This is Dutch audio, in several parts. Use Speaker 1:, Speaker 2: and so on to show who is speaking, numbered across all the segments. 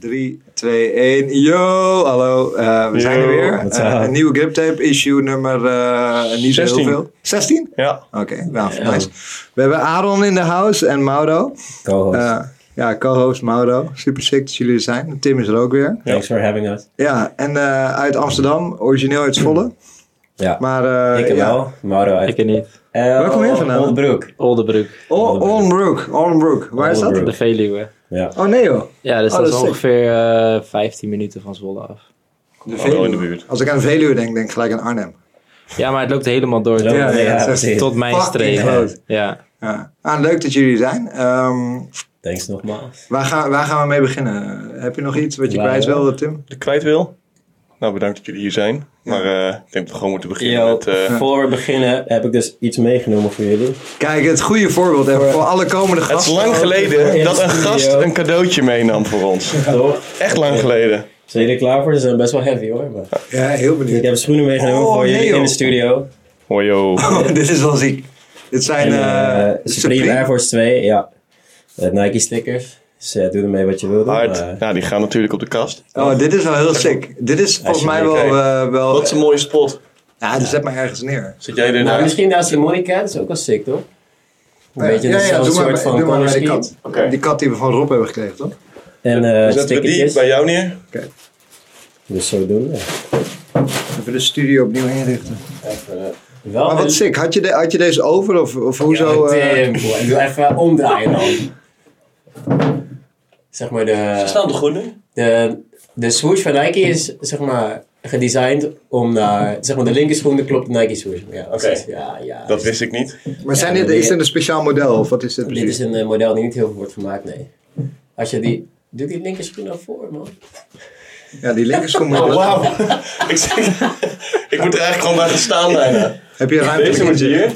Speaker 1: 3, 2, 1. Yo, hallo. Eh, we
Speaker 2: Yo,
Speaker 1: zijn er weer.
Speaker 2: what's
Speaker 1: Eh,
Speaker 2: up?
Speaker 1: een nieuwe grip tape issue nummer eh niet zo heel
Speaker 2: 16.
Speaker 1: veel. 16?
Speaker 2: Ja.
Speaker 1: Oké, nou, nice. We hebben Aaron in de house en Mauro.
Speaker 3: co
Speaker 1: Eh, ja, co-host Mauro. Super sick dat jullie er zijn. Tim is er ook weer.
Speaker 3: Thanks for having us.
Speaker 1: Ja, en eh, uit Amsterdam, origineel uit Zwolle.
Speaker 3: Ja,
Speaker 1: Maar eh,
Speaker 3: ik heb
Speaker 1: ja.
Speaker 3: wel. Mauro uit.
Speaker 4: Ik er niet.
Speaker 3: Eh,
Speaker 1: Waar kom je vandaan?
Speaker 3: Oldebroek.
Speaker 4: Oldenbroek,
Speaker 1: O- Oldenbroek, Oldenbroek. Waar is dat?
Speaker 3: Oldenbroek.
Speaker 4: de Veluwe.
Speaker 3: Ja.
Speaker 1: Oh nee joh.
Speaker 4: Ja, dus
Speaker 1: Oh, dat
Speaker 4: dat is
Speaker 1: is sick.
Speaker 4: ongeveer eh, 15 minuten van Zwolle af.
Speaker 1: De
Speaker 2: wel Oh, in de
Speaker 1: Veluwe.
Speaker 2: buurt.
Speaker 1: Als ik aan de Veluwe denk, denk ik gelijk aan Arnhem.
Speaker 4: Ja, maar het loopt helemaal door tot,
Speaker 3: Ja,
Speaker 1: ja, ja,
Speaker 3: precies.
Speaker 4: tot mijn
Speaker 1: Fucking
Speaker 4: streep.
Speaker 1: groot.
Speaker 4: Ja.
Speaker 1: Ja. Ah, leuk dat jullie er zijn. Ehm,
Speaker 3: Thanks nogmaals.
Speaker 1: Waar gaan, waar gaan we mee beginnen? Heb je nog iets wat je
Speaker 3: Ja,
Speaker 1: kwijt
Speaker 3: ja.
Speaker 1: wilde, Tim?
Speaker 2: De kwijt wil. Nou, bedankt dat jullie hier zijn. Maar eh, ik denk dat we gewoon moeten beginnen
Speaker 3: Yo,
Speaker 2: met... eh,
Speaker 3: voor we beginnen heb ik dus iets meegenomen voor jullie.
Speaker 1: Kijk, het goede voorbeeld even voor alle komende
Speaker 2: het is
Speaker 1: gasten.
Speaker 2: lang geleden
Speaker 3: in
Speaker 2: dat
Speaker 3: de
Speaker 2: een
Speaker 3: studio.
Speaker 2: gast een cadeautje meenam voor ons.
Speaker 3: Toch?
Speaker 2: Echt lang geleden.
Speaker 3: Zijn jullie er klaar voor? Ze zijn best wel heavy hoor. maar-
Speaker 1: Ja, heel
Speaker 3: Ik
Speaker 1: benieuwd.
Speaker 3: heb schoenen meegenomen
Speaker 1: Oh,
Speaker 3: voor
Speaker 1: nee,
Speaker 3: jullie
Speaker 1: joh.
Speaker 3: in de studio.
Speaker 2: Oh joh.
Speaker 1: Dit is wel ziek. Dit zijn
Speaker 3: En,
Speaker 1: eh,
Speaker 3: eh, Supreme Air Force 2, ja. Met Nike stickers. Dus eh, doe ermee wat je wil doen. maar- eh,
Speaker 2: Hard. Ja, die gaan natuurlijk op de kast.
Speaker 1: Oh, dit is wel heel sick. Dit is volgens mij wel...
Speaker 2: Alsjeblieft,
Speaker 1: eh, wel
Speaker 2: Wat een mooie spot.
Speaker 1: ja, dus zet maar ergens neer.
Speaker 2: Zit jij er
Speaker 3: nou,
Speaker 2: nou?
Speaker 3: misschien naast die Monica, dat is ook wel sick toch? Een beetje
Speaker 1: ja, ja,
Speaker 3: dezelfde
Speaker 1: doe maar,
Speaker 3: soort
Speaker 1: bij-
Speaker 3: van
Speaker 1: doe maar bij die
Speaker 3: color
Speaker 1: kat.
Speaker 3: scheme.
Speaker 2: Oké.
Speaker 1: Die kat die we van Rob hebben gekregen, toch?
Speaker 3: En eh
Speaker 2: Zetten we die
Speaker 3: stickertjes.
Speaker 2: bij jou neer?
Speaker 3: Dus zodoende.
Speaker 1: Even de studio opnieuw inrichten.
Speaker 2: eh,
Speaker 3: Wel
Speaker 1: Maar wat
Speaker 3: een-
Speaker 1: sick. Had je, de- had je deze over of, of hoezo?
Speaker 3: Ja,
Speaker 1: eh,
Speaker 3: Tim, boy. Ik wil even omdraaien dan. Zeg maar de,
Speaker 2: toch goed nu?
Speaker 3: de, de swoosh van Nike is zeg maar gedesigned om naar, zeg maar de linker schoen de klopt de Nike swoosh. Ja, precies. ja, ja.
Speaker 2: Dat wist ik niet.
Speaker 1: maar zijn
Speaker 3: Ja,
Speaker 1: dit,
Speaker 3: nee.
Speaker 1: is dit een speciaal model of wat is dit
Speaker 3: Dit
Speaker 1: precies?
Speaker 3: is een eh, model die niet heel veel wordt gemaakt, nee. Als je die, doe die linker schoen nou voor man.
Speaker 1: Ja, die linkerschoen moet je wel-
Speaker 2: Oh, Wauw. ik, zeg- ik moet er eigenlijk gewoon bij gaan staan bijna.
Speaker 1: Heb je ruimte?
Speaker 2: Deze moet je hier.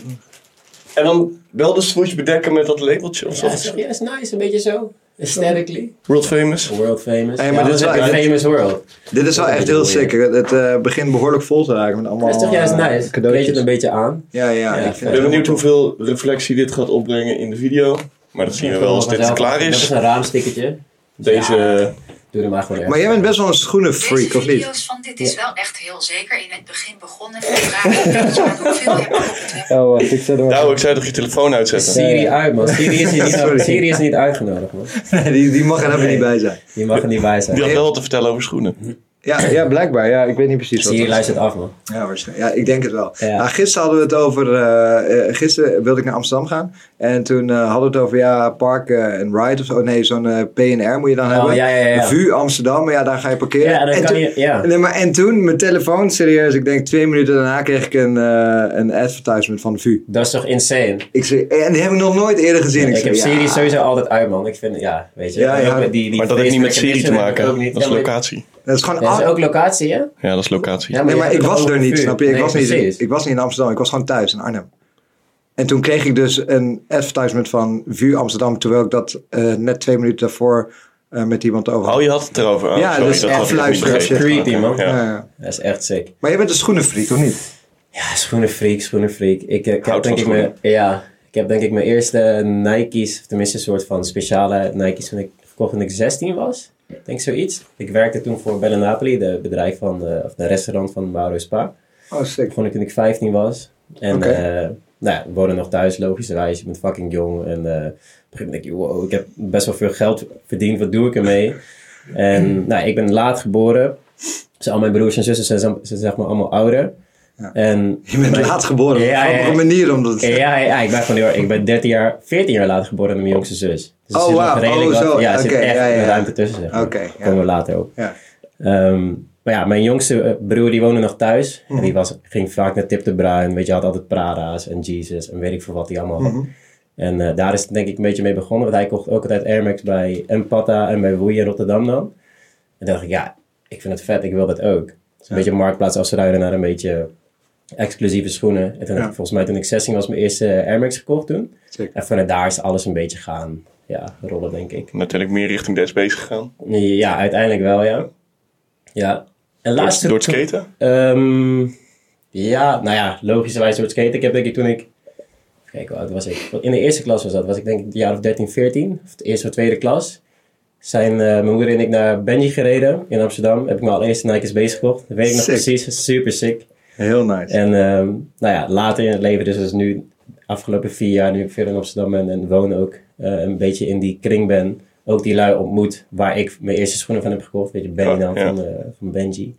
Speaker 2: En dan wel de swoosh bedekken met dat labeltje of zo.
Speaker 3: Ja, is, ja, is nice, een beetje zo. Aesthetically.
Speaker 2: World famous.
Speaker 3: World famous.
Speaker 1: Hey, maar
Speaker 3: Hey, maar
Speaker 1: dit is wel-
Speaker 3: een
Speaker 1: dit-
Speaker 3: famous world.
Speaker 1: Dit is wel echt heel sick. Het het, eh, begint behoorlijk vol te raken met allemaal
Speaker 3: Dat is toch juist
Speaker 1: eh,
Speaker 3: nice. Kleed je
Speaker 1: cadeautjes.
Speaker 3: het een beetje aan.
Speaker 1: Ja, ja.
Speaker 3: Ja,
Speaker 1: ik
Speaker 3: vet.
Speaker 1: vind
Speaker 2: Ik ben
Speaker 1: het
Speaker 2: benieuwd hoeveel reflectie dit gaat opbrengen in de video. Maar dat zien we wel als dit
Speaker 3: Vanzelf.
Speaker 2: klaar
Speaker 3: Dat is
Speaker 2: is.
Speaker 3: een raamstickertje.
Speaker 2: Deze...
Speaker 3: Doe er maar gewoon even.
Speaker 1: Maar jij bent best wel een schoenenfreak,
Speaker 5: Deze
Speaker 1: of niet?
Speaker 5: video's van dit is wel echt heel zeker in het begin begonnen met vragen. Maar hoeveel heb je op het web?
Speaker 3: Oh, wacht, ik zet hem
Speaker 2: Nou, ik zou toch je telefoon uitzetten?
Speaker 3: Siri uit, man. Siri is, hier
Speaker 1: Sorry.
Speaker 3: niet, Siri is niet uitgenodigd, man.
Speaker 1: Nee, die, die mag er even niet bij zijn.
Speaker 3: Je mag er niet bij
Speaker 2: Die
Speaker 3: zijn.
Speaker 2: had wel wat te vertellen over schoenen.
Speaker 1: Ja, ja blijkbaar. Ja, ik weet niet precies wat
Speaker 3: Siri
Speaker 1: dat is.
Speaker 3: luistert af, man.
Speaker 1: Ja, waarschijnlijk. Ja, ik denk het wel.
Speaker 3: Ja.
Speaker 1: Nou, gisteren hadden we het over... eh, eh, gisteren wilde ik naar Amsterdam gaan. En toen eh, hadden we het over, ja, park eh, en ride of zo. Nee, zo'n eh, PNR moet je dan hebben.
Speaker 3: Oh, ja, ja, ja.
Speaker 1: VU Amsterdam, maar ja, daar ga je parkeren.
Speaker 3: Ja, dan
Speaker 1: en
Speaker 3: kan
Speaker 1: toen-
Speaker 3: je... Ja.
Speaker 1: Nee, maar en toen, mijn telefoon, serieus, ik denk twee minuten daarna kreeg ik een, eh, een advertisement van de VU.
Speaker 3: Dat is toch insane?
Speaker 1: Ik zei, en die heb ik nog nooit eerder gezien.
Speaker 3: Ik heb
Speaker 1: zei,
Speaker 3: Siri
Speaker 1: ja.
Speaker 3: sowieso altijd uit, man. Ik vind, ja, weet je.
Speaker 1: Ja,
Speaker 3: En
Speaker 1: ja.
Speaker 3: ook met die- die
Speaker 2: Maar dat heeft niet met Siri te
Speaker 3: Facebook en dit soort
Speaker 2: maken.
Speaker 3: dingen
Speaker 2: Dat is
Speaker 3: ook niet.
Speaker 2: locatie.
Speaker 1: Dat is gewoon...
Speaker 3: Ja, maar-
Speaker 1: af-
Speaker 3: Dat is ook locatie, hè?
Speaker 2: Ja, dat is locatie.
Speaker 1: nee, Ah. maar ik was er niet, snap je? Ik,
Speaker 3: Nee,
Speaker 1: was niet
Speaker 3: precies.
Speaker 1: in, ik was niet in Amsterdam, ik was gewoon thuis in Arnhem. En toen kreeg ik dus een advertisement van VU Amsterdam, terwijl ik dat eh, net twee minuten daarvoor eh, met iemand over had.
Speaker 2: Oh, je had het erover. Oh,
Speaker 1: Ja,
Speaker 2: sorry,
Speaker 1: dat is echt
Speaker 2: had ik nog niet
Speaker 1: luisteren.
Speaker 2: begrepen.
Speaker 3: Creepy,
Speaker 2: Oké,
Speaker 3: man.
Speaker 2: ja.
Speaker 1: Ja, ja.
Speaker 3: Dat is echt sick.
Speaker 1: Maar je bent een schoenenfreak, of niet?
Speaker 3: Ja, schoenenfreak, schoenenfreak. Ik, eh, ik heb
Speaker 2: Houdt
Speaker 3: denk
Speaker 2: van
Speaker 3: ik mijn, ja, ik heb denk ik mijn eerste Nike's, of tenminste een soort van speciale Nike's toen ik gekocht toen ik 16 was. Ik Denk zoiets. Ik werkte toen voor Bella Napoli, de bedrijf van, de, of de restaurant van Mauro Spa.
Speaker 1: Oh, sick.
Speaker 3: Begon ik toen ik 15 was. En
Speaker 1: Oké.
Speaker 3: eh, nou, ja, we woonden nog thuis, logischerwijs. Je bent fucking jong. En eh, op een gegeven moment denk je, wow, ik heb best wel veel geld verdiend. Wat doe ik ermee?
Speaker 1: Hmm.
Speaker 3: en nou, ik ben laat geboren. Dus al mijn broers en zussen zijn, ze zijn zeg maar allemaal ouder.
Speaker 1: Ja.
Speaker 3: En
Speaker 1: Je bent
Speaker 3: mijn-
Speaker 1: laat geboren,
Speaker 3: Ja,
Speaker 1: op
Speaker 3: ja,
Speaker 1: een
Speaker 3: ja.
Speaker 1: grappige manier. Omdat,
Speaker 3: ja, ja, ja, ik ben gewoon heel erg- Ik ben 13 jaar, 14 jaar later geboren dan mijn jongste zus. Dus er
Speaker 1: Oh,
Speaker 3: zit nog
Speaker 1: wauw.
Speaker 3: redelijk
Speaker 1: Oh,
Speaker 3: wat-
Speaker 1: zo.
Speaker 3: Ja, er zit
Speaker 1: Oké,
Speaker 3: echt
Speaker 1: ja, ja, ja.
Speaker 3: een ruimte tussen. Zeg maar.
Speaker 1: Oké, ja.
Speaker 3: Komen we later op.
Speaker 1: Ja.
Speaker 3: Ehm, maar ja, mijn jongste eh, broer die woonde nog thuis. En die was, ging vaak naar Tip de Bruin. Weet je, had altijd Prada's en Jesus en weet ik veel wat hij allemaal had. En eh, daar is het denk ik een beetje mee begonnen. Want hij kocht ook altijd Air Max bij Empata en bij Woei in Rotterdam dan. En dacht ik, ja, ik vind het vet. Ik wil dat ook. Dus een beetje marktplaats afruilen naar een beetje exclusieve schoenen. En toen heb ik volgens mij toen ik 16 was mijn eerste Air Max gekocht toen.
Speaker 1: Zeker.
Speaker 3: En vanuit daar is alles een beetje gaan ja, rollen denk ik.
Speaker 2: Natuurlijk meer richting de SB's gegaan.
Speaker 3: Ja, uiteindelijk wel ja. Ja. En
Speaker 2: Door,
Speaker 3: laatste
Speaker 2: door het skaten.
Speaker 3: Ehm, ja, nou ja, logischerwijs door het skaten. Ik heb denk ik toen ik... Kijk, hoe oud was ik? In de eerste klas was dat. Was ik denk ik het jaar of 13, 14. Of de eerste of tweede klas. zijn eh, mijn moeder en ik naar Benji gereden in Amsterdam. Heb ik mijn allereerste Nike's Base gekocht. Dat weet ik nog
Speaker 1: Sick.
Speaker 3: precies. Super sick.
Speaker 1: Heel nice.
Speaker 3: En ehm, nou ja, later in het leven, dus, dus nu afgelopen vier jaar, nu ik veel in Amsterdam ben en woon ook, eh, een beetje in die kring ben, ook die lui ontmoet waar ik mijn eerste schoenen van heb gekocht. Weet je, Benny
Speaker 2: Ja,
Speaker 3: dan
Speaker 2: ja.
Speaker 3: van, eh, van Benji.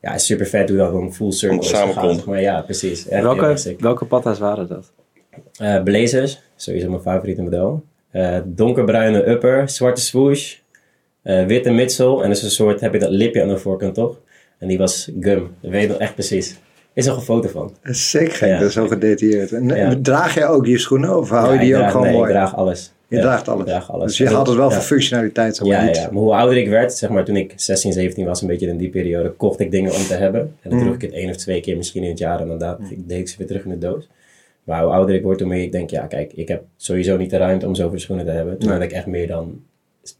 Speaker 3: Ja, is super vet hoe dat dan full circle is gegaan,
Speaker 2: samenkomt.
Speaker 3: zeg Maar ja, precies. Echt heel erg
Speaker 4: Welke,
Speaker 3: sick.
Speaker 4: welke patta's waren dat?
Speaker 3: Eh, Blazers, sowieso mijn favoriete model. Eh, donkerbruine upper, zwarte swoosh, eh, witte midsel en dus een soort, heb je dat lipje aan de voorkant toch? En die was gum, dat weet ik nog echt precies. Is er nog een foto van?
Speaker 1: Sick gek,
Speaker 3: Ja.
Speaker 1: dat is zo gedetailleerd. En,
Speaker 3: Ja.
Speaker 1: Draag jij ook die schoenen of hou
Speaker 3: Ja,
Speaker 1: je Oh, die
Speaker 3: ik
Speaker 1: ook
Speaker 3: draag-
Speaker 1: gewoon
Speaker 3: nee,
Speaker 1: mooi?
Speaker 3: ik draag alles.
Speaker 1: je
Speaker 3: Ja,
Speaker 1: draagt alles.
Speaker 3: ik draag alles.
Speaker 1: Dus je
Speaker 3: En
Speaker 1: had
Speaker 3: dat-
Speaker 1: het wel
Speaker 3: ja.
Speaker 1: voor functionaliteit, zeg maar
Speaker 3: Ja,
Speaker 1: niet.
Speaker 3: ja, maar hoe ouder ik werd, zeg maar toen ik 16, 17 was, een beetje in die periode, kocht ik dingen om te hebben. En
Speaker 1: Mm.
Speaker 3: dan droeg ik het één of twee keer misschien in het jaar en dan da- deed ik ze weer terug in de doos. Maar hoe ouder ik word, hoe meer ik denk, ja kijk, ik heb sowieso niet de ruimte om zoveel schoenen te hebben. Toen had ik echt meer dan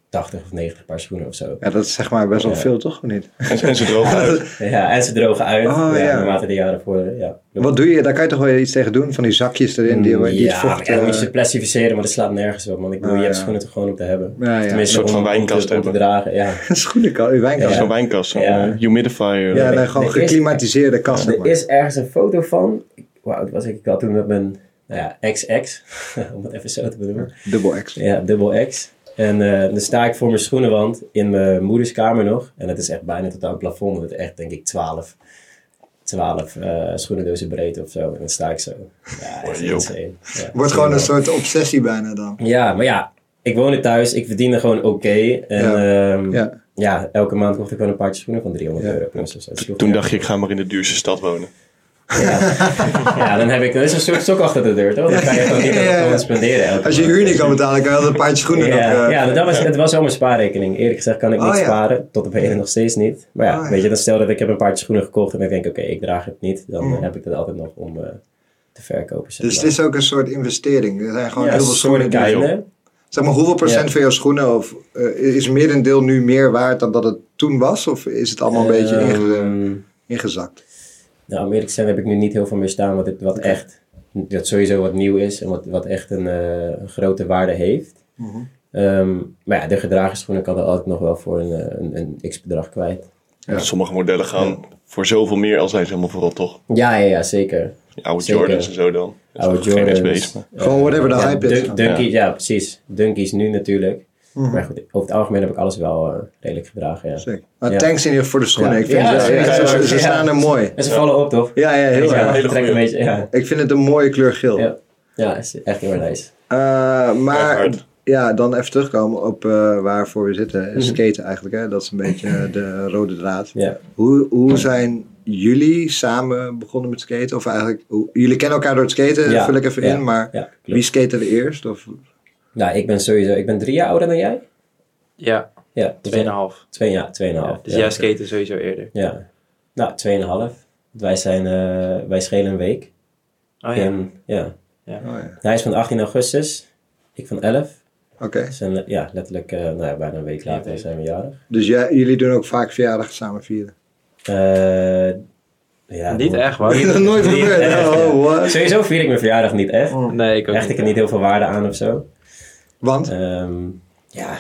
Speaker 3: 80 of 90 paar schoenen of zo.
Speaker 1: Ja, dat is zeg maar best wel
Speaker 3: Ja.
Speaker 1: veel, toch? Of niet?
Speaker 2: En, en ze drogen uit.
Speaker 3: Ja, en ze drogen uit,
Speaker 1: Oh,
Speaker 3: ja,
Speaker 1: ja.
Speaker 3: naarmate de jaren voor, ja. Mm,
Speaker 1: Wat doe je? Daar kan je toch wel iets tegen doen? Van die zakjes erin die, die het
Speaker 3: ja,
Speaker 1: vocht...
Speaker 3: ja, dan
Speaker 1: eh,
Speaker 3: moet je ze plastificeren, maar dat slaat nergens op. Want ik bedoel,
Speaker 1: Ah,
Speaker 3: je hebt
Speaker 1: ja.
Speaker 3: schoenen toch gewoon om te hebben.
Speaker 1: Ja, ja.
Speaker 3: Tenminste,
Speaker 2: Een soort
Speaker 3: om-
Speaker 2: van
Speaker 3: om te-
Speaker 2: wijnkast
Speaker 3: om te
Speaker 2: hebben.
Speaker 3: dragen, ja.
Speaker 1: schoenenkast, uw wijnkast.
Speaker 2: Zo'n
Speaker 1: Ja,
Speaker 2: wijnkast, zo'n
Speaker 3: Ja.
Speaker 2: eh, humidifier.
Speaker 1: ja
Speaker 2: Ja,
Speaker 1: nee,
Speaker 3: Er
Speaker 1: gewoon
Speaker 3: is-
Speaker 1: geklimatiseerde kast. zeg
Speaker 3: Er
Speaker 1: maar.
Speaker 3: is ergens een foto van. Ik- Hoe oud was ik? Ik had toen met mijn nou ja, XX, om het even zo te benoemen.
Speaker 1: Dubbel X.
Speaker 3: Ja, dubbel X. En eh, dan sta ik voor mijn schoenenwand in mijn moeders kamer nog. En het is echt bijna tot aan het plafond. Het is echt, denk ik, 12, 12 eh, schoenendozen breed of zo. En dan sta ik zo. Ja, echt
Speaker 2: joh.
Speaker 3: insane. Ja.
Speaker 1: Wordt gewoon een soort obsessie bijna dan.
Speaker 3: Ja, maar ja, ik woonde thuis, ik verdiende gewoon oké. En
Speaker 1: Ja.
Speaker 3: ehm, ja.
Speaker 1: Ja.
Speaker 3: elke maand kocht ik gewoon een paardje schoenen van 300
Speaker 1: Ja.
Speaker 3: euro. Plus, of zo. Dus ik hoefde
Speaker 2: Toen
Speaker 3: echt-
Speaker 2: dacht je, ik ga maar in de duurste stad wonen.
Speaker 3: Ja, dan heb ik, dat is een soort stok achter de deur, toch? Dan kan je gewoon niet
Speaker 1: Ja,
Speaker 3: aan
Speaker 1: ja, ja.
Speaker 3: het spenderen. elke
Speaker 1: Als je
Speaker 3: maand.
Speaker 1: huur niet kan betalen, kan je altijd een paardje schoenen
Speaker 3: Ja,
Speaker 1: nog... eh,
Speaker 3: ja dat was, het was wel mijn spaarrekening. Eerlijk gezegd kan ik
Speaker 1: Oh,
Speaker 3: niet
Speaker 1: ja.
Speaker 3: sparen, tot op heden nog steeds niet. Maar ja,
Speaker 1: Oh, ja.
Speaker 3: weet je, dan stel dat ik heb een paar schoenen gekocht en ik denk, oké, ik draag het niet. Dan eh, heb ik dat altijd nog om eh, te verkopen. zeg
Speaker 1: Mm. Dus het
Speaker 3: maar.
Speaker 1: is ook een soort investering. Er zijn gewoon
Speaker 3: ja,
Speaker 1: heel veel schoenen. die-
Speaker 3: soorten
Speaker 1: Zeg maar, hoeveel procent
Speaker 3: Ja.
Speaker 1: van jouw schoenen of, eh, is merendeel nu meer waard dan dat het toen was? Of is het allemaal een beetje
Speaker 3: Eh. Ehm,
Speaker 1: inge- ingezakt?
Speaker 3: Nou, om eerlijk te zijn heb ik nu niet heel veel meer staan wat, het- wat echt, dat sowieso wat nieuw is en wat, wat echt een eh, een grote waarde heeft.
Speaker 2: Mhm.
Speaker 3: Ehm, maar ja, de gedragen schoenen kan er altijd nog wel voor een, eh, een, een x-bedrag kwijt.
Speaker 1: Ja.
Speaker 2: Sommige modellen gaan voor zoveel meer als zijn ze helemaal vooral toch.
Speaker 3: Ja, ja, ja zeker.
Speaker 2: Die oude
Speaker 3: Zeker.
Speaker 2: Jordans en zo dan. Dat is
Speaker 3: Oude
Speaker 2: nog geen
Speaker 3: Jordans.
Speaker 2: SB's, maar-
Speaker 1: Gewoon whatever de
Speaker 3: Ja,
Speaker 1: hype
Speaker 3: Dun-
Speaker 1: is.
Speaker 3: Dunkies, ja. precies. Dunkies nu natuurlijk.
Speaker 2: Mhm.
Speaker 3: Maar goed, over het algemeen heb ik alles wel eh, redelijk gedragen, ja.
Speaker 1: Sick. Nou,
Speaker 3: Ja.
Speaker 1: Thanks in ieder geval voor de schoenen.
Speaker 3: Ja.
Speaker 1: Ik vind
Speaker 3: Ja,
Speaker 1: ze,
Speaker 3: ja,
Speaker 1: ze-
Speaker 3: ja,
Speaker 1: ze
Speaker 3: ja.
Speaker 1: staan er mooi.
Speaker 3: En ze vallen op, toch?
Speaker 1: Ja, ja, heel
Speaker 3: ja,
Speaker 1: erg.
Speaker 3: ik trek een beetje, ja.
Speaker 1: Ik vind het een mooie kleur geel.
Speaker 3: Ja, ja is echt heel erg nice.
Speaker 1: Eh, maar
Speaker 2: Hard.
Speaker 1: ja, dan even terugkomen op eh, waarvoor we
Speaker 3: Mhm.
Speaker 1: zitten. Skaten eigenlijk, hè? dat is een beetje eh, de rode draad.
Speaker 3: Ja.
Speaker 1: Hoe, hoe zijn jullie samen begonnen met skaten? Of eigenlijk, hoe- jullie kennen elkaar door het skaten,
Speaker 3: Ja,
Speaker 1: Eh, vul ik even
Speaker 3: ja,
Speaker 1: in. Maar
Speaker 3: ja, klopt.
Speaker 1: wie skate er eerst? Of, oh
Speaker 3: Nou, ik ben sowieso, ik ben drie jaar ouder dan jij?
Speaker 4: Ja,
Speaker 3: Ja,
Speaker 4: 2,5.
Speaker 3: Twee, ja, tweeënhalf.
Speaker 4: Ja, dus jij skaten sowieso eerder.
Speaker 3: Ja. Nou, 2,5. Want Wij zijn, eh, wij schelen een week.
Speaker 4: Oh ja.
Speaker 3: En, ja.
Speaker 1: oh ja,
Speaker 3: Hij is van 18 augustus, ik van 11.
Speaker 1: oké.
Speaker 3: Dus een, ja, letterlijk eh, nou, ja, bijna een week later
Speaker 4: week.
Speaker 3: zijn we jarig.
Speaker 1: Dus jij, jullie doen ook vaak verjaardag samen vieren?
Speaker 3: Eh, ja,
Speaker 4: Niet
Speaker 3: dat-
Speaker 4: echt,
Speaker 1: Dat is
Speaker 4: hoor.
Speaker 1: nog nooit gebeurd.
Speaker 3: echt,
Speaker 1: Oh,
Speaker 3: Oh, ja.
Speaker 1: what?
Speaker 3: Sowieso vier ik mijn verjaardag niet echt.
Speaker 4: Nee, Oh, ik ook
Speaker 3: Hecht ik er niet heel veel waarde aan of zo.
Speaker 1: Want?
Speaker 3: Ehm, ja,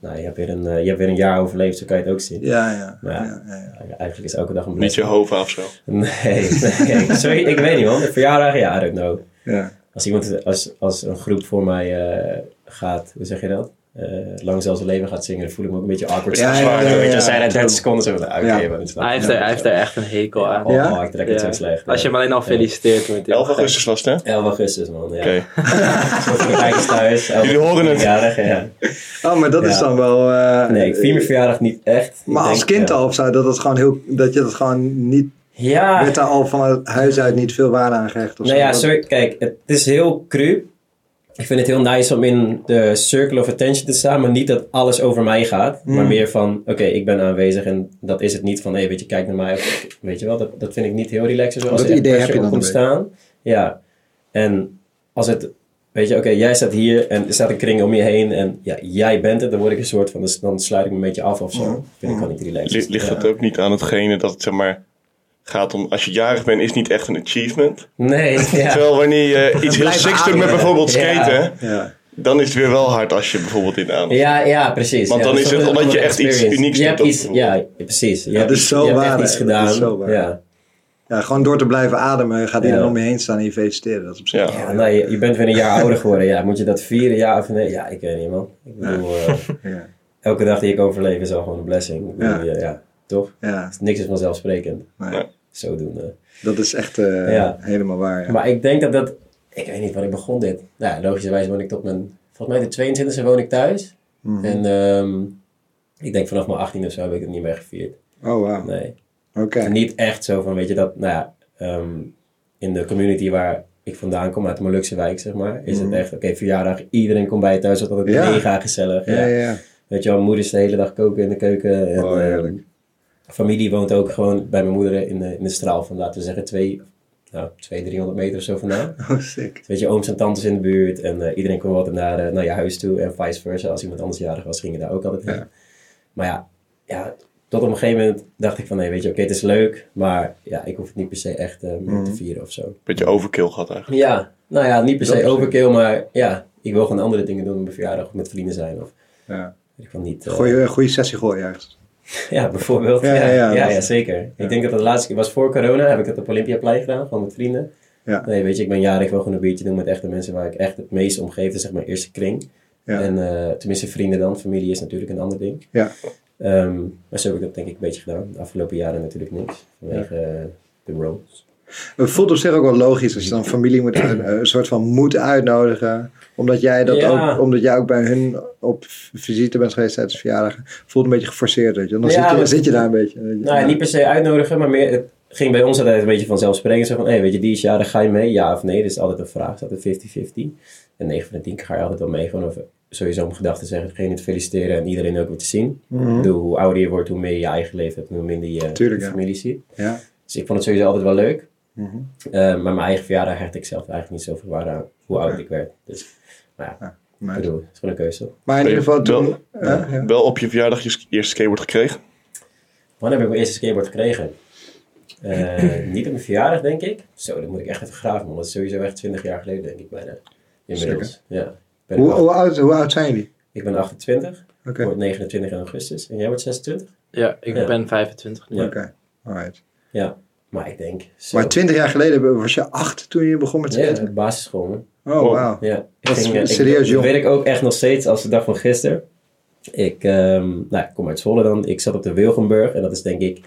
Speaker 3: nou, je, hebt weer een, eh, je hebt weer een jaar overleefd, zo kan je het ook zien.
Speaker 1: Ja, ja.
Speaker 3: Maar ja.
Speaker 1: ja, ja, ja.
Speaker 3: Eigenlijk is elke dag een
Speaker 2: Niet
Speaker 3: blessing.
Speaker 2: Jehovah of zo.
Speaker 3: Nee, nee. Sorry, ik weet niet man. De verjaardag, ja, I don't know.
Speaker 1: ja.
Speaker 3: Als iemand, als, als een groep voor mij eh, gaat, hoe zeg je dat? Eh lang zelfs het leven gaat zingen, dan voel ik me ook een beetje awkward.
Speaker 1: Ja,
Speaker 3: Ja,
Speaker 1: ja, ja, ja, ja.
Speaker 3: Als zij daar 30 seconden zo van, ah, oké,
Speaker 1: Ja.
Speaker 3: maar dat is wel-
Speaker 4: Hij heeft, er, hij heeft er echt een hekel aan.
Speaker 3: Oh,
Speaker 1: Ja?
Speaker 3: ik trek het
Speaker 4: Ja.
Speaker 3: zo slecht.
Speaker 4: Als je hem alleen al feliciteert met dit.
Speaker 2: 11 augustus was het, hè?
Speaker 3: 11 augustus, man. Ja.
Speaker 2: Oké.
Speaker 3: Voor de kijkers thuis. 11
Speaker 2: Jullie horen het.
Speaker 3: verjaardag, ja.
Speaker 1: Oh, maar dat
Speaker 3: Ja.
Speaker 1: is dan wel... eh,
Speaker 3: Nee, ik vier mijn verjaardag niet echt. Ik
Speaker 1: Maar als
Speaker 3: denk,
Speaker 1: kind
Speaker 3: ja.
Speaker 1: al of zo, dat, het gewoon heel, dat je dat gewoon niet...
Speaker 3: Ja.
Speaker 1: Werd daar al van het huis uit niet veel waarde aan gehecht of
Speaker 3: Ah.
Speaker 1: zo?
Speaker 3: Nou ja,
Speaker 1: Dat-
Speaker 3: sorry, kijk, het is heel cru. Ik vind het heel nice om in de circle of attention te staan, maar niet dat alles over mij gaat.
Speaker 1: Hmm.
Speaker 3: Maar meer van, oké, ik ben aanwezig en dat is het niet van, hé, weet je, kijk naar mij. Of, weet je wel, dat, dat vind ik niet heel relaxed. Als
Speaker 1: Dat
Speaker 3: er echt
Speaker 1: idee heb
Speaker 3: pressure
Speaker 1: je dan
Speaker 3: op komt
Speaker 1: een
Speaker 3: staan. Ja, en als het, weet je, oké, jij staat hier en er staat een kring om je heen en ja, jij bent het, dan word ik een soort van, dus dan sluit ik me een beetje af of zo.
Speaker 1: Hmm.
Speaker 3: Vind ik gewoon niet relaxed.
Speaker 2: Li- Ligt
Speaker 3: Ja.
Speaker 2: dat ook niet aan hetgene dat het zeg maar gaat om... Als je jarig bent, is niet echt een achievement.
Speaker 3: Nee, ja.
Speaker 2: Terwijl wanneer je iets heel
Speaker 1: blijft
Speaker 2: siks doet
Speaker 1: ademen.
Speaker 2: met bijvoorbeeld
Speaker 3: Ja.
Speaker 2: skaten...
Speaker 1: Ja.
Speaker 2: Dan is het weer wel hard als je bijvoorbeeld in aan.
Speaker 3: Ja, ja, precies.
Speaker 2: Want
Speaker 3: Ja,
Speaker 2: dan
Speaker 3: dat
Speaker 2: is het
Speaker 3: wel een
Speaker 2: omdat je
Speaker 3: andere
Speaker 2: echt iets
Speaker 3: experience.
Speaker 2: unieks
Speaker 3: je
Speaker 2: hebt
Speaker 3: hebt iets,
Speaker 2: opgeroepen.
Speaker 3: ja, precies. Je
Speaker 1: dat
Speaker 3: hebt
Speaker 1: is
Speaker 3: iets-
Speaker 1: zo
Speaker 3: je hebt
Speaker 1: waar,
Speaker 3: echt iets
Speaker 1: hè. Dat
Speaker 3: gedaan.
Speaker 1: is zo waar.
Speaker 3: Ja.
Speaker 1: Ja, gewoon door te blijven ademen gaat
Speaker 3: Ja.
Speaker 1: iedereen om je heen staan en je feliciteren. Dat is op zich.
Speaker 2: Ja.
Speaker 3: Ja, nee, je, je bent weer een jaar ouder geworden. Ja, moet je dat vieren? Ja of nee? Ja, ik weet niet, man. Ik bedoel, eh,
Speaker 1: Ja.
Speaker 3: elke dag die ik overleef is al gewoon een blessing. Ik
Speaker 1: Ja.
Speaker 3: bedoel, ja. ja, toch?
Speaker 1: Ja,
Speaker 3: Niks is vanzelfsprekend.
Speaker 1: nee,
Speaker 3: Zodoende.
Speaker 1: dat is echt eh,
Speaker 3: Ja.
Speaker 1: helemaal waar. Ja.
Speaker 3: Maar ik denk dat dat... Ik weet niet waar ik begon dit. Nou, ja, logischerwijs woon ik tot mijn... Volgens mij de 22 e woon ik thuis.
Speaker 1: Mhm. Mm.
Speaker 3: En ehm, ik denk vanaf mijn 18 of zo heb ik het niet meer gevierd.
Speaker 1: Oh, wauw.
Speaker 3: Nee.
Speaker 1: Oké.
Speaker 3: Niet echt zo van, weet je, dat... Nou ja, ehm, in de community waar ik vandaan kom, uit de Molukse wijk, zeg maar... Is het echt, oké, verjaardag. Iedereen komt bij je thuis. Dat is altijd
Speaker 1: Mhm. Ja.
Speaker 3: mega gezellig.
Speaker 1: Ja, ja, ja.
Speaker 3: Weet je wel, moeder is de hele dag koken in de keuken. En,
Speaker 1: Oh,
Speaker 3: eh,
Speaker 1: heerlijk.
Speaker 3: familie woont ook gewoon bij mijn moeder in de, in de straal van, laten we zeggen, twee, nou, twee, 300 meter of zo vandaan.
Speaker 1: Oh, sick.
Speaker 3: Dus weet je, ooms en tantes in de buurt en eh, iedereen kwam altijd naar, eh, naar je huis toe en vice versa. Als iemand anders jarig was, ging je daar ook altijd heen. Maar ja, ja, tot op een gegeven moment dacht ik van, nee, weet je, oké, het is leuk, maar ja, ik hoef het niet per se echt eh, meer
Speaker 1: Mhm.
Speaker 3: te vieren of zo.
Speaker 2: Beetje overkill gehad eigenlijk.
Speaker 3: Ja, nou ja, niet per
Speaker 1: Dat
Speaker 3: se
Speaker 1: is-
Speaker 3: overkill, maar ja, ik wil gewoon andere dingen doen op mijn verjaardag of met vrienden zijn of
Speaker 1: Ja.
Speaker 3: weet ik van niet. eh,
Speaker 1: Goeie, goeie sessie gooien ergens.
Speaker 3: Ja, bijvoorbeeld.
Speaker 1: Ja,
Speaker 3: Ja, ja,
Speaker 1: ja, ja.
Speaker 3: ja, zeker. Ik denk dat dat de laatste keer was voor corona. Heb ik dat op Olympiaplein gedaan, gewoon met vrienden.
Speaker 1: Ja.
Speaker 3: Nee, weet je, ik ben jarig. Ik wil gewoon een biertje doen met echte mensen waar ik echt het meest om geef. Dat is zeg maar eerste kring.
Speaker 1: Ja.
Speaker 3: En eh, tenminste vrienden dan. Familie is natuurlijk een ander ding.
Speaker 1: Ja.
Speaker 3: Ehm, maar zo heb ik dat denk ik een beetje gedaan. De afgelopen jaren natuurlijk niks. Vanwege eh, de roles.
Speaker 1: Het voelt op zich ook wel logisch als je dan familie moet uit- een soort van moet uitnodigen. Omdat jij, dat
Speaker 3: Ja.
Speaker 1: ook, omdat jij ook bij hun op visite bent geweest tijdens verjaardagen. Voelt een beetje geforceerd, weet je. wel. Dan
Speaker 3: Ja,
Speaker 1: zit, je,
Speaker 3: maar-
Speaker 1: zit je daar een beetje.
Speaker 3: Nou, ja, niet per se uitnodigen, maar meer... Het, Ging bij ons altijd een beetje vanzelfsprekend. Zo van, hé, hey, weet je, die is jarig, ga je mee? Ja of nee? Dat is altijd een vraag. Dat is altijd 50-50. En 9 van de 10 keer ga je altijd wel mee. Gewoon of sowieso om gedachten te zeggen. Degene te feliciteren en iedereen ook weer te zien. Ik bedoel, hoe ouder je wordt, hoe meer je je eigen leven hebt. en Hoe minder je
Speaker 1: Mhm. Tuurlijk,
Speaker 3: je
Speaker 1: ja.
Speaker 3: familie ziet.
Speaker 1: Ja. Mhm.
Speaker 3: Dus ik vond het sowieso altijd wel leuk. Eh, maar mijn eigen verjaardag hecht ik zelf eigenlijk niet zoveel waarde aan. Hoe oud ik werd. Dus, maar ja,
Speaker 1: nice.
Speaker 3: ik bedoel, het is gewoon een keuze.
Speaker 1: Maar in ieder geval toen...
Speaker 2: Wel-
Speaker 1: hè? ja.
Speaker 2: Wel op je verjaardag je eerste skateboard gekregen.
Speaker 3: Wanneer heb ik mijn eerste skateboard gekregen? Eh, niet op mijn verjaardag, denk ik. Zo, dat moet ik echt even graven, man. Dat is sowieso echt 20 jaar geleden, denk ik bijna. Inmiddels. Ja. Ik ben,
Speaker 1: Hoe,
Speaker 3: acht-
Speaker 1: hoe, oud, hoe oud zijn jullie?
Speaker 3: ik ben 28,
Speaker 1: Oké.
Speaker 3: word 29 in augustus. En jij wordt 26?
Speaker 4: Ja, ik
Speaker 3: Ja.
Speaker 4: ben 25 nu.
Speaker 3: Ja.
Speaker 1: Oké, alright.
Speaker 3: Ja. Maar ik denk... Zo.
Speaker 1: Maar twintig jaar geleden was je acht toen je begon met
Speaker 3: Ja,
Speaker 1: skaten?
Speaker 3: de basisschool, man.
Speaker 1: Oh,
Speaker 2: Wow.
Speaker 1: wauw.
Speaker 3: Ja, ik
Speaker 1: Dat is
Speaker 3: eh, ik-
Speaker 1: serieus
Speaker 3: dat
Speaker 1: jong.
Speaker 3: weet ik ook echt nog steeds als de dag van gisteren. Ik, ehm, nou, ik kom uit Zwolle dan. Ik zat op de Wilgenburg en dat is denk ik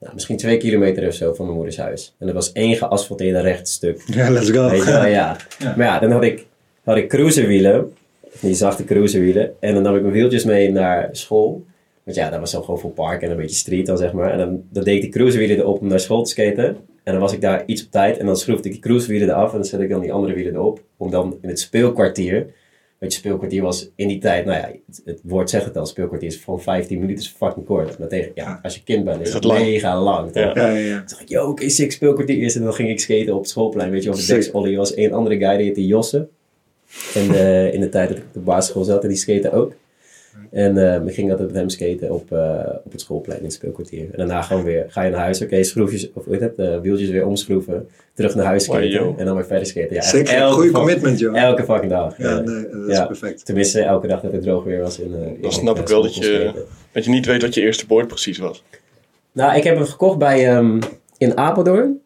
Speaker 3: nou, misschien twee kilometer of zo van mijn moeders huis. En er was één geasfalteerde rechtstuk.
Speaker 1: Ja, let's go.
Speaker 3: Weet je wel, ja. Maar ja, dan had ik, had ik cruiserwielen, die zachte cruiserwielen. En dan nam ik mijn wieltjes mee naar school. Want ja, dat was dan gewoon voor park en een beetje street dan, zeg maar. En dan, dan deed ik de cruiserwielen erop om naar school te skaten. En dan was ik daar iets op tijd. En dan schroefde ik die cruiserwielen eraf. En dan zette ik dan die andere wielen erop. Om dan in het speelkwartier... Weet je, speelkwartier was in die tijd... Nou ja, het, het woord zegt het al. Speelkwartier is van 15 minuten. is fucking kort. Maar tegen, ja, als je kind bent, is
Speaker 2: dat
Speaker 3: het
Speaker 2: lang?
Speaker 3: mega lang. toch?
Speaker 1: Ja,
Speaker 2: Ja.
Speaker 1: ja, ja.
Speaker 3: Toen dacht ik, yo, oké, ik sick, speelkwartier eerst. En dan ging ik skaten op het schoolplein, weet je, op de
Speaker 1: Sick.
Speaker 3: deksolie. Er was één andere guy, die heette Josse. En eh, in de tijd dat ik op de basisschool zat, en die skaten ook. En eh, we gingen altijd met hem skaten op, eh, op het schoolplein in het speelkwartier. En daarna gewoon weer, ga je naar huis, oké, schroefjes, of hoe heet het, eh, wieltjes weer omschroeven. Terug naar huis skaten
Speaker 2: Wow, yo.
Speaker 3: en dan weer verder skaten. Ja, echt
Speaker 1: Zeker,
Speaker 3: elke
Speaker 1: goeie
Speaker 3: fucking-
Speaker 1: commitment, joh.
Speaker 3: Elke fucking dag.
Speaker 1: Ja,
Speaker 3: ja.
Speaker 1: nee, dat is
Speaker 3: Ja.
Speaker 1: perfect.
Speaker 3: Tenminste, elke dag dat het droog weer was. In, eh, in,
Speaker 2: Dan snap
Speaker 3: eh,
Speaker 2: ik wel dat
Speaker 3: school kon skaten.
Speaker 2: je, dat je niet weet wat je eerste board precies was.
Speaker 3: Nou, ik heb hem gekocht bij, ehm, in Apeldoorn.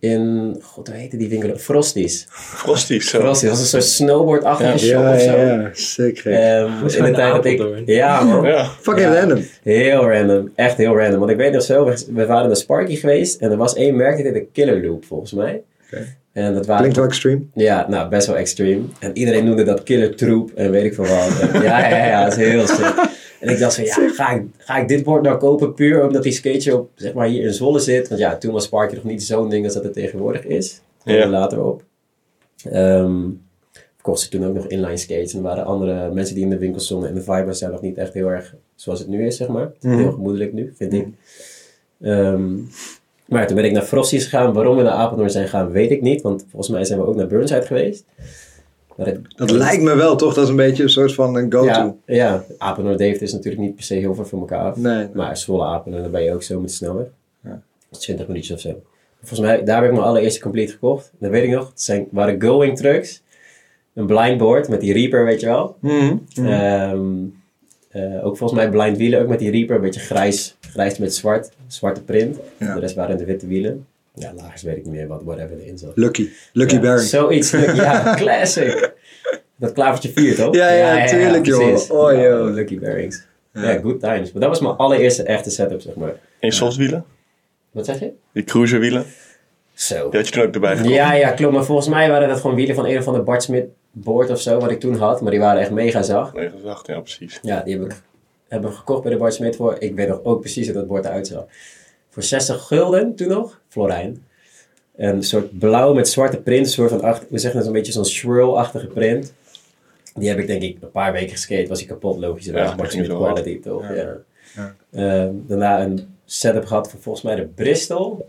Speaker 3: In, god, hoe heette die winkel? Frosties.
Speaker 2: Frosty, zo.
Speaker 3: Frosties, dat was een soort snowboardachtige shop
Speaker 1: Ja,
Speaker 3: of zo.
Speaker 1: ja, ja. Sick, gek.
Speaker 3: Ehm, in de
Speaker 4: in
Speaker 3: tijd dat
Speaker 4: Apeldoorn.
Speaker 3: ik... Ja, man.
Speaker 2: Ja.
Speaker 1: Fucking
Speaker 3: ja.
Speaker 1: random.
Speaker 3: Heel random. Echt heel random. Want ik weet nog zo, we, we waren naar Sparky geweest. En er was één merk, die heette Killer Loop, volgens mij. En dat waren...
Speaker 1: Klinkt wel extreme.
Speaker 3: Ja, nou, best wel extreme. En iedereen noemde dat killer troep en weet ik veel wat. En ja, ja, ja, ja, dat is heel sick. En ik dacht van, ja, ga ik, ga ik dit bord nou kopen puur omdat die skateshop zeg maar, hier in Zwolle zit? Want ja, toen was Sparky nog niet zo'n ding als dat het tegenwoordig is. Daar
Speaker 2: Ja.
Speaker 3: komen we later op. Ehm kocht ze toen ook nog inline skates. En er waren andere mensen die in de winkel stonden. En de vibes zijn nog niet echt heel erg zoals het nu is, zeg maar. Het is Heel gemoedelijk nu, vind ik. Ehm, maar toen ben ik naar Frosties gegaan. Waarom we naar Apeldoorn zijn gegaan, weet ik niet. Want volgens mij zijn we ook naar Burnside geweest. Maar het-
Speaker 1: Dat lijkt me wel, toch? Dat is een beetje een soort van een go-to.
Speaker 3: ja, ja, Apeldoorn-Deventer is natuurlijk niet per se heel veel van elkaar af.
Speaker 1: Nee.
Speaker 3: Maar Zwolle-Apeldoorn, dan ben je ook zo met de snelweg. Dat is 20 minuutjes of zo. Volgens mij, daar heb ik mijn allereerste complete gekocht. Dat weet ik nog. Het zijn, waren going trucks. een blindboard met die Reaper, weet je wel.
Speaker 2: Mhm.
Speaker 1: Mm.
Speaker 3: Ehm, eh, ook volgens mij blind wielen, ook met die Reaper, een beetje grijs, grijs met zwart, zwarte print.
Speaker 1: Ja.
Speaker 3: De rest waren de witte wielen. Ja, lagers weet ik niet meer wat whatever erin zat.
Speaker 1: Lucky. Lucky
Speaker 3: Ja,
Speaker 1: Baron.
Speaker 3: Zoiets, Lucky- ja, classic. Dat klavertje 4, toch?
Speaker 1: Ja, ja, tuurlijk, joh.
Speaker 3: precies.
Speaker 1: Oh,
Speaker 3: Ja,
Speaker 1: joh.
Speaker 3: Lucky Bearings. Ja. good times. Maar dat was mijn allereerste echte setup, zeg maar.
Speaker 2: En je softwielen?
Speaker 3: Wat zeg je?
Speaker 2: Die cruiserwielen?
Speaker 3: Zo.
Speaker 2: Die had je toen ook erbij gekocht.
Speaker 3: Ja, ja, klopt. Maar volgens mij waren dat gewoon wielen van een of ander Bart Smit board of zo, wat ik toen had. Maar die waren echt mega zacht.
Speaker 2: 908, ja precies.
Speaker 3: Ja, die heb ik, heb ik gekocht bij de Bart Smit voor. Ik weet nog ook precies hoe dat bord eruit zag. Voor 60 gulden toen nog, Florijn. Een soort blauw met zwarte print, een soort van, acht, we zeggen dat een beetje zo'n swirl-achtige print. Die heb ik denk ik een paar weken geskate, was ik kapot logischerwijs.
Speaker 2: Ja,
Speaker 3: Bart
Speaker 2: dat ging
Speaker 3: Smit
Speaker 2: zo hard.
Speaker 3: quality toch? Ja. Ehm, daarna een setup gehad voor volgens mij de Bristol.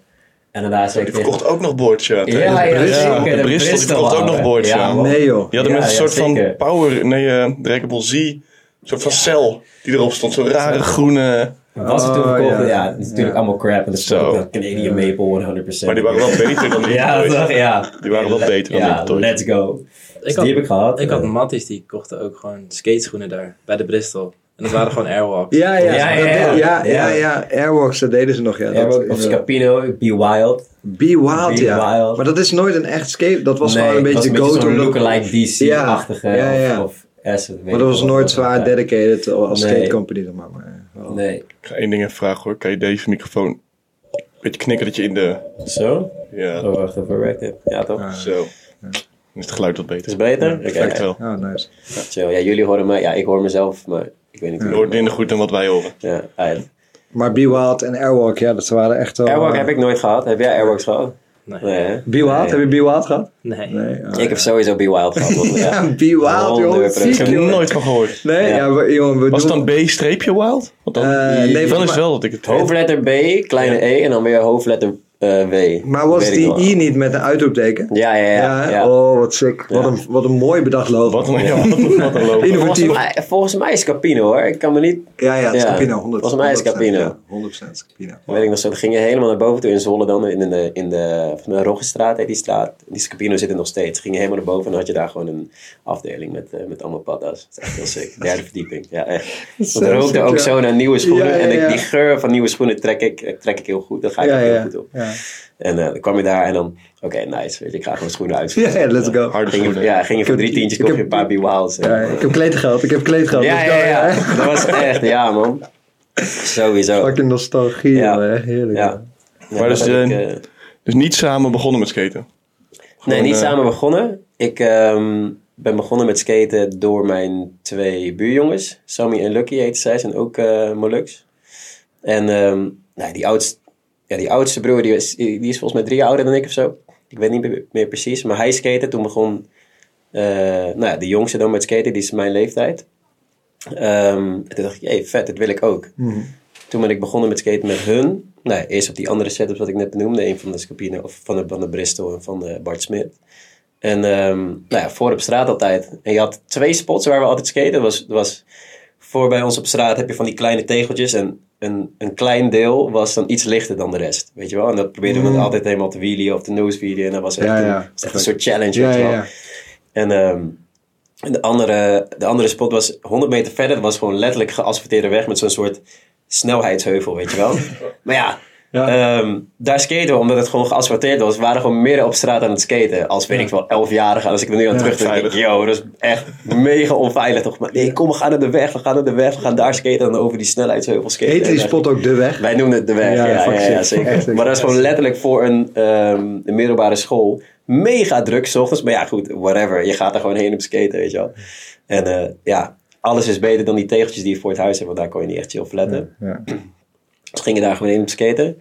Speaker 3: En daarna zei
Speaker 2: Die
Speaker 3: ik tegen-
Speaker 2: verkocht ook nog boards, ja.
Speaker 3: Ja, ja,
Speaker 2: de Bristol,
Speaker 3: zeker,
Speaker 2: de Bristol die verkocht ook
Speaker 3: ouwe.
Speaker 2: nog boards, ja.
Speaker 3: man.
Speaker 1: Nee, joh.
Speaker 2: Die hadden
Speaker 3: Ja,
Speaker 2: met een
Speaker 3: ja,
Speaker 2: soort
Speaker 3: zeker.
Speaker 2: van power, nee, eh Dragon Z, een soort van cel die erop stond. Zo'n rare groene,
Speaker 3: Was het toen
Speaker 1: Oh,
Speaker 3: verkocht?
Speaker 1: ja.
Speaker 3: Ja, het is natuurlijk allemaal crap. En dat is
Speaker 2: Zo.
Speaker 3: ook dat Canadian Maple 100%.
Speaker 2: maar die waren wel beter dan die.
Speaker 3: Ja,
Speaker 2: ooit.
Speaker 3: toch? Ja.
Speaker 2: Die waren wel beter dan
Speaker 3: Ja,
Speaker 2: die. ooit.
Speaker 3: let's go. Dus
Speaker 4: Ik had,
Speaker 3: die heb ik gehad.
Speaker 4: ik had
Speaker 3: Eh,
Speaker 4: matties die kochten ook gewoon skateschoenen daar. Bij de Bristol. En dat waren gewoon Airwalks.
Speaker 1: Ja, ja,
Speaker 3: Ja,
Speaker 1: ja.
Speaker 3: ja,
Speaker 1: Ja,
Speaker 3: ja.
Speaker 1: ja, ja. Airwalks, dat deden ze nog. Ja. eh, Dat,
Speaker 3: Airwalk of Scapino, Be Wild.
Speaker 1: Be Wild,
Speaker 3: Be
Speaker 1: ja.
Speaker 3: Wild.
Speaker 1: Maar dat is nooit een echt skate. Dat was
Speaker 3: Nee,
Speaker 1: gewoon een
Speaker 3: het was
Speaker 1: beetje de
Speaker 3: zo'n
Speaker 1: go-to. dat-
Speaker 3: lookalike DC-achtige.
Speaker 1: Ja, ja, ja.
Speaker 3: Of, of Acid.
Speaker 1: Maar dat was nooit zwaar dedicated als
Speaker 3: Nee.
Speaker 1: skate company. zeg Maar, maar, wel.
Speaker 3: Nee.
Speaker 2: Ik ga één ding even vragen hoor. Kan je deze microfoon een beetje knikken dat je in de...
Speaker 3: Zo?
Speaker 2: Ja,
Speaker 3: Oh, wacht even. Rack dit. Ja, toch? Is
Speaker 2: zo. Dan is het geluid wat beter.
Speaker 3: het beter? Oké.
Speaker 2: Lijkt wel.
Speaker 1: Oh, nice.
Speaker 3: Chill. Ja, jullie horen me. Ja, ik hoor mezelf, maar ik weet niet
Speaker 2: Je
Speaker 3: hoe.
Speaker 2: hoort minder goed dan wat wij horen.
Speaker 3: Ja, uit.
Speaker 1: Oh. Maar Be Wild en Airwalk, ja, dat waren echt wel...
Speaker 3: Airwalk
Speaker 1: eh,
Speaker 3: heb ik nooit gehad. Heb jij Airwalks gehad?
Speaker 4: Nee.
Speaker 3: Nee, hè?
Speaker 1: Be Wild? Heb je Be Wild gehad?
Speaker 4: Nee.
Speaker 1: Nee. oh,
Speaker 3: Ik heb sowieso Be Wild gehad. want,
Speaker 1: ja.
Speaker 3: ja. eh,
Speaker 1: Be Wild, joh.
Speaker 3: 100%.
Speaker 1: Ziek,
Speaker 2: Ik heb er
Speaker 1: joh.
Speaker 2: nooit van gehoord.
Speaker 1: Nee,
Speaker 3: Ja.
Speaker 1: ja, we, jongen, we
Speaker 2: Was het
Speaker 1: doen...
Speaker 2: dan B-streepje wild? Want dan,
Speaker 1: Eh, nee,
Speaker 2: dan
Speaker 1: volgens
Speaker 2: is
Speaker 1: mij-
Speaker 2: wel dat ik het
Speaker 3: Hoofdletter B, kleine E en dan weer hoofdletter eh, W.
Speaker 1: Maar was
Speaker 3: Weet ik
Speaker 1: die
Speaker 3: nog wel.
Speaker 1: I niet met een uitroepteken?
Speaker 3: Ja, ja, ja.
Speaker 1: hè?
Speaker 3: ja.
Speaker 1: Oh, wat sick. Wat, een, wat een mooi bedacht logo.
Speaker 2: Wat een, ja, wat een, wat een logo.
Speaker 1: Innovatief.
Speaker 3: Volgens mij, volgens mij is Capino hoor. Ik kan me niet.
Speaker 1: Ja, ja, het is
Speaker 3: Ja.
Speaker 1: Capino. 100,
Speaker 3: Volgens mij is
Speaker 1: 100%,
Speaker 3: Capino.
Speaker 1: ja, 100% Capino.
Speaker 3: Weet ik nog zo. Dan ging je helemaal naar boven toe in Zwolle dan. In de, in de, in de, van de Roggestraat heet die straat. Die Capino zit er nog steeds. Ging je helemaal naar boven en dan had je daar gewoon een afdeling met, eh, met allemaal padda's. Dat is echt heel sick. Derde verdieping. Ja, echt. Want er
Speaker 1: Zo
Speaker 3: rookte
Speaker 1: sick,
Speaker 3: ook
Speaker 1: ja.
Speaker 3: zo naar nieuwe schoenen.
Speaker 1: Ja, ja,
Speaker 3: En ik-
Speaker 1: ja.
Speaker 3: die geur van nieuwe schoenen trek ik, eh, trek ik heel goed. Daar ga ik
Speaker 1: Ja,
Speaker 3: ook heel
Speaker 1: ja,
Speaker 3: goed op.
Speaker 1: ja.
Speaker 3: En eh, dan kwam je daar en dan, oké, nice. Weet je, ik ga gewoon schoenen uit.
Speaker 1: Ja, ja, let's go.
Speaker 2: Harde
Speaker 3: Ging je,
Speaker 2: schoenen.
Speaker 3: ja, ging je voor drie
Speaker 1: Ik
Speaker 3: tientjes koop je
Speaker 1: heb-
Speaker 3: een paar eh. Be Wilds. en-
Speaker 1: Ja, ik heb kleed gehad, ik heb kleed gehad.
Speaker 3: ja,
Speaker 1: Let's
Speaker 3: ja,
Speaker 1: go,
Speaker 3: ja.
Speaker 1: hè?
Speaker 3: Dat was echt, ja man. Sowieso.
Speaker 1: Fucking nostalgie,
Speaker 3: Ja.
Speaker 1: jongen, hè? heerlijk.
Speaker 3: Ja.
Speaker 2: Maar dus,
Speaker 3: dat heb ik,
Speaker 2: eh,
Speaker 3: eh,
Speaker 2: Dus niet samen begonnen met skaten.
Speaker 3: nee, niet
Speaker 2: eh,
Speaker 3: samen begonnen. Ik ehm, ben begonnen met skaten door mijn twee buurjongens. Sammy en Lucky heten zij, zijn ook eh Molux. En ehm, nou, die, oudste, ja, die oudste broer, die is, die is volgens mij drie jaar ouder dan ik of zo. Ik weet niet meer- meer precies, maar hij skaten. Toen begon eh, nou, ja, de jongste dan met skaten, die is mijn leeftijd. Ehm, en toen dacht ik, hé, vet, dat wil ik ook.
Speaker 1: Mhm.
Speaker 3: Toen ben ik begonnen met skaten met hun. Nou, eerst op die andere setups wat ik net noemde. Een van de Scapino, of van de, van de Bristol en van de Bart Smit. En ehm, nou ja, voor op straat altijd. En je had twee spots waar we altijd skaten. Dat was, dat was voor bij ons op straat heb je van die kleine tegeltjes. En een, een klein deel was dan iets lichter dan de rest. Weet je wel? En dat probeerden we dan altijd helemaal te wheelien of te nosewielen. En dat was echt,
Speaker 1: Mm. Ja,
Speaker 3: een,
Speaker 1: ja.
Speaker 3: was echt een soort challenge.
Speaker 1: Ja,
Speaker 3: weet je wel?
Speaker 1: ja, ja.
Speaker 3: En ehm, en de, andere, de andere spot was 100 meter verder. Dat was gewoon letterlijk geasfalteerde weg met zo'n soort snelheidsheuvel, weet je wel. maar ja, ehm, daar skaten we omdat het gewoon geasfalteerd was. We waren gewoon midden op straat aan het skaten. Als weet ik wel, elfjarige. En Als ik er nu aan terug denk, ik,
Speaker 2: veilig.
Speaker 3: yo, dat is echt mega onveilig toch. Maar nee, kom, we gaan naar de weg, we gaan naar de weg. We gaan daar skaten en dan over die snelheidsheuvel skaten.
Speaker 1: Heette
Speaker 3: En,
Speaker 1: die
Speaker 3: eh,
Speaker 1: spot ook De Weg?
Speaker 3: wij noemden het de weg,
Speaker 1: Ja,
Speaker 3: ja, ja,
Speaker 1: fuck
Speaker 3: ja,
Speaker 1: shit. Fuck
Speaker 3: zeker.
Speaker 1: shit.
Speaker 3: Maar dat is gewoon letterlijk voor een, ehm, een middelbare school mega druk 's ochtends. Maar ja, goed, whatever. Je gaat er gewoon heen op skaten, weet je wel. En eh, ja, alles is beter dan die tegeltjes die je voor het huis hebt, want daar kon je niet echt chill op letten.
Speaker 1: Ja.
Speaker 3: Dus gingen daar gewoon heen op skaten.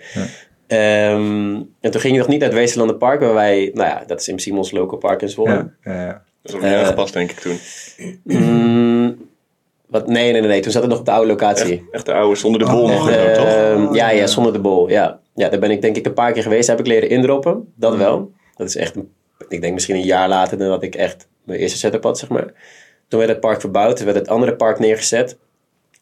Speaker 3: Ehm, en toen ging je nog niet naar het Westerlanden Park, waar wij, nou ja, dat is in principe ons local park in Zwolle.
Speaker 1: Ja, ja, ja.
Speaker 2: Dat is ook niet
Speaker 3: Eh,
Speaker 2: aangepast, denk ik toen.
Speaker 3: Mm, wat, nee, nee, nee, nee, toen zat het nog op de oude locatie.
Speaker 2: Echt de oude zonder de bol nog en zo, toch?
Speaker 3: Ehm,
Speaker 1: Oh,
Speaker 3: Oh, ja,
Speaker 1: ja.
Speaker 3: ja, zonder de bol. Ja. ja, daar ben ik denk ik een paar keer geweest. Heb ik leren indroppen. Dat wel. Dat is echt, een- ik denk misschien een jaar later dan dat ik echt mijn eerste setup had, zeg maar. Toen werd het park verbouwd. Toen werd het andere park neergezet.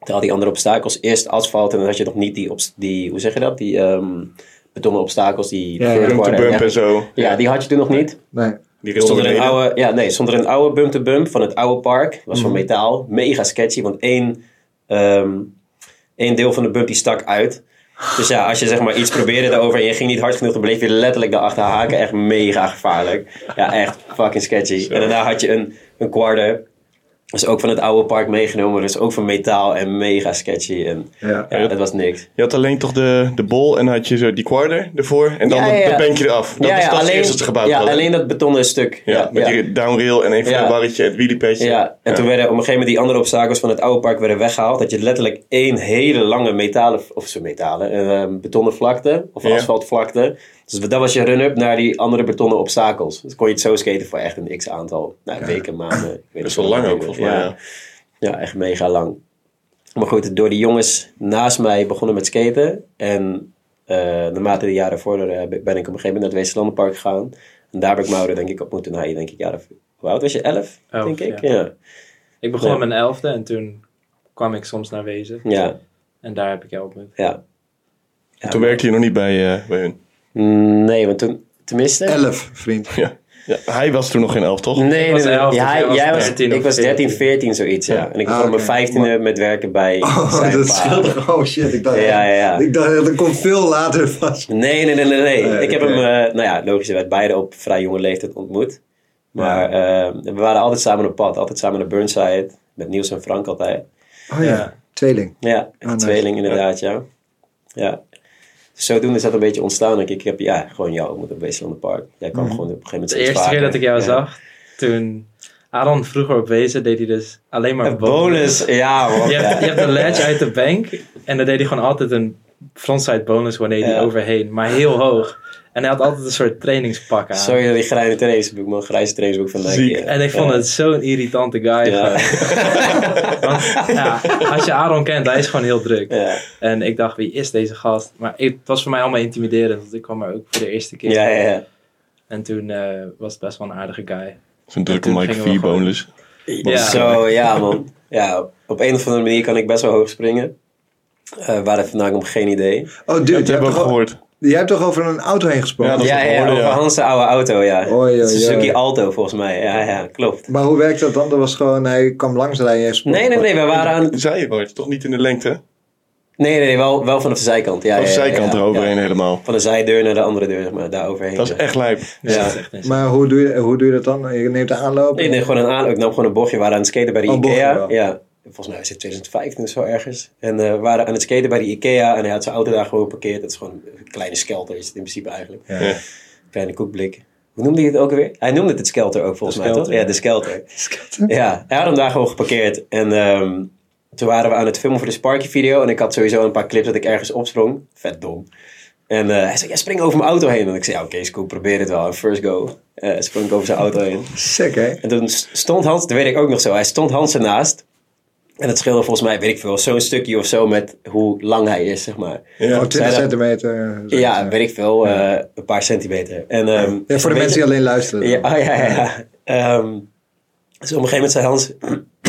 Speaker 3: Toen had die andere obstakels. Eerst asfalt en dan had je nog niet die, obst- die hoe zeg je dat? Die ehm betonnen obstakels. Die
Speaker 1: Ja, ja.
Speaker 3: third
Speaker 2: Bump to
Speaker 3: quarter
Speaker 2: bump
Speaker 3: echt-
Speaker 2: en zo.
Speaker 3: Ja, die had je toen nog niet.
Speaker 1: Nee.
Speaker 2: Die rail
Speaker 3: Stond er een
Speaker 2: beneden.
Speaker 3: oude, ja, nee, stond er een oude bump-to-bump van het oude park. Was
Speaker 2: Mhm.
Speaker 3: van metaal. Mega sketchy, want één, ehm, één deel van de bump die stak uit. Dus ja, als je zeg maar iets probeerde daarover en je ging niet hard genoeg, dan bleef je letterlijk daarachter haken. Echt mega gevaarlijk. Ja, echt fucking sketchy. En daarna had je een, een quarter. Dat is ook van het oude park meegenomen. Dus ook van metaal en mega sketchy. En
Speaker 1: Ja.
Speaker 3: ja, het was niks.
Speaker 2: Je had alleen toch de, de bol en had je zo die kwarder ervoor. En dan
Speaker 3: Ja,
Speaker 2: de-
Speaker 3: ja, ja.
Speaker 2: de bankje eraf. Dat
Speaker 3: ja,
Speaker 2: is
Speaker 3: ja,
Speaker 2: dat
Speaker 3: alleen,
Speaker 2: eerste wat ze gebouwd
Speaker 3: ja,
Speaker 2: hadden.
Speaker 3: alleen dat betonnen stuk.
Speaker 2: ja, met die downrail en even
Speaker 3: Ja.
Speaker 2: een barretje, het wielenpetje.
Speaker 3: Ja, en toen werden op een gegeven moment die andere obstakels van het oude park werden weggehaald. Dat je letterlijk één hele lange metalen, of zo metalen, eh, betonnen vlakte of
Speaker 2: Ja.
Speaker 3: asfaltvlakte. Dus dat was je run-up naar die andere betonnen obstakels. Dus kon je het zo skaten voor echt een x aantal nou, weken, maanden. Ik weet
Speaker 2: Dat is
Speaker 3: niet
Speaker 2: wel
Speaker 3: hoe
Speaker 2: lang ook
Speaker 3: duurde.
Speaker 2: volgens mij. Ja.
Speaker 3: Ja, echt mega lang. Maar goed, door die jongens naast mij begonnen met skaten. En eh, naarmate de jaren vorderen eh, ben ik op een gegeven moment naar het Westerlandenpark gegaan. En daar heb ik Mauro denk ik op moeten naaien. Denk ik, ja, hoe oud was je? Elf,
Speaker 4: Elf,
Speaker 3: denk ik?
Speaker 4: ja.
Speaker 3: Ja.
Speaker 4: Ik begon
Speaker 3: Ja.
Speaker 4: met mijn elfde en toen kwam ik soms naar Wezen.
Speaker 3: ja,
Speaker 4: En daar heb ik jou ontmoet.
Speaker 3: ja.
Speaker 2: En Toen werkte je nog niet bij, eh, bij hun.
Speaker 3: Nee, want toen, tenminste...
Speaker 1: Elf, vriend.
Speaker 2: Ja. Ja, hij was toen nog geen elf, toch?
Speaker 3: Nee,
Speaker 4: Ik was
Speaker 3: nee, nee.
Speaker 4: elf,
Speaker 3: Ja,
Speaker 4: dus
Speaker 3: hij-
Speaker 4: jij was
Speaker 3: jij was,
Speaker 4: 13 of
Speaker 3: ik was 13,
Speaker 4: 14.
Speaker 3: 14, zoiets, ja.
Speaker 2: Ja.
Speaker 3: En ik
Speaker 1: Ah,
Speaker 3: begon op mijn
Speaker 1: oké.
Speaker 3: 15e met werken bij
Speaker 1: Oh,
Speaker 3: zijn
Speaker 1: dat
Speaker 3: pa.
Speaker 1: scheelt. Oh shit, ik dacht,
Speaker 3: Ja, ja, ja.
Speaker 1: Ik dacht dat komt veel later vast.
Speaker 3: Nee, nee, nee, nee. nee.
Speaker 1: Nee,
Speaker 3: ik heb
Speaker 1: oké.
Speaker 3: hem, eh, nou ja, logischerwijs beide op vrij jonge leeftijd ontmoet. Maar eh, we waren altijd samen op pad. Altijd samen naar Burnside. Met Niels en Frank altijd.
Speaker 1: Oh ja,
Speaker 4: Ja.
Speaker 1: tweeling.
Speaker 3: Ja,
Speaker 1: Ah, nice.
Speaker 3: tweeling inderdaad, ja. Ja. Dus Zodoende is dat een beetje ontstaan. Ik, ik heb ja, gewoon jou ontmoet op Weesland Park. Jij
Speaker 1: Mhm.
Speaker 3: kwam gewoon op een gegeven moment
Speaker 4: De
Speaker 3: steeds
Speaker 4: eerste keer
Speaker 3: vaker.
Speaker 4: dat ik jou
Speaker 3: Ja.
Speaker 4: zag, toen... Aaron vroeger op Wezen deed hij dus alleen maar
Speaker 3: Een bonus, ja man.
Speaker 4: Je
Speaker 3: Ja.
Speaker 4: hebt, je hebt een ledge uit de bank. En dan deed hij gewoon altijd een frontside bonus wanneer hij
Speaker 3: Ja.
Speaker 4: overheen. Maar heel hoog. En hij had altijd een soort trainingspak aan.
Speaker 3: Sorry dat die grijze trainingsboek, man. Grijze trainingsboek van Nike.
Speaker 2: Ziek.
Speaker 3: ja.
Speaker 4: En ik vond het zo'n irritante guy.
Speaker 3: Ja.
Speaker 4: gewoon. Want, ja, als je Aaron kent, hij is gewoon heel druk.
Speaker 3: Ja.
Speaker 4: En ik dacht, wie is deze gast? Maar het was voor mij allemaal intimiderend. Want ik kwam er ook voor de eerste keer.
Speaker 3: Ja, ja, ja.
Speaker 4: En toen eh, was het best wel een aardige guy.
Speaker 2: Zo'n drukke
Speaker 4: toen
Speaker 2: Mike
Speaker 4: gingen we
Speaker 2: V.
Speaker 4: gewoon-
Speaker 2: bonus.
Speaker 4: Ja.
Speaker 3: Zo, ja man. Ja, op een of andere manier kan ik best wel hoog springen. Eh waar het vandaan komt, geen idee.
Speaker 1: Oh dude,
Speaker 2: Dat
Speaker 1: jij,
Speaker 2: hebben
Speaker 1: hebt
Speaker 2: we
Speaker 1: toch, al-
Speaker 2: gehoord.
Speaker 1: jij hebt toch over een auto heen gesproken?
Speaker 2: Ja, dat-
Speaker 3: Ja,
Speaker 2: ik
Speaker 3: ja,
Speaker 2: hoorde,
Speaker 3: over
Speaker 2: ja.
Speaker 3: Hans' oude auto, ja.
Speaker 1: Oei, oei,
Speaker 3: Suzuki
Speaker 1: oei.
Speaker 3: Alto volgens mij, ja, ja, klopt.
Speaker 1: Maar hoe werkt dat dan? Dat was gewoon, hij kwam langs en hij sprong.
Speaker 3: Nee, nee, nee, we waren aan...
Speaker 2: Zij je het, toch niet in de lengte? Of
Speaker 3: Nee, nee, nee, wel, wel vanaf de zijkant. Ja,
Speaker 2: de
Speaker 3: ja, ja,
Speaker 2: zijkant
Speaker 3: ja,
Speaker 2: eroverheen
Speaker 3: ja.
Speaker 2: helemaal.
Speaker 3: Van de zijdeur naar de andere deur, zeg maar, daar overheen.
Speaker 2: Dat is
Speaker 3: ja.
Speaker 2: echt lijp.
Speaker 4: Dus
Speaker 3: Ja.
Speaker 4: dat is echt een-
Speaker 1: Maar hoe doe, je, hoe doe je dat dan? Je neemt de aanloop?
Speaker 3: Nee, nee, gewoon een aan. Ik nam gewoon een bochtje. We waren aan het skaten bij de
Speaker 1: Oh, bochtje
Speaker 3: Ikea.
Speaker 1: wel.
Speaker 3: ja. Volgens mij is het 2015 of zo ergens. En eh, we waren aan het skaten bij de Ikea. En hij had zijn auto daar gewoon geparkeerd. Dat is gewoon een kleine skelter is het in principe eigenlijk.
Speaker 1: Ja.
Speaker 3: Kleine koekblik. Hoe noemde hij het ook alweer? Hij noemde het het skelter ook volgens mij,
Speaker 4: skelter,
Speaker 3: toch? Ja, de skelter. Ja, hij had hem daar gewoon geparkeerd. En ehm, toen waren we aan het filmen voor de Sparky video. En ik had sowieso een paar clips dat ik ergens opsprong. Vet dom. En eh, hij zei, ja, spring over mijn auto heen. En ik zei, ja, oké, is cool, probeer het wel. En first go. Eh, sprong ik over zijn auto heen.
Speaker 1: Sick, hè? Oh,
Speaker 3: En toen s- stond Hans, dat weet ik ook nog zo, hij stond Hans ernaast. En dat scheelde volgens mij, weet ik veel, zo'n stukje of zo met hoe lang hij is, zeg maar.
Speaker 1: Oh,
Speaker 2: Ja.
Speaker 1: 20
Speaker 3: dat-
Speaker 1: centimeter. zo.
Speaker 3: Ja, weet ik veel, eh, een paar centimeter. En, ehm,
Speaker 1: Ja,
Speaker 3: is
Speaker 1: voor
Speaker 3: een
Speaker 1: de mensen die alleen luisteren.
Speaker 3: beetje- Ja, oh, ja, ja. ja. Ehm, dus op een gegeven moment zei Hans,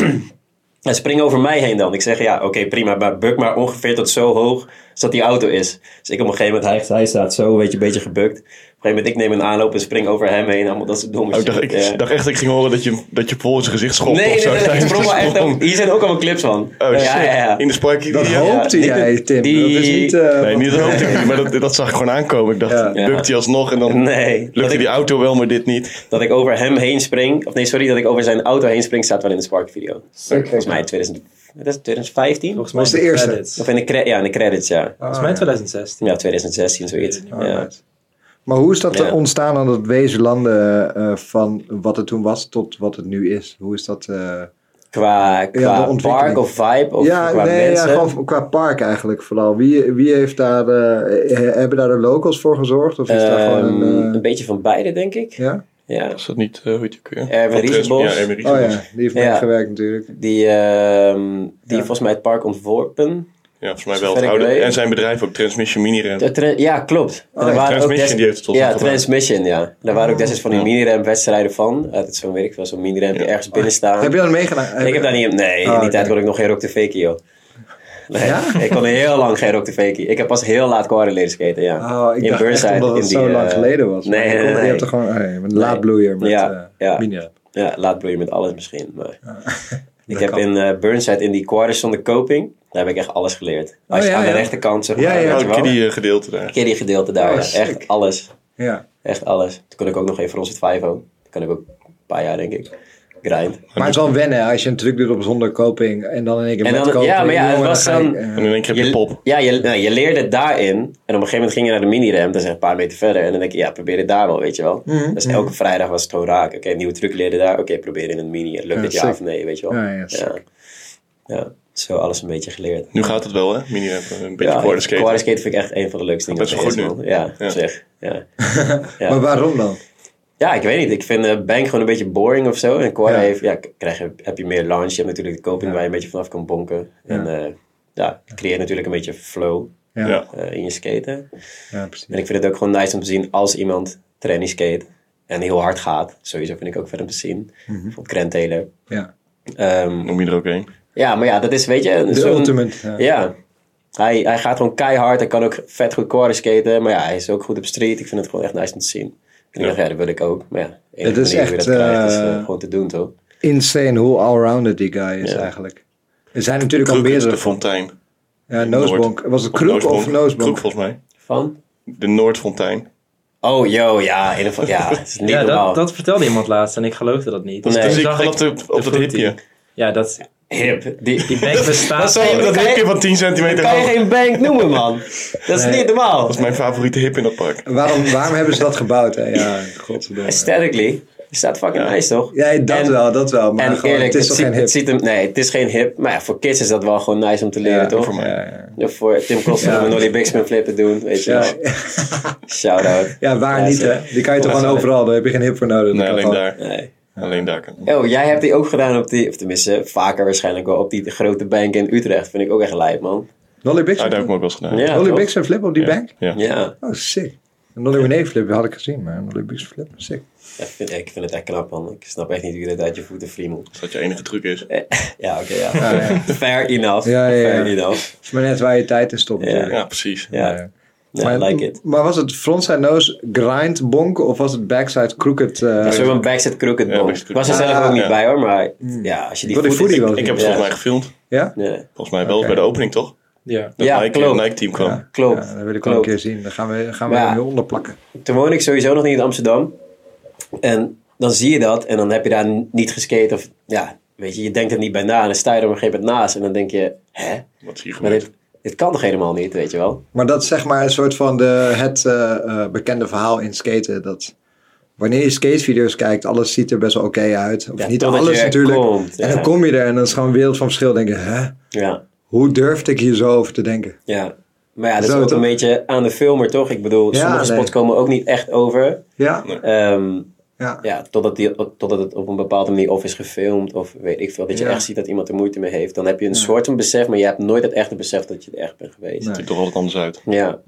Speaker 3: "Ja, spring over mij heen dan. Ik zeg, ja, oké, prima, maar buk maar ongeveer tot zo hoog, zodat die auto is. Dus ik op een gegeven moment, hij, hij staat zo, weet je, een beetje gebukt. Op een gegeven moment, ik neem een aanloop en spring over hem heen, allemaal dat soort domme
Speaker 2: Oh, ik dacht, ik
Speaker 3: shit. Ja.
Speaker 2: dacht echt dat ik ging horen dat je, dat je vol in zijn gezicht schopt
Speaker 3: Nee,
Speaker 2: of
Speaker 3: nee,
Speaker 2: zo.
Speaker 3: nee, nee,
Speaker 2: tijdens
Speaker 3: ik
Speaker 2: de
Speaker 3: sprong wel echt
Speaker 2: sprong.
Speaker 3: ook- Hier zijn ook allemaal clips van.
Speaker 2: Oh shit,
Speaker 3: ja, ja, ja.
Speaker 2: in de Sparky
Speaker 1: Dat
Speaker 2: video?
Speaker 1: hoopte
Speaker 3: die-
Speaker 1: jij, Tim. Dat is
Speaker 3: die-
Speaker 1: niet... eh,
Speaker 2: Nee, niet dat hoopte ik niet, maar dat, dat zag ik gewoon aankomen. Ik dacht,
Speaker 1: Ja.
Speaker 2: bukt hij alsnog en dan
Speaker 3: Nee, dat
Speaker 2: lukte die
Speaker 3: ik,
Speaker 2: auto wel, maar dit niet.
Speaker 3: dat ik over hem heen spring. Of nee, sorry, dat ik over zijn auto heen spring staat wel in de Spark video. Volgens mij in 2000, dat is 2015?
Speaker 4: Volgens mij
Speaker 1: was de
Speaker 4: in
Speaker 1: eerste.
Speaker 4: credits.
Speaker 2: Ah,
Speaker 3: Of in de, cre- ja, in de credits, ja.
Speaker 4: Volgens mij in 2016.
Speaker 3: Ja, 2016, zoiets.
Speaker 4: Ik weet
Speaker 1: Ah,
Speaker 3: Ja.
Speaker 1: right. Maar hoe is dat
Speaker 3: Ja.
Speaker 1: eh, ontstaan aan dat Wezenlanden eh, van wat het toen was tot wat het nu is? Hoe is dat? eh,
Speaker 3: Qua, qua
Speaker 1: ontwikkeling.
Speaker 3: park of vibe of
Speaker 1: ja,
Speaker 3: qua
Speaker 1: nee, ja,
Speaker 3: mensen.
Speaker 1: gewoon qua park eigenlijk vooral. Wie, wie heeft daar, eh, he- hebben daar de locals voor gezorgd? Of is daar
Speaker 3: Ehm,
Speaker 1: gewoon een... eh,
Speaker 3: een beetje van beide, denk ik.
Speaker 1: ja?
Speaker 3: Ja.
Speaker 2: Was dat niet, eh, hoe heet die ook weer?
Speaker 3: Erwin
Speaker 2: Van Tres-
Speaker 3: Riesenbos.
Speaker 2: Ja,
Speaker 1: Oh
Speaker 2: Erwin Riesenbos.
Speaker 1: ja, die heeft
Speaker 3: Ja.
Speaker 1: meegewerkt natuurlijk.
Speaker 3: Die, ehm, die
Speaker 1: Ja.
Speaker 3: volgens mij het park ontworpen.
Speaker 2: Ja, volgens mij wel.
Speaker 3: Zover
Speaker 2: Het
Speaker 3: ik
Speaker 2: oude.
Speaker 3: weet.
Speaker 2: En zijn bedrijf ook, Transmission Mini Rem.
Speaker 3: De tra- ja, klopt. En
Speaker 1: ja,
Speaker 3: er waren ook
Speaker 2: Ah, Transmission,
Speaker 3: des-
Speaker 2: die heeft het tot
Speaker 3: Ja,
Speaker 2: nu gemaakt.
Speaker 3: Transmission, ja. Daar waren ook
Speaker 2: Ah.
Speaker 3: destijds van die miniramwedstrijden van. Uit het zo'n werk van zo'n miniram die ergens binnen staan.
Speaker 1: Heb je dat meegedaan?
Speaker 3: Ik heb daar niet... Nee,
Speaker 1: Ah,
Speaker 3: in die tijd
Speaker 1: oké.
Speaker 3: kon ik nog geen Rock TV, joh. Nee,
Speaker 1: Ja?
Speaker 3: ik kon heel lang geen Rock the Fakey. Ik heb pas heel laat Quarren leren skaten, ja.
Speaker 1: Oh, ik
Speaker 3: In
Speaker 1: dacht echt
Speaker 3: Burnside,
Speaker 1: omdat
Speaker 3: in
Speaker 1: het
Speaker 3: die,
Speaker 1: zo lang
Speaker 3: eh,
Speaker 1: geleden was.
Speaker 3: nee,
Speaker 1: Maar je
Speaker 3: nee,
Speaker 1: kon-
Speaker 3: nee.
Speaker 1: Je hebt er gewoon oh, je bent een laadbloeier met
Speaker 3: Ja,
Speaker 1: eh,
Speaker 3: ja.
Speaker 1: mini-app.
Speaker 3: Ja, laat bloeien met alles misschien. Maar. Ik
Speaker 1: Dat
Speaker 3: heb
Speaker 1: kan.
Speaker 3: in eh, Burnside, in die quarters zonder coping, daar heb ik echt alles geleerd. Als je
Speaker 1: Oh, ja,
Speaker 3: aan de
Speaker 1: ja.
Speaker 3: rechterkant, zeg maar,
Speaker 1: Ja, ja.
Speaker 3: weet
Speaker 2: Oh,
Speaker 3: je
Speaker 2: een
Speaker 3: wel.
Speaker 2: kiddie eh, gedeelte daar.
Speaker 3: Kiddie gedeelte daar,
Speaker 1: Oh,
Speaker 3: ja.
Speaker 1: sick.
Speaker 3: Echt alles.
Speaker 1: Ja.
Speaker 3: Echt alles. Toen kon ik ook nog even Frons het 5 ook. Toen kon ik ook een paar jaar, denk ik. Grind.
Speaker 1: Maar het is wel wennen hè, als je een truc doet op zonder koping en dan in één keer
Speaker 3: En
Speaker 1: met
Speaker 3: dan-
Speaker 1: koping.
Speaker 3: ja, maar ja, het
Speaker 1: jongen,
Speaker 3: was
Speaker 1: ga ik,
Speaker 3: dan-
Speaker 1: eh,
Speaker 2: En in één keer heb je pop.
Speaker 3: Ja, je, nou, je leerde het daarin. En op een gegeven moment ging je naar de minirem. Dan zeg je een paar meter verder. En dan denk je, ja, probeer het daar wel, weet je wel.
Speaker 1: Mhm.
Speaker 3: Dus elke vrijdag was het gewoon raak. Oké, nieuwe truc leren daar. Oké, probeer in het mini. Lukt het ja
Speaker 1: sick.
Speaker 3: of nee, weet je wel.
Speaker 1: Ja, ja, sick.
Speaker 3: ja. Ja, zo alles een beetje geleerd.
Speaker 2: Nu gaat het wel, hè? Mini een beetje
Speaker 3: Ja,
Speaker 2: quarter skate.
Speaker 3: quarter vind ik echt een van de leukste dingen.
Speaker 2: Best
Speaker 3: wat er
Speaker 2: wel
Speaker 3: is,
Speaker 2: goed nu.
Speaker 3: man. Ja,
Speaker 2: Ja.
Speaker 3: zeg. Ja.
Speaker 1: Maar waarom dan?
Speaker 3: ja, ik weet niet. Ik vind eh, bank gewoon een beetje boring of zo. En quarter
Speaker 1: Ja.
Speaker 3: heeft, ja, k- krijg je, heb je meer launch. Je hebt natuurlijk de coping waar je een beetje vanaf kan bonken. En eh, ja, het creëert natuurlijk een beetje flow
Speaker 1: Ja, ja.
Speaker 2: Ja.
Speaker 3: eh, in je skaten.
Speaker 1: precies.
Speaker 3: En ik vind het ook gewoon nice om te zien als iemand tranny skate en heel hard gaat. Sowieso vind ik ook vet om te zien. Bijvoorbeeld Grant Taylor.
Speaker 1: Ja.
Speaker 3: Ehm,
Speaker 2: Noem je er ook één.
Speaker 3: ja, maar ja, dat is, weet je... een
Speaker 1: De
Speaker 3: zo'n-
Speaker 1: ultimate. ja.
Speaker 3: Ja. Hij, hij gaat gewoon keihard. Hij kan ook vet goed quarter skaten. Maar ja, hij is ook goed op street. Ik vind het gewoon echt nice om te zien. En ik dacht, ja, dat wil ik ook. Maar ja, de enige
Speaker 1: Het is
Speaker 3: manier hoe je dat
Speaker 1: echt,
Speaker 3: krijgt is eh,
Speaker 1: eh,
Speaker 3: gewoon te doen, toch?
Speaker 1: Insane hoe allrounded die guy is eigenlijk. Er zijn natuurlijk al
Speaker 2: Kroek is de
Speaker 1: meerdere.
Speaker 2: fontein.
Speaker 1: Ja, Noosbonk.
Speaker 2: Noord.
Speaker 1: Was het Kroek of
Speaker 2: Kroek
Speaker 1: Noosbonk?
Speaker 2: volgens mij.
Speaker 3: Van?
Speaker 2: De Noordfontein.
Speaker 3: Oh, yo, ja. In ieder geval, ja, het is niet
Speaker 4: Ja,
Speaker 3: normaal.
Speaker 4: dat, dat vertelde iemand laatst en ik geloofde dat niet.
Speaker 3: Nee.
Speaker 4: Toen
Speaker 2: Dus ik
Speaker 4: zag
Speaker 2: van op, de, op dat
Speaker 4: foodie.
Speaker 2: hipje.
Speaker 4: Ja, dat,
Speaker 3: Hip. Die,
Speaker 4: die bank
Speaker 3: Dat
Speaker 4: bestaat.
Speaker 3: zou je-
Speaker 4: gewoon.
Speaker 2: Oh, Dat
Speaker 3: kan
Speaker 2: hipje
Speaker 3: je-
Speaker 2: van 10 centimeter
Speaker 3: kan je
Speaker 2: hoog.
Speaker 3: geen bank noemen, man. Dat is niet normaal.
Speaker 2: Dat is mijn favoriete hip in dat park.
Speaker 1: Waarom, waarom hebben ze dat gebouwd? Hè? Ja, godverdomme.
Speaker 3: Aesthetically. Is dat fucking nice, toch?
Speaker 1: Ja, dat
Speaker 3: En-
Speaker 1: wel, dat wel. Maar
Speaker 3: En
Speaker 1: gewoon,
Speaker 3: eerlijk,
Speaker 1: het is
Speaker 3: het
Speaker 1: toch
Speaker 3: ziet-
Speaker 1: geen hip.
Speaker 3: het ziet hem, nee, het is geen hip. Maar ja, voor kids is dat wel gewoon nice om te leren,
Speaker 1: Ja,
Speaker 3: toch?
Speaker 2: voor mij.
Speaker 1: Ja, ja.
Speaker 3: Ja, voor Tim Koster
Speaker 1: Ja.
Speaker 3: om een Ollie Bixman flip te doen, weet je
Speaker 1: Ja.
Speaker 3: wel. Shout-out.
Speaker 1: Ja, waar niet,
Speaker 3: sorry.
Speaker 1: hè? Die kan je toch gewoon overal, daar heb je geen hip voor nodig.
Speaker 2: Nee,
Speaker 1: Dat
Speaker 2: alleen
Speaker 1: kan
Speaker 2: daar.
Speaker 3: Nee.
Speaker 2: Alleen daar kan.
Speaker 3: Oh, jij hebt die ook gedaan op die, of tenminste, vaker waarschijnlijk wel, op die grote bank in Utrecht. Vind ik ook echt lijp, man.
Speaker 1: Nolly
Speaker 2: Ah, daar heb ik
Speaker 1: Bixen?
Speaker 2: hem ook wel eens gedaan.
Speaker 3: Ja,
Speaker 1: Nolly
Speaker 3: toch?
Speaker 1: Bixen flip op die
Speaker 2: Ja.
Speaker 1: bank?
Speaker 2: Ja.
Speaker 3: Ja,
Speaker 1: Oh, sick. Een Nolly René flip had ik gezien, maar een Nolly Bixen flip, sick.
Speaker 3: ik vind, ik vind het echt knap, man. Ik snap echt niet hoe je dat uit je voeten friemelt.
Speaker 2: Dus dat je enige truc is.
Speaker 3: Ja, oké, ja. Fair enough.
Speaker 1: Ja, ja, ja.
Speaker 3: Fair enough.
Speaker 1: Het is maar net waar je tijd in stopt
Speaker 3: Ja.
Speaker 1: natuurlijk.
Speaker 2: Ja, precies.
Speaker 3: Ja,
Speaker 1: Ja.
Speaker 3: Ja, I
Speaker 1: maar,
Speaker 3: like it.
Speaker 1: maar was het frontside nose grind bonk of was het backside crooked? eh,
Speaker 3: Een soort van backset crooked
Speaker 2: Ja,
Speaker 3: bomb.
Speaker 2: backset
Speaker 3: Ik
Speaker 2: crooked.
Speaker 3: was er zelf
Speaker 1: Ah,
Speaker 3: ook niet
Speaker 2: ja.
Speaker 3: bij hoor, maar
Speaker 1: Hmm.
Speaker 3: ja, als je die
Speaker 1: Door die
Speaker 3: voeten-
Speaker 1: voodie wel.
Speaker 2: Ik heb het
Speaker 3: Ja.
Speaker 2: volgens mij gefilmd.
Speaker 1: ja?
Speaker 3: Ja,
Speaker 2: Volgens mij wel bij de opening, toch?
Speaker 4: Ja.
Speaker 2: Dat
Speaker 3: Ja,
Speaker 2: Nike,
Speaker 3: klopt.
Speaker 2: Nike team kwam. Ja.
Speaker 3: klopt.
Speaker 1: Ja, dat wil ik wel een
Speaker 3: klopt.
Speaker 1: keer zien. Dan gaan we, gaan we
Speaker 3: Maar ja.
Speaker 1: hem hieronder plakken.
Speaker 3: Toen woon ik sowieso nog niet in Amsterdam. En dan zie je dat en dan heb je daar n- niet geskate of ja, weet je, je denkt er niet bij na. En dan sta je er op een gegeven moment naast en dan denk je, hè,
Speaker 2: Wat zie je
Speaker 3: maar
Speaker 2: gebeurd?
Speaker 3: dit, dit kan toch helemaal niet, weet je wel?
Speaker 1: Maar dat is zeg maar een soort van de, het eh, eh, bekende verhaal in skaten. Dat wanneer je skatevideo's kijkt, alles ziet er best wel oké uit. Of
Speaker 3: Ja,
Speaker 1: niet
Speaker 3: totdat
Speaker 1: alles
Speaker 3: je er
Speaker 1: natuurlijk.
Speaker 3: komt,
Speaker 1: En
Speaker 3: ja.
Speaker 1: dan kom je er en dan is gewoon een wereld van verschil. Dan denk je, hè?
Speaker 3: Ja,
Speaker 1: Hoe durfde ik hier zo over te denken?
Speaker 3: ja. Maar ja, dat
Speaker 1: Zo,
Speaker 3: is ook
Speaker 1: toch?
Speaker 3: een beetje aan de filmer, toch? Ik bedoel,
Speaker 1: Ja,
Speaker 3: sommige
Speaker 1: nee.
Speaker 3: spots komen ook niet echt over.
Speaker 1: Ja,
Speaker 3: Ehm,
Speaker 1: ja.
Speaker 3: ja, totdat, die, totdat het op een bepaalde manier of is gefilmd of weet ik veel. Dat je
Speaker 1: Ja.
Speaker 3: echt ziet dat iemand er moeite mee heeft. Dan heb je een soort van besef, maar je hebt nooit het echte besef dat je er echt bent
Speaker 2: Het
Speaker 3: geweest.
Speaker 2: ziet er toch altijd anders uit.
Speaker 3: Ja.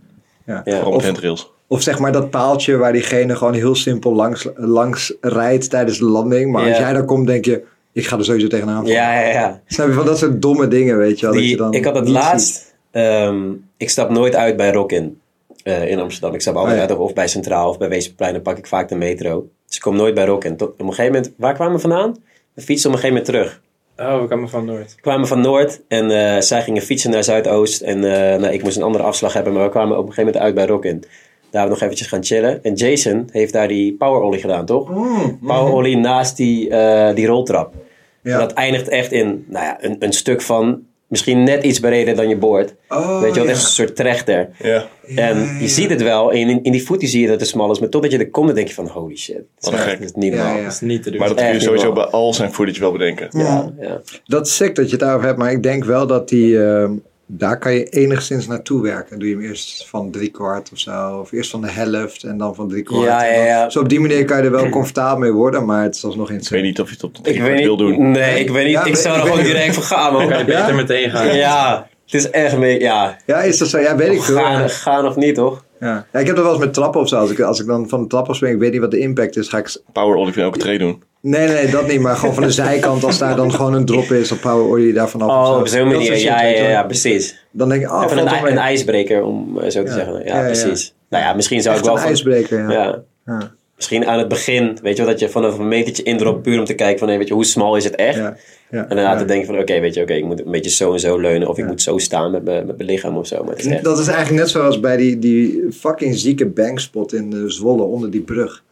Speaker 1: Ja.
Speaker 3: ja.
Speaker 2: Gewoon op handrails.
Speaker 1: Of zeg maar dat paaltje waar diegene gewoon heel simpel langs, langs rijdt tijdens de landing. Maar als
Speaker 3: Ja.
Speaker 1: jij daar komt, denk je, ik ga er sowieso tegenaan. vallen.
Speaker 3: Ja, ja, ja.
Speaker 1: Snap je van dat soort domme dingen, weet je wel? dat
Speaker 3: Die-
Speaker 1: je dan
Speaker 3: ik had het
Speaker 1: niet ziet.
Speaker 3: laatst. ehm, ik stap nooit uit bij Rockin eh, in Amsterdam. Ik stap altijd
Speaker 1: Oh, ja.
Speaker 3: uit of bij Centraal of bij Weesperplein. Dan pak ik vaak de metro. Dus ik kom nooit bij Rockin. Tot, op een gegeven moment, waar kwamen we vandaan? We fietsen op een gegeven moment terug.
Speaker 4: Oh, we kwamen van Noord.
Speaker 3: We kwamen van Noord en eh, zij gingen fietsen naar Zuidoost. En eh, nou, ik moest een andere afslag hebben, maar we kwamen op een gegeven moment uit bij Rockin. Daar hebben we nog eventjes gaan chillen. En Jason heeft daar die power ollie gedaan, toch?
Speaker 1: Mm.
Speaker 3: Power ollie naast die, eh, die roltrap.
Speaker 1: Ja.
Speaker 3: En dat eindigt echt in nou ja, een, een stuk van misschien net iets breder dan je boord.
Speaker 1: Oh,
Speaker 3: Weet je wel,
Speaker 1: ja.
Speaker 3: echt een soort trechter.
Speaker 2: Ja.
Speaker 3: En je ziet het wel, en in, in die voeten zie je dat het smal is. Maar totdat je er komt, dan denk je van holy shit. Het is
Speaker 2: Wat een
Speaker 3: echt-
Speaker 2: gek.
Speaker 3: het is niet normaal.
Speaker 1: Ja,
Speaker 3: Ja,
Speaker 1: ja.
Speaker 4: Dat is niet te doen.
Speaker 2: Maar dat kun je
Speaker 3: echt
Speaker 2: sowieso
Speaker 3: niet
Speaker 2: bij al zijn footage wel bedenken.
Speaker 3: ja.
Speaker 1: Dat is sick dat je het daarover hebt, maar ik denk wel dat die. ehm, daar kan je enigszins naartoe werken. Doe je hem eerst van drie kwart of zo. Of eerst van de helft en dan van drie kwart.
Speaker 3: Ja,
Speaker 1: en dan-
Speaker 3: ja, ja.
Speaker 1: Dus op die manier kan je er wel comfortabel mee worden, maar het is alsnog
Speaker 2: Ik weet
Speaker 1: insane.
Speaker 2: niet of je het op de
Speaker 3: Ik
Speaker 2: drie
Speaker 3: weet
Speaker 2: kwart wil
Speaker 3: niet.
Speaker 2: doen.
Speaker 3: Nee, ik weet niet.
Speaker 1: Ja,
Speaker 3: ik
Speaker 1: weet-
Speaker 3: zou er
Speaker 1: ik
Speaker 3: gewoon
Speaker 1: weet-
Speaker 3: direct voor gaan, man.
Speaker 4: kan je beter meteen gaan.
Speaker 3: Ja, Het is echt mee, ja.
Speaker 1: Ja, is dat zo? Ja, weet ik veel.
Speaker 3: Gaan, gaan of niet, toch?
Speaker 1: Ja. Ja, ik heb dat wel eens met trappen of zo. Als ik, als ik dan van de trap afspring, ik weet niet wat de impact is, ga ik... s-
Speaker 2: Power Ollie in elke tree doen.
Speaker 1: Nee, nee, dat niet. Maar gewoon van de zijkant, als daar dan gewoon een drop is, dan power olie je daar vanaf. of
Speaker 3: Oh,
Speaker 1: zo.
Speaker 3: op zo'n
Speaker 1: Dat
Speaker 3: manier.
Speaker 1: soort shit,
Speaker 3: Ja,
Speaker 1: weet je
Speaker 3: ja,
Speaker 1: wel.
Speaker 3: ja, precies.
Speaker 1: Dan denk ik, oh,
Speaker 3: Even
Speaker 1: valt
Speaker 3: een,
Speaker 1: wel
Speaker 3: ij-
Speaker 1: mee.
Speaker 3: een ijsbreker, om eh, zo te
Speaker 1: Ja.
Speaker 3: zeggen.
Speaker 1: Ja,
Speaker 3: Ja,
Speaker 1: ja.
Speaker 3: precies. Nou ja, misschien zou
Speaker 1: Echt
Speaker 3: ik wel...
Speaker 1: een
Speaker 3: van-
Speaker 1: ijsbreker, ja.
Speaker 3: Ja.
Speaker 1: Ja.
Speaker 3: Misschien aan het begin, weet je wel, dat je vanaf een metertje indrop puur om te kijken van, hé, weet je, hoe smal is het echt?
Speaker 1: Ja. Ja.
Speaker 3: En daarna
Speaker 1: Ja.
Speaker 3: te denken van, oké, weet je, oké, ik moet een beetje zo en zo leunen of ik moet zo staan met mijn met mijn lichaam of zo. Maar het is echt-
Speaker 1: Dat is eigenlijk net zoals bij die, die fucking zieke bankspot in eh, Zwolle, onder die brug.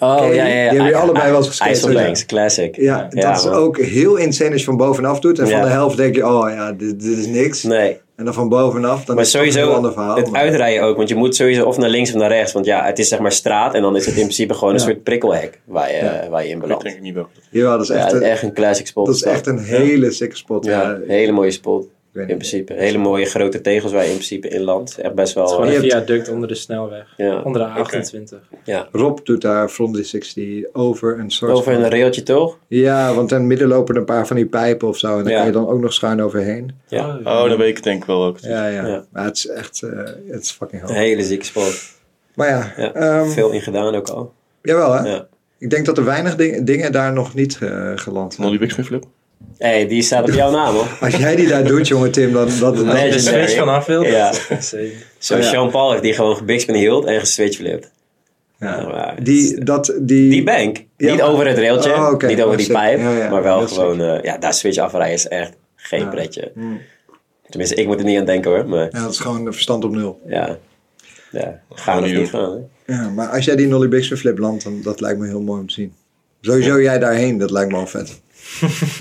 Speaker 3: Oh,
Speaker 1: Oké,
Speaker 3: ja, ja, ja.
Speaker 1: die hebben jullie allebei wel eens
Speaker 3: Ice- Ice
Speaker 1: geskate,
Speaker 3: on
Speaker 1: ja.
Speaker 3: Banks, classic.
Speaker 1: Ja, dat is
Speaker 3: man.
Speaker 1: ook heel insane als je van bovenaf doet. En van
Speaker 3: Ja.
Speaker 1: de helft denk je, oh ja, dit, dit is niks.
Speaker 3: Nee,
Speaker 1: En dan van bovenaf, dan
Speaker 3: maar
Speaker 1: is het toch een heel
Speaker 3: sowieso
Speaker 1: ander verhaal.
Speaker 3: het
Speaker 1: maar-
Speaker 3: uitrijden ook. Want je moet sowieso of naar links of naar rechts. Want ja, het is zeg maar straat en dan is het in principe gewoon een
Speaker 1: Ja.
Speaker 3: soort prikkelhek waar je, waar je in
Speaker 2: Ik
Speaker 3: belandt.
Speaker 2: denk
Speaker 3: Ja,
Speaker 2: ik niet welke.
Speaker 1: Jawel, dat is echt,
Speaker 3: het is
Speaker 1: een,
Speaker 3: echt een classic spot.
Speaker 1: dat is echt een hele sikke spot.
Speaker 3: Ja,
Speaker 1: Ja.
Speaker 3: een hele mooie spot.
Speaker 1: weet
Speaker 3: In
Speaker 1: niet.
Speaker 3: principe. Hele mooie grote tegels waar je in principe in landt. Echt best
Speaker 4: Het is
Speaker 3: wel...
Speaker 4: gewoon
Speaker 1: je
Speaker 4: een
Speaker 1: hebt-
Speaker 4: viaduct onder de snelweg.
Speaker 3: Ja.
Speaker 4: Onder de 28.
Speaker 1: Rob doet daar Frondy 60 over een soort
Speaker 3: Over
Speaker 1: van-
Speaker 3: een railtje toch?
Speaker 1: Ja, want in het midden lopen een paar van die pijpen of zo. En daar
Speaker 3: Ja.
Speaker 1: kan je dan ook nog schuin overheen.
Speaker 3: Ja.
Speaker 4: Oh,
Speaker 2: Oh, dat weet ik denk ik wel ook.
Speaker 1: Ja, ja.
Speaker 3: Ja.
Speaker 1: Maar het is echt, eh, het is fucking
Speaker 3: Een
Speaker 1: hard.
Speaker 3: hele zieke sport.
Speaker 1: Maar ja,
Speaker 3: Ja.
Speaker 1: ehm,
Speaker 3: Veel in gedaan ook al.
Speaker 1: jawel hè.
Speaker 3: Ja.
Speaker 1: Ik denk dat er weinig ding- dingen daar nog niet eh, geland zijn.
Speaker 2: Nolly Big Smith Flip.
Speaker 3: Hé, hey, die staat op jouw naam hoor.
Speaker 1: Als jij die daar doet, jongen Tim, dan... dan, dan-
Speaker 3: Nee.
Speaker 4: Als je de switch
Speaker 3: Legendary.
Speaker 4: vanaf wil,
Speaker 3: Ja.
Speaker 4: zeker.
Speaker 3: Zo,
Speaker 1: Ja.
Speaker 3: Sean Paul heeft die gewoon gebigspin hield en geswitcht flipt.
Speaker 1: ja.
Speaker 3: Nou, maar-
Speaker 1: Die, dat, die,
Speaker 3: Die bank.
Speaker 1: Ja,
Speaker 3: niet
Speaker 1: maar-
Speaker 3: over het railtje,
Speaker 1: Oh, oké.
Speaker 3: niet
Speaker 1: Oh,
Speaker 3: over die
Speaker 1: sick.
Speaker 3: pijp,
Speaker 1: Ja, ja.
Speaker 3: maar wel
Speaker 1: Heel
Speaker 3: gewoon, eh, ja, daar switch afrijden is echt geen pretje. Tenminste, ik moet er niet aan denken hoor, maar
Speaker 1: Hmm. Ja, dat is gewoon een verstand op nul.
Speaker 3: ja. ja. Gaan
Speaker 2: we
Speaker 3: of
Speaker 2: niet
Speaker 3: niet
Speaker 2: doen.
Speaker 3: gaan. hè?
Speaker 1: Ja, maar als jij die Nolly Bixby flip landt, dan dat lijkt me heel mooi om te zien. Sowieso jij daarheen, dat lijkt me al vet.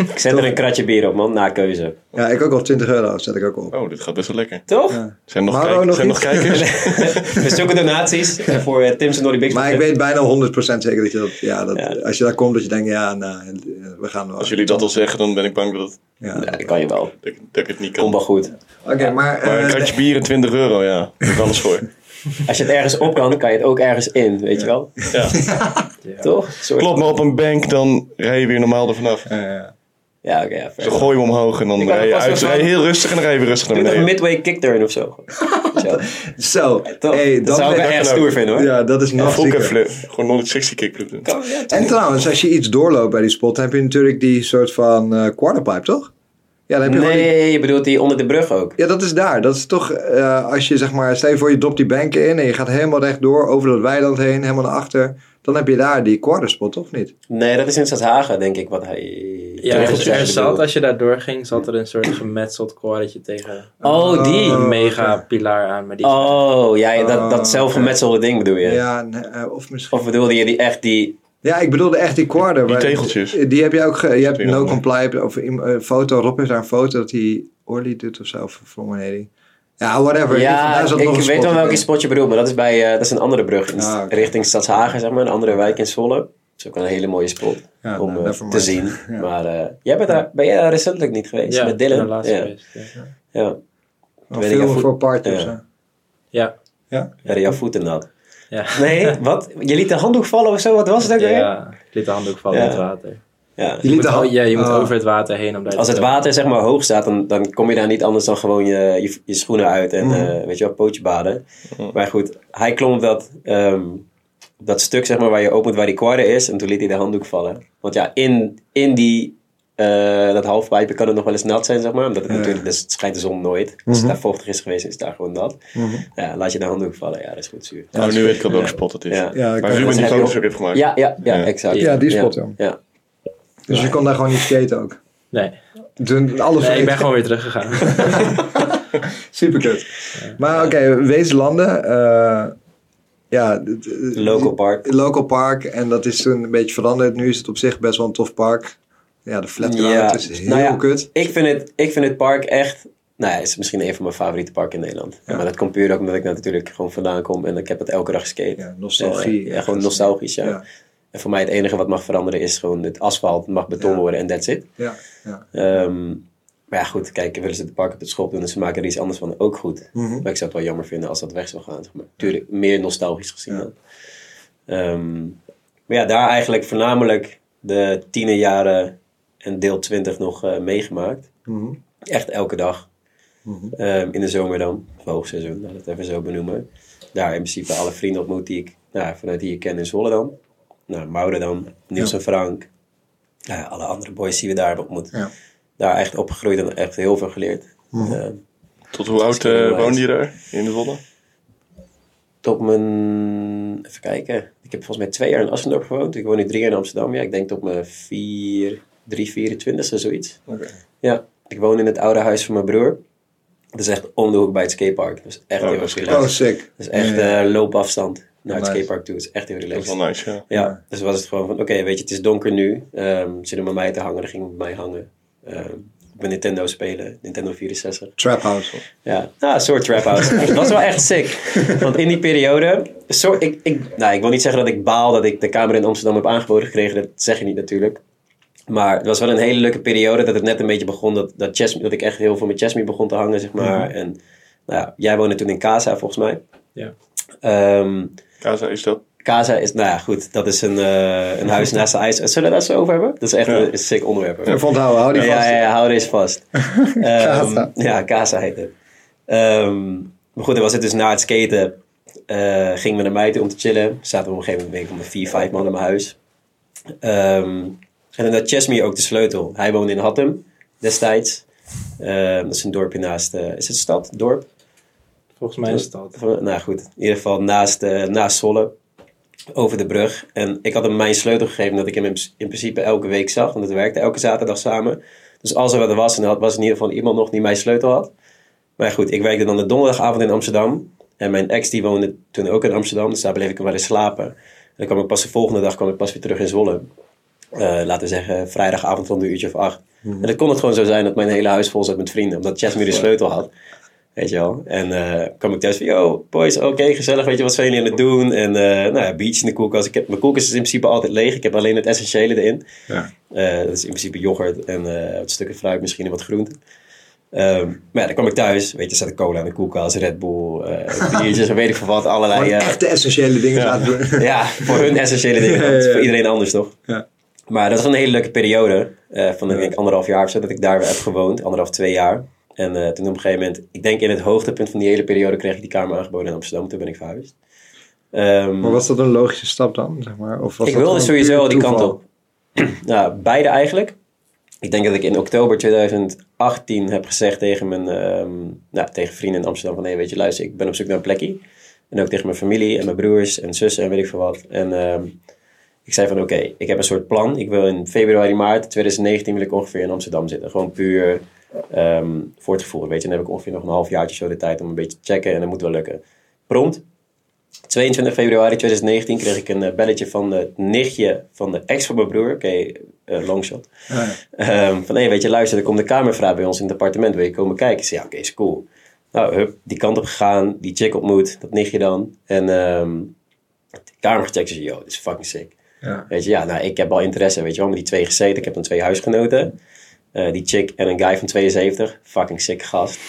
Speaker 3: Ik zet er een kratje bier op man, na keuze.
Speaker 1: Ja, ik ook al 20 euro, zet ik ook op.
Speaker 2: Oh, dit gaat best wel lekker.
Speaker 3: Toch?
Speaker 2: Zijn er nog,
Speaker 1: Mauro
Speaker 2: kijk-
Speaker 1: nog
Speaker 2: zijn er nog
Speaker 1: iets?
Speaker 2: kijkers?
Speaker 3: We zoeken donaties eh, voor eh, Tim's en Dolly Big.
Speaker 1: Maar ik weet bijna 100% zeker dat je dat, ja, dat
Speaker 3: Ja.
Speaker 1: als je daar komt, dat je denkt, ja, nou, we gaan wel.
Speaker 2: Als jullie dat al zeggen, dan ben ik bang dat, het-
Speaker 1: Ja.
Speaker 3: Ja, dat kan je wel.
Speaker 2: dat, ik- dat ik het niet
Speaker 3: Komt wel
Speaker 2: kan.
Speaker 3: goed.
Speaker 1: Oké, maar,
Speaker 2: Maar
Speaker 1: eh,
Speaker 2: een kratje bier en 20 euro, ja. Daar is alles voor.
Speaker 3: Als je het ergens op kan, kan je het ook ergens in, weet je wel?
Speaker 2: Ja.
Speaker 3: Toch? Een soort-
Speaker 2: Klopt, maar op een bank dan rij je weer normaal er vanaf. Dus
Speaker 1: nee, eh,
Speaker 3: Ja, oké. ja, fair.
Speaker 2: Dan gooi je hem omhoog en dan
Speaker 3: kan
Speaker 2: rij je
Speaker 3: vast
Speaker 2: uit.
Speaker 3: wel
Speaker 2: Rij je
Speaker 3: gaan-
Speaker 2: heel rustig en dan rij je weer rustig naar
Speaker 3: Doe nog een
Speaker 2: beneden.
Speaker 3: midway kickturn of zo. Zo.
Speaker 1: zo,
Speaker 3: Toch?
Speaker 1: hey,
Speaker 3: dat
Speaker 1: dan
Speaker 3: zou ik
Speaker 1: ben-
Speaker 3: wel echt stoer vinden hoor.
Speaker 1: Ja, dat is nog
Speaker 2: Full kick
Speaker 1: zieker.
Speaker 2: flip. Gewoon 160 kickflip doen.
Speaker 1: En trouwens, als je iets doorloopt bij die spot, dan heb je natuurlijk die soort van eh, quarterpipe, toch? Ja, dan heb je gewoon die-
Speaker 3: Nee, je bedoelt die onder de brug ook.
Speaker 1: Ja, dat is daar. Dat is toch, eh, als je zeg maar, stel je voor je dopt die banken in en je gaat helemaal rechtdoor over dat weiland heen, helemaal naar achter. Dan heb je daar die quarterspot, of niet?
Speaker 3: Nee, dat is in Stadhagen, denk ik, wat hij...
Speaker 4: Ja,
Speaker 3: Terug-
Speaker 4: er, er
Speaker 3: bedoelt.
Speaker 4: zat, als je daardoor ging, zat er een soort gemetseld koordetje tegen
Speaker 3: Oh, die!
Speaker 4: een mega pilaar aan. Maar die
Speaker 3: Oh, ja, ja, dat,
Speaker 1: Oh,
Speaker 3: dat zelfgemetselde ding bedoel je?
Speaker 1: Ja, nee, eh, of misschien.
Speaker 3: Of bedoelde je die echt die...
Speaker 1: Ja, ik bedoelde echt die quarter.
Speaker 2: Die
Speaker 1: waar-
Speaker 2: tegeltjes.
Speaker 1: Die, heb je ook. ge- je hebt
Speaker 2: Vind ik
Speaker 1: no
Speaker 2: ook mooi.
Speaker 1: comply of im- eh, foto. Rob heeft daar een foto dat hij Orly doet of zo. Of From Ja, whatever.
Speaker 3: Ja,
Speaker 1: Daar zat nog
Speaker 3: ik
Speaker 1: een
Speaker 3: weet
Speaker 1: spot
Speaker 3: wel
Speaker 1: op
Speaker 3: welke
Speaker 1: in.
Speaker 3: spot je bedoelt, maar dat is, bij, eh, dat is een andere brug. in-
Speaker 1: Ah, oké.
Speaker 3: Richting Stadshagen, zeg maar, een andere wijk in Zwolle. Dat is ook een hele mooie spot
Speaker 1: Ja,
Speaker 3: om
Speaker 1: nou,
Speaker 3: eh,
Speaker 1: never
Speaker 3: te
Speaker 1: mind.
Speaker 3: zien. Maar eh, jij bent daar, ben jij daar recentelijk niet geweest?
Speaker 4: ja,
Speaker 3: met Dylan?
Speaker 4: de laatste
Speaker 3: ja.
Speaker 4: geweest, ja.
Speaker 3: ja.
Speaker 1: Of
Speaker 3: weet ik
Speaker 1: veel
Speaker 3: even-
Speaker 1: voor party of
Speaker 3: Ja.
Speaker 1: zo.
Speaker 4: Ja.
Speaker 3: Werden jouw voeten nat?
Speaker 4: Ja.
Speaker 3: Nee, wat? Je liet de handdoek vallen of zo? Wat was het ook
Speaker 4: Ja,
Speaker 3: weer?
Speaker 4: ik liet de handdoek vallen
Speaker 3: Ja.
Speaker 4: in het water.
Speaker 3: Ja.
Speaker 1: Je
Speaker 4: Je
Speaker 1: liet
Speaker 4: moet,
Speaker 1: de
Speaker 4: al-
Speaker 1: hand-
Speaker 4: ja, je moet
Speaker 1: Ah.
Speaker 4: over het water heen om daar
Speaker 3: Als het
Speaker 4: te-
Speaker 3: water zeg maar hoog staat, dan, dan kom je daar niet anders dan gewoon je, je, je schoenen uit en eh, weet je wel, pootje baden. Maar goed, hij klom op dat, ehm, op dat stuk zeg maar, waar je opent waar die quarter is en toen liet hij de handdoek vallen. Want ja, in, in die, eh, dat halfpijpje kan het nog wel eens nat zijn, zeg maar. Omdat het natuurlijk, dus het schijnt de zon nooit. Als het daar vochtig is geweest, is het daar gewoon nat. Ja, laat je de handdoek vallen, ja, dat is goed zuur.
Speaker 2: Nou, nu weet ik al welke spot het is.
Speaker 3: Ja.
Speaker 1: Ja, ik
Speaker 2: Maar
Speaker 1: weet
Speaker 2: Ruben
Speaker 1: het.
Speaker 2: die
Speaker 3: Heb je
Speaker 2: foto's
Speaker 3: ook-
Speaker 2: ook heeft gemaakt.
Speaker 3: Ja, ja, ja,
Speaker 2: Ja.
Speaker 3: exact.
Speaker 1: Ja, die spot, ja.
Speaker 3: ja. ja.
Speaker 1: Dus je kon daar gewoon niet skaten ook.
Speaker 4: Nee.
Speaker 1: Toen alles
Speaker 4: nee, ik ben gewoon weer teruggegaan.
Speaker 1: Super Maar oké, Weeslanden. eh, ja, d- d-
Speaker 3: Local park.
Speaker 1: Local park. En dat is toen een beetje veranderd. Nu is het op zich best wel een tof park. Ja, de flatground is heel
Speaker 3: nou ja,
Speaker 1: kut.
Speaker 3: Ik vind, het, ik vind het park echt... Nou, ja, het is misschien een van mijn favoriete parken in Nederland. Maar dat komt puur ook omdat ik daar natuurlijk gewoon vandaan kom. En ik heb het elke dag geskate. Eh,
Speaker 1: Ja, nostalgie.
Speaker 3: Ja, ja, gewoon nostalgisch, ja.
Speaker 1: Ja,
Speaker 3: En voor mij het enige wat mag veranderen is gewoon het asfalt mag beton
Speaker 1: Ja.
Speaker 3: worden en that's it.
Speaker 1: ja, ja.
Speaker 3: Ehm, maar ja, goed, kijk, willen ze het park op de schop doen en ze maken er iets anders van, ook goed.
Speaker 1: Mhm,
Speaker 3: Maar ik zou het wel jammer vinden als dat weg zou gaan, zeg maar. Tuurlijk, meer nostalgisch gezien dan. Ehm, maar ja, daar eigenlijk voornamelijk de
Speaker 1: mhm.
Speaker 3: tienerjaren en deel 20 nog eh, meegemaakt. Echt elke dag. Ehm, in de zomer dan, of hoogseizoen, laat het even zo benoemen. Daar in principe alle vrienden ontmoet die ik nou, vanuit hier ken in Zwolle dan. Nou, Maure dan, Niels en Frank. Nou, ja, alle andere boys die we daar hebben ontmoet.
Speaker 1: Ja.
Speaker 3: Daar echt opgegroeid en echt heel veel geleerd. Ehm,
Speaker 2: Tot hoe oud
Speaker 3: heel
Speaker 2: eh
Speaker 3: oud.
Speaker 2: woonde je daar in de Zwolle?
Speaker 3: tot mijn... Even kijken. Ik heb volgens mij twee jaar in Assendorp gewoond. Ik woon nu drie jaar in Amsterdam. Ja, ik denk tot mijn vier, drie, 24 of zoiets. Ja, ik woon in het oude huis van mijn broer. Dat is echt om de hoek bij het skatepark. Dat is echt
Speaker 2: Oh,
Speaker 3: heel
Speaker 2: dat is
Speaker 3: erg
Speaker 1: Oh,
Speaker 3: relaxed.
Speaker 1: sick.
Speaker 3: Dat is echt
Speaker 1: Ja,
Speaker 3: eh, loopafstand naar het
Speaker 1: Nice.
Speaker 3: skatepark toe. Dat is echt heel
Speaker 2: Dat is wel
Speaker 3: relaxed.
Speaker 2: nice, ja.
Speaker 3: Ja, dus was het gewoon van, oké, weet je, het is donker nu. Ehm zit er bij mij te hangen, dan ging ik bij mij hangen. Ehm, op mijn Nintendo spelen, Nintendo 64.
Speaker 1: Trap house.
Speaker 3: Ja, nou, een soort trap house. dat was wel echt sick. Want in die periode... Zo, ik, ik, nou, ik wil niet zeggen dat ik baal dat ik de kamer in Amsterdam heb aangeboden gekregen. Dat zeg je niet natuurlijk. Maar het was wel een hele leuke periode dat het net een beetje begon. Dat, dat, Chesme- dat ik echt heel veel met Chesme begon te hangen, zeg maar.
Speaker 2: Mhm.
Speaker 3: En nou, ja, jij woonde toen in Casa, volgens mij.
Speaker 4: Ja.
Speaker 3: Ehm,
Speaker 2: Kaza is dat.
Speaker 3: Casa is, nou ja, goed. Dat is een, eh, een huis naast de ijs. Zullen we daar zo over hebben? Dat is echt
Speaker 2: Ja.
Speaker 3: een, een sick onderwerp.
Speaker 1: Ik vond houden, hou die
Speaker 3: Ja,
Speaker 1: vast.
Speaker 3: ja, ja, hou deze vast. Ehm,
Speaker 1: Casa.
Speaker 3: ja, Casa heet het. Ehm, maar goed, dan was het dus na het skaten. eh gingen we naar mij toe om te chillen. Zaten we op een gegeven moment denk ik, met vier, vijf man in mijn huis. Ehm, en dan had Chesmi ook de sleutel. Hij woonde in Hattem destijds. Ehm, dat is een dorpje naast... eh, is het stad? Dorp?
Speaker 4: Volgens mij is dat.
Speaker 3: Van- Nou goed, in ieder geval naast, eh, naast Zwolle. Over de brug. En ik had hem mijn sleutel gegeven dat ik hem in, in principe elke week zag. Want het werkte elke zaterdag samen. Dus als er wat er was, en had, was in ieder geval iemand nog die mijn sleutel had. Maar goed, ik werkte dan de donderdagavond in Amsterdam. En mijn ex die woonde toen ook in Amsterdam. Dus daar bleef ik hem wel eens slapen. En dan kwam ik pas de volgende dag kwam ik pas weer terug in Zwolle. Eh, laten we zeggen, vrijdagavond rond een uurtje of acht.
Speaker 1: Mhm.
Speaker 3: En dan kon het gewoon zo zijn dat mijn hele huis vol zat met vrienden. Omdat Jasmine de sleutel had. Weet je wel. En eh kwam ik thuis van, yo, boys, oké, gezellig. Weet je, wat zijn jullie aan het doen? En eh, nou ja, beach in de koelkast. Ik heb, mijn koelkast is in principe altijd leeg. Ik heb alleen het essentiële erin.
Speaker 1: Ja.
Speaker 3: Eh, dat is in principe yoghurt en eh, wat stukken fruit, misschien en wat groenten. Ehm, maar ja, dan kwam ik thuis. Weet je, zat cola in de koelkast, Red Bull, eh biertjes en weet ik veel wat. Allerlei...
Speaker 1: Gewoon
Speaker 3: eh,
Speaker 1: echt de essentiële dingen laten doen.
Speaker 3: ja, voor hun essentiële dingen. Dat is
Speaker 1: Ja, ja,
Speaker 3: voor
Speaker 1: ja.
Speaker 3: iedereen anders, toch?
Speaker 1: Ja.
Speaker 3: Maar dat was een hele leuke periode. eh, van denk ik anderhalf jaar of zo dat ik daar heb gewoond. Anderhalf, twee jaar. En eh, toen op een gegeven moment... Ik denk in het hoogtepunt van die hele periode kreeg ik die kamer aangeboden in Amsterdam. Toen ben ik verhuisd. Ehm,
Speaker 1: Maar was dat een logische stap dan? Zeg maar? of was
Speaker 3: ik
Speaker 1: dat
Speaker 3: wilde
Speaker 1: gewoon
Speaker 3: sowieso
Speaker 1: puur
Speaker 3: al die kant
Speaker 1: toeval?
Speaker 3: op. nou, beide eigenlijk. Ik denk dat ik in oktober 2018 heb gezegd tegen mijn ehm, nou, tegen vrienden in Amsterdam van... hé, weet je, luister, ik ben op zoek naar een plekje. En ook tegen mijn familie en mijn broers en zussen en weet ik veel wat. En ehm, ik zei van oké, ik heb een soort plan. Ik wil in februari, maart 2019 wil ik ongeveer in Amsterdam zitten. Gewoon puur ehm, voor het gevoel. Weet je, dan heb ik ongeveer nog een half jaartje zo de tijd om een beetje te checken. En dat moet wel lukken. Prompt, 22 februari 2019 kreeg ik een eh, belletje van het nichtje van de ex van mijn broer. Oké, eh, longshot. Ehm, van hé, weet je, luister, er komt een kamervraag bij ons in het appartement. Wil je komen kijken? Ik zei, ja, oké, is cool. Nou, hup, die kant op gegaan, die chick ontmoet, dat nichtje dan. En ehm, de kamer gecheckt. Ze zei, yo, dit is fucking sick.
Speaker 1: Ja.
Speaker 3: Weet je, ja, nou, ik heb al interesse, weet je wel, met die twee gezeten. Ik heb dan twee huisgenoten. Eh, die chick en een guy van 72. Fucking sick gast.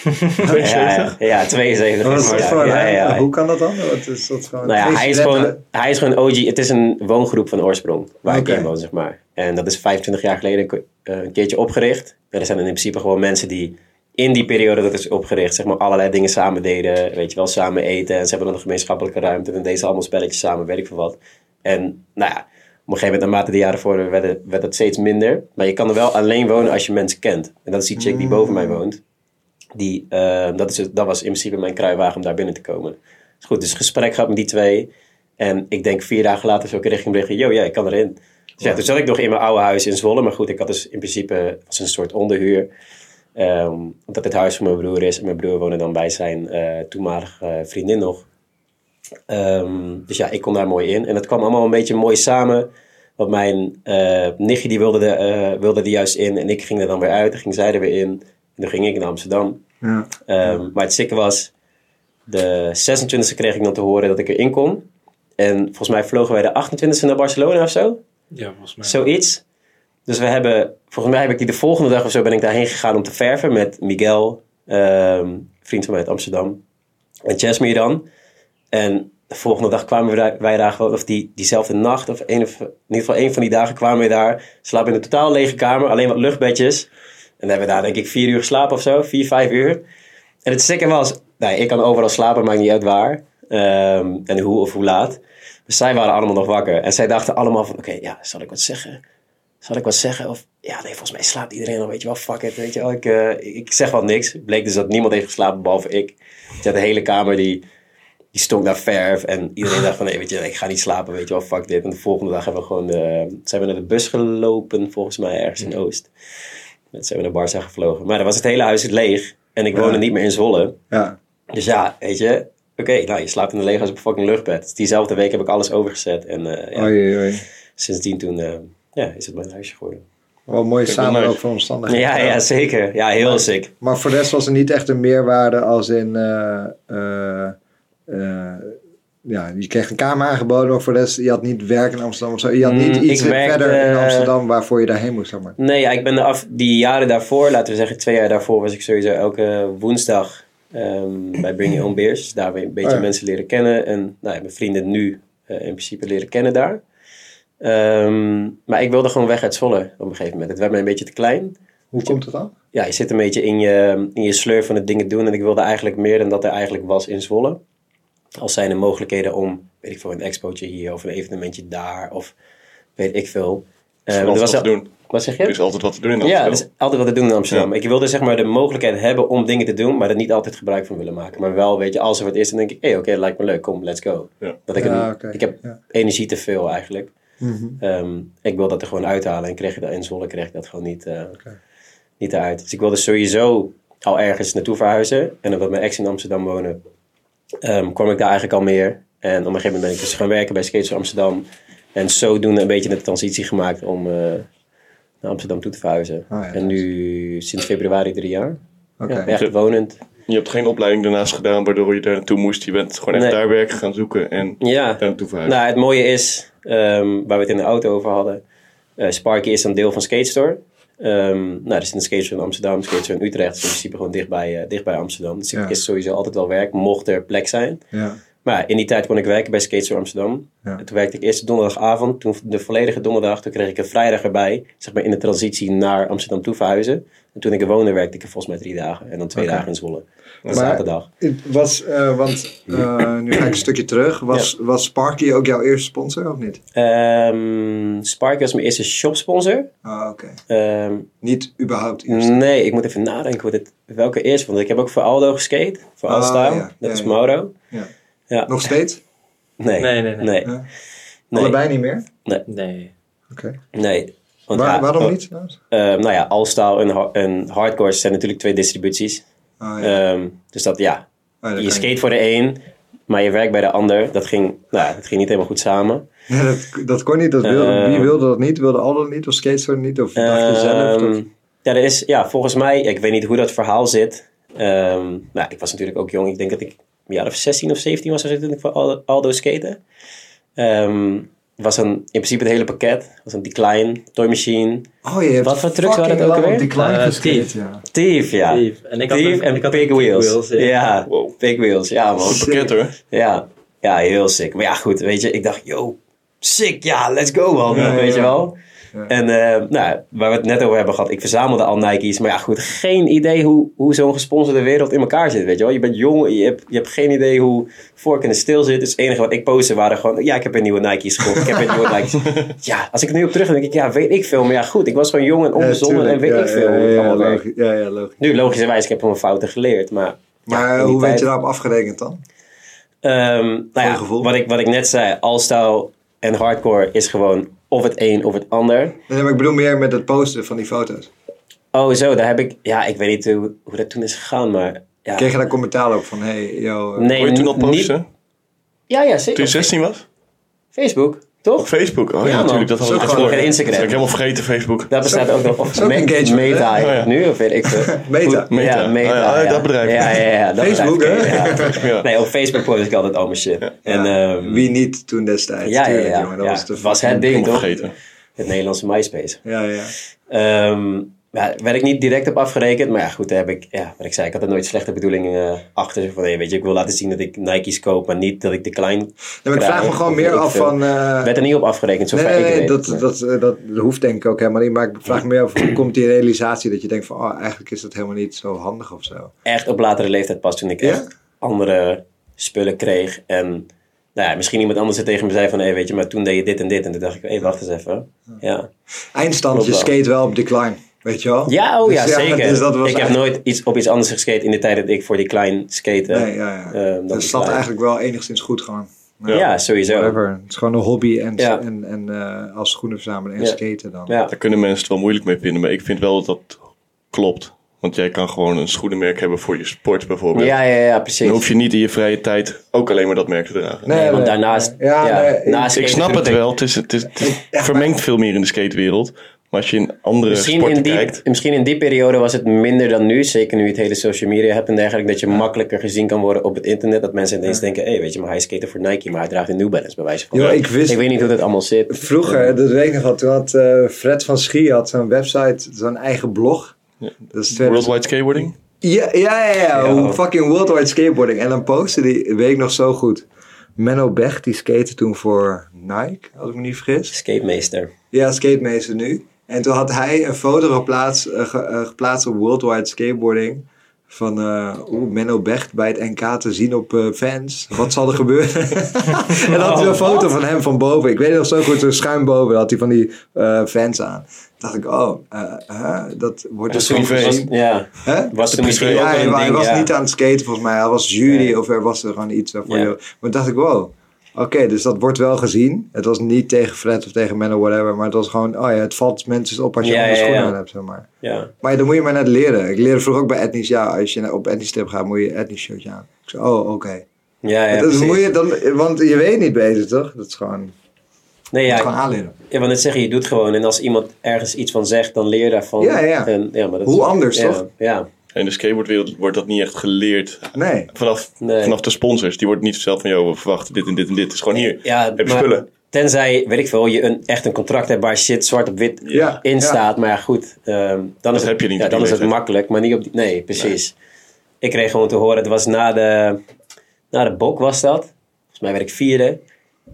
Speaker 3: ja, ja, ja, 72.
Speaker 1: Maar wat is Oh, dat
Speaker 3: Ja,
Speaker 1: voor-
Speaker 3: ja, ja.
Speaker 1: Hoe kan dat dan? Wat is dat gewoon
Speaker 3: Nou ja, hij is,
Speaker 1: Twee
Speaker 3: gewoon,
Speaker 1: studenten.
Speaker 3: hij is gewoon OG. Het is een woongroep van oorsprong waar
Speaker 1: Oké.
Speaker 3: ik in woon, zeg maar. En dat is 25 jaar geleden ko- eh, een keertje opgericht. En er zijn in principe gewoon mensen die in die periode dat is opgericht, zeg maar, allerlei dingen samen deden. Weet je wel, samen eten. En ze hebben dan een gemeenschappelijke ruimte. En deze allemaal spelletjes samen, weet ik veel wat. En nou ja, op een gegeven moment, naarmate de jaren voor werd, het- werd dat steeds minder. Maar je kan er wel alleen wonen als je mensen kent. En dat is die chick die boven mij woont. Die, eh, dat, is, het- dat was in principe mijn kruiwagen om daar binnen te komen. Dus goed, dus gesprek gehad met die twee. En ik denk vier dagen later zo kreeg ik richting berichtje. Yo, ja, ik kan erin. Dus ja, toen zat ik nog in mijn oude huis in Zwolle. Maar goed, ik had dus in principe was een soort onderhuur. Ehm, omdat het huis van mijn broer is. En mijn broer woonde dan bij zijn eh, toenmalige eh, vriendin nog. Ehm, dus ja, ik kon daar mooi in. En dat kwam allemaal een beetje mooi samen. Want mijn eh, nichtje die wilde, er, eh, wilde er juist in. En ik ging er dan weer uit. En ging zij er weer in. En toen ging ik naar Amsterdam.
Speaker 1: Ja.
Speaker 3: Ehm, Maar het sikke was... De 26e kreeg ik dan te horen dat ik erin kon. En volgens mij vlogen wij de 28e naar Barcelona of zo.
Speaker 4: Ja, volgens mij.
Speaker 3: Zoiets. Dus we hebben... Volgens mij heb ik die de volgende dag of zo ben ik daarheen gegaan om te verven. Met Miguel, ehm, vriend van mij uit Amsterdam. En Jasmine dan. En de volgende dag kwamen we daar, wij daar gewoon... Of die, diezelfde nacht, of, een, of in ieder geval één van die dagen kwamen we daar. Slapen in een totaal lege kamer. Alleen wat luchtbedjes. En dan hebben we daar denk ik vier uur geslapen of zo. Vier, vijf uur. En het stikke was, nee, ik kan overal slapen, maakt niet uit waar. ehm, en hoe of hoe laat. Dus zij waren allemaal nog wakker. En zij dachten allemaal van, oké, ja, zal ik wat zeggen? Zal ik wat zeggen? Of, ja, nee, volgens mij slaapt iedereen al, weet je wel, fuck it, weet je wel. Ik, eh, ik zeg wat niks. Bleek dus dat niemand heeft geslapen, behalve ik. Dus ja, de hele kamer, die, die stonk naar verf. En iedereen dacht van, nee, weet je, ik ga niet slapen, weet je wel, fuck dit. En de volgende dag hebben we gewoon, eh, zijn we naar de bus gelopen, volgens mij, ergens in Oost. Net zijn we naar Barca gevlogen. Maar dan was het hele huis leeg. En ik woonde
Speaker 1: Ja.
Speaker 3: niet meer in Zwolle.
Speaker 1: Ja.
Speaker 3: Dus ja, weet je. Oké, nou, je slaapt in een leeghuis op een fucking luchtbed. Dus diezelfde week heb ik alles overgezet. En eh, ja,
Speaker 1: Oei, oei.
Speaker 3: sindsdien toen eh, ja, is het mijn huisje geworden.
Speaker 1: Wel een mooie
Speaker 2: Vind ik wel
Speaker 1: samenloop
Speaker 2: leuk.
Speaker 1: van omstandigheden.
Speaker 3: Ja, ja, zeker. Ja, heel sick.
Speaker 1: Maar voor de rest was er niet echt een meerwaarde als in... eh, eh, eh, ja, je kreeg een kamer aangeboden, maar voor de rest... Je had niet werk in Amsterdam of zo. Je had niet
Speaker 3: Mm,
Speaker 1: iets
Speaker 3: ik werkte-
Speaker 1: verder in Amsterdam waarvoor je daarheen moest. Zeg maar.
Speaker 3: Nee, ja, ik ben de af, die jaren daarvoor, laten we zeggen twee jaar daarvoor, was ik sowieso elke woensdag ehm, bij Bring Your Own Beers. Dus daar ben ik een beetje
Speaker 1: Oh ja.
Speaker 3: mensen leren kennen. En nou, ja, mijn vrienden nu eh, in principe leren kennen daar. Ehm, maar ik wilde gewoon weg uit Zwolle op een gegeven moment. Het werd mij een beetje te klein.
Speaker 1: Hoe komt het dan?
Speaker 3: ja, je zit een beetje in je, in je sleur van het dingen doen. En ik wilde eigenlijk meer dan dat er eigenlijk was in Zwolle. Als zijn er mogelijkheden om, weet ik veel, een expootje hier of een evenementje daar of weet ik veel. Eh,
Speaker 2: Er
Speaker 3: er
Speaker 2: is altijd wat
Speaker 3: al-
Speaker 2: te doen.
Speaker 3: Wat zeg
Speaker 2: Er
Speaker 3: je?
Speaker 2: is altijd wat te doen in
Speaker 3: Ja, dus-
Speaker 2: Amsterdam.
Speaker 3: er is altijd wat te doen in Amsterdam. Ik wilde zeg maar de mogelijkheid hebben om dingen te doen, maar er niet altijd gebruik van willen maken. Maar wel, weet je, als er wat is, dan denk ik, hé, oké, dat lijkt me leuk, kom, let's go.
Speaker 2: Ja.
Speaker 3: Dat ik, het
Speaker 1: Ja,
Speaker 3: niet-
Speaker 1: oké,
Speaker 3: ik heb
Speaker 1: ja. Mhm.
Speaker 3: energie te veel eigenlijk. Ehm, ik wil dat er gewoon uithalen. En kreeg je dat in Zwolle kreeg ik dat gewoon niet, eh niet eruit. Dus ik wilde sowieso al ergens naartoe verhuizen. En omdat mijn ex in Amsterdam woonde, ehm, kwam ik daar eigenlijk al meer. En op een gegeven moment ben ik dus gaan werken bij Skates Amsterdam. En zodoende een beetje de transitie gemaakt om eh, naar Amsterdam toe te verhuizen.
Speaker 1: Oh, ja, dat
Speaker 3: en nu sinds februari drie jaar.
Speaker 1: Oké.
Speaker 3: Ja, echt wonend.
Speaker 2: Je hebt geen opleiding daarnaast gedaan waardoor je daar naartoe moest. Je bent gewoon echt
Speaker 3: Nee.
Speaker 2: daar werk gaan zoeken en
Speaker 3: Ja.
Speaker 2: daar naartoe verhuisd.
Speaker 3: Nou, het mooie is, ehm, waar we het in de auto over hadden, eh, Sparky is een deel van Skatestore. Ehm nou, er zit een skatestore in Amsterdam, skatestore in Utrecht. Dus in principe gewoon dichtbij, eh, dichtbij Amsterdam. Dus
Speaker 1: Ja.
Speaker 3: er is sowieso altijd wel werk, mocht er plek zijn.
Speaker 1: Ja.
Speaker 3: Maar ja, in die tijd kon ik werken bij Skatestore Amsterdam.
Speaker 1: Ja.
Speaker 3: En toen werkte ik eerst de donderdagavond, toen de volledige donderdag. Toen kreeg ik een vrijdag erbij, zeg maar in de transitie naar Amsterdam toe verhuizen. En toen ik er woonde, werkte ik er volgens mij drie dagen. En dan twee
Speaker 1: Oké.
Speaker 3: dagen in Zwolle.
Speaker 1: Maar-
Speaker 3: En zaterdag.
Speaker 1: Het was, eh, want eh, nu ga ik een stukje terug. Was, was Sparky ook jouw eerste sponsor of niet?
Speaker 3: Ehm Sparky was mijn eerste shopsponsor.
Speaker 1: Ah, oké.
Speaker 3: Ehm
Speaker 1: Niet überhaupt eerst.
Speaker 3: Nee, ik moet even nadenken hoe dit, welke eerst. Want ik heb ook voor Aldo geskate. Voor
Speaker 1: Ah,
Speaker 3: Alstyle.
Speaker 1: ja,
Speaker 3: dat
Speaker 1: ja,
Speaker 3: is
Speaker 1: ja.
Speaker 3: Mauro.
Speaker 1: Ja.
Speaker 3: Ja.
Speaker 1: Nog steeds?
Speaker 3: Nee.
Speaker 4: Nee, nee, nee.
Speaker 1: Ja.
Speaker 3: Nee. Mm. nee.
Speaker 1: Allebei niet meer?
Speaker 4: Nee.
Speaker 1: Oké.
Speaker 3: nee. Want
Speaker 1: Waar-
Speaker 3: ja,
Speaker 1: waarom
Speaker 3: oh,
Speaker 1: niet? Ah, trouwens?
Speaker 3: ehm, nou ja, Alstyle en, ha- en Hardcore zijn natuurlijk twee distributies.
Speaker 1: Ah, ja.
Speaker 3: Ehm, dus dat, ja.
Speaker 1: Ah, dat
Speaker 3: je
Speaker 1: kan
Speaker 3: skate voor de een, maar je werkt bij de ander. Dat ging, nou, ja, dat ging niet helemaal goed samen.
Speaker 1: Nee, dat, dat kon niet. Dat wilde,
Speaker 3: Ehm.
Speaker 1: wie wilde dat niet? Wilde Aldo niet? Of Skatestorm niet? Of dacht je zelf?
Speaker 3: Ehm,
Speaker 1: dat-
Speaker 3: ja, er is, ja, volgens mij, ik weet niet hoe dat verhaal zit. Ehm, nou, ik was natuurlijk ook jong. Ik denk dat ik een jaar of 16 of 17 was als ik toen ik voor Al- Aldo skate. Ehm was een, in principe het hele pakket. was een decline, toy machine,
Speaker 1: oh, je hebt
Speaker 3: wat voor trucks waren het
Speaker 1: fucking
Speaker 3: ook
Speaker 1: lang
Speaker 3: weer?
Speaker 1: op die kleine
Speaker 4: Eh,
Speaker 1: geskate,
Speaker 4: Thief.
Speaker 1: ja.
Speaker 3: Thief, ja.
Speaker 4: Thief. En ik had
Speaker 3: Thief
Speaker 4: een-
Speaker 3: en
Speaker 4: ik had
Speaker 3: Big
Speaker 4: een
Speaker 3: Wheels.
Speaker 4: Big Wheels,
Speaker 3: ja,
Speaker 4: ja.
Speaker 2: Wow.
Speaker 3: Big Wheels, ja man.
Speaker 2: Pakket hoor.
Speaker 3: Ja, ja, heel sick. Maar ja, goed, weet je, ik dacht, yo, sick, ja, let's go man,
Speaker 1: Ja,
Speaker 3: weet
Speaker 1: ja,
Speaker 3: je
Speaker 1: ja.
Speaker 3: wel.
Speaker 1: Ja.
Speaker 3: En eh, nou, waar we het net over hebben gehad, ik verzamelde al Nike's, maar ja, goed, geen idee hoe, hoe zo'n gesponsorde wereld in elkaar zit, weet je wel. Je bent jong, je hebt, je hebt geen idee hoe vork in de stil zit, dus het enige wat ik postte waren gewoon, ja, ik heb een nieuwe Nike's gekocht, ik heb een nieuwe Nike's. Ja, als ik er nu op terug denk ik, ja, weet ik veel, maar ja, goed, ik was gewoon jong en
Speaker 1: Ja,
Speaker 3: onbezonnen en
Speaker 1: tuurlijk.
Speaker 3: weet
Speaker 1: Ja,
Speaker 3: ik veel
Speaker 1: ja,
Speaker 3: hoe het
Speaker 1: ja,
Speaker 3: allemaal werkt.
Speaker 1: logisch. Ja, ja, logisch.
Speaker 3: Nu, logischerwijs, ik heb mijn fouten geleerd, maar...
Speaker 1: Maar
Speaker 3: in die
Speaker 1: hoe werd je
Speaker 3: tijd-
Speaker 1: daarop afgerekend dan?
Speaker 3: Ehm, nou
Speaker 1: je
Speaker 3: ja,
Speaker 1: gevoel?
Speaker 3: wat ik, wat ik net zei, all-style en hardcore is gewoon of het een of het ander.
Speaker 1: Nee, maar ik bedoel meer met het posten van die foto's.
Speaker 3: Oh, zo, daar heb ik, ja, ik weet niet hoe, hoe dat toen is gegaan, maar ja.
Speaker 1: Kreeg je daar commentaar op van, hey, yo... eh,
Speaker 3: nee,
Speaker 2: Kon je toen al
Speaker 3: niet-
Speaker 2: posten?
Speaker 3: Ja,
Speaker 2: Toen
Speaker 3: ja,
Speaker 2: je
Speaker 3: zeker.
Speaker 2: 16 was?
Speaker 3: Facebook,
Speaker 2: Op
Speaker 3: toch?
Speaker 2: Facebook? Oh ja,
Speaker 3: Ja, man.
Speaker 2: natuurlijk. Dat had
Speaker 1: Zo
Speaker 2: ik
Speaker 1: gewoon
Speaker 2: ervoor.
Speaker 3: geen Instagram.
Speaker 2: Dat heb ik helemaal vergeten, Facebook.
Speaker 3: Daar bestaat ook nog of
Speaker 1: is ook engagement,
Speaker 3: Meta
Speaker 1: hè?
Speaker 3: heet
Speaker 2: Oh, ja.
Speaker 3: het nu, of weet ik veel.
Speaker 1: Meta.
Speaker 3: Hoe-
Speaker 2: Meta.
Speaker 3: Ja, Meta.
Speaker 2: Oh, ja, oh,
Speaker 3: ja.
Speaker 2: dat bedrijf.
Speaker 3: Ja, ja, ja. dat
Speaker 1: Facebook,
Speaker 3: bedrijf,
Speaker 1: hè?
Speaker 3: oké, ja.
Speaker 2: Ja.
Speaker 3: Nee, op Facebook post ik altijd al mijn shit. En, ehm,
Speaker 1: Wie niet toen destijds?
Speaker 3: ja, ja,
Speaker 1: Tuurlijk,
Speaker 3: ja.
Speaker 1: jongen, dat
Speaker 3: Ja,
Speaker 1: was, de
Speaker 3: was het
Speaker 1: fucking-
Speaker 3: ding,
Speaker 2: Helemaal
Speaker 3: toch?
Speaker 2: vergeten.
Speaker 3: Het Nederlandse MySpace.
Speaker 1: Ja, ja.
Speaker 3: Ehm, ja, werd ik niet direct op afgerekend. Maar ja, goed, daar heb ik, ja, wat ik zei, ik had er nooit slechte bedoelingen eh, achter. Zo Van, hey, weet je, ik wil laten zien dat ik Nike's koop, maar niet dat ik de klein
Speaker 1: maar ik vraag
Speaker 3: krijg
Speaker 1: me gewoon
Speaker 3: of
Speaker 1: meer
Speaker 3: weet ik
Speaker 1: af
Speaker 3: veel.
Speaker 1: van... eh,
Speaker 3: werd er niet op afgerekend, zover
Speaker 1: Nee, nee,
Speaker 3: ik
Speaker 1: nee,
Speaker 3: weet.
Speaker 1: dat,
Speaker 3: Maar-
Speaker 1: dat, eh, dat hoeft denk ik ook helemaal niet. Maar ik vraag me meer af, hoe komt die realisatie dat je denkt van... Oh, eigenlijk is dat helemaal niet zo handig of zo.
Speaker 3: echt op latere leeftijd pas toen ik
Speaker 1: Ja?
Speaker 3: echt andere spullen kreeg. En nou ja, misschien iemand anders er tegen me zei van, hé hey, weet je, maar toen deed je dit en dit. En toen dacht ik, hé, wacht eens even. Ja,
Speaker 1: Eindstand,
Speaker 3: Klopt
Speaker 1: je
Speaker 3: wel.
Speaker 1: skate wel op decline, weet je wel?
Speaker 3: ja oh ja,
Speaker 1: Dus
Speaker 3: zeker.
Speaker 1: dus dat was
Speaker 3: ik heb
Speaker 1: eigenlijk-
Speaker 3: nooit iets, op iets anders geskate in de tijd dat ik voor die klein skate.
Speaker 1: Nee, ja, ja. Dus
Speaker 3: Eh, dat
Speaker 1: dat
Speaker 3: is
Speaker 1: staat
Speaker 3: waar.
Speaker 1: eigenlijk wel enigszins goed gewoon.
Speaker 3: ja. sowieso.
Speaker 1: Whatever. Het is gewoon een hobby en,
Speaker 3: Ja.
Speaker 1: en, en eh, als schoenen verzamelen en
Speaker 3: Ja.
Speaker 1: skaten dan.
Speaker 3: Ja.
Speaker 2: Daar kunnen mensen het wel moeilijk mee vinden, maar ik vind wel dat dat klopt. Want jij kan gewoon een schoenenmerk hebben voor je sport bijvoorbeeld.
Speaker 3: Ja, ja, ja, precies.
Speaker 2: Dan hoef je niet in je vrije tijd ook alleen maar dat merk te dragen.
Speaker 1: Nee,
Speaker 3: want
Speaker 1: nee.
Speaker 3: daarnaast...
Speaker 1: Ja,
Speaker 3: Ja,
Speaker 1: nee, ik-
Speaker 3: naast
Speaker 2: Ik
Speaker 3: skaten
Speaker 2: snap het
Speaker 3: vind ik-
Speaker 2: wel, het, is, het, is, het vermengt veel meer in de skatewereld. Maar als je in andere
Speaker 3: Misschien
Speaker 2: sporten
Speaker 3: in, die,
Speaker 2: kijkt...
Speaker 3: misschien in die periode was het minder dan nu. Zeker nu je het hele social media hebt en dergelijke. Dat je makkelijker gezien kan worden op het internet. Dat mensen ineens denken, hé, hey, weet je, maar hij skaten voor Nike. Maar hij draagt een New Balance bij wijze van.
Speaker 1: Yo, ik wist-
Speaker 3: weet niet hoe dat allemaal zit.
Speaker 1: Vroeger, dat weet ik nog wel, toen had eh, Fred van Schie had zo'n website, zo'n eigen blog. Dat is twee-
Speaker 2: Worldwide skateboarding?
Speaker 1: Ja, ja, ja, ja.
Speaker 3: Ja.
Speaker 1: hoe Fucking worldwide skateboarding. En dan postte die, weet ik nog zo goed. Menno Bech, die skate toen voor Nike, als ik me niet vergis.
Speaker 3: Skatemeester.
Speaker 1: Ja, skatemeester nu. En toen had hij een foto geplaatst, eh, ge- eh, geplaatst op worldwide skateboarding. Van eh oeh, Menno Becht bij het NK te zien op eh, fans. Wat zal er gebeuren? en dan had hij een foto van hem van boven. Ik weet nog zo goed, zo schuin boven. Dan had hij van die eh, fans aan. Toen dacht ik, oh, eh, huh, dat wordt dus
Speaker 2: Dat is
Speaker 1: gewoon
Speaker 2: privé.
Speaker 1: gezien.
Speaker 3: Ja.
Speaker 1: Hè?
Speaker 3: Was toen misschien
Speaker 1: Ja,
Speaker 3: ook
Speaker 1: hij,
Speaker 3: wel een
Speaker 1: hij
Speaker 3: ding,
Speaker 1: was
Speaker 3: ja.
Speaker 1: niet aan het skaten volgens mij. Hij was jury of er was er gewoon iets waarvoor
Speaker 3: Ja.
Speaker 1: je... Maar toen dacht ik, wow. Oké, dus dat wordt wel gezien. Het was niet tegen Fred of tegen Menno, whatever. Maar het was gewoon, oh ja, het valt mensen op als je
Speaker 3: Ja,
Speaker 1: andere
Speaker 3: ja,
Speaker 1: schoenen
Speaker 3: ja.
Speaker 1: aan hebt, zeg maar.
Speaker 3: Ja.
Speaker 1: Maar ja, dan moet je maar net leren. Ik leerde vroeger ook bij etnisch, ja, als je op etnisch trip gaat, moet je etnisch shirtje aan. Ik zei, oh, oké.
Speaker 3: Ja, ja,
Speaker 1: Dat is-
Speaker 3: precies.
Speaker 1: moet je dan, want je weet niet beter, toch? Dat is gewoon,
Speaker 3: Nee,
Speaker 1: ja,
Speaker 3: ja,
Speaker 1: gewoon aanleren.
Speaker 3: ja, want het zeggen, je doet gewoon. En als iemand ergens iets van zegt, dan leer je daarvan.
Speaker 1: Ja, ja.
Speaker 3: En, ja maar dat
Speaker 1: Hoe
Speaker 3: is-
Speaker 1: anders,
Speaker 3: ja,
Speaker 1: toch?
Speaker 3: Ja.
Speaker 2: In de skateboardwereld wordt dat niet echt geleerd.
Speaker 1: Nee.
Speaker 2: Vanaf,
Speaker 3: Nee.
Speaker 2: vanaf de sponsors. Die wordt niet zelf van, joh, we verwachten dit en dit en dit. Het is gewoon hier.
Speaker 3: Ja,
Speaker 2: heb je
Speaker 3: maar
Speaker 2: spullen.
Speaker 3: Tenzij, weet ik veel, je een, echt een contract hebt waar shit zwart op wit
Speaker 1: Ja, ja.
Speaker 3: in staat. Maar ja, goed, ehm, dan, is het,
Speaker 2: heb je niet
Speaker 3: ja,
Speaker 2: op die
Speaker 3: dan is het
Speaker 2: leeftijd.
Speaker 3: makkelijk. Maar niet op die... Nee, precies. Ik kreeg gewoon te horen, het was na de, na de bok was dat. Volgens mij werd ik vierde.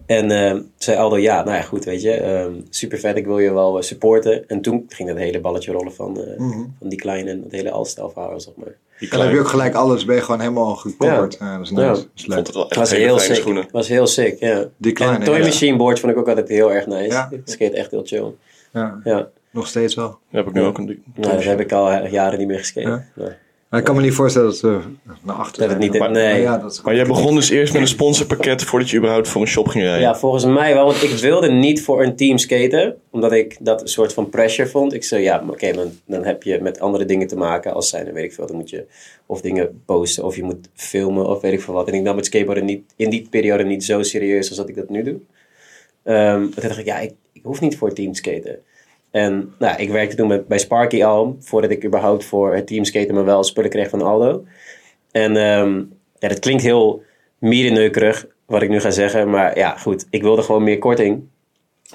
Speaker 3: En ehm zei Aldo, ja, nou ja, goed, weet je. super vet, ik wil je wel eh, supporten. En toen ging dat hele balletje rollen van, eh,
Speaker 2: Mhm.
Speaker 3: van die kleine en het hele Alstelverhaal, zeg maar.
Speaker 2: Die
Speaker 1: Dan heb
Speaker 2: kleine,
Speaker 1: je ook gelijk alles, ben je gewoon helemaal gecoverd. Ja.
Speaker 3: Ja.
Speaker 1: dat is nice.
Speaker 3: Ja.
Speaker 1: Dat is
Speaker 2: ik
Speaker 1: leuk.
Speaker 2: vond het wel
Speaker 3: was
Speaker 2: echt hele
Speaker 3: heel
Speaker 2: fijne
Speaker 3: sick.
Speaker 2: schoenen.
Speaker 3: was heel sick, ja.
Speaker 1: Die kleine,
Speaker 3: en Toy
Speaker 1: ja.
Speaker 3: Machine Board vond ik ook altijd heel erg nice.
Speaker 1: Ja.
Speaker 3: Ik skate echt heel chill.
Speaker 1: Ja,
Speaker 3: Ja.
Speaker 1: nog steeds wel.
Speaker 2: Daar heb ik nu ook een...
Speaker 3: Nou, dat heb ik al eh, jaren niet meer geschreven.
Speaker 1: Ja.
Speaker 3: Nee.
Speaker 1: Maar ik kan me niet voorstellen dat we naar achter
Speaker 3: Dat het niet...
Speaker 2: Maar-
Speaker 3: nee.
Speaker 1: Ja,
Speaker 3: Ja.
Speaker 1: dat is
Speaker 2: Maar jij begon dus eerst met een sponsorpakket voordat je überhaupt voor een shop ging rijden.
Speaker 3: volgens mij wel. Want ik wilde niet voor een team skaten. Omdat ik dat een soort van pressure vond. Ik zei, ja, maar oké, dan, dan heb je met andere dingen te maken. Als zijn, dan weet ik veel. Dan moet je of dingen posten of je moet filmen of weet ik veel wat. En ik nam het skateboarden niet, in die periode niet zo serieus als dat ik dat nu doe. Ehm, maar toen dacht ik, ja, ik, ik hoef niet voor team skaten. En nou, ik werkte toen met, bij Sparky al, voordat ik überhaupt voor het team skaten, maar wel spullen kreeg van Aldo. En ehm, ja, dat klinkt heel mierenneukerig, wat ik nu ga zeggen. Maar ja, goed, ik wilde gewoon meer korting.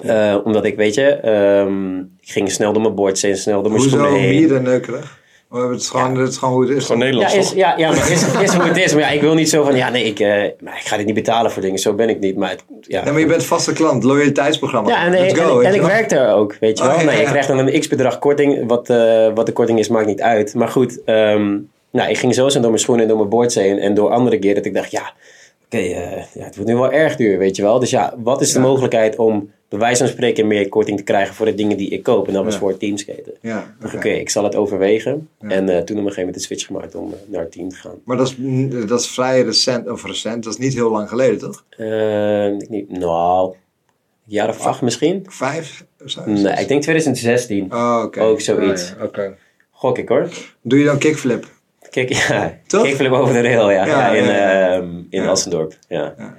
Speaker 3: Eh, omdat ik, weet je, ehm, ik ging snel door mijn board heen, snel door mijn
Speaker 1: Hoezo
Speaker 3: schoenen heen.
Speaker 1: mierenneukerig? We hebben het gewoon, het is gewoon hoe het is.
Speaker 2: Gewoon
Speaker 3: Ja,
Speaker 2: Nederlands,
Speaker 3: is,
Speaker 2: toch?
Speaker 3: ja, ja, maar is, is hoe het is. Maar ja, ik wil niet zo van, ja, nee, ik, eh, maar ik ga dit niet betalen voor dingen. Zo ben ik niet. Maar het- ja,
Speaker 1: Ja, maar je bent vaste klant, loyaliteitsprogramma.
Speaker 3: Ja, en,
Speaker 1: Let's
Speaker 3: en-
Speaker 1: go,
Speaker 3: en
Speaker 1: weet je
Speaker 3: ik
Speaker 1: wel.
Speaker 3: werk daar ook, weet je
Speaker 1: Oh,
Speaker 3: wel.
Speaker 1: ja,
Speaker 3: nee,
Speaker 1: ja,
Speaker 3: ik
Speaker 1: ja.
Speaker 3: krijg dan een x-bedrag korting. Wat, eh, wat de korting is, maakt niet uit. Maar goed, ehm, nou, ik ging zo snel door mijn schoenen en door mijn boards heen. En door andere keer dat ik dacht, ja, oké, eh, ja, het wordt nu wel erg duur, weet je wel. Dus ja, wat is de mogelijkheid om bij wijze van spreken meer korting te krijgen voor de dingen die ik koop? En dat was
Speaker 1: Ja.
Speaker 3: voor teamskaten.
Speaker 1: Ja,
Speaker 3: Oké,
Speaker 1: oké.
Speaker 3: ik zal het overwegen.
Speaker 1: Ja.
Speaker 3: En eh, toen op een gegeven moment de switch gemaakt om eh, naar het team te gaan.
Speaker 1: Maar dat is, mm, dat is vrij recent, of recent, dat is niet heel lang geleden, toch?
Speaker 3: Eh, ik niet, nou, een jaar of acht misschien?
Speaker 1: Vijf? of zo?
Speaker 3: Nee, ik denk 2016.
Speaker 1: Oh, oké.
Speaker 3: Ook zoiets.
Speaker 1: Ja, ja, oké.
Speaker 3: Gok ik hoor.
Speaker 1: Doe je dan kickflip?
Speaker 3: Kijk, ja.
Speaker 1: Toch?
Speaker 3: Kickflip over de rail, ja.
Speaker 1: Ja,
Speaker 3: ja, in
Speaker 1: ja, ja.
Speaker 3: ehm, in
Speaker 1: Ja.
Speaker 3: Assendorp, ja.
Speaker 1: Ja, ja.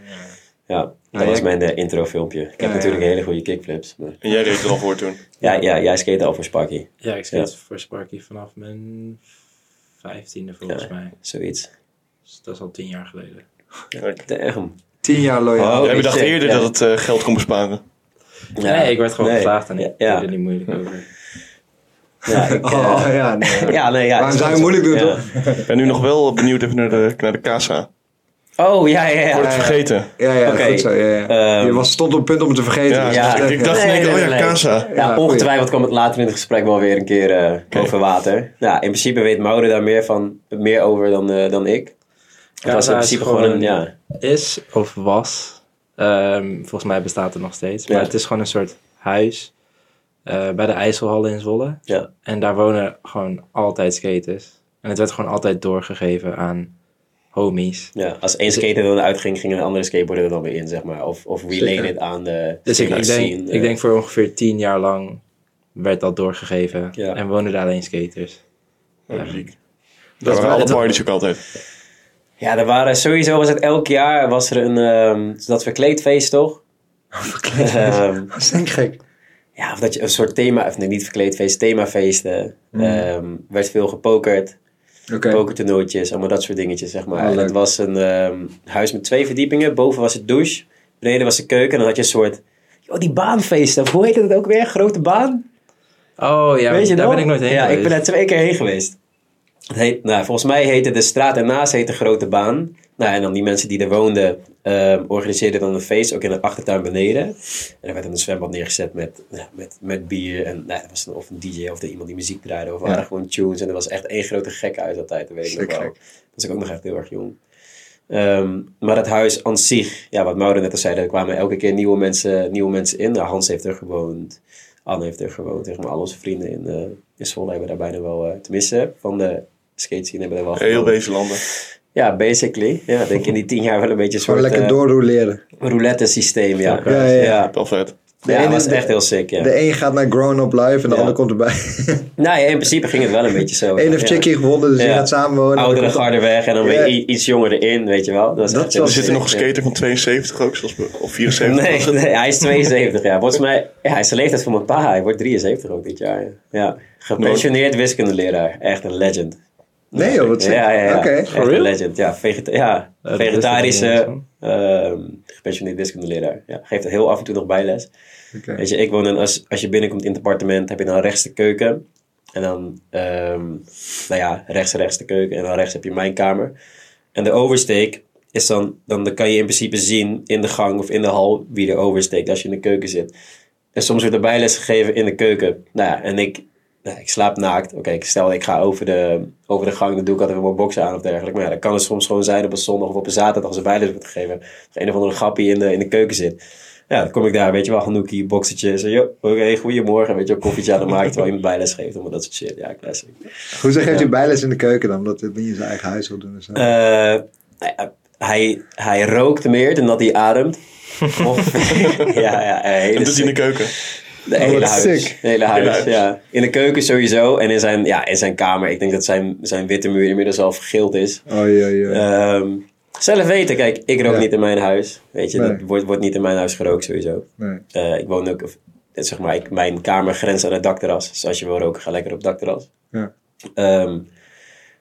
Speaker 3: ja. Dat
Speaker 1: Ja,
Speaker 3: was
Speaker 1: jij-
Speaker 3: mijn eh, introfilmpje. Ik heb
Speaker 1: ja.
Speaker 3: natuurlijk hele goede kickflips. Maar...
Speaker 2: En jij reed er al voor toen.
Speaker 3: Ja, ja, jij skate al voor Sparky.
Speaker 4: Ja, ik skate
Speaker 3: Ja.
Speaker 4: voor Sparky vanaf mijn vijftiende volgens
Speaker 3: Ja.
Speaker 4: mij.
Speaker 3: Zoiets.
Speaker 4: Dus dat is al tien jaar geleden.
Speaker 3: Damn.
Speaker 1: Tien jaar loyaal.
Speaker 3: Oh.
Speaker 2: jij bedacht
Speaker 3: shit,
Speaker 2: eerder
Speaker 3: ja.
Speaker 2: dat het eh, geld kon besparen.
Speaker 3: Ja.
Speaker 4: Nee, ik werd gewoon
Speaker 3: Nee.
Speaker 4: gevraagd en ik
Speaker 3: Ja.
Speaker 4: deed er niet moeilijk over.
Speaker 3: Ja, ik, eh,
Speaker 1: oh ja, nee.
Speaker 3: ja, nee, ja.
Speaker 1: Waarom zou je moeilijk doen,
Speaker 3: Ja.
Speaker 1: toch?
Speaker 2: Ik ben nu nog wel benieuwd even naar de, naar de casa.
Speaker 3: Oh, ja, ja, ja.
Speaker 2: Wordt het vergeten?
Speaker 1: Ja, ja,
Speaker 3: Oké.
Speaker 1: goed zo. Ja, ja.
Speaker 3: Ehm,
Speaker 1: je was, stond op het punt om het te vergeten.
Speaker 2: Ja,
Speaker 1: dus
Speaker 3: ja.
Speaker 1: dat
Speaker 2: ik,
Speaker 1: is
Speaker 2: ik
Speaker 1: echt,
Speaker 2: dacht
Speaker 3: Nee,
Speaker 2: in één keer,
Speaker 3: nee,
Speaker 2: oh ja,
Speaker 3: nee.
Speaker 2: casa.
Speaker 3: Ja,
Speaker 1: Ja,
Speaker 3: ongetwijfeld kwam het later in het gesprek wel weer een keer eh, over water. Nou, in principe weet Mauro daar meer, van, meer over dan, eh, dan ik. Het was in
Speaker 4: Gaza is
Speaker 3: principe gewoon een,
Speaker 4: gewoon-
Speaker 3: ja.
Speaker 4: Is of was, ehm, volgens mij bestaat het nog steeds, maar
Speaker 3: Ja.
Speaker 4: het is gewoon een soort huis eh, bij de IJsselhallen in Zwolle.
Speaker 3: Ja.
Speaker 4: En daar wonen gewoon altijd skaters. En het werd gewoon altijd doorgegeven aan homies.
Speaker 3: Ja, als
Speaker 4: Dus
Speaker 3: één skater er dan uitging, ging een andere skateboarder er dan weer in, zeg maar. Of, of related aan de
Speaker 4: Dus ik, ik,
Speaker 3: skating
Speaker 4: denk,
Speaker 3: scene, eh.
Speaker 4: ik denk voor ongeveer tien jaar lang werd dat doorgegeven.
Speaker 3: Ja.
Speaker 4: En woonden daar alleen skaters.
Speaker 2: Oh, ziek. Dat waren
Speaker 4: wel-
Speaker 2: alle
Speaker 4: dat-
Speaker 2: parties ook altijd.
Speaker 3: Ja, er waren sowieso, was het elk jaar, was er een, ehm, dat verkleedfeest, toch? Ehm,
Speaker 1: Dat is denk ik gek.
Speaker 3: ja, of dat je een soort thema, of nee, niet verkleedfeest, themafeesten.
Speaker 4: Hmm.
Speaker 3: Ehm, werd veel gepokerd.
Speaker 1: Oké.
Speaker 3: pokertoernooitjes, allemaal dat soort dingetjes, zeg maar.
Speaker 1: Ah,
Speaker 4: Oh,
Speaker 3: en
Speaker 1: leuk.
Speaker 3: het was een ehm, huis met twee verdiepingen. Boven was het douche, beneden was de keuken. En dan had je een soort, joh, die baanfeesten. of Hoe heette dat ook weer? Grote baan?
Speaker 4: Oh ja,
Speaker 3: Weet je
Speaker 4: daar
Speaker 3: nog?
Speaker 4: ben ik nooit heen
Speaker 3: Ja,
Speaker 4: geweest.
Speaker 3: ik ben daar twee keer heen geweest. Het heet, nou, volgens mij heette de straat ernaast heette Grote Baan. Nou, en dan die mensen die er woonden, ehm, organiseerden dan een feest, ook in de achtertuin beneden. En er werd dan een zwembad neergezet met, nou, met, met bier. En nou, dat was dan of een DJ of er iemand die muziek draaide. Of er waren gewoon tunes. En er was echt één grote gek uit dat tijd, dat weet ik nog
Speaker 1: Sick
Speaker 3: wel.
Speaker 1: gek.
Speaker 3: Dat was ik ook nog echt heel erg jong. Ehm, maar het huis aan zich, ja, wat Mauro net al zei, er kwamen elke keer nieuwe mensen, nieuwe mensen in. Nou, Hans heeft er gewoond, Anne heeft er gewoond, zeg maar, al onze vrienden in, eh in Zwolle hebben daar bijna wel, eh tenminste, van de skate scene hebben daar wel
Speaker 2: Heel
Speaker 3: gewoond.
Speaker 2: deze landen.
Speaker 3: Ja, basically. Ja, ik denk in die tien jaar wel een beetje een
Speaker 1: Gewoon
Speaker 3: soort
Speaker 1: lekker
Speaker 3: eh,
Speaker 1: doorrouleren.
Speaker 3: roulette systeem, ja.
Speaker 1: Ja, ja, ja.
Speaker 2: Wel vet.
Speaker 3: Ja,
Speaker 1: ene-
Speaker 3: was echt heel sick, ja.
Speaker 1: De e- een gaat naar Grown Up Live en de
Speaker 3: Ja.
Speaker 1: ander komt erbij.
Speaker 3: Nou ja, in principe ging het wel een beetje zo.
Speaker 1: De een heeft
Speaker 3: ja.
Speaker 1: Chickie gewonnen, dus die
Speaker 3: Ja.
Speaker 1: gaat samen wonen.
Speaker 3: Oudere garde weg en dan
Speaker 1: Ja.
Speaker 3: weer i- iets jonger erin, weet je wel. Dat, was
Speaker 1: Dat
Speaker 3: echt heel
Speaker 1: was-
Speaker 2: Er zit er nog een
Speaker 3: sick, ja.
Speaker 2: skater van 72 ook, zoals we- of 74.
Speaker 3: Nee, nee, hij is 72 jaar. Volgens mij, ja, hij is de leeftijd van mijn pa. Hij wordt 73 ook dit jaar. ja. Ja, gepensioneerd wiskundeleraar. Echt een legend.
Speaker 1: Nee joh, wat
Speaker 3: Ja,
Speaker 1: zeg
Speaker 3: ja, ja.
Speaker 1: Oké.
Speaker 3: Echt
Speaker 4: real?
Speaker 3: een legend. Ja, vegeta- ja
Speaker 4: Eh, dat wist ik niet
Speaker 3: vegetarische,
Speaker 4: eens,
Speaker 3: ehm gepensioneerd wiskundeleraar. Ja, geeft er heel af en toe nog bijles.
Speaker 1: Oké.
Speaker 3: Weet je, ik woon in, als, als je binnenkomt in het appartement, heb je dan rechts de keuken. En dan, ehm, nou ja, rechts, rechts de keuken. En dan rechts heb je mijn kamer. En de oversteek is dan, dan kan je in principe zien in de gang of in de hal wie er oversteekt als je in de keuken zit. En soms wordt er bijles gegeven in de keuken. Nou ja, en ik, nou, ik slaap naakt. Oké, ik stel ik ga over de, over de gang, dan doe ik altijd wel mijn boksen aan of dergelijke. Maar ja, dan kan het soms gewoon zijn op een zondag of op een zaterdag als er bijles wordt gegeven. Dat er een of andere grappie in de, in de keuken zit. Ja, dan kom ik daar, weet je wel, Hanouki, boksertje. Zo, joh, oké, goedemorgen. Weet je wel, koffietje aan de maak terwijl iemand bijles geeft. Allemaal dat soort shit. Ja, classic.
Speaker 1: Hoe zeg heeft hij bijles in de keuken dan? Omdat hij het niet in zijn eigen huis wil doen. en zo.
Speaker 3: Eh, hij, hij rookt meer dan dat hij ademt. Of, ja, ja, een hele
Speaker 2: En dat is in de keuken.
Speaker 3: de hele
Speaker 1: Oh, wat
Speaker 3: huis.
Speaker 1: sick.
Speaker 3: De hele huis,
Speaker 2: Hele huis.
Speaker 3: ja. In de keuken sowieso. En in zijn, ja, in zijn kamer. Ik denk dat zijn, zijn witte muur inmiddels al vergeeld is.
Speaker 1: Oei, oei, oei.
Speaker 3: Ehm, zelf weten, kijk, ik rook
Speaker 1: Ja.
Speaker 3: niet in mijn huis. Weet je, dat
Speaker 1: Nee.
Speaker 3: wordt, wordt niet in mijn huis gerookt sowieso.
Speaker 1: Nee.
Speaker 3: Eh, ik woon ook, of, eh, zeg maar, ik, mijn kamer grenst aan het dakterras. Dus als je wil roken, ga lekker op het dakterras.
Speaker 1: Ja.
Speaker 3: Ehm,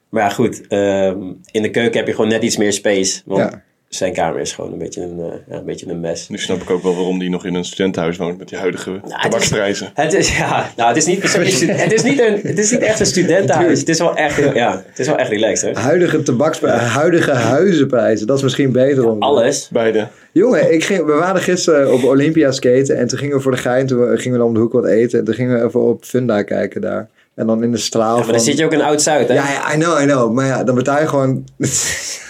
Speaker 3: maar ja, goed. ehm, in de keuken heb je gewoon net iets meer space. Want
Speaker 1: Ja.
Speaker 3: zijn kamer is gewoon een beetje een, eh, ja, een, beetje een mes.
Speaker 2: Nu snap ik ook wel waarom die nog in een studentenhuis woont met die
Speaker 3: Nou,
Speaker 2: huidige tabaksprijzen.
Speaker 3: Het is, ja, nou, het is niet, per se een student- het is niet, een, het is niet echt een studentenhuis. Het is wel echt, heel- ja, het is wel echt relaxed, hè?
Speaker 1: Huidige tabaksprijzen, huidige huizenprijzen, dat is misschien beter om.
Speaker 3: Alles.
Speaker 2: Beide.
Speaker 1: Jongen, ik ging, we waren gisteren op Olympia skaten en toen gingen we voor de gein, toen we- gingen we dan om de hoek wat eten. En toen gingen we even op Funda kijken daar. En dan in de straal
Speaker 3: Maar dan
Speaker 1: van...
Speaker 3: zit je ook in Oud-Zuid, hè?
Speaker 1: Ja, ja, I know, I know. Maar ja, dan betaal je gewoon...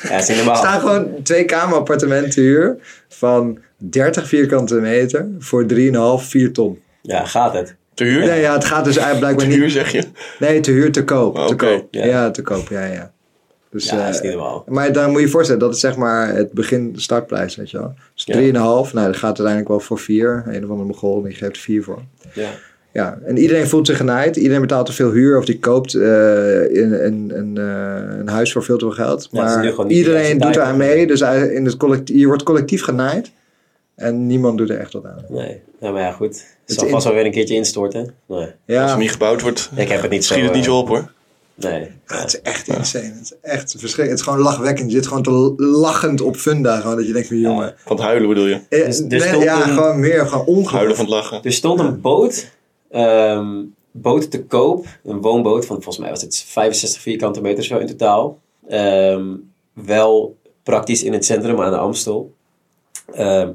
Speaker 3: Ja, is niet
Speaker 1: Er
Speaker 3: normaal.
Speaker 1: staan gewoon twee kamerappartementen huur van 30 vierkante meter voor 3,5, 4 ton.
Speaker 3: Ja, gaat het.
Speaker 2: Te huur?
Speaker 1: Nee, ja, het gaat dus eigenlijk
Speaker 2: Te
Speaker 1: blijkbaar
Speaker 2: huur
Speaker 1: niet...
Speaker 2: zeg je?
Speaker 1: Nee, te huur, te koop.
Speaker 2: Oh,
Speaker 1: te
Speaker 2: oké,
Speaker 1: koop.
Speaker 3: ja.
Speaker 1: Ja. te koop, ja, ja. Dus,
Speaker 3: Ja,
Speaker 1: eh,
Speaker 3: is niet normaal.
Speaker 1: maar dan moet je je voorstellen, dat is zeg maar het begin startprijs, weet je wel. Dus 3,5, nou dat gaat uiteindelijk wel voor 4. Een of andere mogol, die geeft 4 voor.
Speaker 3: Ja.
Speaker 1: Ja, en iedereen voelt zich genaaid. Iedereen betaalt te veel huur of die koopt eh, in, een een eh, een huis voor veel te veel geld.
Speaker 3: Ja, het is
Speaker 1: Maar
Speaker 3: nu gewoon niet
Speaker 1: iedereen
Speaker 3: diversiteit.
Speaker 1: doet daar aan mee. Dus eigenlijk in het collectief, je wordt collectief genaaid. En niemand doet er echt wat aan.
Speaker 3: Nee, nou, maar ja, goed. Het zal
Speaker 1: in-
Speaker 3: vast wel weer een keertje instorten. Nee,
Speaker 2: Als
Speaker 1: Ja,
Speaker 2: het niet gebouwd wordt,
Speaker 3: ik heb het niet zo...
Speaker 2: schiet het niet zo op hoor.
Speaker 3: eh, Nee.
Speaker 1: ah, het is echt insane. Het is echt verschrikkelijk. Het is gewoon lachwekkend. Je zit gewoon te lachend op funda. Gewoon dat je denkt van jongen.
Speaker 2: Van het huilen bedoel je?
Speaker 1: Eh,
Speaker 3: Dus- dus
Speaker 1: nee,
Speaker 3: stond
Speaker 1: ja,
Speaker 3: een-
Speaker 1: gewoon meer. Gewoon
Speaker 2: Huilen
Speaker 1: ongelooflijk.
Speaker 2: van het lachen.
Speaker 3: Er stond een boot ehm, boot te koop. Een woonboot van volgens mij was het 65 vierkante meter zo in totaal. Ehm, wel praktisch in het centrum aan de Amstel. Ehm 7,5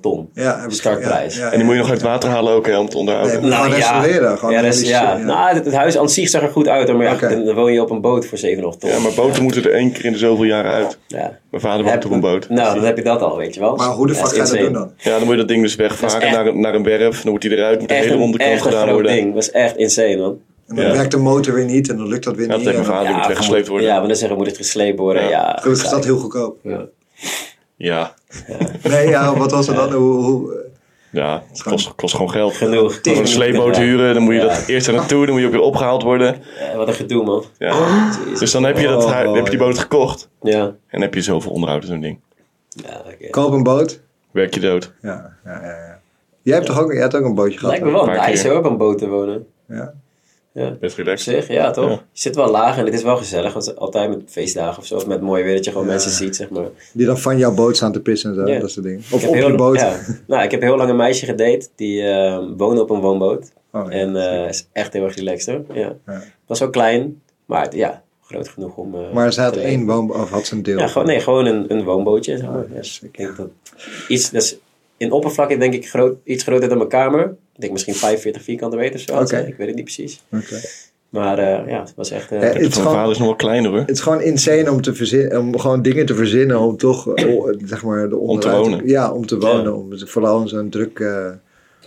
Speaker 3: ton.
Speaker 1: Ja, heb ik-
Speaker 3: Startprijs.
Speaker 2: En die moet je nog uit het water halen ook, hè, om te onderhouden.
Speaker 1: Nee, Gewoon restaureren, eh, gewoon
Speaker 3: Nou ja,
Speaker 1: hele
Speaker 3: rest-
Speaker 1: shit,
Speaker 3: ja.
Speaker 1: ja.
Speaker 3: Nou, het, het huis aan zich zag er goed uit, hoor, maar ja,
Speaker 1: Oké.
Speaker 3: dan, dan woon je op een boot voor 7,5 ton.
Speaker 2: Ja, maar boten moeten er één keer in de zoveel jaren uit.
Speaker 3: Ja.
Speaker 2: Mijn vader
Speaker 3: Heb-
Speaker 2: woont op een boot.
Speaker 3: Nou, dan heb je dat al, weet je wel.
Speaker 1: Maar hoe de
Speaker 3: Ja,
Speaker 1: fuck
Speaker 3: is
Speaker 1: ga je dat
Speaker 3: insane.
Speaker 1: doen dan?
Speaker 2: Ja, dan moet je dat ding dus
Speaker 3: Dat
Speaker 2: wegvaren
Speaker 3: is echt-
Speaker 2: naar, een- naar een werf. Dan wordt hij eruit, moet de
Speaker 3: Echt
Speaker 2: hele
Speaker 3: een,
Speaker 2: onderkant
Speaker 3: echt een
Speaker 2: gedaan
Speaker 3: groot
Speaker 2: worden.
Speaker 3: ding. was echt insane, man.
Speaker 1: En dan
Speaker 2: Ja.
Speaker 1: werkt de motor weer niet en dan lukt dat weer
Speaker 2: Ja, dat
Speaker 1: niet.
Speaker 2: heeft mijn
Speaker 1: en dan-
Speaker 2: vader moet weggesleept worden.
Speaker 3: Ja,
Speaker 2: Ja.
Speaker 3: maar dan zeggen moet het gesleept worden. Ja.
Speaker 2: Ja.
Speaker 1: Goed, is dat heel goedkoop.
Speaker 3: Ja.
Speaker 2: Ja.
Speaker 1: Nee, ja, wat was er dan? Hoe, hoe,
Speaker 2: het kost, kost gewoon geld.
Speaker 3: Genoeg.
Speaker 2: Gewoon een sleepboot
Speaker 3: Ja.
Speaker 2: huren, dan moet je
Speaker 3: Ja.
Speaker 2: dat eerst aan naartoe, dan moet je ook weer opgehaald worden.
Speaker 3: Eh, wat een gedoe, man.
Speaker 2: Ja.
Speaker 1: Oh.
Speaker 2: Dus dan heb je, dat, hui- dan heb je die boot gekocht
Speaker 3: Ja.
Speaker 2: en heb je zoveel onderhoud in zo'n ding.
Speaker 3: ja oké.
Speaker 1: koop een boot.
Speaker 2: Werk je dood.
Speaker 1: Ja, ja, ja. ja. Jij hebt toch ook, jij hebt ook een bootje gehad?
Speaker 3: Lijkt me
Speaker 1: hè?
Speaker 3: wel
Speaker 2: Een paar
Speaker 3: nice
Speaker 2: keer.
Speaker 3: hoor, op een boot te wonen.
Speaker 1: Ja.
Speaker 3: Ja.
Speaker 2: Best
Speaker 3: Op
Speaker 2: relaxed.
Speaker 3: zich, ja toch?
Speaker 2: Ja.
Speaker 3: Je zit wel laag en het is wel gezellig. Want het is altijd met feestdagen of zo, of met mooi weer dat je gewoon mensen ziet, zeg maar.
Speaker 1: Die dan van jouw boot staan te pissen en zo,
Speaker 3: Ja.
Speaker 1: dat soort dingen.
Speaker 3: Ik
Speaker 1: Of
Speaker 3: heb
Speaker 1: op
Speaker 3: heel-
Speaker 1: je boot.
Speaker 3: Ja. Nou, ik heb heel lang een meisje gedate die eh, woonde op een woonboot.
Speaker 1: Oh, ja.
Speaker 3: En eh is echt heel erg relaxed hoor. Ja.
Speaker 1: Ja.
Speaker 3: Was wel klein, maar het- ja, groot genoeg om. eh,
Speaker 1: Maar ze had
Speaker 3: te leven.
Speaker 1: één woon of had ze een deel.
Speaker 3: Ja, gewoon, nee, gewoon een, een woonbootje. Zeg maar. Ja, ik denk dat iets, dat is in oppervlakte denk ik groot, iets groter dan mijn kamer. Ik denk misschien 45 vierkante meter of zo.
Speaker 1: Oké.
Speaker 3: Ik weet het niet precies.
Speaker 1: Oké.
Speaker 3: Maar eh, ja, het was echt... eh,
Speaker 1: Eh,
Speaker 2: Ja,
Speaker 1: Het
Speaker 2: dat
Speaker 1: is
Speaker 2: van
Speaker 1: gewoon-
Speaker 2: mijn vader is nog wel kleiner hoor.
Speaker 1: Het is gewoon insane om, te verzinnen, om gewoon dingen te verzinnen om toch eh, o- zeg maar, de onderuit-
Speaker 2: wonen.
Speaker 1: Ja, om te wonen.
Speaker 3: Ja.
Speaker 1: Om, vooral in zo'n druk... eh,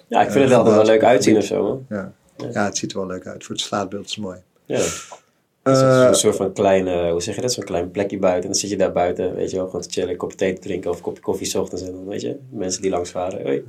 Speaker 3: ja, ik vind het
Speaker 1: eh,
Speaker 3: altijd wel
Speaker 1: gebouwd.
Speaker 3: leuk uitzien of zo. Man.
Speaker 1: ja. ja, het ziet er wel leuk uit. Voor het straatbeeld is het mooi.
Speaker 3: Ja.
Speaker 1: Eh,
Speaker 3: een soort van klein, eh, hoe zeg je dat, zo'n klein plekje buiten. En dan zit je daar buiten, weet je wel, gewoon te chillen, een kopje thee te drinken of een kopje koffie 's ochtends. En dan, weet je, mensen die langs varen. Hoi.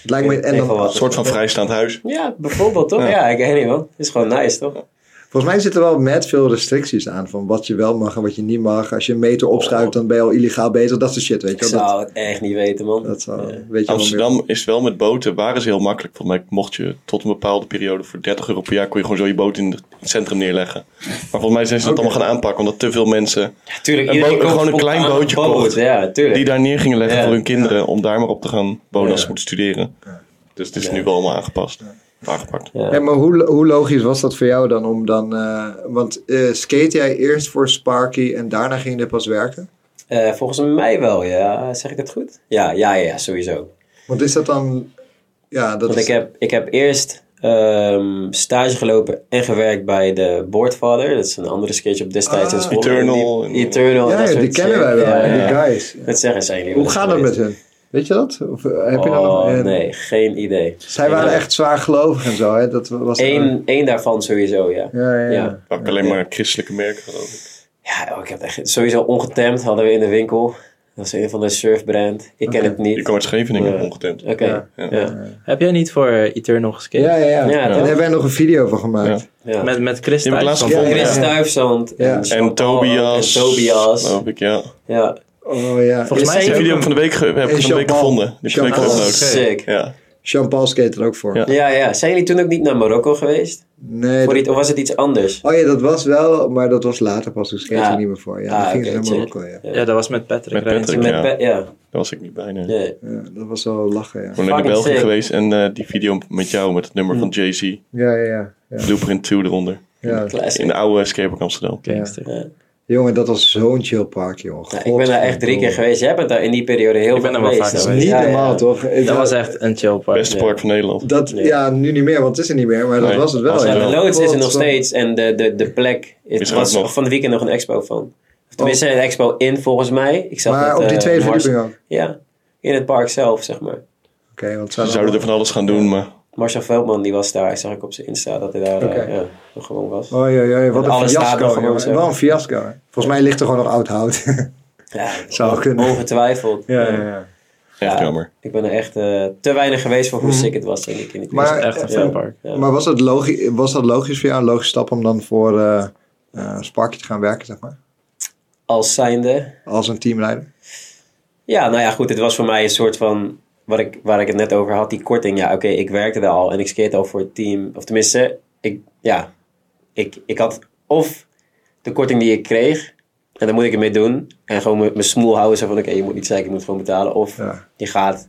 Speaker 1: het lijkt me... En
Speaker 3: Even
Speaker 1: dan,
Speaker 3: wat.
Speaker 2: Een soort van vrijstaand huis.
Speaker 3: Ja, bijvoorbeeld toch? Ja, ik weet niet man. Het is gewoon nice toch?
Speaker 1: volgens mij zitten er wel met veel restricties aan. Van wat je wel mag en wat je niet mag. Als je een meter opschuift, dan ben je al illegaal bezig. Dat soort shit, weet
Speaker 3: Ik
Speaker 1: je wel. Dat,
Speaker 3: Oh. zou het echt niet weten man.
Speaker 1: dat zou, weet je wel meer.
Speaker 2: Amsterdam is wel met boten, waren ze heel makkelijk. Volgens mij mocht je tot een bepaalde periode voor 30 euro per jaar kon je gewoon zo je boot in het centrum neerleggen. Maar volgens mij zijn ze dat allemaal gaan aanpakken, omdat te veel mensen
Speaker 3: Tuurlijk,
Speaker 2: Een
Speaker 3: iedereen
Speaker 2: boot-
Speaker 3: koopt
Speaker 2: gewoon een klein
Speaker 3: spontaan
Speaker 2: bootje
Speaker 3: een boot,
Speaker 2: kocht.
Speaker 3: Ja, tuurlijk.
Speaker 2: die daar neer gingen leggen
Speaker 3: Ja.
Speaker 2: voor hun kinderen, om daar maar op te gaan wonen als
Speaker 3: Ja.
Speaker 2: ze moeten studeren. Dus het is nu wel allemaal aangepast. Aangepakt.
Speaker 1: Ja, maar hoe, hoe logisch was dat voor jou dan om dan... eh, want eh, skate jij eerst voor Sparky en daarna ging je pas werken?
Speaker 3: Eh, volgens mij wel, ja. Zeg ik dat goed? Ja, ja, ja, ja, sowieso.
Speaker 1: Want is dat dan... Ja, dat
Speaker 3: Want
Speaker 1: is...
Speaker 3: ik heb, ik heb eerst ehm, stage gelopen en gewerkt bij de Boardfather. Dat is een andere sketch op destijds. in
Speaker 1: Ah.
Speaker 3: Zwolle.
Speaker 2: Eternal.
Speaker 3: En die- Eternal. en
Speaker 1: Ja,
Speaker 3: dat
Speaker 1: ja, die
Speaker 3: soort
Speaker 1: kennen wij
Speaker 3: shit.
Speaker 1: wel,
Speaker 3: Ja, ja.
Speaker 1: die guys.
Speaker 3: Dat zeggen ze eigenlijk.
Speaker 1: Hoe gaat dat met hun? Weet je dat? Of eh, heb je dan nog...
Speaker 3: Oh,
Speaker 1: en-
Speaker 3: nee, geen idee.
Speaker 1: Zij waren
Speaker 3: Ja.
Speaker 1: echt zwaar gelovig en zo, hè? Dat was...
Speaker 3: Eén, één daarvan sowieso, ja.
Speaker 1: Ja, ja, ja.
Speaker 2: Ook alleen maar christelijke merken geloof ik.
Speaker 3: Ja, oh, ik heb echt sowieso ongetemd hadden we in de winkel. Dat is een van de surfbrand. Ik ken het niet.
Speaker 2: Je kwam uit Scheveningen,
Speaker 3: Ja.
Speaker 2: ongetemd.
Speaker 3: Oké.
Speaker 1: Ja.
Speaker 3: Ja.
Speaker 4: Heb jij niet voor eh, Eternal geskate?
Speaker 1: Ja, ja, ja.
Speaker 3: Ja,
Speaker 1: en
Speaker 3: toch?
Speaker 1: daar hebben wij nog een video van gemaakt.
Speaker 2: Ja.
Speaker 3: Ja.
Speaker 4: Met, met Chris
Speaker 2: Je hebt
Speaker 4: thuis
Speaker 2: laatst
Speaker 4: van
Speaker 2: gevonden.
Speaker 1: Ja,
Speaker 3: Chris
Speaker 1: ja, ja.
Speaker 3: Stuyvesant
Speaker 1: Ja.
Speaker 3: en,
Speaker 2: En
Speaker 3: Jean-Paul
Speaker 2: Tobias.
Speaker 3: En Tobias.
Speaker 2: Geloof ik, ja.
Speaker 3: Ja.
Speaker 1: Oh ja.
Speaker 4: Volgens mij
Speaker 2: Die video
Speaker 4: is video
Speaker 2: heb ik van de week, ge- heb
Speaker 1: En
Speaker 2: ik van de week
Speaker 1: Jean-Paul.
Speaker 2: gevonden. Die heb ik van de week
Speaker 1: Jean-Paul.
Speaker 3: Oh,
Speaker 2: geüpload.
Speaker 3: sick.
Speaker 2: Ja.
Speaker 1: Jean-Paul skate er ook voor.
Speaker 2: Ja.
Speaker 3: Ja, ja. Zijn jullie toen ook niet naar Marokko geweest?
Speaker 1: Nee.
Speaker 3: Voor
Speaker 1: dat-
Speaker 3: iets, of was het iets anders?
Speaker 1: Oh ja, dat was wel, maar dat was later pas. Toen skate
Speaker 3: Ja.
Speaker 1: ik niet meer voor. Ja,
Speaker 3: Ah,
Speaker 1: dan ging
Speaker 3: oké,
Speaker 1: ze naar
Speaker 3: check.
Speaker 1: Marokko, ja.
Speaker 4: Ja, dat was met Patrick.
Speaker 2: Met
Speaker 4: Rijns.
Speaker 2: Patrick.
Speaker 3: Met
Speaker 2: Ja.
Speaker 3: Pe- ja.
Speaker 2: Daar was ik niet bij. nee.
Speaker 3: ja.
Speaker 1: Ja, dat was wel lachen, ja.
Speaker 2: Ik ben in de
Speaker 3: Fucking
Speaker 2: België
Speaker 3: sick.
Speaker 2: geweest en eh, die video met jou met het nummer van Jay-Z.
Speaker 1: Ja, ja, ja. ja,
Speaker 2: Blueprint 2 eronder.
Speaker 1: ja.
Speaker 3: Classic.
Speaker 2: In de oude Escape Park Amsterdam.
Speaker 4: Gangster.
Speaker 3: Ja.
Speaker 1: Jongen, dat was zo'n chill park, jongen.
Speaker 3: Ja, Nou, ik ben daar echt drie keer geweest. Jij bent daar in die periode heel
Speaker 4: Ik ben
Speaker 3: veel
Speaker 4: er wel
Speaker 3: geweest.
Speaker 4: vaak
Speaker 3: hè?
Speaker 1: Dat is niet
Speaker 3: Ja, ja.
Speaker 1: normaal, toch?
Speaker 4: Dat was echt een chill park.
Speaker 2: Beste park van Nederland.
Speaker 1: Dat, ja, nu niet meer, want het is er niet meer. Maar dat
Speaker 2: Nee,
Speaker 1: was het wel,
Speaker 2: was
Speaker 1: ja.
Speaker 2: het
Speaker 3: Ja, de
Speaker 2: wel.
Speaker 3: loods is er nog
Speaker 1: Godver-
Speaker 3: steeds en de, de, de plek is,
Speaker 2: Is er
Speaker 3: was
Speaker 2: ook nog.
Speaker 3: van de weekend nog een expo van. Of tenminste een expo in volgens mij. Ik zag
Speaker 1: Maar
Speaker 3: dat,
Speaker 1: op die
Speaker 3: eh,
Speaker 1: tweede
Speaker 3: Mars-
Speaker 1: verdieping ook.
Speaker 3: Ja, in het park zelf zeg maar.
Speaker 1: Oké, want
Speaker 2: Ze zouden er van alles gaan doen, maar
Speaker 3: Marcel Veldman die was daar, zag ik op zijn Insta dat hij daar eh,
Speaker 1: Oké.
Speaker 3: ja, nog gewoon was.
Speaker 1: Oh ja, ja, wat
Speaker 3: En
Speaker 1: een
Speaker 3: alles staat nog
Speaker 1: fiasco.
Speaker 3: gewoon
Speaker 1: jongen.
Speaker 3: zo.
Speaker 1: Wel een fiasco. hè. Volgens mij ligt er gewoon nog oud hout.
Speaker 3: Ja,
Speaker 1: Zou kunnen.
Speaker 3: ongetwijfeld.
Speaker 1: ja, ja, ja.
Speaker 2: echt
Speaker 3: Ja.
Speaker 2: jammer.
Speaker 3: Ik ben er echt eh, te weinig geweest voor hoe sick het was denk ik in die
Speaker 1: Mhm. Maar-
Speaker 3: periode.
Speaker 4: Echt een
Speaker 1: Ja.
Speaker 4: fun park.
Speaker 3: Ja.
Speaker 1: Maar was, het logi- was dat logisch voor jou, een logische stap om dan voor eh eh, Sparky te gaan werken, zeg maar?
Speaker 3: Als zijnde.
Speaker 1: Als een teamleider?
Speaker 3: Ja, nou ja goed, het was voor mij een soort van, wat ik, waar ik het net over had, die korting. Ja oké, ik werkte daar al en ik skate al voor het team. Of tenminste, ik, ja, ik, ik had of de korting die ik kreeg. En dan moet ik het mee doen. En gewoon mijn mijn smoel houden. Zo van, oké, je moet niet zeggen, ik moet gewoon betalen. Of
Speaker 1: Ja.
Speaker 3: je gaat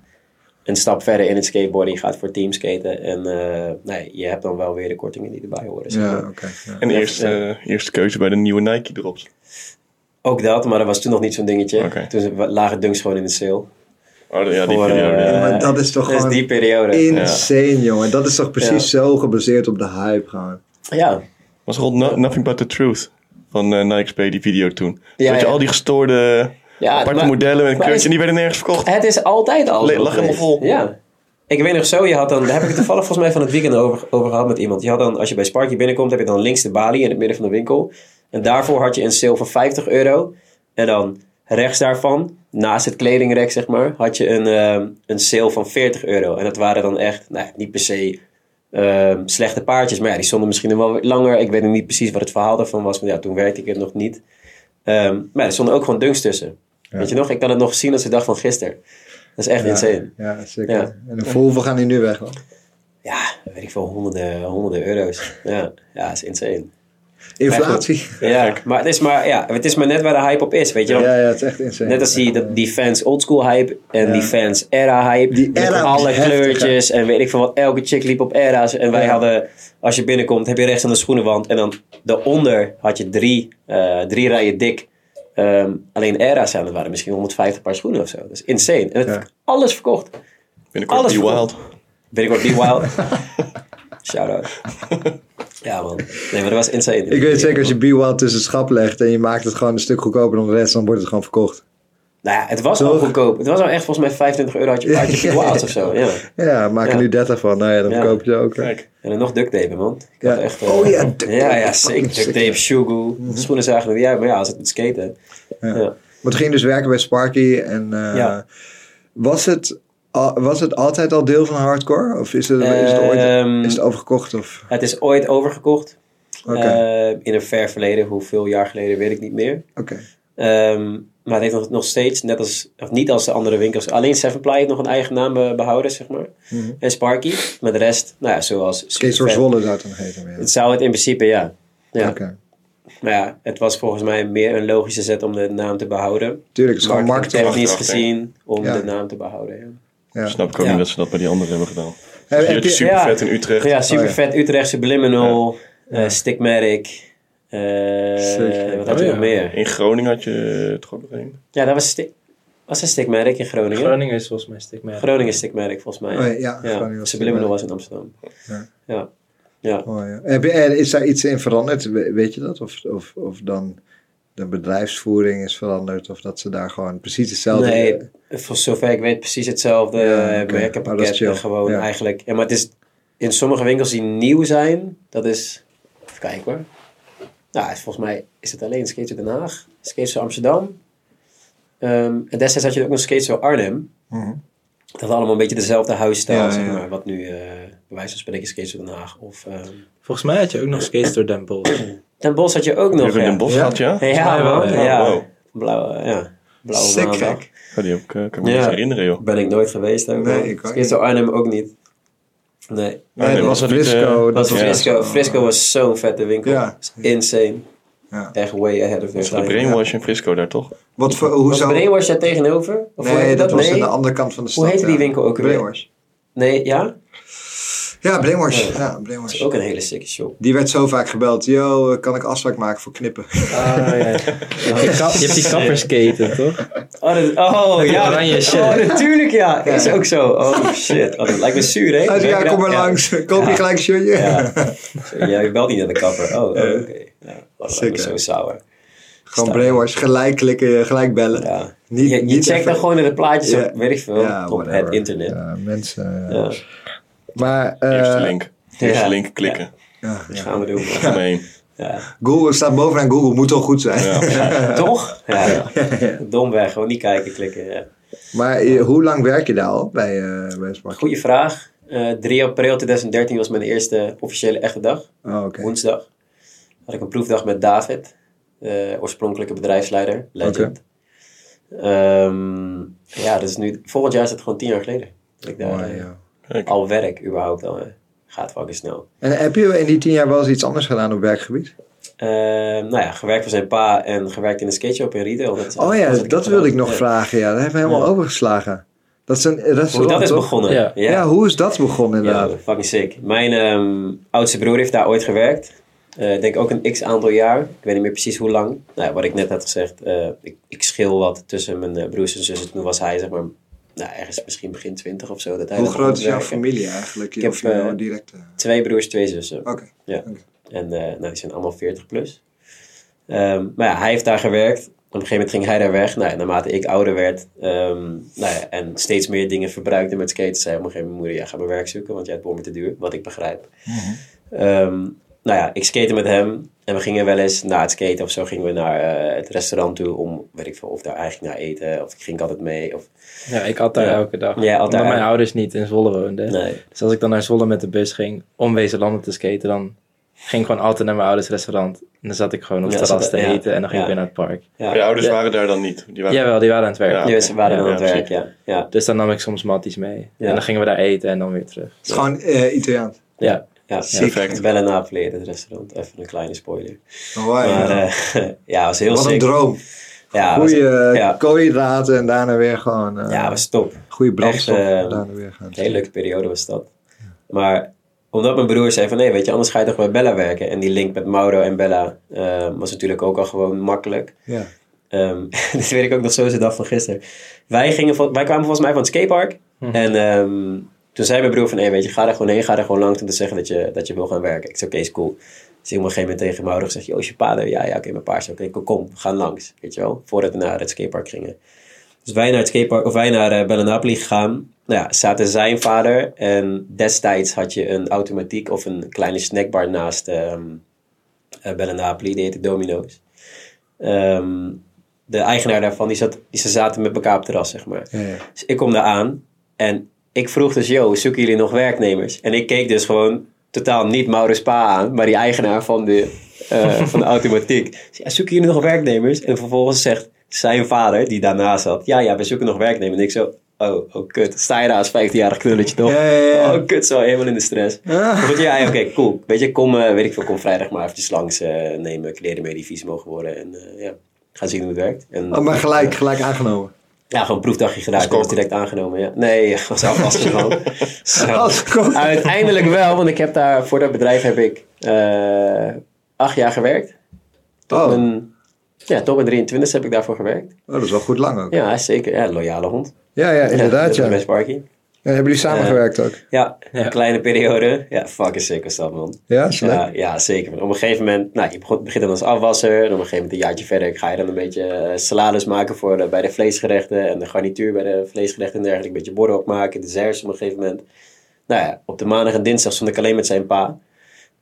Speaker 3: een stap verder in het skateboarden. Je gaat voor teamskaten. En eh, nee, je hebt dan wel weer de kortingen die erbij horen. zeg
Speaker 1: Ja,
Speaker 3: maar.
Speaker 1: oké. ja.
Speaker 2: En eerste, eh, eerste keuze bij de nieuwe Nike Oh, drops.
Speaker 3: Ook dat, maar dat was toen nog niet zo'n dingetje.
Speaker 2: Oké.
Speaker 3: Toen lagen dunks gewoon in de sale.
Speaker 2: Oh, ja, die
Speaker 3: Voor,
Speaker 2: periode.
Speaker 3: eh,
Speaker 1: Ja, maar dat is toch
Speaker 3: Dus
Speaker 1: gewoon
Speaker 3: die periode.
Speaker 1: insane, jongen. Dat is toch precies zo gebaseerd op de hype gewoon.
Speaker 3: Ja,
Speaker 2: was rond No- Nothing But The Truth van eh Nike Spray, die video toen.
Speaker 3: Ja,
Speaker 2: dat je
Speaker 3: ja.
Speaker 2: al die gestoorde
Speaker 3: Ja,
Speaker 2: aparte
Speaker 3: maar-
Speaker 2: modellen met
Speaker 3: maar
Speaker 2: kleurtjes,
Speaker 3: is-
Speaker 2: en die werden nergens verkocht.
Speaker 3: Het is altijd al.
Speaker 2: Le-
Speaker 3: zo
Speaker 2: lag helemaal
Speaker 3: geweest.
Speaker 2: vol.
Speaker 3: Ja. Ik weet nog zo, je had dan, daar heb ik het toevallig volgens mij van het weekend over, over gehad met iemand. Je had dan, als je bij Sparky binnenkomt, heb je dan links de balie in het midden van de winkel. En daarvoor had je een sale van 50 euro. En dan rechts daarvan, naast het kledingrek zeg maar, had je een, ehm, een sale van 40 euro. En dat waren dan echt, nou, niet per se ehm, slechte paardjes. Maar ja, die stonden misschien wel wat langer. Ik weet nog niet precies wat het verhaal daarvan was. Maar ja, toen werkte ik het nog niet. Ehm, maar er stonden ook gewoon dunks tussen. Weet je nog? Ik kan het nog zien als de dag van gisteren. Dat is echt insane.
Speaker 1: Ja, zeker.
Speaker 3: Ja.
Speaker 1: En voor hoeveel gaan die nu weg? man?
Speaker 3: Ja, weet ik veel, honderden, honderden euro's. Ja, ja, dat is insane.
Speaker 1: Inflatie.
Speaker 3: Ja, maar het, is maar, ja, het is maar net waar de hype op is, weet je
Speaker 1: Ja,
Speaker 3: wel.
Speaker 1: ja, het is echt insane.
Speaker 3: Net als die, dat- die fans oldschool hype en die fans era hype.
Speaker 1: Die
Speaker 3: Met
Speaker 1: era was
Speaker 3: alle
Speaker 1: heftig,
Speaker 3: kleurtjes en weet ik veel wat. Elke chick liep op era's. En wij
Speaker 1: Ja.
Speaker 3: hadden, als je binnenkomt, heb je rechts aan de schoenenwand. En dan daaronder had je drie, eh, drie rijen dik. ehm, alleen era's aan. Dat waren misschien 150 paar schoenen of zo. Dat is insane. En het,
Speaker 1: Ja.
Speaker 3: alles verkocht.
Speaker 2: Binnenkort
Speaker 3: alles
Speaker 2: die Wild.
Speaker 3: Binnenkort Be Wild. Shout out. ja man. Nee, maar dat was insane.
Speaker 1: Ik weet zeker, als je B-Wild tussen het schap legt en je maakt het gewoon een stuk goedkoper dan de rest, dan wordt het gewoon verkocht.
Speaker 3: Nou ja, het was al
Speaker 1: Toch?
Speaker 3: goedkoop. Het was al echt volgens mij 25 euro had je, had je Be Wild of zo. Ja.
Speaker 1: Ja, maak er
Speaker 3: Ja.
Speaker 1: nu 30 van. Nou ja, dan
Speaker 3: Ja.
Speaker 1: verkoop je ze ook. hè.
Speaker 2: Kijk,
Speaker 3: En dan nog duct tape, man. Ik
Speaker 1: Ja.
Speaker 3: had echt, eh,
Speaker 1: Oh ja, duct tape.
Speaker 3: Ja, ja, zeker. Duct tape, shoegu.
Speaker 1: Mhm.
Speaker 3: Schoenen zagen er niet uit, maar ja, als het met skaten. Ja. Ja.
Speaker 1: Maar toen ging je dus werken bij Sparky. En eh,
Speaker 3: Ja.
Speaker 1: was, het al- was het altijd al deel van hardcore? Of is het, is het ooit
Speaker 3: Ehm,
Speaker 1: is het overgekocht? Of?
Speaker 3: Het is ooit overgekocht.
Speaker 1: Oké,
Speaker 3: eh, in een ver verleden, hoeveel jaar geleden weet ik niet meer.
Speaker 1: oké.
Speaker 3: Ehm, maar het heeft nog, nog steeds, net als, of niet als de andere winkels, alleen Sevenply heeft nog een eigen naam eh, behouden, zeg maar. En Sparky. Maar de rest, nou ja, zoals...
Speaker 1: Kees door
Speaker 3: Superfan.
Speaker 1: Mhm. Zwolle zou het dan heten. maar ja.
Speaker 3: Het zou het in principe, ja. ja.
Speaker 1: Oké.
Speaker 3: Maar ja, het was volgens mij meer een logische zet om de naam te behouden.
Speaker 1: Tuurlijk, het is gewoon marketing.
Speaker 2: marketing. Wacht,
Speaker 3: Technisch
Speaker 2: wacht,
Speaker 3: gezien om
Speaker 1: Ja.
Speaker 3: de naam te behouden, ja.
Speaker 1: Ja.
Speaker 2: snap ik ook
Speaker 3: Ja.
Speaker 2: niet dat ze dat bij die anderen hebben gedaan.
Speaker 1: Heb-
Speaker 2: Dus je
Speaker 1: heb
Speaker 2: hebt
Speaker 1: je-
Speaker 2: super vet
Speaker 3: ja.
Speaker 2: in Utrecht.
Speaker 1: Oh,
Speaker 3: Ja, super vet. Utrecht Subliminal, eh, Stigmatic. eh,
Speaker 1: Zeker.
Speaker 3: wat had je
Speaker 4: Oh,
Speaker 3: nog
Speaker 4: ja.
Speaker 3: meer?
Speaker 2: In Groningen had je eh, toch ook nog één?
Speaker 3: Ja, dat was, sti- was een Stigmatic in Groningen. Groningen,
Speaker 4: Groningen is volgens mij stigma.
Speaker 3: is Stigmatic volgens mij.
Speaker 1: Oh, ja, ja, Groningen was
Speaker 3: Subliminal
Speaker 1: Stigmatic.
Speaker 3: was in Amsterdam.
Speaker 1: Ja.
Speaker 3: ja. ja.
Speaker 1: Oh, ja. Heb je- en is daar iets in veranderd? We- Weet je dat? Of, of, of dan de bedrijfsvoering is veranderd? Of dat ze daar gewoon precies hetzelfde... eh,
Speaker 3: Nee, voor zover ik weet precies hetzelfde
Speaker 1: Ja, oké. Oh,
Speaker 3: eh,
Speaker 1: dat is
Speaker 3: merkenpakket.
Speaker 1: chill.
Speaker 3: en gewoon
Speaker 1: Ja.
Speaker 3: eigenlijk. Ja, maar het is in sommige winkels die nieuw zijn, dat is. Even kijken hoor. Nou, het is volgens mij is het alleen Skates Den Haag, Skates Amsterdam. Ehm, en destijds had je ook nog Skates Arnhem. Dat had allemaal een beetje dezelfde huisstijl,
Speaker 1: Mhm. Ja,
Speaker 3: zeg
Speaker 1: ja.
Speaker 3: maar. Wat nu, eh bij wijze van spreken, Skates Den Haag of... ehm
Speaker 4: Volgens mij had je ook nog skates door Den Bosch.
Speaker 3: Den Bosch had je ook
Speaker 2: Die
Speaker 3: nog,
Speaker 2: hebben
Speaker 3: ja.
Speaker 2: in Den Bosch
Speaker 1: Ja.
Speaker 2: gehad, ja?
Speaker 3: Ja,
Speaker 4: Ja,
Speaker 3: man.
Speaker 4: wel,
Speaker 3: Ja,
Speaker 4: ja.
Speaker 2: Wow.
Speaker 3: Blauwe, ja. Blauwe
Speaker 1: Sick,
Speaker 3: maandag.
Speaker 1: gek.
Speaker 2: Ja, die heb ik, eh, kan ik me
Speaker 3: Ja.
Speaker 2: niet herinneren, joh.
Speaker 3: Ben ik nooit geweest ook.
Speaker 1: Nee,
Speaker 3: man.
Speaker 1: ik ook
Speaker 3: Skate door Arnhem ook niet. Nee.
Speaker 2: Nee,
Speaker 1: Nee,
Speaker 2: dat
Speaker 1: was
Speaker 2: was het niet,
Speaker 1: Frisco.
Speaker 2: eh,
Speaker 3: Dat
Speaker 1: was-
Speaker 3: was
Speaker 2: Ja.
Speaker 3: Frisco. Frisco was zo'n vette winkel.
Speaker 1: Ja.
Speaker 3: Insane.
Speaker 1: Ja.
Speaker 3: Echt way ahead of
Speaker 2: Dat
Speaker 3: their
Speaker 2: is de
Speaker 3: time.
Speaker 2: brainwash in Frisco daar, toch?
Speaker 1: Wat voor, hoe
Speaker 3: Was
Speaker 1: zou...
Speaker 3: Brainwash daar tegenover? Of hoe
Speaker 1: Nee,
Speaker 3: heette
Speaker 1: dat was aan
Speaker 3: Nee?
Speaker 1: de andere kant van de stad.
Speaker 3: Hoe heette die
Speaker 1: ja.
Speaker 3: winkel ook weer?
Speaker 1: Brainwash.
Speaker 3: Nee, ja?
Speaker 1: Ja, Brainwash. Ja,
Speaker 3: Dat
Speaker 1: Brainwash.
Speaker 3: is ook een hele sikke shop.
Speaker 1: Die werd zo vaak gebeld. Yo, eh, kan ik afspraak maken voor knippen?
Speaker 3: Ah,
Speaker 4: Je hebt die kap- je hebt die kapperskaten, toch?
Speaker 3: Oh, dat- oh ja.
Speaker 4: oranje shit.
Speaker 3: Oh, natuurlijk ja. Is ook zo. Oh shit. Oh, dat lijkt me zuur, hè?
Speaker 1: Hij zei, Dus ja,
Speaker 3: Lekker,
Speaker 1: kom maar
Speaker 3: ja.
Speaker 1: langs. Koop je
Speaker 3: Ja.
Speaker 1: gelijk een shirtje?
Speaker 3: Ja. ja, je belt niet naar de kapper. Oh, oh, oké. Ja, oh, dat lijkt
Speaker 1: Sick,
Speaker 3: me
Speaker 1: hè?
Speaker 3: zo sauer.
Speaker 1: Gewoon Brainwash. Gelijk klikken, gelijk bellen.
Speaker 3: Ja.
Speaker 1: Niet-
Speaker 3: je je
Speaker 1: niet
Speaker 3: checkt
Speaker 1: even-
Speaker 3: dan gewoon in de plaatjes
Speaker 1: Ja.
Speaker 3: op, weet ik veel,
Speaker 1: Ja,
Speaker 3: op
Speaker 1: whatever.
Speaker 3: het internet. Ja.
Speaker 1: Ja, mensen... eh,
Speaker 3: Ja.
Speaker 1: Maar...
Speaker 2: Eerste
Speaker 1: eh
Speaker 2: link. Eerste
Speaker 3: ja.
Speaker 2: link klikken.
Speaker 1: ja, ja.
Speaker 3: Gaan we doen. man.
Speaker 2: Gemeen.
Speaker 3: Ja.
Speaker 1: Google staat bovenaan Google. Moet toch goed zijn?
Speaker 2: Ja.
Speaker 3: Toch? Ja. Domweg, gewoon niet kijken, klikken. Ja.
Speaker 1: Maar eh, hoe lang werk je daar al bij, eh bij Spark?
Speaker 3: Goeie vraag. Eh 3 april 2013 was mijn eerste officiële echte dag.
Speaker 1: Oh, oké.
Speaker 3: Woensdag. Had ik een proefdag met David, eh, oorspronkelijke bedrijfsleider, legend. Ehm, ja, dus nu, volgend jaar is het gewoon tien jaar geleden. Dat ik daar
Speaker 1: Mooi,
Speaker 3: eh,
Speaker 1: ja.
Speaker 2: Kijk.
Speaker 3: al werk überhaupt al. eh, gaat fucking snel.
Speaker 1: En heb je in die tien jaar wel eens iets anders gedaan op werkgebied?
Speaker 3: Ehm, nou ja, gewerkt voor zijn pa en gewerkt in een skate shop in retail. Dat is
Speaker 1: Oh ja,
Speaker 3: alles wat
Speaker 1: dat
Speaker 3: heb
Speaker 1: wilde ik
Speaker 3: gedaan.
Speaker 1: nog
Speaker 3: Ja.
Speaker 1: vragen. Ja, dat hebben we helemaal overgeslagen. Dat is een restaurant,
Speaker 3: Hoe dat is
Speaker 1: toch?
Speaker 3: begonnen.
Speaker 4: Ja.
Speaker 1: Ja. hoe is dat begonnen
Speaker 3: Ja,
Speaker 1: inderdaad?
Speaker 3: fucking sick. Mijn ehm, oudste broer heeft daar ooit gewerkt. Eh, Ik denk ook een x aantal jaar. Ik weet niet meer precies hoe lang. Nou, ja, wat ik net had gezegd, eh, ik, ik schil wat tussen mijn eh, broers en zussen. Toen was hij zeg maar, nou, ergens misschien begin twintig of zo. Dat hij
Speaker 1: Hoe
Speaker 3: daar
Speaker 1: groot is
Speaker 3: kon
Speaker 1: jouw
Speaker 3: werken.
Speaker 1: familie eigenlijk?
Speaker 3: heb,
Speaker 1: of je nou
Speaker 3: eh,
Speaker 1: direct... eh,
Speaker 3: Twee broers, twee zussen.
Speaker 1: Oké.
Speaker 3: Ja.
Speaker 1: Oké.
Speaker 3: En eh, nou, die zijn allemaal 40 plus. Ehm, maar ja, hij heeft daar gewerkt. Op een gegeven moment ging hij daar weg. Nou, ja, naarmate ik ouder werd ehm, nou ja, en steeds meer dingen verbruikte met skaten, zei op een gegeven moment mijn moeder: ja, ga maar werk zoeken, want jij hebt me te duur. Wat ik begrijp.
Speaker 4: Mhm.
Speaker 3: Ehm, nou ja, ik skate met hem. En we gingen wel eens na het skaten of zo gingen we naar eh, het restaurant toe om, weet ik veel, of daar eigenlijk naar eten. Of ik ging altijd mee. Of,
Speaker 4: Ja, ik had daar
Speaker 3: Ja.
Speaker 4: elke dag.
Speaker 3: Jij had
Speaker 4: Omdat
Speaker 3: daar-
Speaker 4: mijn ouders niet in Zwolle woonden.
Speaker 3: nee.
Speaker 4: Dus als ik dan naar Zwolle met de bus ging om Wezenlanden te skaten, dan ging ik gewoon altijd naar mijn ouders restaurant. En dan zat ik gewoon op het
Speaker 3: Ja,
Speaker 4: terras
Speaker 3: zat-
Speaker 4: te
Speaker 3: ja.
Speaker 4: eten en dan ging
Speaker 3: Ja.
Speaker 4: ik weer naar het park.
Speaker 3: Ja,
Speaker 2: Maar je
Speaker 3: ja.
Speaker 2: ouders
Speaker 4: Ja.
Speaker 2: waren daar dan niet. Die waren...
Speaker 4: Jawel, die waren aan het werk.
Speaker 2: Ja.
Speaker 3: ze waren
Speaker 4: Ja,
Speaker 3: aan het
Speaker 2: ja,
Speaker 3: werk, ja. ja.
Speaker 4: Dus dan nam ik soms matties mee.
Speaker 3: Ja.
Speaker 4: En dan gingen we daar eten en dan weer terug.
Speaker 1: Het is gewoon eh Italiaans.
Speaker 4: Ja,
Speaker 3: Ja,
Speaker 2: Perfect.
Speaker 3: Bella Napoli, het restaurant. Even een kleine spoiler.
Speaker 1: Hawaii,
Speaker 3: Maar
Speaker 1: Oh, ja.
Speaker 3: eh, ja, was heel
Speaker 1: Wat een
Speaker 3: sick.
Speaker 1: droom.
Speaker 3: ja, was,
Speaker 1: Goeie eh,
Speaker 3: ja.
Speaker 1: koolhydraten en daarna weer gewoon... eh
Speaker 3: ja, was top.
Speaker 1: goede brandstof
Speaker 3: echt, eh,
Speaker 1: en daarna weer gaan.
Speaker 3: Een hele leuke periode was dat. Maar omdat mijn broer zei van nee, weet je, anders ga je toch bij Bella werken. En die link met Mauro en Bella eh, was natuurlijk ook al gewoon makkelijk.
Speaker 1: Ja.
Speaker 3: Ehm, dit weet ik ook nog zo de dag van gisteren. Wij, gingen, vol- wij kwamen volgens mij van het skatepark. En ehm, toen zei mijn broer van, hey, weet je, ga er gewoon heen, ga er gewoon langs om te zeggen dat je, dat je wil gaan werken. Ik zei, oké, is cool. Dus ik op een gegeven moment tegen mijn ouder gezegd, joh, is je vader? Ja, ja, oké, mijn paars. Oké, kom, kom, we gaan langs, weet je wel. Voordat we naar het skatepark gingen. Dus wij naar het skatepark, of wij naar eh, Bella Napoli gegaan. Nou ja, zaten zijn vader en destijds had je een automatiek of een kleine snackbar naast ehm eh, Bella Napoli. Die heette Domino's. Ehm, de eigenaar daarvan, die zat, die, ze zaten met elkaar op het terras, zeg maar.
Speaker 1: Ja, ja.
Speaker 3: Dus ik kom daar aan en ik vroeg dus, yo, zoeken jullie nog werknemers? En ik keek dus gewoon totaal niet Maurits Pa aan, maar die eigenaar van de, eh, van de automatiek. Dus, ja, zoeken jullie nog werknemers? En vervolgens zegt zijn vader, die daarna zat, ja, ja, we zoeken nog werknemers. En ik zo, oh, oh, kut, sta je daar als 15-jarig knulletje toch?
Speaker 1: Ja, ja, ja.
Speaker 3: Oh, kut, zo, helemaal in de stress.
Speaker 1: Ah.
Speaker 3: Maar Goed, ja, ja, oké, cool. Weet je, kom, eh, weet ik veel, kom vrijdag maar eventjes langs, eh, neem eh, kleren mee die vies mogen worden en eh, ja, ga zien hoe het werkt. En,
Speaker 1: Oh, maar gelijk, gelijk aangenomen.
Speaker 3: ja, gewoon een proefdagje gedaan. Ik was
Speaker 2: kok.
Speaker 3: direct aangenomen. Ja. Nee, als afwasser gewoon. Zo.
Speaker 1: Als kok.
Speaker 3: Uiteindelijk wel, want ik heb daar voor dat bedrijf heb ik eh, acht jaar gewerkt. Tot
Speaker 1: Oh.
Speaker 3: mijn, ja, tot mijn 23 heb ik daarvoor gewerkt.
Speaker 1: Oh, dat is wel goed lang ook.
Speaker 3: Ja, zeker. Ja, loyale hond.
Speaker 1: Ja, ja, inderdaad, ja.
Speaker 3: Ja,
Speaker 1: En
Speaker 3: best Barkie.
Speaker 1: hebben jullie samengewerkt ook?
Speaker 3: Ja, een kleine periode. Ja, fucking sick was dat, man.
Speaker 1: Ja, is leuk.
Speaker 3: Ja, ja, zeker. Want op een gegeven moment, nou, je begon- begint dan als afwasser. En op een gegeven moment, een jaartje verder, ga je dan een beetje eh, salades maken voor de- bij de vleesgerechten. En de garnituur bij de vleesgerechten en dergelijke. Een beetje borden opmaken, desserts op een gegeven moment. Nou ja, op de maandag en dinsdag stond ik alleen met zijn pa.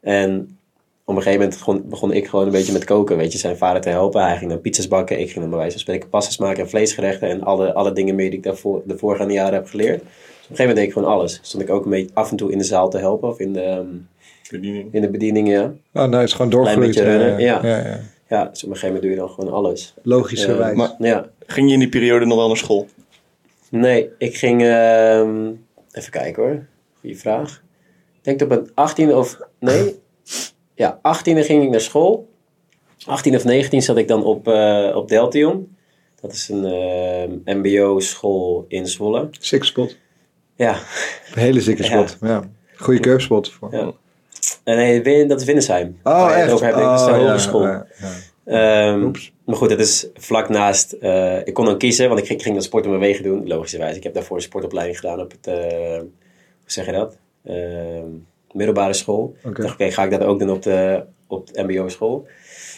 Speaker 3: En op een gegeven moment begon, begon ik gewoon een beetje met koken. Weet je, zijn vader te helpen. Hij ging dan pizza's bakken. Ik ging dan bij wijze van spreken pastas maken en vleesgerechten. En alle, alle dingen meer die ik daarvoor, de voorgaande jaren heb geleerd. Dus op een gegeven moment deed ik gewoon alles. Stond ik ook een beetje af en toe in de zaal te helpen. Of in de, ehm,
Speaker 2: Bediening.
Speaker 3: in de bediening, ja.
Speaker 1: Oh, nee, het is gewoon
Speaker 3: Klein
Speaker 1: doorgroeid.
Speaker 3: beetje rennen,
Speaker 1: eh,
Speaker 3: ja.
Speaker 1: ja, ja.
Speaker 3: Ja, dus op een gegeven moment doe je dan gewoon alles. Nou
Speaker 1: Logischerwijs.
Speaker 2: Eh, maar-
Speaker 3: Ja.
Speaker 2: Ging je in die periode nog wel naar school?
Speaker 3: Nee, ik ging... ehm, even kijken hoor. Goeie vraag. Ik denk dat op mijn 18 of... Nee. Ja, 18e ging ik naar school. 18 of 19 zat ik dan op, eh, op Deltion. Dat is een ehm, mbo-school in Zwolle.
Speaker 1: Sick spot.
Speaker 3: Ja.
Speaker 1: Een hele zikke spot, ja. Goeie curbspot. Voor.
Speaker 3: Ja. En nee, Win- dat is Winnesheim.
Speaker 1: Oh,
Speaker 3: Waar je het
Speaker 1: echt?
Speaker 3: over hebt, dat is de
Speaker 1: Oh, ja,
Speaker 3: hogeschool.
Speaker 1: ja, ja.
Speaker 3: Ehm,
Speaker 1: Oeps.
Speaker 3: maar goed, het is vlak naast. eh, ik kon dan kiezen, want ik ging, ging dan sport en bewegen doen, logischerwijs. Ik heb daarvoor een sportopleiding gedaan op het, eh, hoe zeg je dat? Ehm, middelbare school. Ik dacht, oké, ga ik dat ook doen op de, op de MBO-school?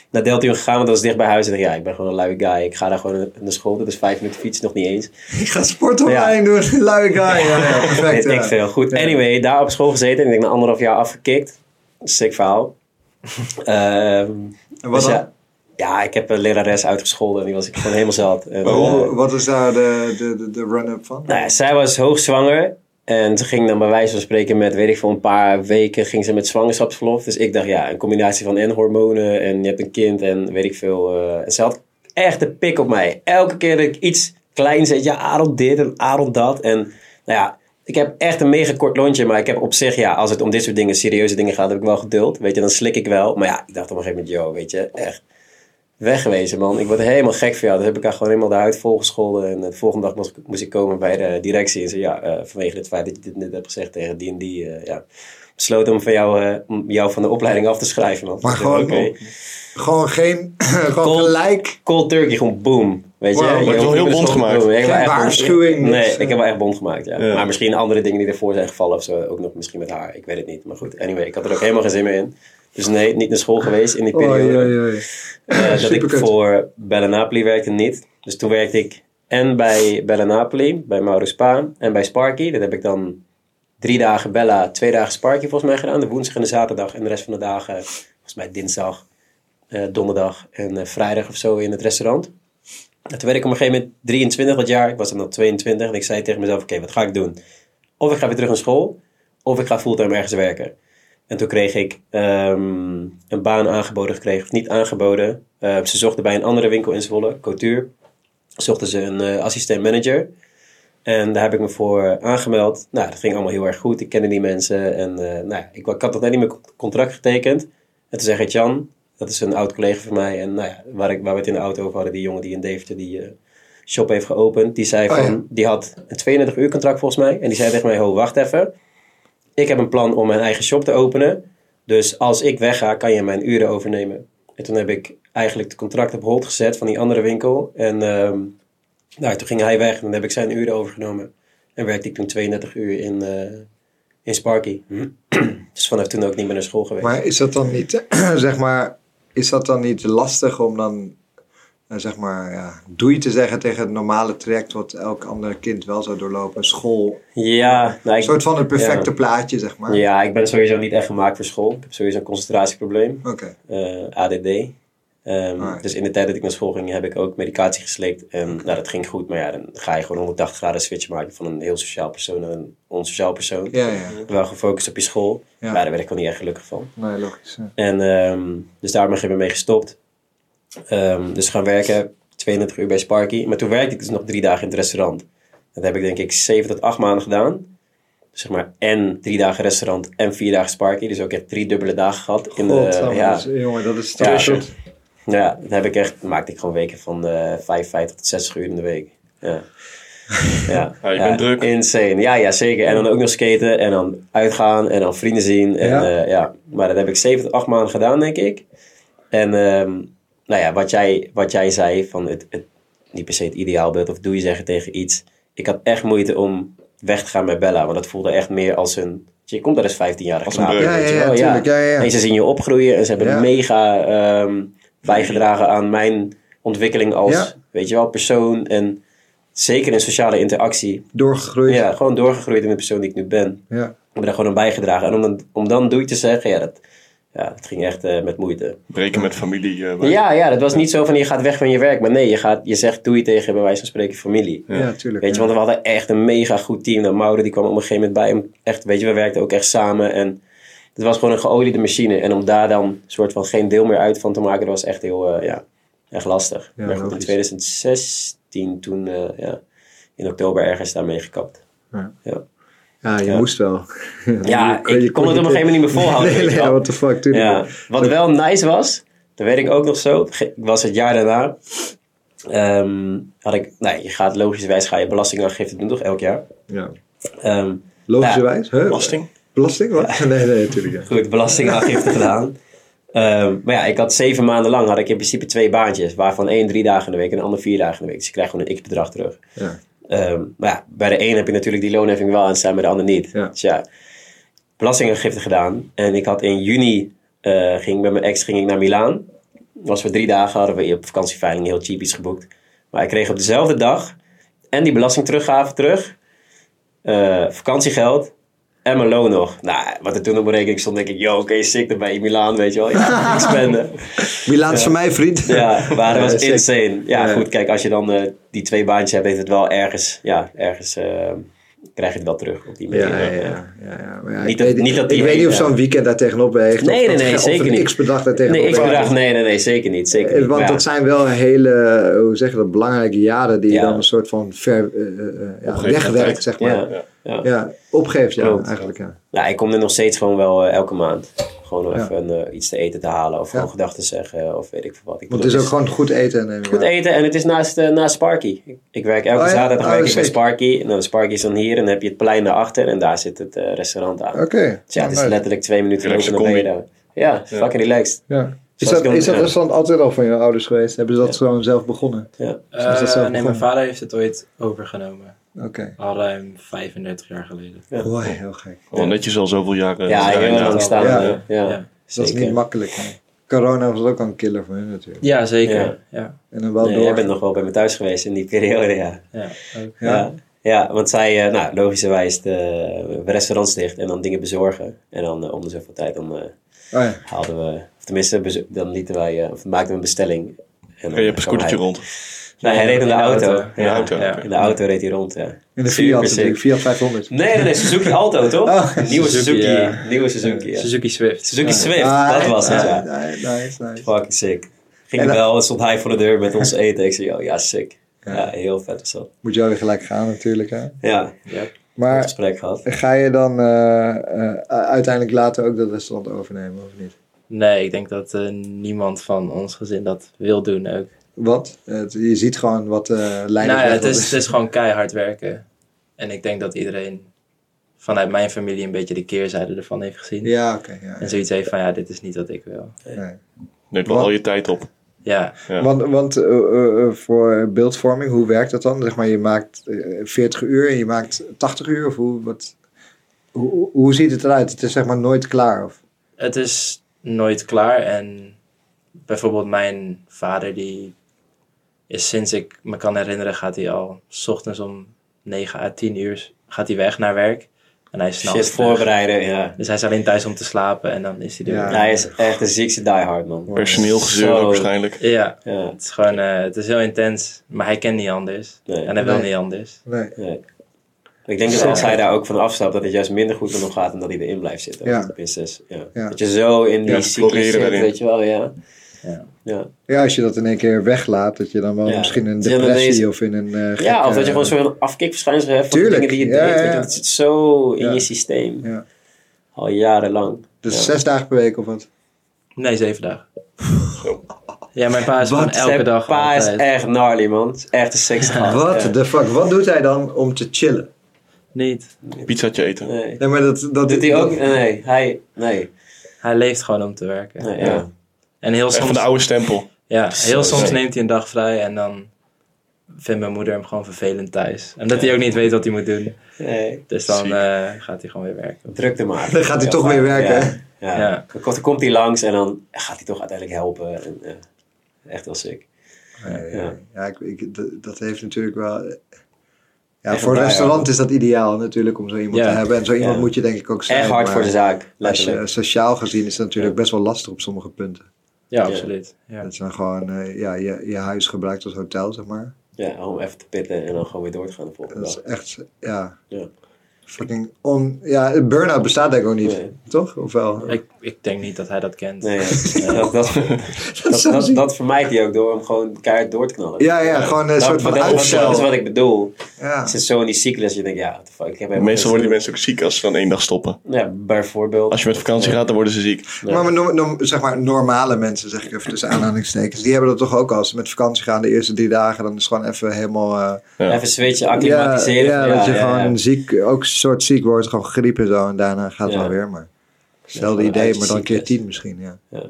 Speaker 3: Naar Deltion gegaan, want dat was dicht bij huis. En ik dacht, ja, ik ben gewoon een lui guy. Ik ga daar gewoon naar school. Dat is vijf minuten fiets, nog niet eens.
Speaker 1: Ik ga sportopleiding doen. Lui guy. Ja, ja, perfect.
Speaker 3: Weet ik
Speaker 1: ja.
Speaker 3: veel. Goed, anyway, daar op school gezeten. En ik denk, na anderhalf jaar afgekikt. Sick verhaal. Ehm,
Speaker 1: En wat
Speaker 3: dus
Speaker 1: dan?
Speaker 3: ja, ja, ik heb een lerares uitgescholden en die was ik gewoon helemaal zat. En,
Speaker 1: Waarom?
Speaker 3: eh,
Speaker 1: Wat is daar de, de, de, de run-up van?
Speaker 3: nou ja, zij was hoogzwanger. En ze ging dan bij wijze van spreken met, weet ik veel, een paar weken ging ze met zwangerschapsverlof. Dus ik dacht, ja, een combinatie van en hormonen en je hebt een kind en weet ik veel. eh, en ze had echt de pik op mij. Elke keer dat ik iets klein zei, ja, Aaron dit en Aaron dat. En nou ja, ik heb echt een mega kort lontje. Maar ik heb op zich, ja, als het om dit soort dingen, serieuze dingen gaat, heb ik wel geduld. Weet je, dan slik ik wel. Maar ja, ik dacht op een gegeven moment, joh, weet je, echt Wegwezen, man. Ik word helemaal gek van jou. Dat heb ik haar gewoon helemaal de huid volgescholden. En eh, de volgende dag moest, ik- moest ik komen bij de directie. En zei, ja, eh, vanwege het feit dat je dit net hebt gezegd tegen die en die. eh, ja, besloten om van jou, eh, om jou van de opleiding af te schrijven, man.
Speaker 1: Maar
Speaker 3: Ik zeg,
Speaker 1: gewoon-
Speaker 3: oké.
Speaker 1: Gewoon geen, gewoon
Speaker 3: Cold-
Speaker 1: gelijk.
Speaker 3: Cold turkey, gewoon boom. Weet je?
Speaker 1: Wow. Maar
Speaker 3: Je
Speaker 1: het is
Speaker 2: wel
Speaker 3: hoeft
Speaker 2: heel
Speaker 3: niet
Speaker 2: bond
Speaker 3: meer zo-
Speaker 2: gemaakt.
Speaker 3: boom. Ik heb
Speaker 1: Geen
Speaker 3: wel echt bond-
Speaker 1: waarschuwing, dus, eh.
Speaker 3: Nee,
Speaker 1: niks.
Speaker 3: ik heb wel echt bond gemaakt, ja.
Speaker 2: Ja.
Speaker 3: Maar misschien andere dingen die ervoor zijn gevallen of zo. Ook nog misschien met haar. Ik weet het niet. Maar goed, anyway, ik had er ook helemaal geen zin meer in. Dus nee, niet naar school geweest in die
Speaker 1: Oei,
Speaker 3: periode.
Speaker 1: oei, oei.
Speaker 3: Eh, dat ik
Speaker 1: Superkut.
Speaker 3: voor Bella Napoli werkte niet. Dus toen werkte ik en bij Bella Napoli, bij Mauro Spa en bij Sparky. Dat heb ik dan drie dagen Bella, twee dagen Sparky volgens mij gedaan. De woensdag en de zaterdag. En de rest van de dagen, volgens mij dinsdag, eh, donderdag en eh, vrijdag of zo in het restaurant. En toen werd ik op een gegeven moment 23 dat jaar. Ik was dan nog 22 en ik zei tegen mezelf, oké, wat ga ik doen? Of ik ga weer terug naar school, of ik ga fulltime ergens werken. En toen kreeg ik ehm, een baan aangeboden gekregen, of niet aangeboden. Eh, ze zochten bij een andere winkel in Zwolle, Couture, zochten ze een eh, assistent manager. En daar heb ik me voor eh, aangemeld. Nou, dat ging allemaal heel erg goed. Ik kende die mensen. En eh, nou, ja, ik, ik had nog net niet mijn co- contract getekend. En toen zei ik, Jan, dat is een oud collega van mij. En nou ja, waar, ik, waar we het in de auto over hadden, die jongen die in Deventer die eh, shop heeft geopend. Die zei
Speaker 1: Oh,
Speaker 3: van,
Speaker 1: ja.
Speaker 3: die had een 32 uur contract volgens mij. En die zei tegen mij, ho, wacht even. Ik heb een plan om mijn eigen shop te openen. Dus als ik wegga, kan je mijn uren overnemen. En toen heb ik eigenlijk het contract op hold gezet van die andere winkel. En ehm, nou, toen ging hij weg en dan heb ik zijn uren overgenomen. En werkte ik toen 32 uur in, eh, in Sparky. dus vanaf toen ook niet meer naar school geweest.
Speaker 1: Maar is dat dan niet, zeg maar, is dat dan niet lastig om dan, eh, zeg maar, ja, doei te zeggen tegen het normale traject wat elk ander kind wel zou doorlopen? School,
Speaker 3: Ja, nou,
Speaker 1: een
Speaker 3: ik,
Speaker 1: soort van het perfecte plaatje, zeg maar.
Speaker 3: ja, ik ben sowieso niet echt gemaakt voor school. Ik heb sowieso een concentratieprobleem,
Speaker 1: Oké,
Speaker 3: eh, ADD. Ehm,
Speaker 1: Alright.
Speaker 3: Dus in de tijd dat ik naar school ging, heb ik ook medicatie geslikt. En nou, dat ging goed, maar ja, dan ga je gewoon 180 graden switch maken van een heel sociaal persoon naar een onsociaal persoon.
Speaker 1: ja, ja.
Speaker 3: Wel gefocust op je school,
Speaker 1: Ja.
Speaker 3: maar daar werd ik wel niet echt gelukkig van.
Speaker 1: Nee, logisch. ja.
Speaker 3: En ehm, dus daar ben ik even mee gestopt. Ehm, dus gaan werken, 32 uur bij Sparky. Maar toen werkte ik dus nog drie dagen in het restaurant. Dat heb ik denk ik zeven tot acht maanden gedaan. Dus zeg maar, en drie dagen restaurant en vier dagen Sparky. Dus ook echt drie dubbele dagen gehad. In de,
Speaker 1: Godsamme,
Speaker 3: ja,
Speaker 1: dat is- jongen, dat is
Speaker 3: Ja.
Speaker 1: toch een soort-
Speaker 3: ja, dat heb ik echt, maakte ik gewoon weken van eh 55 tot 60 uur in de week. Ja. Ja,
Speaker 2: Ja, je bent druk.
Speaker 3: Insane. Ja, ja, zeker. En dan ook nog skaten en dan uitgaan en dan vrienden zien. En,
Speaker 1: Ja.
Speaker 3: ja. ja. Maar dat heb ik 7 tot 8 maanden gedaan, denk ik. En ehm, nou ja, wat jij, wat jij zei, van het, het, niet per se het ideaalbeeld of doe je zeggen tegen iets. Ik had echt moeite om weg te gaan met Bella, want dat voelde echt meer als een... Je komt daar als 15-jarige
Speaker 2: Als een
Speaker 3: knaap,
Speaker 2: breuk.
Speaker 1: Ja,
Speaker 3: weet je
Speaker 1: ja, ja,
Speaker 3: wel,
Speaker 1: tuurlijk, ja, ja, ja.
Speaker 3: En ze zien je opgroeien en ze hebben
Speaker 1: Ja.
Speaker 3: mega ehm, bijgedragen aan mijn ontwikkeling als,
Speaker 1: Ja.
Speaker 3: weet je wel, persoon. En zeker in sociale interactie.
Speaker 1: doorgegroeid.
Speaker 3: Ja, gewoon doorgegroeid in de persoon die ik nu ben.
Speaker 1: Ja.
Speaker 3: Ik ben daar gewoon aan bijgedragen. En om dan, om dan doei te zeggen, ja, dat, ja, dat ging echt eh, met moeite.
Speaker 2: Breken met familie. eh, bij-
Speaker 3: Ja, ja, dat was niet zo van je gaat weg van je werk. Maar nee, je, gaat, je zegt doei tegen bij wijze van spreken familie.
Speaker 1: Ja, tuurlijk.
Speaker 3: Weet je,
Speaker 1: ja.
Speaker 3: want we hadden echt een mega goed team. Nou, Mauro die kwam op een gegeven moment bij hem. Echt, weet je, we werkten ook echt samen. En het was gewoon een geoliede machine. En om daar dan soort van geen deel meer uit van te maken, dat was echt heel, eh, ja, echt lastig.
Speaker 1: Ja,
Speaker 3: maar goed, in
Speaker 1: logisch.
Speaker 3: 2016 toen, eh, ja, in oktober ergens daarmee gekapt.
Speaker 1: Ja, je moest wel.
Speaker 3: Ja,
Speaker 1: Je- je
Speaker 3: ik kon het op een
Speaker 1: niet-
Speaker 3: gegeven moment niet meer volhouden.
Speaker 1: Nee,
Speaker 3: weet
Speaker 1: nee,
Speaker 3: je wel.
Speaker 1: ja, what the fuck, tuurlijk.
Speaker 3: Ja, wat wel nice was, dat weet ik ook nog zo, ge- was het jaar daarna. ehm, had ik, nou, je gaat logischerwijs ga je belastingaangifte doen, toch? Elk jaar.
Speaker 1: Ja.
Speaker 3: Ehm,
Speaker 1: Logischerwijs. hè?
Speaker 2: Belasting.
Speaker 1: Belasting? Wat? Nee, nee, natuurlijk. Ja.
Speaker 3: goed belastingaangifte gedaan. Ehm, maar ja, ik had zeven maanden lang had ik in principe twee baantjes. Waarvan één drie dagen in de week en de ander vier dagen in de week. Dus ik krijg gewoon een x-bedrag terug.
Speaker 1: Ja.
Speaker 3: Ehm, maar ja, bij de een heb je natuurlijk die loonheffing wel en zijn bij de ander niet.
Speaker 1: Ja.
Speaker 3: Dus ja, belastingaangifte gedaan. En ik had in juni, eh, ging ik met mijn ex ging ik naar Milaan. Was voor drie dagen, hadden we op vakantieveiling heel cheap iets geboekt. Maar ik kreeg op dezelfde dag en die belasting teruggave terug. eh, vakantiegeld en mijn loon nog. Nou, wat er toen op mijn rekening stond, denk ik, yo, oké, sick, dan ben je in Milaan, weet je wel. Ja, ik spende.
Speaker 1: Wie laat van mij, vriend?
Speaker 3: Ja, maar dat was
Speaker 1: Ja, sick.
Speaker 3: insane. Ja,
Speaker 1: Ja.
Speaker 3: goed, kijk, als je dan eh, die twee baantjes hebt, heeft het wel ergens, ja, ergens eh, krijg je het wel terug op die manier.
Speaker 1: Ja, ja, ja. ja, ja. Maar ja,
Speaker 3: Niet
Speaker 1: ik
Speaker 3: dat-
Speaker 1: weet,
Speaker 3: niet dat die
Speaker 1: ik weet niet of
Speaker 3: hele-
Speaker 1: zo'n weekend daar tegenop weegt. of
Speaker 3: Nee, nee,
Speaker 1: dat-
Speaker 3: nee,
Speaker 1: of
Speaker 3: zeker
Speaker 1: een
Speaker 3: niet.
Speaker 1: x-bedrag daar tegenop
Speaker 3: Nee, ik
Speaker 1: weegt.
Speaker 3: bedacht, nee, nee, nee, zeker niet, zeker
Speaker 1: Eh,
Speaker 3: niet.
Speaker 1: Want
Speaker 3: Maar
Speaker 1: dat zijn wel hele, eh, hoe zeg je dat, belangrijke jaren die
Speaker 3: Ja.
Speaker 1: je dan een soort van ver, eh, eh, eh, ja,
Speaker 2: Opgeven
Speaker 1: wegwerkt,
Speaker 2: tijd.
Speaker 1: zeg
Speaker 3: ja,
Speaker 1: maar.
Speaker 3: ja,
Speaker 1: Ja,
Speaker 3: ja.
Speaker 1: opgeeft, ja,
Speaker 3: Klopt.
Speaker 1: eigenlijk. Ja.
Speaker 3: Nou, ik kom er nog steeds gewoon wel eh, elke maand. gewoon nog
Speaker 1: Ja.
Speaker 3: even eh, iets te eten te halen. Of gewoon
Speaker 1: Ja.
Speaker 3: gedachten zeggen. Of weet ik veel wat. Ik
Speaker 1: Want
Speaker 3: bedoel,
Speaker 1: het is ook gewoon goed eten. eh, Neem ik
Speaker 3: Goed
Speaker 1: aan.
Speaker 3: eten en het is naast, eh, naast Sparky. Ik, ik werk elke
Speaker 1: Oh ja,
Speaker 3: zaterdag
Speaker 1: oh,
Speaker 3: werk ik bij
Speaker 1: zeker.
Speaker 3: Sparky. En dan Sparky is dan hier en dan heb je het plein daarachter en daar zit het eh, restaurant aan.
Speaker 1: Oké.
Speaker 3: Dus ja, het is
Speaker 1: Nou,
Speaker 3: letterlijk twee minuten
Speaker 2: Relaxe
Speaker 3: lopen naar
Speaker 2: combi.
Speaker 3: beneden. Ja, fucking relaxed.
Speaker 1: Ja. Is
Speaker 3: Zoals
Speaker 1: dat,
Speaker 3: ik dan-
Speaker 1: is dat
Speaker 3: ja.
Speaker 1: restaurant altijd al van je ouders geweest? Hebben ze dat gewoon zelf begonnen?
Speaker 3: Ja.
Speaker 1: Zo is dat zelf
Speaker 4: Eh, nee, mijn
Speaker 1: begonnen.
Speaker 4: vader heeft het ooit overgenomen.
Speaker 1: Oké.
Speaker 4: Al ruim 35 jaar geleden.
Speaker 1: Mooi, heel gek.
Speaker 2: Wel netjes al zoveel jaren.
Speaker 3: Ja,
Speaker 2: daarin
Speaker 3: heel
Speaker 2: aan.
Speaker 3: lang staan.
Speaker 1: Ja.
Speaker 3: eh, Ja,
Speaker 4: Ja.
Speaker 1: Dat is
Speaker 3: zeker.
Speaker 1: niet makkelijk. nee. Corona was ook al een killer voor hun natuurlijk.
Speaker 4: Ja, zeker.
Speaker 3: Ja.
Speaker 4: Ja. Ja.
Speaker 1: En dan wel
Speaker 3: Nee,
Speaker 1: door.
Speaker 3: jij bent nog wel bij me thuis geweest in die periode, ja.
Speaker 4: ook.
Speaker 1: Ja.
Speaker 3: Ja. ja. want zij, eh, nou, logischerwijs, de eh, restaurants dicht en dan dingen bezorgen. En dan eh, om de zoveel tijd dan eh,
Speaker 1: Oh ja.
Speaker 3: haalden we, of tenminste, bezo- dan lieten wij, eh, of maakten we een bestelling. En
Speaker 2: Ja,
Speaker 3: dan
Speaker 2: je hebt een
Speaker 3: kwam
Speaker 2: scootertje
Speaker 3: hij-
Speaker 2: rond.
Speaker 3: Nee, hij reed in de auto.
Speaker 2: In de auto.
Speaker 4: Ja.
Speaker 2: oké.
Speaker 3: In de auto reed hij rond, ja.
Speaker 1: In de
Speaker 3: Super
Speaker 1: Fiat
Speaker 3: sick.
Speaker 1: natuurlijk. Fiat 500.
Speaker 3: Nee, nee, nee, Suzuki Alto, toch?
Speaker 1: Oh,
Speaker 3: Nieuwe Suzuki. eh,
Speaker 4: Suzuki, ja.
Speaker 3: Nieuwe Suzuki, ja.
Speaker 4: Suzuki Swift.
Speaker 3: Suzuki
Speaker 4: Ja.
Speaker 3: Swift,
Speaker 1: Ah,
Speaker 3: dat was het,
Speaker 1: nice,
Speaker 3: ja.
Speaker 1: Nice, nice, nice.
Speaker 3: Fucking sick. Ging
Speaker 1: En dan-
Speaker 3: wel, stond hij voor de deur met ons eten. Ik zei, oh ja, sick. Ja, heel vet was dat.
Speaker 1: Moet jou weer gelijk gaan natuurlijk. Hè?
Speaker 3: Ja,
Speaker 4: Ja.
Speaker 1: Maar
Speaker 3: gesprek gehad.
Speaker 1: Ga je dan eh, eh, uiteindelijk later ook dat restaurant overnemen of niet?
Speaker 4: Nee, ik denk dat eh, niemand van ons gezin dat wil doen ook.
Speaker 1: Want het- je ziet gewoon wat eh lijnen.
Speaker 4: nou ja,
Speaker 1: leggen,
Speaker 4: het
Speaker 1: wat
Speaker 4: is, het is gewoon keihard werken. En ik denk dat iedereen vanuit mijn familie een beetje de keerzijde ervan heeft gezien.
Speaker 1: Ja, oké. ja,
Speaker 4: En
Speaker 1: ja,
Speaker 4: zoiets heeft van, ja, dit is niet wat ik wil.
Speaker 1: nee.
Speaker 2: Neemt wel
Speaker 1: Wat?
Speaker 2: al je tijd op.
Speaker 4: Ja,
Speaker 2: Ja.
Speaker 1: Want, want eh, eh, eh, voor beeldvorming, hoe werkt dat dan? Zeg maar, je maakt eh, 40 uur en je maakt 80 uur of hoe, wat, hoe, hoe ziet het eruit? Het is zeg maar nooit klaar. Of,
Speaker 4: het is nooit klaar. En bijvoorbeeld mijn vader, die is sinds ik me kan herinneren, gaat hij al 's ochtends om 9 à 10 uur gaat hij weg naar werk. En hij is
Speaker 3: Shit
Speaker 4: s'nachts terug.
Speaker 3: voorbereiden, ja.
Speaker 4: Dus hij is alleen thuis om te slapen en dan is hij er
Speaker 1: Ja.
Speaker 4: weer.
Speaker 3: Hij is echt een ziekste diehard, man.
Speaker 2: Personeel gezeur
Speaker 3: Zo.
Speaker 2: ook waarschijnlijk.
Speaker 4: Ja,
Speaker 3: Ja,
Speaker 4: het is gewoon, eh, het is heel intens. Maar hij kent niet anders.
Speaker 3: Nee.
Speaker 4: En hij wil
Speaker 1: Nee.
Speaker 4: niet anders.
Speaker 1: nee.
Speaker 3: ik denk dat
Speaker 4: Ja.
Speaker 3: als hij daar ook van afstapt, dat het juist minder goed met hem gaat dan dat hij erin blijft zitten.
Speaker 1: Ja.
Speaker 3: Tenminste, dus, ja.
Speaker 1: Ja.
Speaker 3: Dat je zo in die
Speaker 2: Ja,
Speaker 3: cyclus
Speaker 2: floreren
Speaker 3: zit,
Speaker 2: daarin.
Speaker 3: weet je wel, ja.
Speaker 4: Ja.
Speaker 3: Ja,
Speaker 1: Ja, als je dat in één keer weglaat, dat je dan wel
Speaker 3: Ja.
Speaker 1: misschien in een
Speaker 3: Dus dan
Speaker 1: depressie
Speaker 3: ineens-
Speaker 1: of in een. eh,
Speaker 3: ja of
Speaker 1: gekke-
Speaker 3: dat je gewoon zo'n afkikverschijnsel hebt van de
Speaker 1: Tuurlijk,
Speaker 3: dingen die je
Speaker 1: ja,
Speaker 3: deed.
Speaker 1: ja,
Speaker 3: weet je,
Speaker 1: ja.
Speaker 3: dat zit zo in
Speaker 1: Ja.
Speaker 3: je systeem.
Speaker 1: Ja.
Speaker 3: Al jarenlang.
Speaker 1: Dus
Speaker 3: Ja.
Speaker 1: zes dagen per week of wat?
Speaker 4: Nee, zeven dagen. Ja, mijn pa is gewoon elke
Speaker 3: Zijn
Speaker 4: dag
Speaker 3: pa is
Speaker 4: altijd.
Speaker 3: echt gnarly, man. Het is echt een seks gehad.
Speaker 1: Wat
Speaker 3: Ja.
Speaker 1: de fuck? Wat doet hij dan om te chillen?
Speaker 4: Niet.
Speaker 2: Pizzaatje eten.
Speaker 3: Nee.
Speaker 1: Nee, maar dat, dat
Speaker 3: Doet hij ook? Nee, hij... Nee.
Speaker 4: Hij leeft gewoon om te werken.
Speaker 3: nee ja.
Speaker 4: En heel
Speaker 2: Echt van de
Speaker 4: soms,
Speaker 2: oude stempel.
Speaker 4: ja, heel soms
Speaker 2: zo.
Speaker 4: neemt hij een dag vrij en dan vindt mijn moeder hem gewoon vervelend thuis. Omdat hij ook niet weet wat hij moet doen.
Speaker 3: Nee.
Speaker 4: Dus dan
Speaker 2: Ziek.
Speaker 4: eh, gaat hij gewoon weer werken.
Speaker 3: Drukte maar.
Speaker 1: Dan gaat hij toch weer werken, hè?
Speaker 3: Ja.
Speaker 4: Ja.
Speaker 3: Dan komt- dan komt hij langs en dan gaat hij toch uiteindelijk helpen. En, ja, echt wel sick.
Speaker 1: Nee,
Speaker 3: Ja.
Speaker 1: ja, ja ik, ik, d- dat heeft natuurlijk wel. eh, Ja,
Speaker 3: Echt
Speaker 1: voor een
Speaker 3: waar,
Speaker 1: restaurant is dat ideaal natuurlijk om zo iemand
Speaker 4: Ja.
Speaker 1: te hebben. En zo iemand
Speaker 3: Ja.
Speaker 1: moet je denk ik ook zijn.
Speaker 3: echt hard
Speaker 1: maar
Speaker 3: voor de zaak,
Speaker 1: Als je
Speaker 3: letterlijk.
Speaker 1: eh, sociaal gezien is dat natuurlijk best wel lastig op sommige punten.
Speaker 4: Ja,
Speaker 3: Ja.
Speaker 4: absoluut. Ja.
Speaker 1: Dat zijn gewoon eh, ja, je, je huis gebruikt als hotel, zeg maar.
Speaker 3: Ja, om even te pitten en dan gewoon weer door te gaan de volgende
Speaker 1: Dat is
Speaker 3: dag.
Speaker 1: echt, ja.
Speaker 3: Ja.
Speaker 1: Fucking on, ja, burn-out bestaat denk ik ook niet,
Speaker 3: Nee.
Speaker 1: toch? Of wel?
Speaker 4: Ik, ik denk niet dat hij dat kent.
Speaker 3: Nee, ja. Ja, dat, dat, dat,
Speaker 1: zou
Speaker 3: dat,
Speaker 1: zien.
Speaker 3: dat vermijdt hij ook door hem gewoon keihard door te knallen.
Speaker 1: Ja, ja, gewoon een
Speaker 3: Dat-
Speaker 1: soort van
Speaker 3: dat, dat-
Speaker 1: uitstel.
Speaker 3: dat is wat ik bedoel.
Speaker 1: ja.
Speaker 3: Het zit zo in die cyclus dat je denkt, ja, what the fuck, ik heb helemaal
Speaker 2: Meestal
Speaker 3: geen
Speaker 2: worden die mensen ook ziek als ze dan één dag stoppen.
Speaker 3: zin. Ja, bijvoorbeeld.
Speaker 2: Als je met vakantie gaat, dan worden ze ziek.
Speaker 3: Ja.
Speaker 1: Maar, no- no- zeg maar normale mensen, zeg ik even tussen aanhalingstekens, die hebben dat toch ook als ze met vakantie gaan de eerste drie dagen, dan is het gewoon even helemaal... eh,
Speaker 2: Ja.
Speaker 3: Even switchen, acclimatiseren.
Speaker 1: Ja, ja, dat je
Speaker 3: ja,
Speaker 1: gewoon
Speaker 3: ja.
Speaker 1: ziek, ook een soort ziek wordt, gewoon griep en zo. En daarna gaat het
Speaker 3: Ja.
Speaker 1: wel weer. Maar hetzelfde
Speaker 3: gewoon uit
Speaker 1: idee,
Speaker 3: je
Speaker 1: maar dan keer
Speaker 3: ziektes.
Speaker 1: tien misschien. Ja.
Speaker 3: Ja.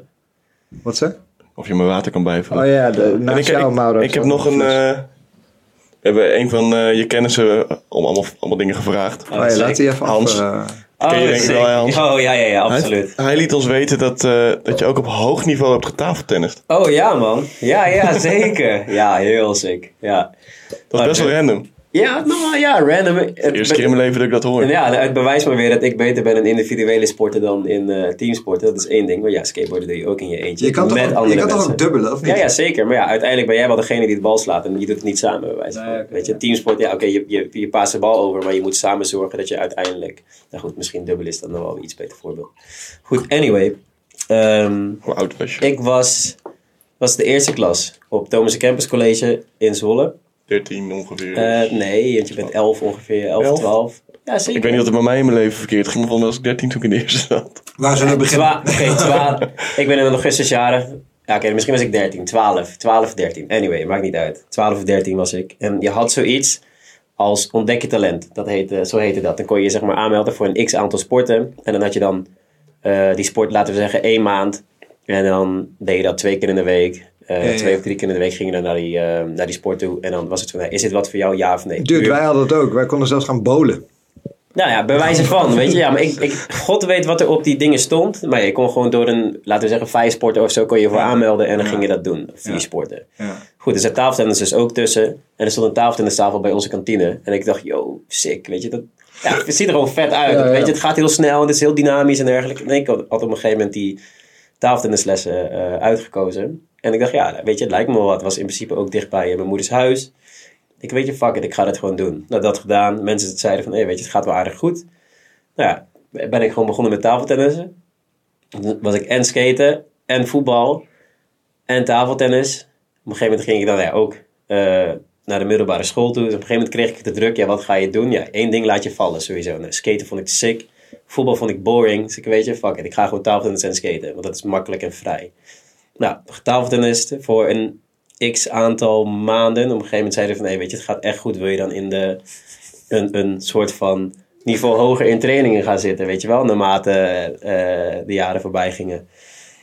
Speaker 1: Wat zeg?
Speaker 2: Of je mijn water kan bijvullen.
Speaker 1: Oh ja, de,
Speaker 2: En ik,
Speaker 1: naast jou,
Speaker 2: ik-
Speaker 1: Mauro.
Speaker 2: ik heb nog een... eh, we hebben een van eh, je kennissen eh, om allemaal, allemaal dingen gevraagd.
Speaker 1: oh ja, laat die even
Speaker 2: Hans.
Speaker 1: af. eh,
Speaker 3: Oh,
Speaker 2: Ken je denk ik
Speaker 3: sick.
Speaker 2: wel, hè, Hans?
Speaker 3: Oh, ja, ja, ja,
Speaker 2: Hij-
Speaker 3: absoluut.
Speaker 2: Hij, liet ons weten dat, eh, dat je ook op hoog niveau hebt getafeltennist.
Speaker 3: Oh ja, man. Ja, ja, zeker. Ja, heel sick. Ja,
Speaker 2: Dat
Speaker 3: Ah,
Speaker 2: is best wel random.
Speaker 3: ja nou ja, random. Het-
Speaker 2: Eerste keer in mijn leven dat ik dat hoor.
Speaker 3: en ja, het bewijst maar weer dat ik beter ben in individuele sporten dan in eh, teamsporten. Dat is één ding. Maar ja, skateboarden doe je ook in je eentje.
Speaker 1: je kan toch,
Speaker 3: met
Speaker 1: ook, je
Speaker 3: andere
Speaker 1: kan toch
Speaker 3: mensen.
Speaker 1: ook dubbelen, of niet?
Speaker 3: ja, ja, zeker. Maar ja, uiteindelijk ben jij wel degene die het bal slaat. En je doet het niet samen, bij wijze van.
Speaker 4: Nee, oké,
Speaker 3: Weet je,
Speaker 4: ja.
Speaker 3: teamsport, ja, oké, je, je, je paast de bal over. Maar je moet samen zorgen dat je uiteindelijk... Nou goed, misschien dubbel is dan nog wel een iets beter voorbeeld. Goed, anyway. Ehm
Speaker 2: Hoe oud was je?
Speaker 3: ik was, was de eerste klas op Thomas Campus College in Zwolle.
Speaker 2: 13 ongeveer.
Speaker 3: Eh, nee, want je bent 11 ongeveer, 11,
Speaker 2: Elf?
Speaker 3: 12. Ja, zeker.
Speaker 2: ik weet niet wat er bij mij in mijn leven verkeerd ging, maar volgens mij was ik 13 toen ik in de eerste zat.
Speaker 1: Waar zullen we beginnen?
Speaker 3: Twa- Oké, Eh, twa- ik ben in augustus jaren. Ja, oké, misschien was ik 13, 12, 12, 13. Anyway, maakt niet uit. 12 of 13 was ik. En je had zoiets als ontdek je talent. Dat heette, zo heette dat. Dan kon je je zeg maar aanmelden voor een x aantal sporten. En dan had je dan eh, die sport, laten we zeggen, één maand. En dan deed je dat twee keer in de week. Eh,
Speaker 1: Ja, ja.
Speaker 3: Twee of drie keer in de week ging je dan naar die, eh, naar die sport toe. En dan was het van, nou, is dit wat voor jou, ja of nee?
Speaker 1: Dude, wij hadden het ook. Wij konden zelfs gaan bowlen.
Speaker 3: Nou ja, bij wijze van, weet je. Ja, maar ik, ik, God weet wat er op die dingen stond. Maar je kon gewoon door een, laten we zeggen, vijf sporten of zo, kon je voor aanmelden en dan ging je dat doen. Vier sporten.
Speaker 1: Ja.
Speaker 3: Goed, er zat tafeltennis dus ook tussen. En er stond een tafeltennistafel bij onze kantine. En ik dacht, yo, sick, weet je. Dat, ja, het ziet er gewoon vet uit.
Speaker 1: Ja, ja.
Speaker 3: Weet je, het gaat heel snel en het is heel dynamisch en dergelijke. En ik had had op een gegeven moment die tafeltennislessen eh, uitgekozen. En ik dacht, ja, weet je, het lijkt me wel wat. Het was in principe ook dicht bij eh, mijn moeders huis. Ik weet je, fuck it, ik ga dat gewoon doen. Nou, dat gedaan. Mensen zeiden van, hé, weet je, het gaat wel aardig goed. Nou ja, ben ik gewoon begonnen met tafeltennissen. Toen Was ik en skaten, en voetbal, en tafeltennis. Op een gegeven moment ging ik dan ja, ook eh, naar de middelbare school toe. Dus op een gegeven moment kreeg ik de druk, ja, wat ga je doen? Ja, één ding laat je vallen sowieso. Nou, skaten vond ik sick. Voetbal vond ik boring. Dus ik weet je, fuck it, ik ga gewoon tafeltennis en skaten. Want dat is makkelijk en vrij. Nou, tafeltennis voor een x aantal maanden. Op een gegeven moment zeiden ze van, nee, weet je, het gaat echt goed. Wil je dan in de, een, een soort van niveau hoger in trainingen gaan zitten, weet je wel? Naarmate eh, de jaren voorbij gingen.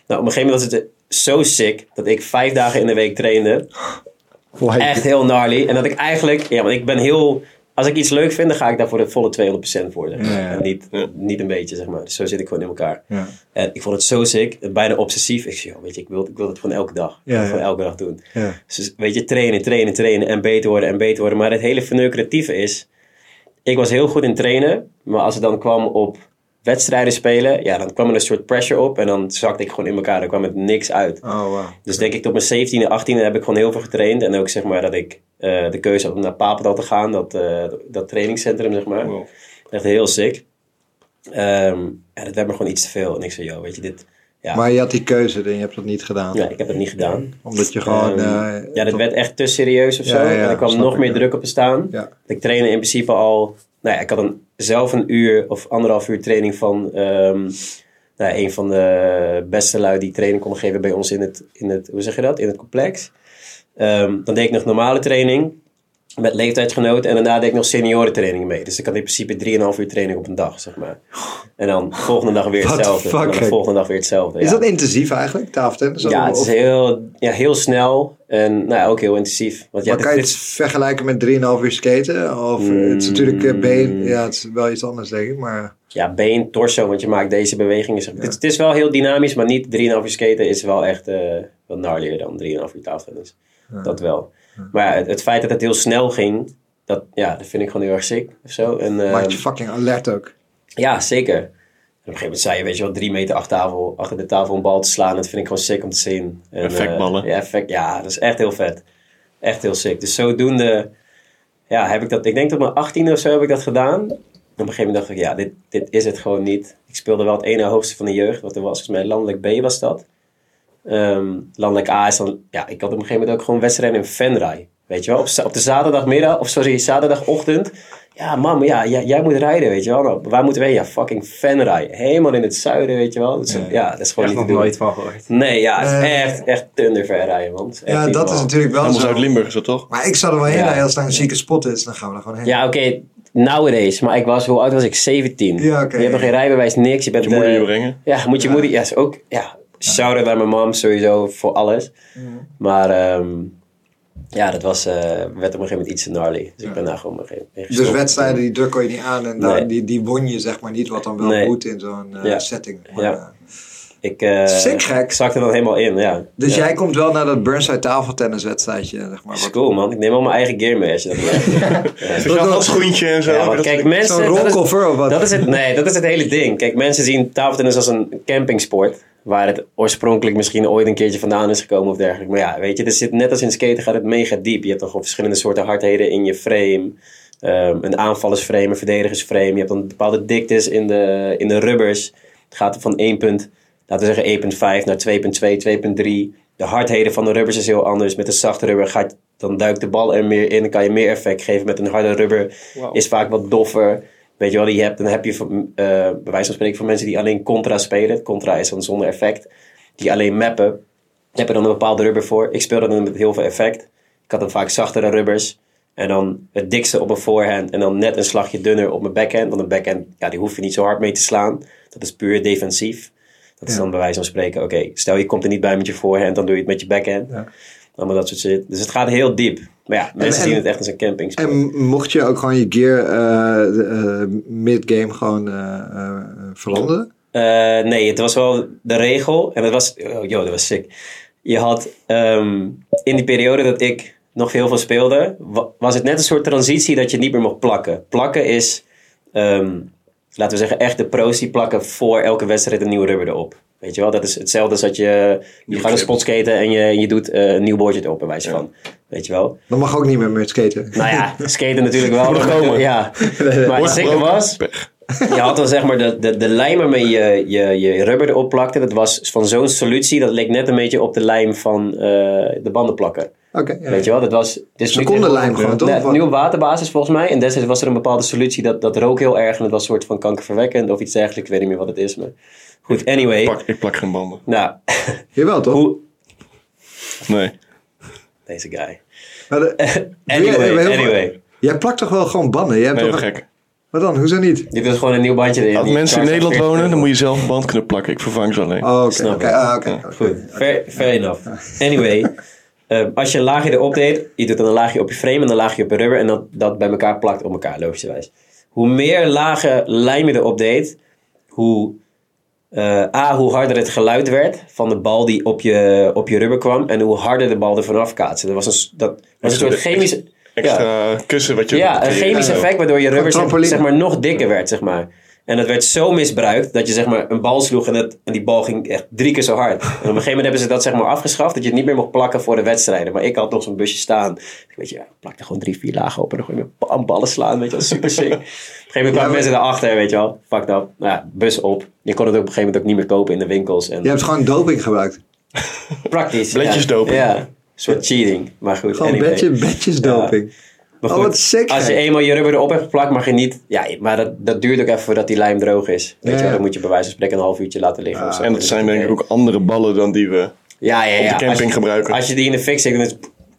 Speaker 3: Nou, op een gegeven moment was het zo sick dat ik vijf dagen in de week trainde. Echt heel gnarly. En dat ik eigenlijk, ja, want ik ben heel. Als ik iets leuk vind, dan ga ik daar voor de volle 200% voor. zeg maar.
Speaker 1: Ja, ja.
Speaker 3: En niet, niet een beetje, zeg maar. Dus zo zit ik gewoon in elkaar.
Speaker 1: Ja.
Speaker 3: En ik vond het zo sick, bijna obsessief. Ik zei, joh, weet je, ik wil, ik wil het gewoon elke dag.
Speaker 1: Ja, ja.
Speaker 3: Gewoon elke dag doen.
Speaker 1: Ja.
Speaker 3: Dus weet je, trainen, trainen, trainen en beter worden en beter worden. Maar het hele verneukeratieve is, ik was heel goed in trainen. Maar als het dan kwam op wedstrijden spelen, ja, dan kwam er een soort pressure op. En dan zakte ik gewoon in elkaar, dan kwam het niks uit.
Speaker 1: Oh, wow.
Speaker 3: Dus denk ik tot mijn 17e, 18e heb ik gewoon heel veel getraind. En ook zeg maar dat ik eh, de keuze had om naar Papendal te gaan. Dat, eh, dat trainingscentrum zeg maar.
Speaker 2: Wow.
Speaker 3: Echt heel sick. Ehm ja, dat werd me gewoon iets te veel. En ik zei, joh, weet je, dit... Ja,
Speaker 1: Maar je had die keuze en je hebt dat niet gedaan.
Speaker 3: ja, ik heb dat niet gedaan.
Speaker 1: Omdat je gewoon...
Speaker 3: Ehm,
Speaker 1: eh,
Speaker 3: ja, dat
Speaker 1: tot-
Speaker 3: werd echt te serieus of
Speaker 1: Ja,
Speaker 3: zo.
Speaker 1: ja, ja,
Speaker 3: en er kwam
Speaker 1: snap
Speaker 3: nog
Speaker 1: ik,
Speaker 3: meer
Speaker 1: ja.
Speaker 3: druk op te staan.
Speaker 1: Ja.
Speaker 3: Ik trainde in principe al... Nou ja, ik had een, zelf een uur of anderhalf uur training van... ehm, nou, een van de beste lui die training kon geven bij ons in het... In het hoe zeg je dat? In het complex. Ehm, dan deed ik nog normale training met leeftijdsgenoten. En daarna deed ik nog seniorentraining mee. Dus ik had in principe 3,5 uur training op een dag, zeg maar. En dan volgende dag weer
Speaker 1: What the
Speaker 3: hetzelfde.
Speaker 1: fuck,
Speaker 3: en dan de
Speaker 1: gek.
Speaker 3: volgende dag weer hetzelfde.
Speaker 1: Is
Speaker 3: ja.
Speaker 1: dat intensief eigenlijk, tafeltennis?
Speaker 3: Ja, het
Speaker 1: Of-
Speaker 3: is heel, ja, heel snel en nou, ja, ook heel intensief. Want ja,
Speaker 1: maar kan je
Speaker 3: dit-
Speaker 1: het vergelijken met 3,5 uur skaten? Of eh, het is natuurlijk eh,
Speaker 3: Mm.
Speaker 1: been... Ja, het is wel iets anders denk ik, maar...
Speaker 3: ja, been, torso, want je maakt deze bewegingen. zeg- Het, het is wel heel dynamisch, maar niet 3,5 uur skaten is wel echt eh wat gnarlier dan 3,5 uur tafeltennis. Dat wel. Maar ja, het, het feit dat het heel snel ging, dat, ja, dat vind ik gewoon heel erg sick of zo. En, ehm,
Speaker 1: Maakt je fucking alert ook.
Speaker 3: Ja, zeker. En op een gegeven moment zei je, weet je wel, drie meter achter, tafel, achter de tafel een bal te slaan. Dat vind ik gewoon sick om te zien. En,
Speaker 2: Effectballen.
Speaker 3: eh, ja, effect, ja, dat is echt heel vet. Echt heel sick. Dus zodoende ja, heb ik dat, ik denk dat op mijn 18 of zo heb ik dat gedaan. En op een gegeven moment dacht ik, ja, dit, dit is het gewoon niet. Ik speelde wel het ene hoogste van de jeugd, wat er was. Volgens mij landelijk B was dat. Ehm, landelijk A is dan, ja, ik had op een gegeven moment ook gewoon wedstrijden in Venray. Weet je wel, op, za- op de zaterdagmiddag, of sorry, zaterdagochtend. Ja, mam, ja, ja, jij moet rijden, weet je wel. Nou, waar moeten we heen? Ja, fucking Venray. Helemaal in het zuiden, weet je wel. Dus, ja. dat is gewoon
Speaker 4: Echt
Speaker 3: niet
Speaker 4: nog
Speaker 3: te doen.
Speaker 4: nooit van gehoord.
Speaker 3: Nee, ja, het is
Speaker 1: Eh.
Speaker 3: echt, echt tunder ver rijden, man. Het echt
Speaker 1: Ja,
Speaker 3: niet
Speaker 1: dat is
Speaker 3: normaal.
Speaker 1: natuurlijk wel
Speaker 2: Helemaal
Speaker 1: zo.
Speaker 2: Zuid-Limburg is dat toch?
Speaker 1: Maar ik zou er wel heen
Speaker 3: Ja.
Speaker 1: rijden als daar een zieke spot is. Dan gaan we er gewoon heen.
Speaker 3: Ja, oké, nowadays. Maar ik was, hoe oud was ik? 17.
Speaker 1: Ja, oké.
Speaker 3: Je hebt nog geen rijbewijs, niks. Je bent
Speaker 2: Je moeder
Speaker 3: eh,
Speaker 2: je brengen.
Speaker 3: Ja, moet je moeder... Ja, is ook... Ja, shout out naar mijn mom sowieso voor alles.
Speaker 1: Mhm.
Speaker 3: Maar ehm, ja, dat was, eh, werd op een gegeven moment iets te gnarly. Dus ik ben daar gewoon op een gegeven moment
Speaker 1: Dus
Speaker 3: gestopt.
Speaker 1: wedstrijden die druk kon je niet aan en daar,
Speaker 3: Nee.
Speaker 1: die, die won je zeg maar niet, wat dan wel
Speaker 3: Nee.
Speaker 1: moet in zo'n eh,
Speaker 3: Ja.
Speaker 1: setting. Maar,
Speaker 3: Ja.
Speaker 1: eh,
Speaker 3: Ik eh,
Speaker 1: Sick gek.
Speaker 3: zakte dan helemaal in, ja.
Speaker 1: Dus
Speaker 3: Ja.
Speaker 1: jij komt wel naar dat Burnside tafeltenniswedstrijdje, zeg maar.
Speaker 3: Is
Speaker 1: Wat-
Speaker 3: cool, man. Ik neem al mijn eigen gear mee als je dat wil.
Speaker 2: Speciaal
Speaker 1: wel-
Speaker 2: dat schoentje en zo.
Speaker 3: Ja, want
Speaker 2: Dat-
Speaker 3: kijk, mensen...
Speaker 1: Zo'n
Speaker 3: dat is-
Speaker 1: rolkoffer of Oh, wat?
Speaker 3: Dat is het, nee, dat is het hele ding. Kijk, mensen zien tafeltennis als een campingsport. Waar het oorspronkelijk misschien ooit een keertje vandaan is gekomen of dergelijke. Maar ja, weet je, er zit, net als in skaten gaat het mega diep. Je hebt toch verschillende soorten hardheden in je frame. Ehm, een aanvallersframe, een verdedigersframe. Je hebt dan bepaalde diktes in de, in de rubbers. Het gaat van 1 punt, laten we zeggen 1.5 naar 2.2, 2.3. De hardheden van de rubbers is heel anders. Met een zachte rubber gaat, dan duikt de bal er meer in. Dan kan je meer effect geven. Met een harde rubber is vaak wat doffer. Weet je wel, die hebt, dan heb je van, eh, bij wijze van spreken van mensen die alleen contra spelen. Contra is dan zonder effect. Die alleen mappen. Daar heb je dan een bepaalde rubber voor. Ik speelde dan met heel veel effect. Ik had dan vaak zachtere rubbers. En dan het dikste op mijn voorhand. En dan net een slagje dunner op mijn backhand. Want een backhand, ja, die hoef je niet zo hard mee te slaan. Dat is puur defensief. Dat is
Speaker 1: Ja.
Speaker 3: dan bij wijze van spreken, oké, stel je komt er niet bij met je voorhand, dan doe je het met je backhand.
Speaker 1: Ja.
Speaker 3: Allemaal dat soort shit. Dus het gaat heel diep. Maar ja, mensen
Speaker 1: en-
Speaker 3: zien het echt als een camping.
Speaker 1: En mocht je ook gewoon je gear eh, de, eh, mid-game gewoon eh, eh, veranderen?
Speaker 3: Eh, nee, het was wel de regel. En dat was, oh, yo, dat was sick. Je had ehm, in die periode dat ik nog heel veel speelde, wa- was het net een soort transitie dat je niet meer mocht plakken. Plakken is, ehm, laten we zeggen, echt de pro's die plakken voor elke wedstrijd een nieuw rubber erop. Weet je wel, dat is hetzelfde als dat je, je gaat een
Speaker 2: clip.
Speaker 3: spotskaten en je, je doet eh, een nieuw boordje erop, bij wijze van. Weet je wel.
Speaker 1: Dan mag ook niet meer meer skaten.
Speaker 3: Nou ja, skaten natuurlijk wel.
Speaker 2: Moet nog komen.
Speaker 3: Ja. Maar het sicker was,
Speaker 2: Pech.
Speaker 3: je had dan zeg maar de, de, de lijm waarmee je, je je rubber erop plakte. Dat was van zo'n solutie. Dat leek net een beetje op de lijm van eh, de bandenplakker.
Speaker 1: Oké, ja.
Speaker 3: Weet je wel? Dat was... Dus
Speaker 1: Secondenlijm gewoon, toch? Of wat?
Speaker 3: Nu op waterbasis volgens mij. En destijds was er een bepaalde solutie. Dat, dat rook heel erg. En dat was een soort van kankerverwekkend of iets dergelijks. Ik weet niet meer wat het is. Maar goed, anyway.
Speaker 2: Pak, ik plak geen banden.
Speaker 3: Nou,
Speaker 1: Jawel, toch?
Speaker 3: hoe...
Speaker 2: Nee.
Speaker 3: Deze guy.
Speaker 1: Maar de- Doe je-
Speaker 3: Anyway,
Speaker 1: heel veel-
Speaker 3: anyway.
Speaker 1: Jij plakt toch wel gewoon banden? Jij hebt
Speaker 2: Nee,
Speaker 1: toch
Speaker 2: joh, gek.
Speaker 1: Wat dan? Hoezo niet?
Speaker 3: Dit is gewoon een nieuw bandje erin.
Speaker 2: Als
Speaker 3: Die
Speaker 2: mensen in
Speaker 3: charge
Speaker 2: Nederland
Speaker 3: 40
Speaker 2: wonen, dan moet je zelf een band kunnen plakken. Ik vervang ze alleen.
Speaker 1: Oh, oké.
Speaker 3: Snap
Speaker 1: oké,
Speaker 3: ik.
Speaker 1: ah, oké, oké.
Speaker 3: Goed, fair, fair enough. Anyway, eh, als je een laagje erop deed, je doet dan een laagje op je frame en een laagje op je rubber en dat, dat bij elkaar plakt op elkaar, logischerwijs. Hoe meer lagen lijm je erop deed, hoe, eh, A, hoe harder het geluid werd van de bal die op je, op je rubber kwam en hoe harder de bal er vanaf kaatste. Dat was een, s- dat was een soort chemische... ja.
Speaker 2: Extra kussen wat je...
Speaker 3: Ja, een chemisch effect waardoor je rubber zeg,
Speaker 1: trampoline.
Speaker 3: zeg maar nog dikker werd, zeg maar. En dat werd zo misbruikt dat je zeg maar een bal sloeg en, het, en die bal ging echt drie keer zo hard. En op een gegeven moment hebben ze dat zeg maar afgeschaft, dat je het niet meer mocht plakken voor de wedstrijden. Maar ik had nog zo'n busje staan. Ik weet je, ja, ik plakte gewoon drie, vier lagen op en dan gewoon met bam, ballen slaan, weet je wel, super sick. op een gegeven moment kwamen
Speaker 1: maar-
Speaker 3: mensen erachter, weet je wel, fucked up. Nou ja, bus op. Je kon het ook op een gegeven moment ook niet meer kopen in de winkels. En
Speaker 1: Je hebt gewoon doping gebruikt.
Speaker 3: praktisch.
Speaker 2: Bletjes
Speaker 3: ja.
Speaker 2: dopen.
Speaker 3: Ja, een soort cheating. Maar goed,
Speaker 1: Gewoon
Speaker 3: anyway.
Speaker 1: bedje, bedjes doping.
Speaker 3: Maar
Speaker 1: Oh,
Speaker 3: goed,
Speaker 1: wat sick,
Speaker 3: als je
Speaker 1: gek.
Speaker 3: eenmaal je rubber erop hebt geplakt, mag je niet... Ja, maar dat, dat duurt ook even voordat die lijm droog is.
Speaker 1: Ja,
Speaker 3: Weet je
Speaker 1: ja. Ah,
Speaker 3: wel, dan moet je bij wijze van spreken een half uurtje laten liggen. of zo.
Speaker 2: En dat zijn denk ik ook andere ballen dan die we...
Speaker 3: ja, ja, ja.
Speaker 2: op de
Speaker 3: Als je-
Speaker 2: camping gebruiken.
Speaker 3: Als je die in de fik zit, dan is,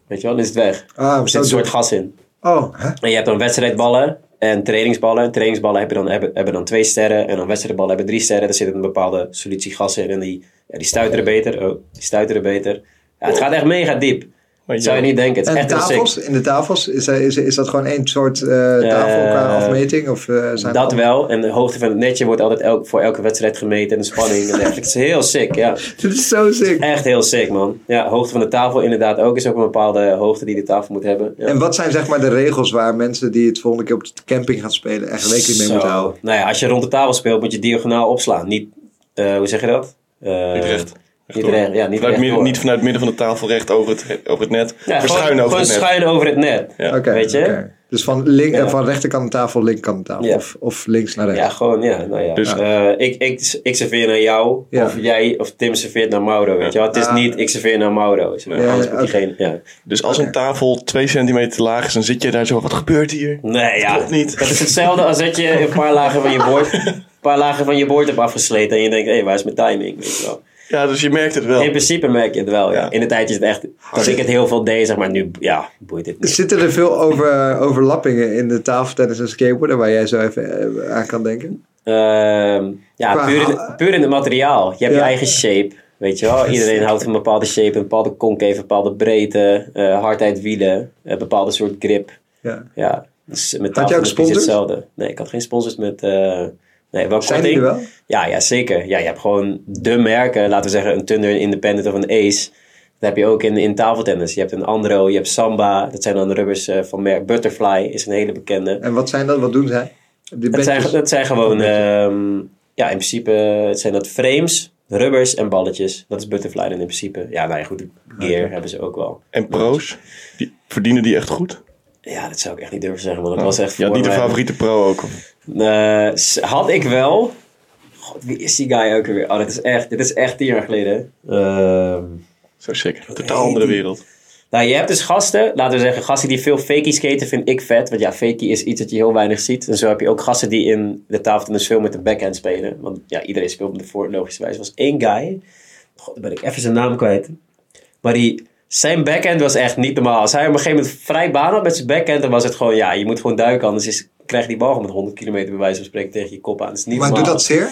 Speaker 3: weet je wel, dan is het weg.
Speaker 1: Ah,
Speaker 3: er zit een
Speaker 1: zo
Speaker 3: soort
Speaker 1: doe-
Speaker 3: gas in.
Speaker 1: Oh, hè?
Speaker 3: En je hebt dan wedstrijdballen en trainingsballen. Trainingsballen hebben dan, hebben, hebben dan twee sterren. En dan wedstrijdballen hebben drie sterren. Daar zit een bepaalde solutie gas in. En die, ja, die stuiteren beter. Oh, die stuiteren beter. Ja, het gaat echt mega diep. Dat zou je niet denken. Het is
Speaker 1: En
Speaker 3: echt heel sick.
Speaker 1: tafels? In de tafels? Is, er- is, is dat gewoon één soort eh, tafel qua
Speaker 3: Eh,
Speaker 1: afmeting? Of, eh, zijn
Speaker 3: Dat
Speaker 1: er-
Speaker 3: wel. En de hoogte van het netje wordt altijd elk, voor elke wedstrijd gemeten. En de spanning. En dergelijke. het is heel sick, ja.
Speaker 1: Dit is zo sick.
Speaker 3: Echt heel sick, man. Ja, hoogte van de tafel inderdaad ook. Is ook een bepaalde hoogte die de tafel moet hebben. Ja.
Speaker 1: En wat zijn zeg maar de regels waar mensen die het volgende keer op de camping gaan spelen echt rekening mee
Speaker 3: Zo.
Speaker 1: moeten houden?
Speaker 3: Nou ja, als je rond de tafel speelt, moet je diagonaal opslaan. Niet, eh, hoe zeg je dat? Eh,
Speaker 2: Niet recht.
Speaker 3: Niet recht, ja, niet
Speaker 2: vanuit
Speaker 3: recht
Speaker 2: midden,
Speaker 3: door.
Speaker 2: niet vanuit het midden van de tafel recht over het, over het net.
Speaker 3: Ja,
Speaker 2: maar
Speaker 3: gewoon-
Speaker 2: schuin over
Speaker 3: gewoon
Speaker 2: het net.
Speaker 3: schuin over het net.
Speaker 2: Ja.
Speaker 1: Oké.
Speaker 3: Weet je?
Speaker 1: oké. Dus van, link, eh,
Speaker 3: Ja.
Speaker 1: van rechterkant tafel, linkerkant tafel.
Speaker 3: Ja.
Speaker 1: Of, of links naar rechts.
Speaker 3: Ja, gewoon, ja. Nou ja.
Speaker 2: Dus-
Speaker 3: Eh, ik, ik, ik serveer naar jou,
Speaker 1: Ja.
Speaker 3: of jij, of Tim serveert naar Mauro, weet je wel. Het is
Speaker 1: Ah.
Speaker 3: niet, ik serveer naar Mauro. Zeg maar.
Speaker 1: Ja,
Speaker 3: Anders
Speaker 1: ja,
Speaker 3: moet je
Speaker 1: oké.
Speaker 3: geen, ja.
Speaker 2: Dus als een tafel twee centimeter te laag is, dan zit je daar zo, wat gebeurt hier?
Speaker 3: Nee, ja.
Speaker 2: Klopt niet.
Speaker 3: Dat is hetzelfde als dat je een paar lagen van je boord, een paar lagen van je boord hebt afgesleten. En je denkt, hé, waar is mijn timing? Weet je wel.
Speaker 2: Ja, dus je merkt het wel.
Speaker 3: In principe merk je het wel, ja.
Speaker 2: Ja.
Speaker 3: In de tijd is het echt... Als ik het heel veel deed, zeg maar, nu, ja, boeit het niet.
Speaker 1: Zitten er veel over, overlappingen in de tafeltennis en skateboarden waar jij zo even eh, aan kan denken?
Speaker 3: Ehm, ja,
Speaker 1: Qua-
Speaker 3: puur in, puur in het materiaal. Je
Speaker 1: Ja.
Speaker 3: hebt je eigen shape, weet je wel. Iedereen houdt van een bepaalde shape, een bepaalde concave, een bepaalde breedte, eh, hardheid wielen, een bepaalde soort grip.
Speaker 1: Ja.
Speaker 3: Ja, dus met
Speaker 1: Had je ook
Speaker 3: tafeltennis is
Speaker 1: sponsors?
Speaker 3: hetzelfde. Nee, ik had geen sponsors met... eh nee, wel
Speaker 1: Zijn die
Speaker 3: korting.
Speaker 1: er wel?
Speaker 3: Ja, ja, zeker. Ja, je hebt gewoon de merken, laten we zeggen een Thunder, een Independent of een Ace. Dat heb je ook in, in tafeltennis. Je hebt een Andro, je hebt Samba. Dat zijn dan de rubbers eh, van merk. Butterfly is een hele bekende.
Speaker 1: En wat zijn dat? Wat doen zij? Die
Speaker 3: Dat zijn,
Speaker 1: bedjes?
Speaker 3: dat zijn gewoon, ehm, ja, in principe eh, zijn dat frames, rubbers en balletjes. Dat is Butterfly dan in principe. Ja, nou ja, goed, gear hebben ze ook wel.
Speaker 2: En pro's, die, verdienen die echt goed?
Speaker 3: Ja, dat zou ik echt niet durven zeggen, want dat was echt
Speaker 2: Je had
Speaker 3: voor
Speaker 2: Oh. niet de
Speaker 3: mij-
Speaker 2: favoriete pro ook. of?
Speaker 3: Eh, s- had ik wel. God, wie is die guy ook weer? Oh, dit is echt, dit is echt tien jaar geleden. Ehm
Speaker 2: Zo sick. Totaal andere wereld.
Speaker 3: Nou, je hebt dus gasten, laten we zeggen, gasten die veel fakie skaten vind ik vet. Want ja, fakie is iets dat je heel weinig ziet. En zo heb je ook gasten die in de tafeltennis veel met de backhand spelen. Want ja, iedereen speelt met de voor, logischerwijs. Er was één guy, god, dan ben ik even zijn naam kwijt. Maar die, zijn backhand was echt niet normaal. Als hij op een gegeven moment vrij baan had met zijn backhand, dan was het gewoon, ja, je moet gewoon duiken. Anders is, krijg je die bal gewoon met 100 kilometer bij wijze van spreken tegen je kop aan. Dat is niet
Speaker 1: Maar doet
Speaker 3: normaal.
Speaker 1: dat zeer?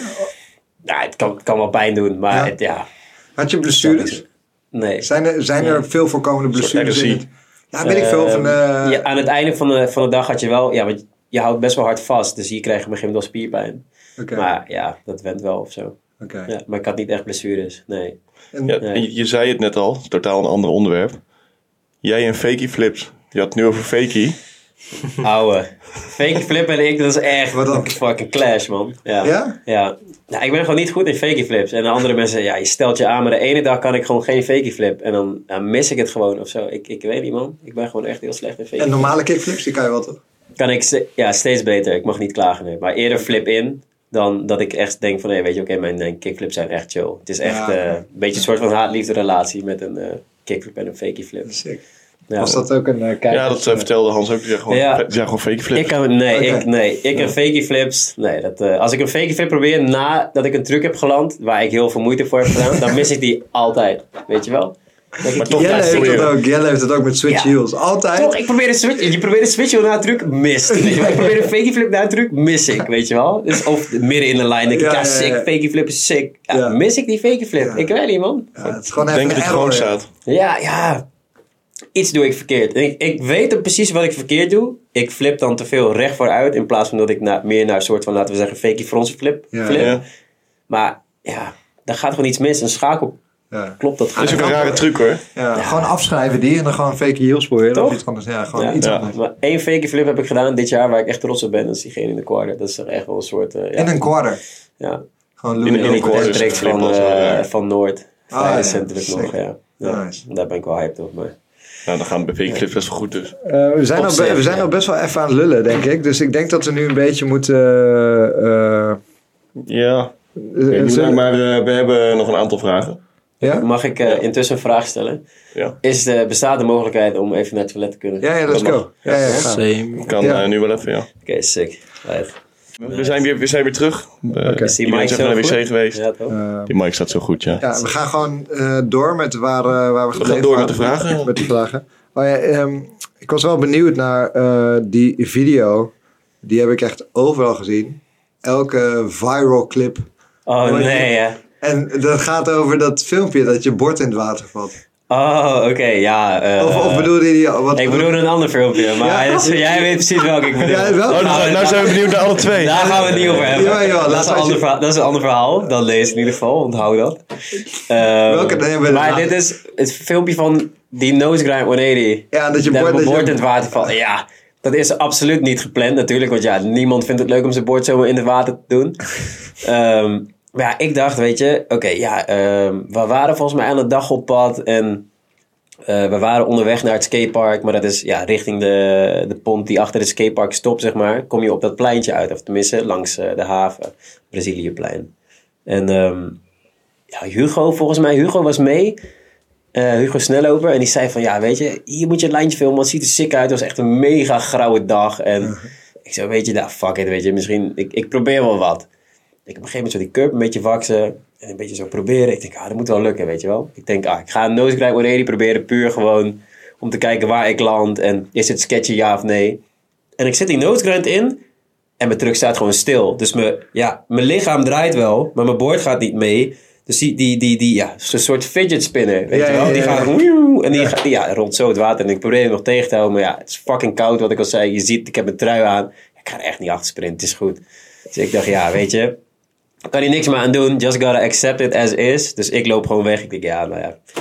Speaker 3: Nou, het kan, het kan wel pijn doen, maar
Speaker 1: Ja.
Speaker 3: Het, ja
Speaker 1: Had je blessures?
Speaker 3: nee.
Speaker 1: Zijn er, zijn er veel voorkomende blessures in het?
Speaker 2: RSI.
Speaker 1: Ja, Ah, weet ik veel. Van, eh,
Speaker 3: Ehm, Ja, aan het einde van de, van de dag had je wel, ja, want je houdt best wel hard vast. Dus hier krijg je op een gegeven moment wel spierpijn.
Speaker 1: Oké,
Speaker 3: Maar ja, dat went wel of zo.
Speaker 1: oké.
Speaker 3: Ja, maar ik had niet echt blessures, nee.
Speaker 1: En-
Speaker 2: Ja, en je, je zei het net al, totaal een ander onderwerp. Jij en Fakie flips. Je had het nu over Fakie.
Speaker 3: Ouwe. Fake flip en ik, dat is echt
Speaker 1: Wat dan?
Speaker 3: een fucking clash, man. Ja.
Speaker 1: Ja?
Speaker 3: Nou, ik ben gewoon niet goed in fakie flips. En de andere mensen, zeggen, ja, je stelt je aan, maar de ene dag kan ik gewoon geen fakie flip. En dan ja, mis ik het gewoon of zo. Ik, ik weet niet, man. Ik ben gewoon echt heel slecht in fakie.
Speaker 1: En normale kickflips, die kan je wel toch?
Speaker 3: kan ik ste- ja, steeds beter. Ik mag niet klagen nu. Maar eerder flip in dan dat ik echt denk van... Hé, weet je, oké, mijn, eh, kickflips zijn echt chill. Het is echt
Speaker 1: Ja.
Speaker 3: eh, een beetje een soort van haat-liefde relatie... met een eh, kickflip en een fakie flip.
Speaker 1: Sick.
Speaker 3: Ja.
Speaker 1: Was dat ook een eh, kijker?
Speaker 2: Ja, dat eh, vertelde Hans ook. Die zei gewoon,
Speaker 3: Ja.
Speaker 2: die zei gewoon Fakie flips.
Speaker 3: Ik kan, nee,
Speaker 1: Oké.
Speaker 3: ik, nee, ik en fakie flips... Nee, dat, eh, als ik een fakie flip probeer nadat ik een truc heb geland... waar ik heel veel moeite voor heb gedaan... dan mis ik die altijd. Weet je wel? Denk
Speaker 2: Maar
Speaker 3: ik,
Speaker 2: toch
Speaker 3: ja,
Speaker 1: Jelle
Speaker 2: dat
Speaker 3: zeker.
Speaker 1: heeft dat
Speaker 2: probeer.
Speaker 1: ook. Jelle heeft dat ook met switch
Speaker 3: Ja.
Speaker 1: heels. Altijd.
Speaker 3: Toch, ik probeer een switch. Je probeert een switch heel na een truc, mist. Weet je wel? Ik probeer een fakie flip na een truc, mis ik, weet je wel. Dus of midden in de line denk ik,
Speaker 1: Ja,
Speaker 3: ja,
Speaker 1: ja, ja.
Speaker 3: sick, fakie flip is sick. Ja,
Speaker 1: Ja.
Speaker 3: Mis ik die fakie flip?
Speaker 1: Ja.
Speaker 3: Ik weet niet, man.
Speaker 1: Ja, het is gewoon
Speaker 2: Ik
Speaker 1: even
Speaker 2: denk dat
Speaker 1: een
Speaker 2: het gewoon
Speaker 1: error, ja.
Speaker 2: staat.
Speaker 3: Ja, ja. Iets doe ik verkeerd. En Ik, ik weet dan precies wat ik verkeerd doe. Ik flip dan te veel recht vooruit in plaats van dat ik na, meer naar een soort van, laten we zeggen, fakie fronsen flip.
Speaker 1: Ja.
Speaker 3: flip.
Speaker 2: Ja.
Speaker 3: Maar ja, daar gaat gewoon iets mis. Een schakel
Speaker 1: Ja.
Speaker 3: klopt dat
Speaker 2: Dat is ook een
Speaker 3: gewoon.
Speaker 2: rare truc hoor.
Speaker 1: Ja, Gewoon afschrijven die en dan gewoon fake heels proberen. Of
Speaker 3: Toch?
Speaker 1: iets anders. Ja, gewoon
Speaker 3: Ja,
Speaker 1: iets
Speaker 2: ja.
Speaker 1: anders.
Speaker 3: maar één fakie flip heb ik gedaan dit jaar waar ik echt trots op ben. Dat is diegene in de quarter. Dat is toch echt wel een soort... eh, ja.
Speaker 1: En een quarter.
Speaker 3: Ja,
Speaker 1: Gewoon
Speaker 2: In-
Speaker 1: Louis
Speaker 2: in een quarter.
Speaker 3: ik
Speaker 1: Hamilton.
Speaker 3: word
Speaker 2: dus
Speaker 3: direct
Speaker 2: flip
Speaker 3: van,
Speaker 2: was wel
Speaker 3: eh
Speaker 2: raar.
Speaker 3: van Noord.
Speaker 1: Ah, ja,
Speaker 3: Vrij recentelijk
Speaker 1: sick.
Speaker 3: nog, ja. ja.
Speaker 1: Nice.
Speaker 3: Daar ben ik wel hyped op. Maar...
Speaker 2: Nou, dan gaan de Fakie flips best wel goed dus.
Speaker 1: Eh, we zijn,
Speaker 3: Op
Speaker 1: al,
Speaker 3: zich,
Speaker 1: we zijn
Speaker 3: ja.
Speaker 1: al best wel even aan het lullen, denk ik. Dus ik denk dat we nu een beetje moeten... eh, eh,
Speaker 2: Ja.
Speaker 1: eh, zullen-
Speaker 2: maar eh, we hebben nog een aantal vragen.
Speaker 1: ja?
Speaker 3: Mag ik eh, intussen een vraag stellen?
Speaker 2: Ja.
Speaker 3: Is de, bestaat de mogelijkheid om even naar het toilet te kunnen?
Speaker 1: Ja, ja, let's
Speaker 2: Dat mag.
Speaker 1: go. Ja, ja, gaan.
Speaker 4: Same.
Speaker 2: Kan
Speaker 1: Ja.
Speaker 2: eh, nu wel even, ja.
Speaker 3: Oké, sick. Right.
Speaker 2: We zijn weer, we zijn weer terug. Eh
Speaker 3: Is die
Speaker 2: Iedereen
Speaker 3: mic
Speaker 2: is
Speaker 3: zo
Speaker 2: even naar de
Speaker 3: goed?
Speaker 2: wc geweest.
Speaker 3: Ja, toch?
Speaker 1: Eh,
Speaker 2: Die mic staat zo goed, ja. Oh,
Speaker 1: Ja, we gaan gewoon eh, door met waar, eh, waar we gebleven
Speaker 2: door
Speaker 1: waren.
Speaker 2: met de vragen.
Speaker 1: Met de vragen. Maar ja, ehm, ik was wel benieuwd naar eh, die video. Die heb ik echt overal gezien. Elke viral clip.
Speaker 3: Oh
Speaker 1: ja.
Speaker 3: nee, hè?
Speaker 1: En dat gaat over dat filmpje dat je bord in het water valt.
Speaker 3: Oh, oké, ja. eh,
Speaker 1: Of, of bedoelde je die... Wat,
Speaker 3: Ik bedoel een ander filmpje, maar
Speaker 1: Ja.
Speaker 3: dus jij weet precies welke ik bedoel.
Speaker 1: Ja, welke?
Speaker 3: Oh,
Speaker 2: Oh, nou, nou zijn we benieuwd naar alle twee.
Speaker 3: Daar gaan we het niet over hebben.
Speaker 1: Jawel, jawel,
Speaker 3: dat,
Speaker 1: laat
Speaker 3: is een
Speaker 1: maar
Speaker 3: ander
Speaker 1: je-
Speaker 3: verhaal, dat is een ander verhaal. Dat lees ik in ieder geval, onthoud dat. Ehm,
Speaker 1: Welke- nee, we-
Speaker 3: maar
Speaker 1: laat-
Speaker 3: dit is het filmpje van die nose grind 180.
Speaker 1: Ja, dat je
Speaker 3: dat
Speaker 1: bord-
Speaker 3: mijn
Speaker 1: dat
Speaker 3: bord
Speaker 1: je-
Speaker 3: in het water valt. Ja, dat is absoluut niet gepland natuurlijk. Want ja, niemand vindt het leuk om zijn bord zomaar in het water te doen. Ehm, maar ja, ik dacht, weet je, oké, ja, ehm, we waren volgens mij aan het dag op pad en... Eh, we waren onderweg naar het skatepark, maar dat is ja, richting de, de pont die achter het skatepark stopt, zeg maar. Kom je op dat pleintje uit, of tenminste langs eh, de haven, Braziliëplein. En ehm, ja, Hugo, volgens mij, Hugo was mee. Eh, Hugo Snelloper. En die zei van, ja, weet je, hier moet je het lijntje filmen, want het ziet er sick uit. Het was echt een mega grauwe dag. En ik zei, weet je, nou, fuck it, weet je, misschien, ik, ik probeer wel wat. Ik heb op een gegeven moment zo die curb een beetje waksen. En een beetje zo proberen. Ik denk, ah, dat moet wel lukken, weet je wel. Ik denk, ah, ik ga een nose grind already proberen. Puur gewoon om te kijken waar ik land. En is het sketchy, ja of nee. En ik zet die nose grind in. En mijn truck staat gewoon stil. Dus mijn, ja, mijn lichaam draait wel. Maar mijn board gaat niet mee. Dus die, die, die, die ja, zo'n soort fidget spinner. Weet
Speaker 1: Ja,
Speaker 3: je wel?
Speaker 1: ja,
Speaker 3: Die
Speaker 1: ja,
Speaker 3: gaat...
Speaker 1: ja.
Speaker 3: wioe, En die gaat, ja, rond zo het water. En ik probeer hem nog tegen te houden. Maar ja, het is fucking koud wat ik al zei. Je ziet, ik heb mijn trui aan. Ik ga er echt niet achter sprinten. Het is goed. Dus ik dacht, ja, weet je kan hij niks meer aan doen. Just gotta accept it as is. Dus ik loop gewoon weg. Ik denk, ja, nou ja. Het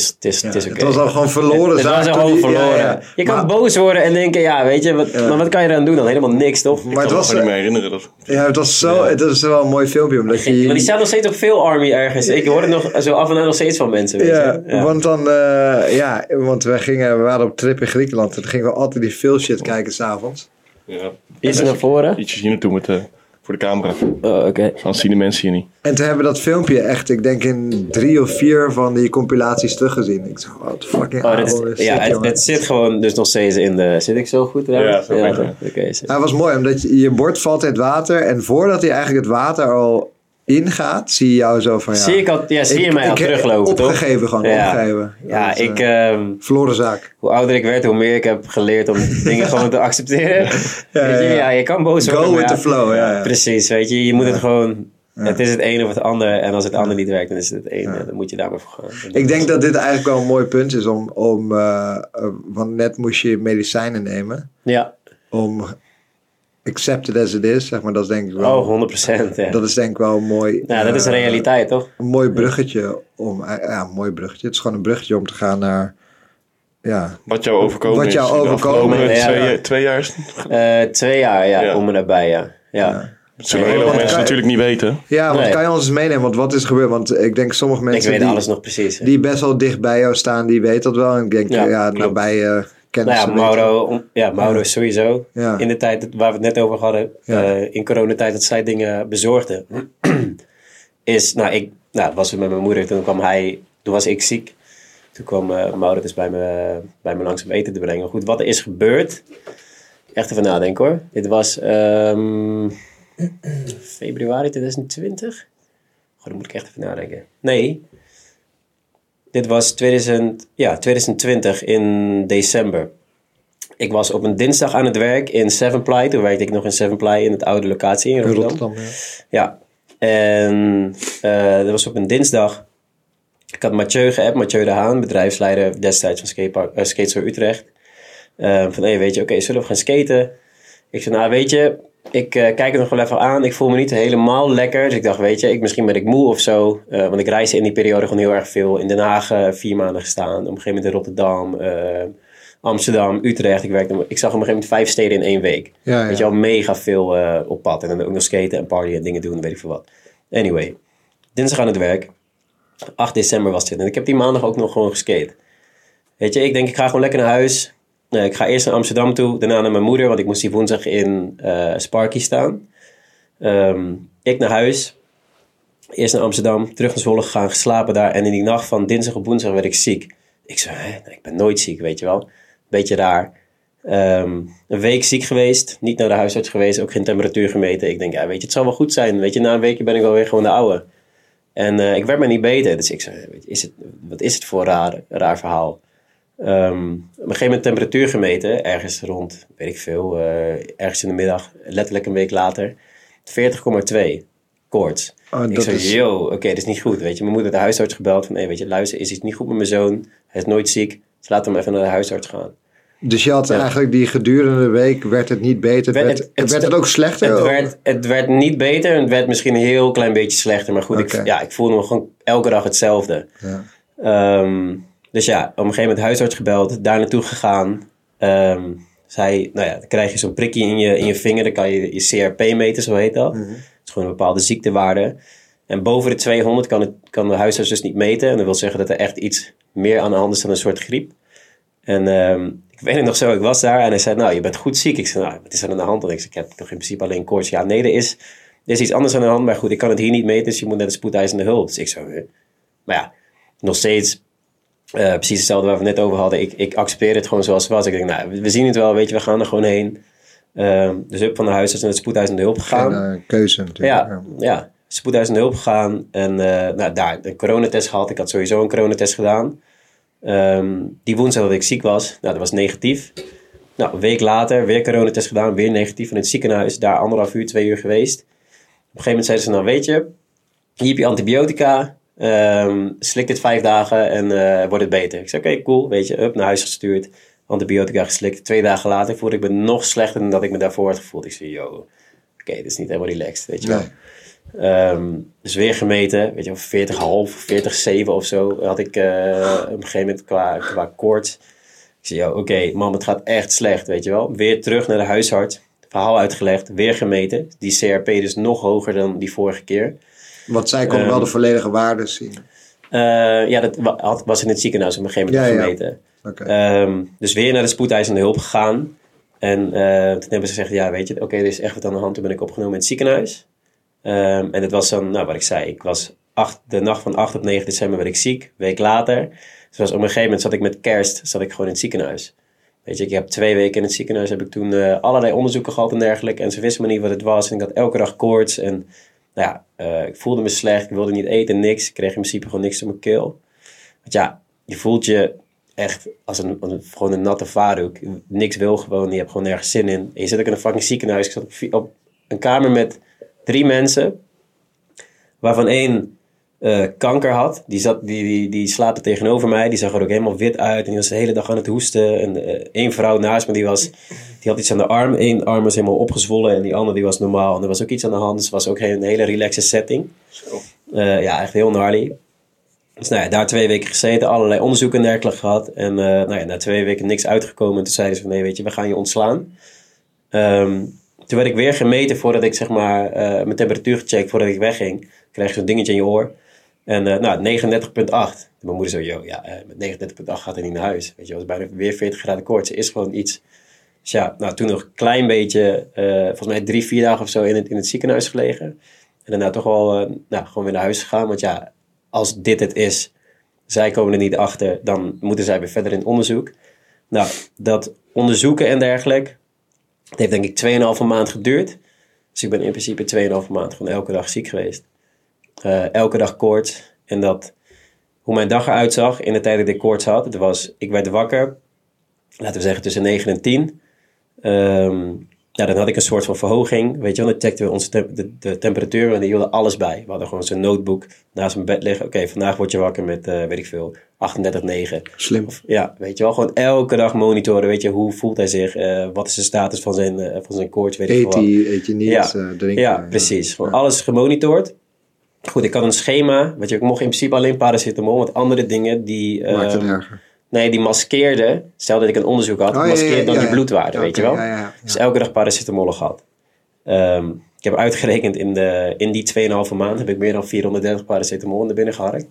Speaker 3: is, het is, het is oké.
Speaker 1: Het was al gewoon verloren
Speaker 3: Het
Speaker 1: zaak
Speaker 3: was al
Speaker 1: toen
Speaker 3: gewoon
Speaker 1: die- ja,
Speaker 3: verloren.
Speaker 1: ja.
Speaker 3: Je kan
Speaker 1: Maar-
Speaker 3: boos worden en denken, ja, weet je, wat, maar wat kan je eraan doen dan? Helemaal niks, toch?
Speaker 1: Maar
Speaker 2: Ik
Speaker 1: het
Speaker 2: kan me
Speaker 1: was, eh,
Speaker 2: gewoon niet meer herinneren. Dat.
Speaker 1: ja, het was zo... Het is wel een mooi filmpje, omdat je...
Speaker 3: Want die staat nog steeds op veel army ergens. Ik hoor het nog zo af en aan nog steeds van mensen, weet
Speaker 1: Ja,
Speaker 3: je. Ja.
Speaker 1: want dan, eh, ja, want we, gingen, we waren op trip in Griekenland en toen gingen we altijd die veel shit kijken s'avonds.
Speaker 2: Ja.
Speaker 3: Iets naar voren.
Speaker 2: Ietsjes hier naartoe met de voor de camera.
Speaker 3: Oh, oké.
Speaker 2: Anders zien de mensen hier niet.
Speaker 1: En toen hebben we dat filmpje echt, ik denk in drie of vier van die compilaties teruggezien. Ik dacht, wat fucking
Speaker 3: Oh, dat
Speaker 1: oude Ah,
Speaker 3: is,
Speaker 1: shit,
Speaker 3: ja, het,
Speaker 1: jongen.
Speaker 3: het zit gewoon dus nog steeds in de... Zit ik zo goed? daar?
Speaker 2: Ja, zo goed,
Speaker 3: toch?
Speaker 2: ja.
Speaker 3: Oké,
Speaker 1: Hij
Speaker 3: zo.
Speaker 1: Nou, was mooi, omdat je, je bord valt in het water. En voordat hij eigenlijk het water al ingaat, zie je jou zo van ja.
Speaker 3: Zie, ik al, ja, zie je mij al
Speaker 1: ik-
Speaker 3: teruglopen, toch?
Speaker 1: Opgegeven gewoon,
Speaker 3: Ja.
Speaker 1: opgegeven.
Speaker 3: Ja,
Speaker 1: Dat is,
Speaker 3: ik...
Speaker 1: eh,
Speaker 3: ehm,
Speaker 1: verloren zaak.
Speaker 3: hoe ouder ik werd, hoe meer ik heb geleerd om dingen gewoon te accepteren.
Speaker 1: Ja,
Speaker 3: Weet je,
Speaker 1: ja.
Speaker 3: ja, je kan boos
Speaker 1: Go
Speaker 3: worden. maar
Speaker 1: with
Speaker 3: ja,
Speaker 1: the flow, ja, ja.
Speaker 3: Precies, weet je. Je moet het gewoon... Het is het een of het ander. En als het ander niet werkt, dan is het het ene. Dan moet je daar maar voor gaan.
Speaker 1: Ik denk dat dit eigenlijk wel een mooi punt is om, om eh, eh, want net moest je medicijnen nemen.
Speaker 3: Ja.
Speaker 1: Om accept it as it is, zeg maar, dat is denk ik wel.
Speaker 3: Oh, 100 procent. Ja.
Speaker 1: Dat is denk ik wel een mooi.
Speaker 3: ja, dat is
Speaker 1: eh,
Speaker 3: realiteit, toch?
Speaker 1: Een mooi bruggetje om, eh, ja, een mooi bruggetje. Het is gewoon een bruggetje om te gaan naar, ja,
Speaker 2: Wat jou overkomen
Speaker 1: Wat
Speaker 2: is.
Speaker 1: jou
Speaker 2: in de
Speaker 1: overkomen
Speaker 2: afgelopen
Speaker 3: is, ja.
Speaker 2: Twee, twee jaar. is-
Speaker 3: Eh, twee jaar, ja,
Speaker 2: Ja.
Speaker 3: Om en nabij, ja. Ja.
Speaker 2: Dat zullen heel veel
Speaker 1: Ja.
Speaker 2: mensen natuurlijk niet weten.
Speaker 1: Ja, want
Speaker 3: Nee.
Speaker 1: kan je ons eens meenemen? Want wat is gebeurd? Want ik denk sommige
Speaker 3: Ik
Speaker 1: mensen
Speaker 3: weet
Speaker 1: die,
Speaker 3: alles nog precies. hè.
Speaker 1: die best wel dicht bij jou staan, die weten dat wel. En ik denk, ja,
Speaker 3: Ja,
Speaker 1: ja
Speaker 3: klopt.
Speaker 1: nou bij eh, kennis.
Speaker 3: Nou ja,
Speaker 1: een beetje.
Speaker 3: Mauro, om- ja, Mauro sowieso.
Speaker 1: Ja.
Speaker 3: In de tijd dat- waar we het net over hadden,
Speaker 1: Ja.
Speaker 3: eh, in coronatijd dat zij dingen bezorgde. is, nou, ik nou, was weer met mijn moeder, toen kwam hij, toen was ik ziek. Toen kwam eh, Mauro dus bij me, bij me langs om eten te brengen. Maar Goed, wat er is gebeurd, echt even nadenken hoor. Dit was ehm, februari 2020. Goh, dan moet ik echt even nadenken. Nee, dit was 2000, ja, 2020 in december. Ik was op een dinsdag aan het werk in Seven Ply. Toen werkte ik nog in Seven Ply in het oude locatie in
Speaker 1: In
Speaker 3: Rotterdam.
Speaker 1: Rotterdam. Ja.
Speaker 3: Ja. En eh, dat was op een dinsdag. Ik had Mathieu geappt, Mathieu de Haan, bedrijfsleider destijds van skatepark, eh, Skatestore Utrecht. Eh, van, hé, weet je, oké, zullen we gaan skaten? Ik zei, nou, weet je, ik eh, kijk het nog wel even aan. Ik voel me niet helemaal lekker. Dus ik dacht, weet je, ik, misschien ben ik moe of zo. Eh, want ik reisde in die periode gewoon heel erg veel. In Den Haag eh, vier maanden gestaan. Op een gegeven moment in Rotterdam, eh, Amsterdam, Utrecht. Ik, werkte, ik zag op een gegeven moment vijf steden in één week.
Speaker 1: Ja, ja.
Speaker 3: Weet je al mega veel eh, op pad. En dan ook nog skaten en partyen en dingen doen, weet ik veel wat. Anyway, dinsdag aan het werk. 8 december was dit. En ik heb die maandag ook nog gewoon geskate. Weet je, ik denk ik ga gewoon lekker naar huis. Eh, ik ga eerst naar Amsterdam toe, daarna naar mijn moeder, want ik moest die woensdag in eh Sparky staan. Ehm, ik naar huis. Eerst naar Amsterdam, terug naar Zwolle gegaan, geslapen daar. En in die nacht van dinsdag op woensdag werd ik ziek. Ik zei, Hè, ik ben nooit ziek, weet je wel. Beetje raar. Ehm, een week ziek geweest, niet naar de huisarts geweest, ook geen temperatuur gemeten. Ik denk, ja, weet je, het zal wel goed zijn. Weet je, na een weekje ben ik wel weer gewoon de oude. En eh, ik werd me niet beter. Dus ik zei, weet je, is het, wat is het voor raar, raar verhaal? Ehm, op een gegeven moment temperatuur gemeten, ergens rond, weet ik veel, eh, ergens in de middag, letterlijk een week later, 40,2 koorts.
Speaker 1: Oh,
Speaker 3: ik
Speaker 1: dat
Speaker 3: zei,
Speaker 1: is-
Speaker 3: yo, oké, dit is niet goed, weet je. Mijn moeder de huisarts gebeld van, hé, weet je, luister, is iets niet goed met mijn zoon, hij is nooit ziek, dus laat hem even naar de huisarts gaan.
Speaker 1: Dus je had eigenlijk die gedurende week werd het niet beter. Het werd, het, werd het ook slechter.
Speaker 3: Het
Speaker 1: ook?
Speaker 3: werd, het werd niet beter en het werd misschien een heel klein beetje slechter. Maar goed,
Speaker 1: Oké.
Speaker 3: ik, ja, ik voelde me gewoon elke dag hetzelfde.
Speaker 1: Ja.
Speaker 3: Ehm, dus ja, op een gegeven moment huisarts gebeld, daar naartoe gegaan. Ehm zij, nou ja, dan krijg je zo'n prikje in je, in je vinger, dan kan je je CRP meten, zo heet
Speaker 1: Mm.
Speaker 3: dat. Dat is gewoon een bepaalde ziektewaarde. En boven de 200 kan, het, kan de huisarts dus niet meten. En dat wil zeggen dat er echt iets meer aan de hand is dan een soort griep. En ehm, ik weet het nog zo, ik was daar en hij zei, nou, je bent goed ziek. Ik zei, nou, wat is er aan de hand? Want ik, zei, ik heb toch in principe alleen koorts. Ja, nee, er is, er is iets anders aan de hand, maar goed, ik kan het hier niet meten, dus je moet naar de spoedeisende hulp. Dus ik zo, eh. maar ja, nog steeds eh, precies hetzelfde waar we het net over hadden. Ik, ik accepteer het gewoon zoals het was. Ik denk, nou, we- we zien het wel, weet je, we gaan er gewoon heen. Ehm, dus ik van de huisarts naar de spoedeisende hulp
Speaker 1: Geen,
Speaker 3: gegaan.
Speaker 1: eh, keuze natuurlijk.
Speaker 3: Ja, ja. spoedeisende hulp gegaan. En eh, nou, daar een coronatest gehad. Ik had sowieso een coronatest gedaan. Ehm, die woensdag dat ik ziek was, nou, dat was negatief. Nou, een week later, weer coronatest gedaan, weer negatief. In het ziekenhuis, daar anderhalf uur, twee uur geweest. Op een gegeven moment zeiden ze, nou weet je, hier heb je antibiotica. ehm, slik dit vijf dagen en eh, wordt het beter. Ik zei, oké, cool, weet je, up, naar huis gestuurd. Antibiotica geslikt. Twee dagen later voelde ik me nog slechter dan dat ik me daarvoor had gevoeld. Ik zei, yo, oké, dit is niet helemaal relaxed, weet je wel.
Speaker 1: Nee.
Speaker 3: Ehm, dus weer gemeten, weet je, 40,5, 40,7 of zo had ik eh, op een gegeven moment qua, qua koorts. Ik zei, joh, oké, mam, het gaat echt slecht, weet je wel. Weer terug naar de huisarts, verhaal uitgelegd, weer gemeten. Die CRP dus nog hoger dan die vorige keer.
Speaker 1: Want zij
Speaker 3: Ehm,
Speaker 1: kon wel de volledige waarde zien.
Speaker 3: Eh, ja, dat wa- had- was in het ziekenhuis op een gegeven moment
Speaker 1: Ja, ja.
Speaker 3: gemeten.
Speaker 1: Oké.
Speaker 3: Ehm, dus weer naar de spoedeisende hulp gegaan. En eh, toen hebben ze gezegd, ja weet je, oké, er is echt wat aan de hand. Toen ben ik opgenomen in het ziekenhuis. Ehm, en dat was dan, nou wat ik zei, ik was acht, de nacht van 8 op 9 december werd ik ziek. Week later. Dus was op een gegeven moment zat ik met kerst, zat ik gewoon in het ziekenhuis. Weet je, ik heb twee weken in het ziekenhuis, heb ik toen eh, allerlei onderzoeken gehad en dergelijke. En ze wisten me niet wat het was. En ik had elke dag koorts. En nou ja, eh, ik voelde me slecht. Ik wilde niet eten, niks. Ik kreeg in principe gewoon niks op mijn keel. Want ja, je voelt je echt als een, als een- gewoon een natte vaardoek. Niks wil gewoon, je hebt gewoon nergens zin in. En je zit ook in een fucking ziekenhuis. Ik zat op, vi- op een kamer met drie mensen, waarvan één eh, kanker had. Die, zat, die, die, die slaapte tegenover mij, die zag er ook helemaal wit uit. En die was de hele dag aan het hoesten. En eh, één vrouw naast me, die, was, die had iets aan de arm. Eén arm was helemaal opgezwollen en die andere die was normaal. En er was ook iets aan de hand, dus het was ook een een hele relaxed setting. Eh, ja, echt heel gnarly. Dus nou ja, daar twee weken gezeten, allerlei onderzoeken en dergelijke gehad. En eh, nou ja, na twee weken niks uitgekomen. En toen zeiden ze van, nee, weet je, we gaan je ontslaan. Ehm, toen werd ik weer gemeten voordat ik, zeg maar, eh, mijn temperatuur gecheckt voordat ik wegging. Kreeg je zo'n dingetje in je oor. En eh, nou, 39,8. En Mijn moeder zei, joh, ja, eh, met 39,8 gaat hij niet naar huis. Weet je, het was bijna weer 40 graden koorts. Er is gewoon iets. Dus ja, nou, toen nog een klein beetje, eh, volgens mij drie, vier dagen of zo in het, in het ziekenhuis gelegen. En daarna toch wel, eh, nou, gewoon weer naar huis gegaan. Want ja, als dit het is, zij komen er niet achter, dan moeten zij weer verder in het onderzoek. Nou, dat onderzoeken en dergelijke, het heeft denk ik 2,5 maand geduurd. Dus ik ben in principe 2,5 maand gewoon elke dag ziek geweest. Eh, elke dag koorts. En dat, hoe mijn dag eruit zag in de tijd dat ik koorts had, het was, ik werd wakker, laten we zeggen tussen 9 en 10. Ehm ja, dan had ik een soort van verhoging. Weet je wel, dan checkten we onze temp- de, de temperatuur en die hielden alles bij. We hadden gewoon zo'n notebook naast mijn bed liggen. Oké, vandaag word je wakker met, eh, weet ik veel, 38,9.
Speaker 1: Slim.
Speaker 3: Ja, weet je wel, gewoon elke dag monitoren. Weet je, hoe voelt hij zich? eh, wat is de status van zijn, eh, van zijn koorts? Weet ik
Speaker 1: Eet
Speaker 3: veel wat.
Speaker 1: die, eet je niet,
Speaker 3: Ja.
Speaker 1: eh, drinken.
Speaker 3: Ja, precies. Gewoon alles gemonitord. Goed, ik had een schema. Weet je, ik mocht in principe alleen paracetamol, want andere dingen die...
Speaker 1: Maakt het
Speaker 3: ehm,
Speaker 1: erger.
Speaker 3: Nee, die maskeerde. Stel dat ik een onderzoek had,
Speaker 1: Oh, ja,
Speaker 3: maskeerde
Speaker 1: ja, ja,
Speaker 3: dan die
Speaker 1: ja.
Speaker 3: bloedwaarde, weet
Speaker 1: Oké,
Speaker 3: je wel?
Speaker 1: Ja, ja,
Speaker 3: Dus elke dag paracetamol gehad. Ehm, ik heb uitgerekend in, de, in die 2,5 maand heb ik meer dan 430 paracetamol naar binnen geharkt.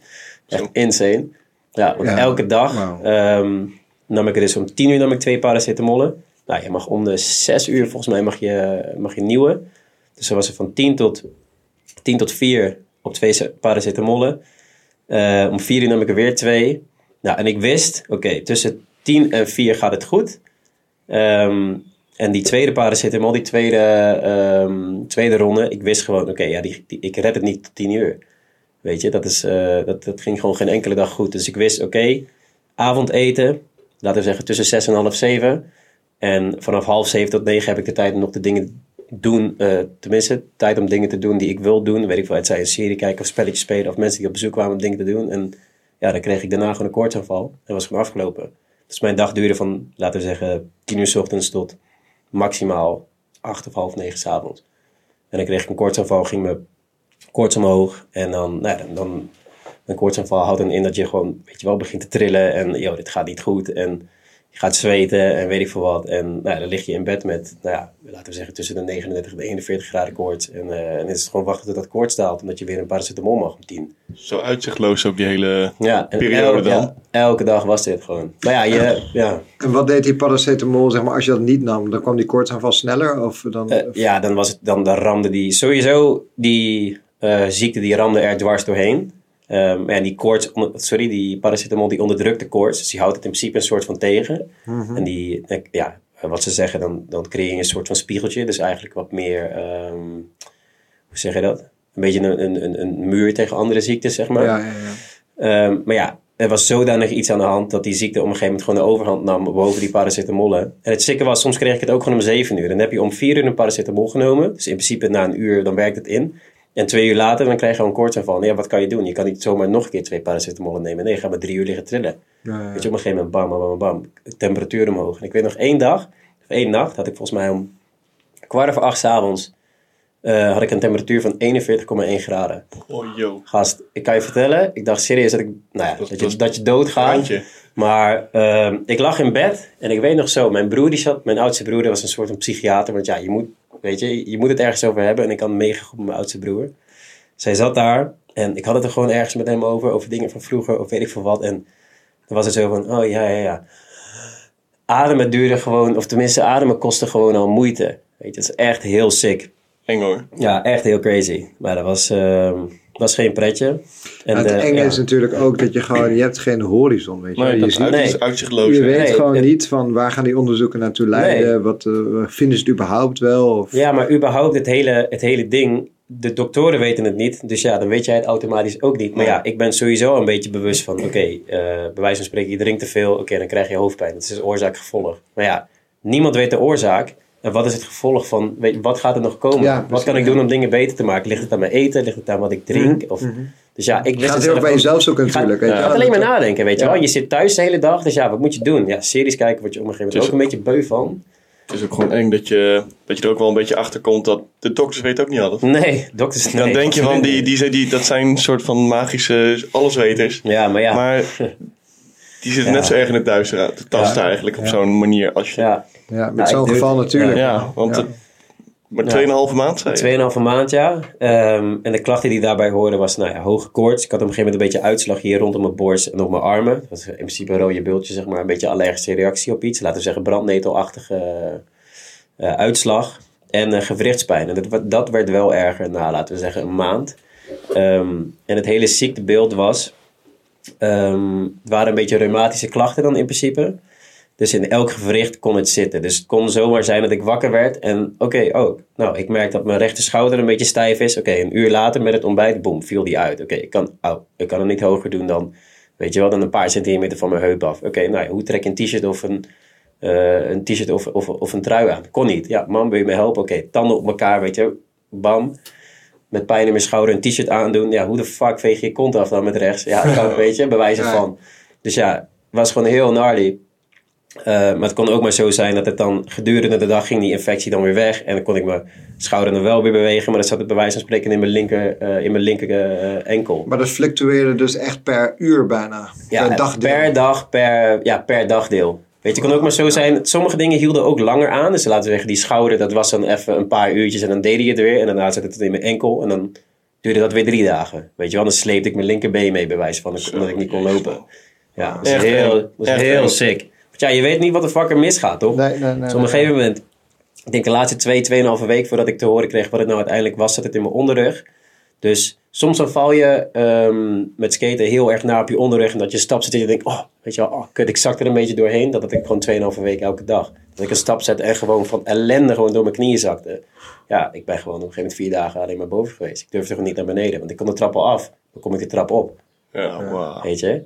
Speaker 3: Echt insane. Ja, want
Speaker 1: Ja,
Speaker 3: elke dag
Speaker 1: wauw.
Speaker 3: ehm, nam ik er dus om 10 uur nam ik twee paracetamolen. Nou, je mag om de 6 uur volgens mij mag je, mag je nieuwe. Dus dan was er van 10 tot, 10 tot 4 op twee se- paracetamolen. Eh, om 4 uur nam ik er weer twee. Nou, en ik wist, oké, tussen 10 en 4 gaat het goed. Ehm, en die tweede paracetamol, die tweede, ehm, tweede ronde, ik wist gewoon, oké, ja, die, die- ik red het niet tot 10 uur. Weet je, dat, is, eh, dat, dat ging gewoon geen enkele dag goed. Dus ik wist, oké, avondeten, laten we zeggen tussen 6 en half 7. En vanaf half 7 tot 9 heb ik de tijd om nog de dingen doen, eh, tenminste, tijd om dingen te doen die ik wil doen. Weet ik wel, het zij een serie kijken of spelletjes spelen of mensen die op bezoek kwamen om dingen te doen. En ja, dan kreeg ik daarna gewoon een koortsaanval en was gewoon afgelopen. Dus mijn dag duurde van, laten we zeggen, 10 uur 's ochtends tot maximaal 8 of half 9 's avonds. En dan kreeg ik een koortsaanval, ging mijn koorts omhoog. En dan, nou, ja, dan, dan een koortsaanval houdt dan in dat je gewoon, weet je wel, begint te trillen. En joh, dit gaat niet goed. En je gaat zweten en weet ik veel wat. En nou, ja, dan lig je in bed met, nou ja, laten we zeggen tussen de 39 en de 41 graden koorts. En, eh, en het is gewoon wachten tot dat koorts daalt. Omdat je weer een paracetamol mag om 10.
Speaker 2: Zo uitzichtloos ook die hele...
Speaker 3: Ja, en
Speaker 2: Periode
Speaker 3: elke,
Speaker 2: dan?
Speaker 3: ja, elke dag was dit gewoon. Maar ja, je, ja,
Speaker 1: En wat deed die paracetamol, zeg maar, als je dat niet nam? Dan kwam die koortsaanval sneller? Of dan,
Speaker 3: eh, ja dan, was het, dan, dan ramde die sowieso die eh, ziekte die ramde er dwars doorheen. Ehm, en die koorts, onder- sorry, die paracetamol die onderdrukt de koorts. Dus die houdt het in principe een soort van tegen.
Speaker 1: Mhm.
Speaker 3: En die, eh, ja, wat ze zeggen, dan, dan creëer je een soort van spiegeltje. Dus eigenlijk wat meer, ehm, hoe zeg je dat? Een beetje een, een, een, een muur tegen andere ziektes, zeg maar.
Speaker 1: ja, ja, ja.
Speaker 3: Ehm, maar ja, er was zodanig iets aan de hand dat die ziekte op een gegeven moment gewoon de overhand nam boven die paracetamollen. En het stikke was, soms kreeg ik het ook gewoon om 7 uur. Dan heb je om 4 uur een paracetamol genomen. Dus in principe na een uur, dan werkt het in. En twee uur later, dan krijg je gewoon koortsaanval. Ja, wat kan je doen? Je kan niet zomaar nog een keer twee paracetamollen nemen. Nee, je gaat maar drie uur liggen trillen.
Speaker 1: Ja, ja.
Speaker 3: Weet je, op een gegeven moment bam, bam, bam, bam. Temperatuur omhoog. En ik weet nog één dag, of één nacht, had ik volgens mij om kwart over acht 's avonds... eh, had ik een temperatuur van 41,1 graden.
Speaker 2: Oh, joh.
Speaker 3: Gast, ik kan je vertellen, ik dacht serieus dat ik, nou ja, dat,
Speaker 2: dat
Speaker 3: je,
Speaker 2: is-
Speaker 3: dat je doodgaat.
Speaker 2: Randje.
Speaker 3: Maar ehm, ik lag in bed en ik weet nog zo, mijn broer die zat, mijn oudste broer, die was een soort van psychiater. Want ja, je moet, weet je, je moet het ergens over hebben en ik kan mega goed met mijn oudste broer. Zij zat daar en ik had het er gewoon ergens met hem over, over dingen van vroeger of weet ik veel wat. En dan was het zo van, oh ja, ja, ja. ademen duurde gewoon, of tenminste ademen kostte gewoon al moeite. Weet je, het is echt heel sick.
Speaker 2: Eng hoor.
Speaker 3: Ja, echt heel crazy. Maar dat was, ehm, was geen pretje. En eh,
Speaker 1: het
Speaker 3: de-
Speaker 1: enge
Speaker 3: ja.
Speaker 1: is natuurlijk ook dat je gewoon, je hebt geen horizon, weet je.
Speaker 2: Nee,
Speaker 1: je,
Speaker 2: dat is
Speaker 1: ziet-
Speaker 2: uit-
Speaker 3: nee.
Speaker 2: is uitzichtloos.
Speaker 1: je
Speaker 2: hè.
Speaker 1: weet
Speaker 3: Nee,
Speaker 1: gewoon
Speaker 3: het-
Speaker 1: niet van waar gaan die onderzoeken naartoe leiden,
Speaker 3: Nee.
Speaker 1: wat eh, vinden ze het überhaupt wel? Of,
Speaker 3: Ja, maar überhaupt het hele, het hele ding. De doktoren weten het niet. Dus ja, dan weet jij het automatisch ook niet. Maar ja, ik ben sowieso een beetje bewust van... Oké, eh, bij wijze van spreken, je drinkt te veel. Oké, dan krijg je hoofdpijn. Dat is oorzaak-gevolg. Maar ja, niemand weet de oorzaak. En wat is het gevolg van... Weet, wat gaat er nog komen?
Speaker 1: Ja,
Speaker 3: wat
Speaker 1: precies,
Speaker 3: kan ik doen om dingen beter te maken? Ligt het aan mijn eten? Ligt het aan wat ik drink? Of, Dus ja, ik
Speaker 1: je
Speaker 3: wist
Speaker 1: Mhm. gaat heel
Speaker 3: het
Speaker 1: erg
Speaker 3: zelf
Speaker 1: bij
Speaker 3: ook
Speaker 1: jezelf zoeken natuurlijk. weet je
Speaker 3: je
Speaker 1: wel.
Speaker 3: gaat alleen maar nadenken, weet je
Speaker 1: Ja.
Speaker 3: wel. Je zit thuis de hele dag, dus ja, wat moet je doen? Ja, series kijken word je op een gegeven moment ook een beetje beu van.
Speaker 2: Het is ook gewoon eng dat je, dat je er ook wel een beetje achter komt dat de dokters weten ook niet alles.
Speaker 3: Nee, dokters, nee.
Speaker 2: Dan denk je van, die, die, die, dat zijn een soort van magische allesweters.
Speaker 3: Ja, maar ja.
Speaker 2: Maar die zitten
Speaker 3: Ja.
Speaker 2: net zo erg in het duister uit. te tasten eigenlijk op zo'n manier. Als je, ja.
Speaker 3: ja.
Speaker 1: Ja, met
Speaker 3: Nou, ik
Speaker 1: zo'n
Speaker 3: doe-
Speaker 1: geval natuurlijk.
Speaker 2: want
Speaker 1: Ja.
Speaker 2: het- maar 2,5 maand zei je?
Speaker 3: Tweeënhalve maand, ja. Ehm, en de klachten die daarbij hoorden was, nou ja, hoge koorts. Ik had op een gegeven moment een beetje uitslag hier rondom mijn borst en op mijn armen. Dat was in principe een rode bultje, zeg maar. Een beetje allergische reactie op iets. Laten we zeggen brandnetelachtige eh, eh, uitslag. En eh, gewrichtspijn. En dat, wa- dat werd wel erger na, laten we zeggen, een maand. Ehm, en het hele ziektebeeld was... ehm, het waren een beetje reumatische klachten dan in principe. Dus in elk gewricht kon het zitten. Dus het kon zomaar zijn dat ik wakker werd en oké, oh, nou, ik merk dat mijn rechter schouder een beetje stijf is. Oké, een uur later met het ontbijt, boem, viel die uit. Oké, ik kan, au, ik kan het niet hoger doen dan, weet je wel, dan een paar centimeter van mijn heup af. Oké, nou, ja, hoe trek ik een t-shirt of een, eh, een t-shirt of, of, of een trui aan? Kon niet. Ja, man, wil je me helpen? Oké, tanden op elkaar, weet je, bam. Met pijn in mijn schouder een t-shirt aandoen. Ja, hoe de fuck veeg je je kont af dan met rechts? Ja, dat kan, weet je, bewijzen
Speaker 1: Ja.
Speaker 3: van. Dus ja, het was gewoon heel gnarly. Eh, maar het kon ook maar zo zijn dat het dan gedurende de dag ging die infectie dan weer weg. En dan kon ik mijn schouder dan wel weer bewegen. Maar dat zat het bij wijze van spreken in mijn linker, eh, in mijn linker eh, enkel.
Speaker 1: Maar dat fluctueerde dus echt per uur bijna.
Speaker 3: Ja,
Speaker 1: per dagdeel.
Speaker 3: Per dag, per, ja, per dagdeel. Weet je, het kon ook maar zo zijn. Sommige dingen hielden ook langer aan. Dus laten we zeggen, die schouder, dat was dan even een paar uurtjes. En dan deed hij het weer. En daarna zette het in mijn enkel. En dan duurde dat weer drie dagen. Weet je wel, dan sleepte ik mijn linkerbeen mee bij wijze van. Omdat ik niet kon lopen. Ja, dat is
Speaker 2: Echt
Speaker 3: heel,
Speaker 2: eng.
Speaker 3: dat is
Speaker 2: Echt
Speaker 3: heel
Speaker 2: eng.
Speaker 3: sick. Want ja, je weet niet wat de fuck er misgaat, toch?
Speaker 1: Nee, nee, nee,
Speaker 3: Dus op
Speaker 1: nee.
Speaker 3: een gegeven moment, ik denk de laatste twee, tweeënhalve week voordat ik te horen kreeg wat het nou uiteindelijk was, zat het in mijn onderrug. Dus soms dan val je ehm, met skaten heel erg na op je onderrug. En dat je stap zet en je denkt, oh, weet je wel, oh, kut, ik zak er een beetje doorheen. Dat had ik gewoon 2,5 week elke dag. Dat ik een stap zette en gewoon van ellende gewoon door mijn knieën zakte. Ja, ik ben gewoon op een gegeven moment vier dagen alleen maar boven geweest. Ik durfde gewoon niet naar beneden, want ik kon de trap al af. Dan kom ik de trap op,
Speaker 2: Ja,
Speaker 1: Ah.
Speaker 2: wauw.
Speaker 3: weet je.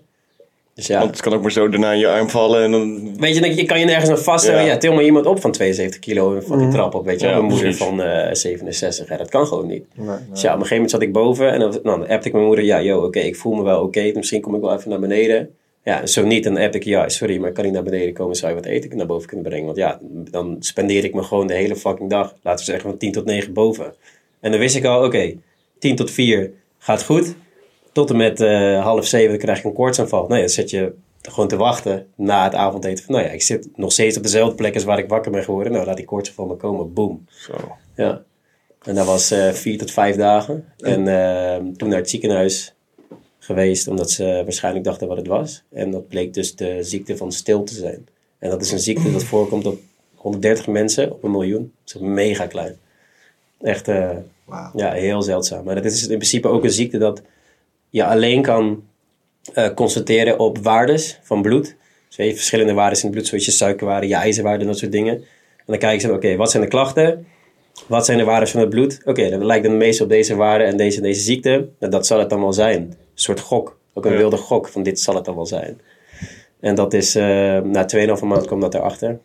Speaker 3: Dus ja.
Speaker 2: Want het kan ook maar zo daarna in je arm vallen en dan...
Speaker 3: Weet je, dan- je kan je nergens aan vaststellen. Ja.
Speaker 2: Ja.
Speaker 3: til maar iemand op van 72 kilo en van die trap op, weet je.
Speaker 2: Ja,
Speaker 3: wel. mijn moeder
Speaker 2: precies.
Speaker 3: van eh, 67, ja, dat kan gewoon niet. Dus ja, op een gegeven moment zat ik boven en dan, dan appte ik mijn moeder. Ja, joh, oké, ik voel me wel oké. dus misschien kom ik wel even naar beneden. Ja, en zo niet, dan app ik, ja, sorry, maar ik kan niet naar beneden komen. Zou je wat eten naar boven kunnen brengen? Want ja, dan spendeer ik me gewoon de hele fucking dag. Laten we zeggen van 10 tot 9 boven. En dan wist ik al, oké, 10 tot 4 gaat goed. Tot en met eh, half zeven dan krijg ik een koortsaanval. Nou ja, dan zit je gewoon te wachten na het avondeten. Van, nou ja, ik zit nog steeds op dezelfde plek als waar ik wakker ben geworden. Nou, laat die koortsaanval maar komen. Boom.
Speaker 2: Zo.
Speaker 3: Ja. En dat was eh, vier tot vijf dagen. En eh, toen naar het ziekenhuis geweest, omdat ze waarschijnlijk dachten wat het was. En dat bleek dus de ziekte van stil te zijn. En dat is een ziekte dat voorkomt op 130 mensen op een miljoen. Dat is mega klein. Echt eh,
Speaker 1: Wauw.
Speaker 3: ja, heel zeldzaam. Maar het is in principe ook een ziekte dat je alleen kan eh, constateren op waardes van bloed. Dus je hebt verschillende waardes in het bloed, zoals je suikerwaarde, je ijzerwaarde en dat soort dingen. En dan kijken ze, oké, wat zijn de klachten? Wat zijn de waarden van het bloed? Oké, dan lijkt het meest op deze waarde en deze en deze ziekte. Nou, dat zal het dan wel zijn. Een soort gok. Ook een
Speaker 2: Ja.
Speaker 3: wilde gok van dit zal het dan wel zijn. En dat is, eh, na 2,5 maand kwam dat erachter.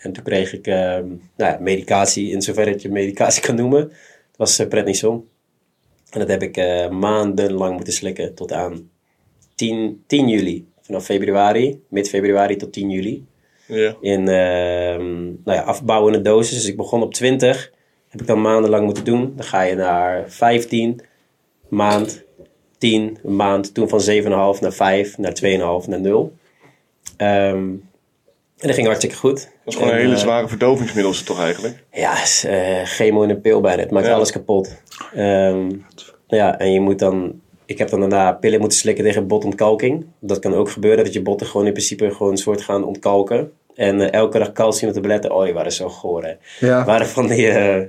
Speaker 3: En toen kreeg ik eh, nou ja, medicatie, in zoverre het je medicatie kan noemen. Het was uh, prednison. En dat heb ik eh, maandenlang moeten slikken tot aan 10, 10 juli. Vanaf februari, mid-februari tot 10 juli
Speaker 2: Ja.
Speaker 3: in ehm, nou ja, afbouwende doses. Dus ik begon op 20. Heb ik dan maandenlang moeten doen. Dan ga je naar 15, maand, 10, een maand. Toen van 7,5 naar 5, naar 2,5, naar 0. Ehm, en dat ging hartstikke goed.
Speaker 2: Dat is gewoon een
Speaker 3: En,
Speaker 2: hele
Speaker 3: eh,
Speaker 2: zware verdovingsmiddel is het toch eigenlijk?
Speaker 3: ja, is, eh, chemo in een pil bijna. Het maakt
Speaker 2: Ja.
Speaker 3: alles kapot. Ehm, ja, en je moet dan... Ik heb dan daarna pillen moeten slikken tegen botontkalking. Dat kan ook gebeuren, dat je botten gewoon in principe gewoon een soort gaan ontkalken. En eh, elke dag calciumtabletten. Oh, die waren zo goor, hè.
Speaker 1: Ja.
Speaker 3: waren van die, eh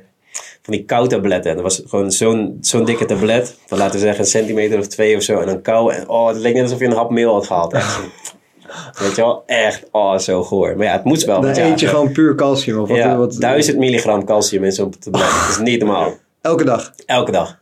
Speaker 3: van die kou-tabletten. En dat was gewoon zo'n zo'n dikke tablet. Van laten we zeggen een centimeter of twee of zo. En dan kou. En oh, het leek net alsof je een hap meel had gehaald. Echt zo. Weet je wel? Echt, oh, zo goor. Maar ja, het moest wel.
Speaker 1: Dan
Speaker 3: want ja,
Speaker 1: eet je gewoon puur calcium. Of wat,
Speaker 3: ja,
Speaker 1: wat,
Speaker 3: 1000 milligram calcium in zo'n tablet. Dat is niet normaal.
Speaker 1: Elke dag.
Speaker 3: Elke dag.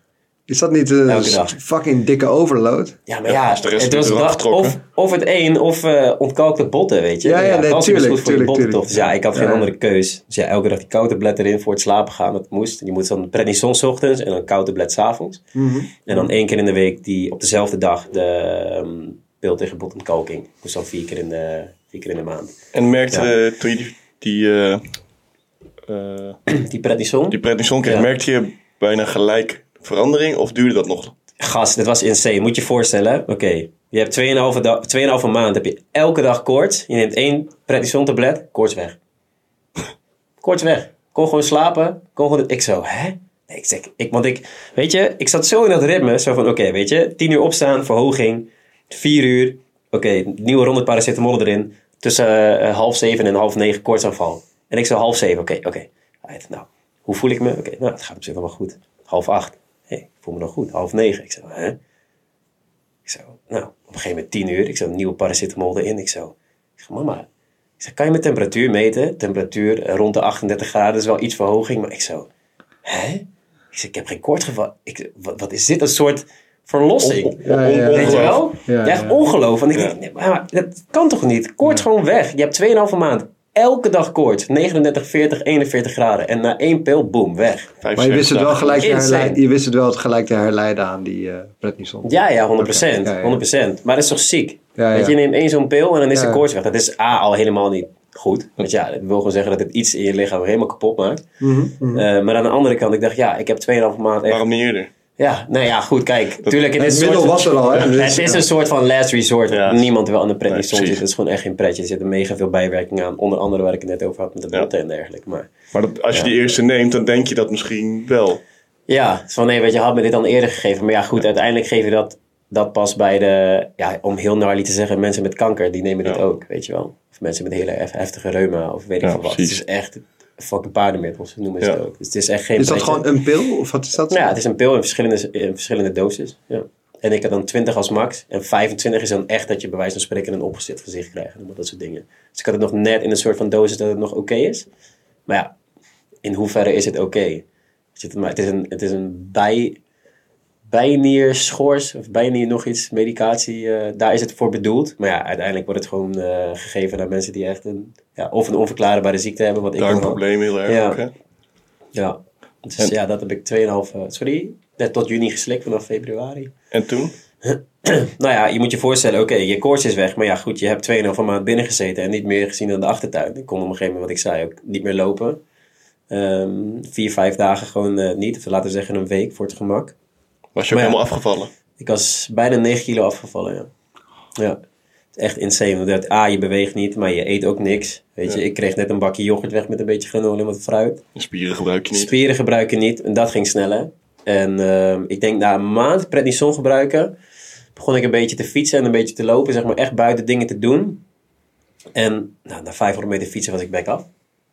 Speaker 1: Is dat niet eh,
Speaker 3: Elke dag.
Speaker 1: fucking dikke overload?
Speaker 3: Ja, maar ja,
Speaker 2: dus de rest
Speaker 3: het
Speaker 2: wordt
Speaker 3: was
Speaker 2: eraf
Speaker 3: dag
Speaker 2: getrokken.
Speaker 3: of, of het een of eh, ontkalkte botten, weet je.
Speaker 1: Ja, ja, nee,
Speaker 3: calcium is
Speaker 1: tuurlijk,
Speaker 3: goed voor je
Speaker 1: tuurlijk,
Speaker 3: botten,
Speaker 1: tuurlijk.
Speaker 3: toch? Dus ja, ik had geen
Speaker 1: Ja.
Speaker 3: andere keus. Dus ja, elke dag die koude blad erin voor het slapen gaan, dat moest. En je moet dan prednison 's ochtends en dan koude blad 's avonds.
Speaker 1: Mhm.
Speaker 3: En dan één keer in de week die op dezelfde dag de ehm, pil tegen botontkalking. Dus dan vier keer in de, vier keer in de maand.
Speaker 2: En merkte
Speaker 3: Ja.
Speaker 2: eh, toen je die, die, eh, eh,
Speaker 3: Die prednison?
Speaker 2: die prednison kreeg,
Speaker 3: Ja.
Speaker 2: merkte je bijna gelijk verandering? Of duurde dat nog?
Speaker 3: Gast, dat was insane. Moet je je voorstellen, hè? oké. Je hebt 2,5 da- 2,5 maand, heb je elke dag koorts. Je neemt één prednison tablet, koorts weg. koorts weg. Kon gewoon slapen. Kon gewoon, ik zo, hè? Nee, ik zeg, ik, want ik, weet je, ik zat zo in dat ritme. Zo van, oké, weet je, 10 uur opstaan, verhoging. 4 uur, oké, nieuwe ronde paracetamol erin. Tussen eh, half 7 en half 9 koortsaanval. En ik zo, half 7, oké, oké. Right, nou, hoe voel ik me? Oké, nou, het gaat op zich nog wel goed. Half 8, hé, ik voel me nog goed. Half 9, ik zo, hè? Ik zo, nou, op een gegeven moment 10 uur. Ik zo, nieuwe paracetamol erin. Ik zo, ik zeg, mama, ik zeg, kan je mijn temperatuur meten? Temperatuur eh, rond de 38 graden is wel iets verhoging. Maar ik zo, hè? Ik zeg, ik heb geen koortsgeval. Ik, wat, wat is dit? Een soort verlossing.
Speaker 1: Ja, ja,
Speaker 3: Weet je wel?
Speaker 1: Ja,
Speaker 3: Ja, echt
Speaker 1: ja.
Speaker 3: ongeloof. Want ik
Speaker 2: Ja.
Speaker 3: denk, nee, maar dat kan toch niet? Koorts gewoon weg. Je hebt 2,5 maand. Elke dag koorts. 39, 40, 41 graden. En na één pil, boom, weg.
Speaker 1: Maar je wist het wel gelijk te
Speaker 3: Insane.
Speaker 1: herleiden, je wist het wel gelijk te herleiden aan die eh prednison.
Speaker 3: Ja, ja, 100%.
Speaker 1: Oké, ja, ja.
Speaker 3: 100%. Maar dat is toch ziek?
Speaker 1: Ja,
Speaker 3: Weet
Speaker 1: ja.
Speaker 3: je, je neemt één zo'n pil en dan is
Speaker 1: Ja.
Speaker 3: de koorts weg. Dat is A, al helemaal niet goed. Want ja, dat wil gewoon zeggen dat het iets in je lichaam helemaal kapot maakt.
Speaker 1: Mhm.
Speaker 3: Eh, maar aan de andere kant, ik dacht, ja, ik heb 2,5 maand echt...
Speaker 2: Waarom niet eerder?
Speaker 3: Ja, nou ja, goed, kijk. Tuurlijk,
Speaker 1: Het
Speaker 3: het is een soort
Speaker 1: middel
Speaker 3: van-
Speaker 1: was er al, hè? Dus-
Speaker 3: Het is een soort van last resort.
Speaker 2: Ja.
Speaker 3: Niemand wil aan de prednison
Speaker 2: Nee,
Speaker 3: zitten.
Speaker 2: precies.
Speaker 3: Het is gewoon echt geen pretje. Er zitten mega veel bijwerkingen aan. Onder andere waar ik het net over had met de
Speaker 2: Ja.
Speaker 3: botten en dergelijke. Maar
Speaker 2: Maar dat, als je die eerste neemt, dan denk je dat misschien wel.
Speaker 3: ja, het is van nee, weet je, had me dit dan eerder gegeven. Maar ja, goed, uiteindelijk geef je dat, dat pas bij de, ja, om heel gnarly te zeggen, mensen met kanker, die nemen dit
Speaker 2: Ja.
Speaker 3: ook, weet je wel. Of mensen met hele hef- heftige reuma of weet ik
Speaker 2: Ja,
Speaker 3: veel wat. Het
Speaker 2: precies.
Speaker 3: is echt fucking paardenmiddels, noemen ze
Speaker 2: Ja.
Speaker 3: het ook. Dus het is echt geen
Speaker 1: Is dat
Speaker 3: pretje.
Speaker 1: gewoon een pil? Of wat is dat?
Speaker 3: Nou ja, het is een pil in verschillende, in verschillende doses. Ja. En ik had dan 20 als max. En 25 is dan echt dat je bij wijze van spreken een opgezet gezicht krijgt. en Dat soort dingen. Dus ik had het nog net in een soort van dosis dat het nog oké is. Maar ja, in hoeverre is het oké? Weet je, Maar het is een, het is een bij, bijnierschors of bijnier nog iets, medicatie. eh, daar is het voor bedoeld. Maar ja, uiteindelijk wordt het gewoon eh, gegeven naar mensen die echt een, ja, of een onverklaarbare ziekte hebben. Wat ik dan had.
Speaker 2: Darmprobleem heel erg.
Speaker 3: Ja.
Speaker 2: ook, hè?
Speaker 3: Ja. Dus ja, dat heb ik 2,5, eh, sorry, net tot juni geslikt vanaf februari.
Speaker 2: En toen?
Speaker 3: Nou ja, je moet je voorstellen, oké, je koorts is weg, maar ja goed, je hebt 2,5 maand binnen gezeten en niet meer gezien aan de achtertuin. Ik kon op een gegeven moment, wat ik zei, ook niet meer lopen. Ehm, vier, vijf dagen gewoon eh, niet, of laten we zeggen een week voor het gemak.
Speaker 2: Was je ook
Speaker 3: Maar ja.
Speaker 2: helemaal afgevallen?
Speaker 3: Ik was bijna 9 kilo afgevallen, ja. Ja, Het is echt insane. Want dat- A, je beweegt niet, maar je eet ook niks. Weet je, ik kreeg net een bakje yoghurt weg met een beetje granola en wat fruit.
Speaker 2: De spieren gebruik je niet.
Speaker 3: Spieren gebruiken niet. En dat ging sneller. En ehm, ik denk na een maand prednison gebruiken... begon ik een beetje te fietsen en een beetje te lopen. Zeg maar echt buiten dingen te doen. En nou, na 500 meter fietsen was ik back af.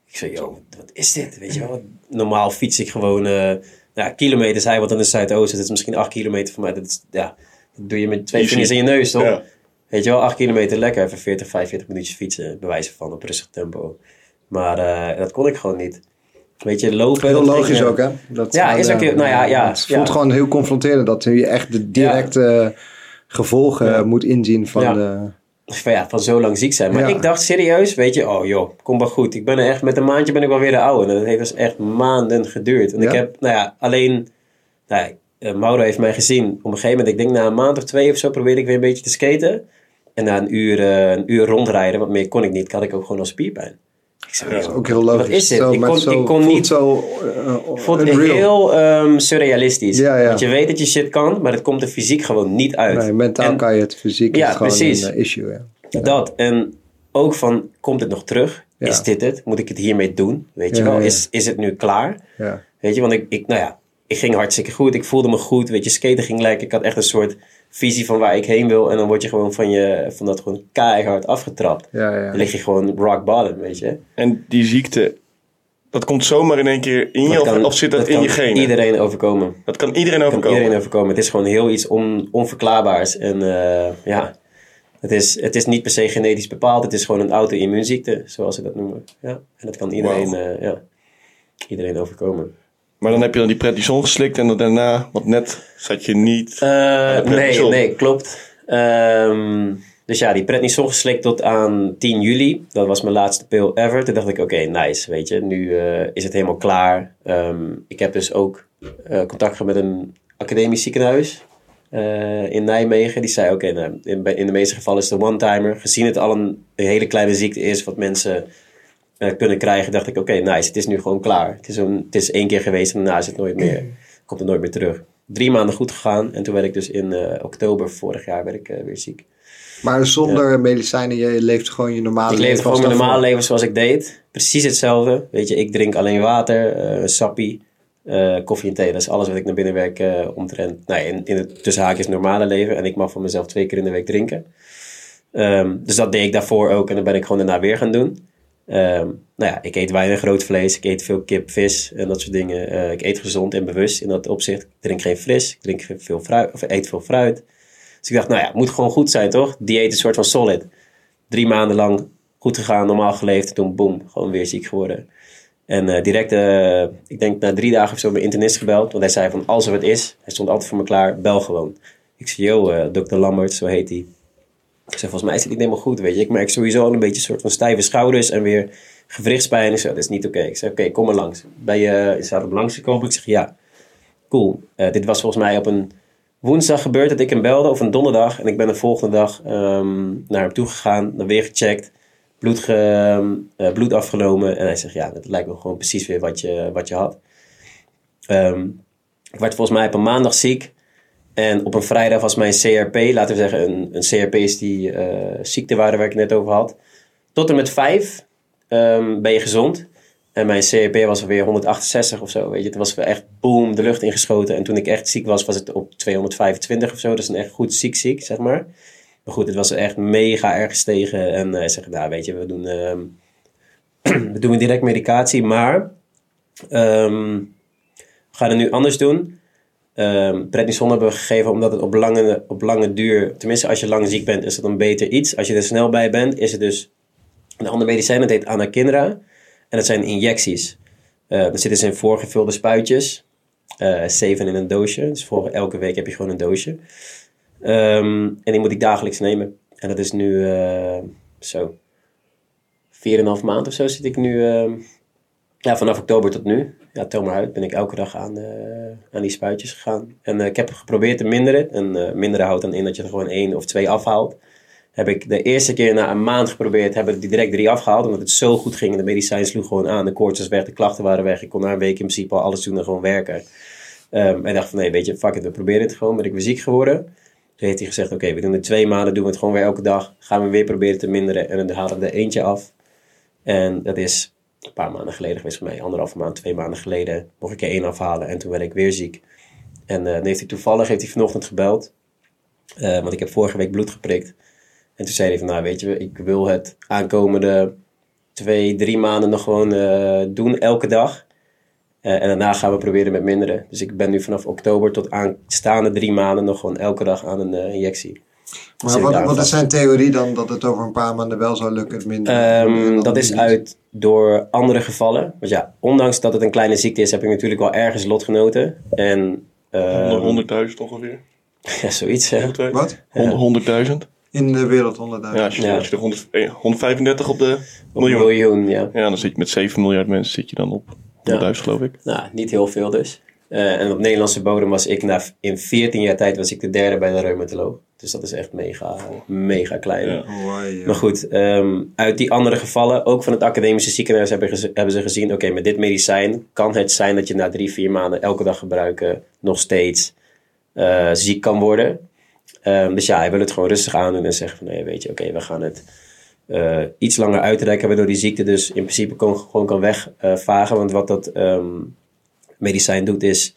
Speaker 3: Ik zei, joh, wat is dit? Weet je wel? Normaal fiets ik gewoon... eh nou, kilometers, hij wat in de Zuidoosten. Dat is misschien 8 kilometer van mij. Dat, is, ja, dat doe je met twee
Speaker 2: Easy.
Speaker 3: vingers in je neus, toch?
Speaker 2: Ja.
Speaker 3: Weet je wel, 8 kilometer lekker. Even 40, 45 minuutjes fietsen. Bewijzen van op rustig tempo. Maar eh, dat kon ik gewoon niet. Weet je, lopen...
Speaker 1: Heel
Speaker 3: dat ging,
Speaker 1: logisch
Speaker 3: eh,
Speaker 1: ook, hè? Dat
Speaker 3: Ja, is ook heel- nou ja, ja,
Speaker 1: Het voelt
Speaker 3: ja.
Speaker 1: gewoon heel confronterend dat je echt de directe eh, gevolgen eh, moet inzien van...
Speaker 3: Ja.
Speaker 1: de-
Speaker 3: van, ja, van zo lang ziek zijn. Maar
Speaker 1: Ja.
Speaker 3: ik dacht serieus, weet je, oh joh, kom maar goed. Ik ben er echt, met een maandje ben ik wel weer de oude. En dat heeft dus echt maanden geduurd. En
Speaker 1: Ja.
Speaker 3: ik heb, nou ja, alleen, nou ja, eh, Mauro heeft mij gezien. Op een gegeven moment, ik denk na een maand of twee of zo, probeerde ik weer een beetje te skaten. En na een uur, eh, een uur rondrijden, want meer kon ik niet, had ik ook gewoon al spierpijn. Ik zei,
Speaker 1: Dat
Speaker 3: joh,
Speaker 1: is ook heel logisch.
Speaker 3: Wat is dit?
Speaker 1: Zo,
Speaker 3: ik,
Speaker 1: maar
Speaker 3: kon,
Speaker 1: zo
Speaker 3: ik kon
Speaker 1: voelt
Speaker 3: niet
Speaker 1: zo eh, eh,
Speaker 3: vond het
Speaker 1: unreal.
Speaker 3: heel ehm, surrealistisch.
Speaker 1: Ja, ja.
Speaker 3: Want je weet dat je shit kan, maar het komt er fysiek gewoon niet uit.
Speaker 1: Nee, mentaal
Speaker 3: En-
Speaker 1: kan je het, fysiek
Speaker 3: Ja,
Speaker 1: is gewoon
Speaker 3: precies.
Speaker 1: een eh, issue. Ja.
Speaker 3: Dat. En ook van, komt het nog terug?
Speaker 1: Ja.
Speaker 3: Is dit het? Moet ik het hiermee doen? Weet je
Speaker 1: Ja,
Speaker 3: wel?
Speaker 1: ja.
Speaker 3: Is, is het nu klaar?
Speaker 1: Ja.
Speaker 3: Weet je, want ik, ik nou ja, Ik ging hartstikke goed. Ik voelde me goed. Weet je, skaten ging lekker. Ik had echt een soort visie van waar ik heen wil. En dan word je gewoon van, je, van dat gewoon keihard afgetrapt.
Speaker 1: Ja, ja.
Speaker 3: Dan lig je gewoon rock bottom, weet je.
Speaker 2: En die ziekte, dat komt zomaar in één keer in je,
Speaker 3: Dat
Speaker 2: of,
Speaker 3: kan-
Speaker 2: of zit dat, in
Speaker 3: kan
Speaker 2: je genen?
Speaker 3: Iedereen overkomen.
Speaker 2: Dat kan iedereen
Speaker 3: kan
Speaker 2: overkomen.
Speaker 3: iedereen overkomen. Het is gewoon heel iets on, onverklaarbaars. En eh, ja, het is, het is niet per se genetisch bepaald. Het is gewoon een auto-immuunziekte, zoals ze dat noemen. Ja, en dat kan iedereen, eh, ja, iedereen overkomen.
Speaker 2: Maar dan heb je dan die prednison geslikt en dan daarna, want net zat je niet.
Speaker 3: Eh, nee,
Speaker 2: prednison.
Speaker 3: nee, klopt. Ehm, dus ja, die prednison geslikt tot aan 10 juli. Dat was mijn laatste pil ever. Toen dacht ik, oké, nice, weet je. Nu eh, is het helemaal klaar. Ehm, ik heb dus ook eh, contact gehad met een academisch ziekenhuis eh, in Nijmegen. Die zei, oké, nou, in, bij- in de meeste gevallen is het een one-timer. Gezien het al een, een hele kleine ziekte is, wat mensen eh, kunnen krijgen, dacht ik, oké, nice, het is nu gewoon klaar. Het is, een, het is één keer geweest en daarna is het nooit meer, komt het nooit meer terug. Drie maanden goed gegaan en toen werd ik dus in eh, oktober vorig jaar werd ik, eh, weer ziek.
Speaker 1: Maar zonder medicijnen, je leeft gewoon je normale
Speaker 3: ik leefde gewoon mijn
Speaker 1: als
Speaker 3: normale
Speaker 1: daarvoor.
Speaker 3: leven zoals ik deed. Precies hetzelfde. Weet je, ik drink alleen water, eh sappie, eh, koffie en thee. Dat is alles wat ik naar binnen werk eh, omtrent. Nou, in, in het tussen haakjes normale leven. En ik mag van mezelf twee keer in de week drinken. Ehm, dus dat deed ik daarvoor ook. En dat ben ik gewoon daarna weer gaan doen. Ehm, nou ja, ik eet weinig rood vlees. Ik eet veel kip, vis en dat soort dingen. Eh, ik eet gezond en bewust in dat opzicht. Ik drink geen fris. Ik drink geen- veel fruit, of eet veel fruit. Dus ik dacht, nou ja, het moet gewoon goed zijn, toch? Dieet is een soort van solid drie maanden lang goed gegaan, normaal geleefd. En toen, boem, gewoon weer ziek geworden. En eh, direct, eh, ik denk na drie dagen of zo, mijn internist gebeld. Want hij zei van, als er wat is, hij stond altijd voor me klaar, bel gewoon. Ik zei, yo, eh dokter Lambert, zo heet hij. Ik zei, volgens mij is het niet helemaal goed, weet je. Ik merk sowieso al een beetje een soort van stijve schouders en weer gewrichtspijn. Ik zei, dat is niet oké. Ik zei, oké, kom maar langs. Ben je in staat om langs te komen? Ik zeg, ja. Cool. Eh, dit was volgens mij op een woensdag gebeurd dat ik hem belde, of een donderdag. En ik ben de volgende dag ehm, naar hem toe gegaan, dan weer gecheckt, bloed, ge, eh, bloed afgenomen. En hij zegt, ja, dat lijkt me gewoon precies weer wat je, wat je had. Ehm, ik werd volgens mij op een maandag ziek. En op een vrijdag was mijn CRP, laten we zeggen, een, een CRP is die eh, ziektewaarde waar ik het net over had. Tot en met vijf ehm, ben je gezond. En mijn CRP was alweer 168 of zo. Weet je, het was weer echt boom, de lucht ingeschoten. En toen ik echt ziek was, was het op 225 of zo. Dat is een echt goed ziek ziek, zeg maar. Maar goed, het was echt mega erg gestegen. En hij zegt, nou weet je, we doen, ehm, we doen direct medicatie. Maar ehm, we gaan het nu anders doen. Ehm prednison hebben we gegeven omdat het op lange, op lange duur... Tenminste, als je lang ziek bent, is dat een beter iets. Als je er snel bij bent, is het dus een ander medicijn. Dat heet anakinra. En dat zijn injecties. Eh er zitten dus in voorgevulde spuitjes. eh, zeven in een doosje. Dus voor elke week heb je gewoon een doosje. Ehm, en die moet ik dagelijks nemen. En dat is nu eh, zo. 4,5 maand of zo zit ik nu. ehm, ja, vanaf oktober tot nu. Ja, tel maar uit. Ben ik elke dag aan, eh, aan die spuitjes gegaan. En eh, ik heb geprobeerd te minderen. En eh, minderen houdt dan in dat je er gewoon één of twee afhaalt. Heb ik de eerste keer na een maand geprobeerd, heb ik die direct drie afgehaald. Omdat het zo goed ging. De medicijn sloeg gewoon aan. De koorts was weg, de klachten waren weg. Ik kon na een week in principe al alles doen en gewoon werken. Ehm en dacht van, nee, weet je, fuck it, we proberen het gewoon. Ben ik weer ziek geworden. Toen heeft hij gezegd, oké, we doen het twee maanden, doen we het gewoon weer elke dag. Gaan we weer proberen te minderen. En dan haalde ik er eentje af. En dat is een paar maanden geleden geweest voor mij. Anderhalve maand, twee maanden geleden mocht ik er één afhalen. En toen werd ik weer ziek. En eh, dan heeft hij toevallig heeft hij vanochtend gebeld. Eh, want ik heb vorige week bloed geprikt. En toen zei hij van, nou weet je, ik wil het aankomende twee, drie maanden nog gewoon eh, doen, elke dag. Eh, en daarna gaan we proberen met minderen. Dus ik ben nu vanaf oktober tot aanstaande drie maanden nog gewoon elke dag aan een eh, injectie.
Speaker 1: Maar
Speaker 3: Zit ik
Speaker 1: wat,
Speaker 3: daar
Speaker 1: wat is
Speaker 3: vast.
Speaker 1: zijn theorie dan dat het over een paar maanden wel zou lukken? het Minder,
Speaker 3: Ehm,
Speaker 1: en dan
Speaker 3: dat is
Speaker 1: niet?
Speaker 3: uit door andere gevallen. Want ja, ondanks dat het een kleine ziekte is, heb ik natuurlijk wel ergens lotgenoten. En eh,
Speaker 2: 100.000 ongeveer.
Speaker 3: ja, zoiets. hè.
Speaker 1: Wat?
Speaker 2: Hond- 100.000?
Speaker 1: In de wereld
Speaker 2: Ja,
Speaker 1: 100.000.
Speaker 2: als je,
Speaker 3: Ja.
Speaker 2: als je er 100 eh, 135 op de
Speaker 3: Op Een
Speaker 2: miljoen.
Speaker 3: miljoen, ja.
Speaker 2: Ja, dan zit je met 7 miljard mensen zit je dan op 100.000 geloof ik.
Speaker 3: Nou, niet heel veel dus. Eh, en op Nederlandse bodem was ik na, in 14 jaar tijd was ik de derde bij de reumatoloog. Dus dat is echt mega, mega klein.
Speaker 2: Ja.
Speaker 1: Mooi, joh.
Speaker 3: Maar goed, ehm, uit die andere gevallen, ook van het academische ziekenhuis, hebben, gez- hebben ze gezien: oké, met dit medicijn kan het zijn dat je na drie, vier maanden elke dag gebruiken nog steeds eh, ziek kan worden. Ehm, dus ja, hij wil het gewoon rustig aandoen en zeggen: van nee, weet je, oké, we gaan het eh, iets langer uitreiken, waardoor die ziekte dus in principe kon, gewoon kan wegvagen. want wat dat ehm, medicijn doet, is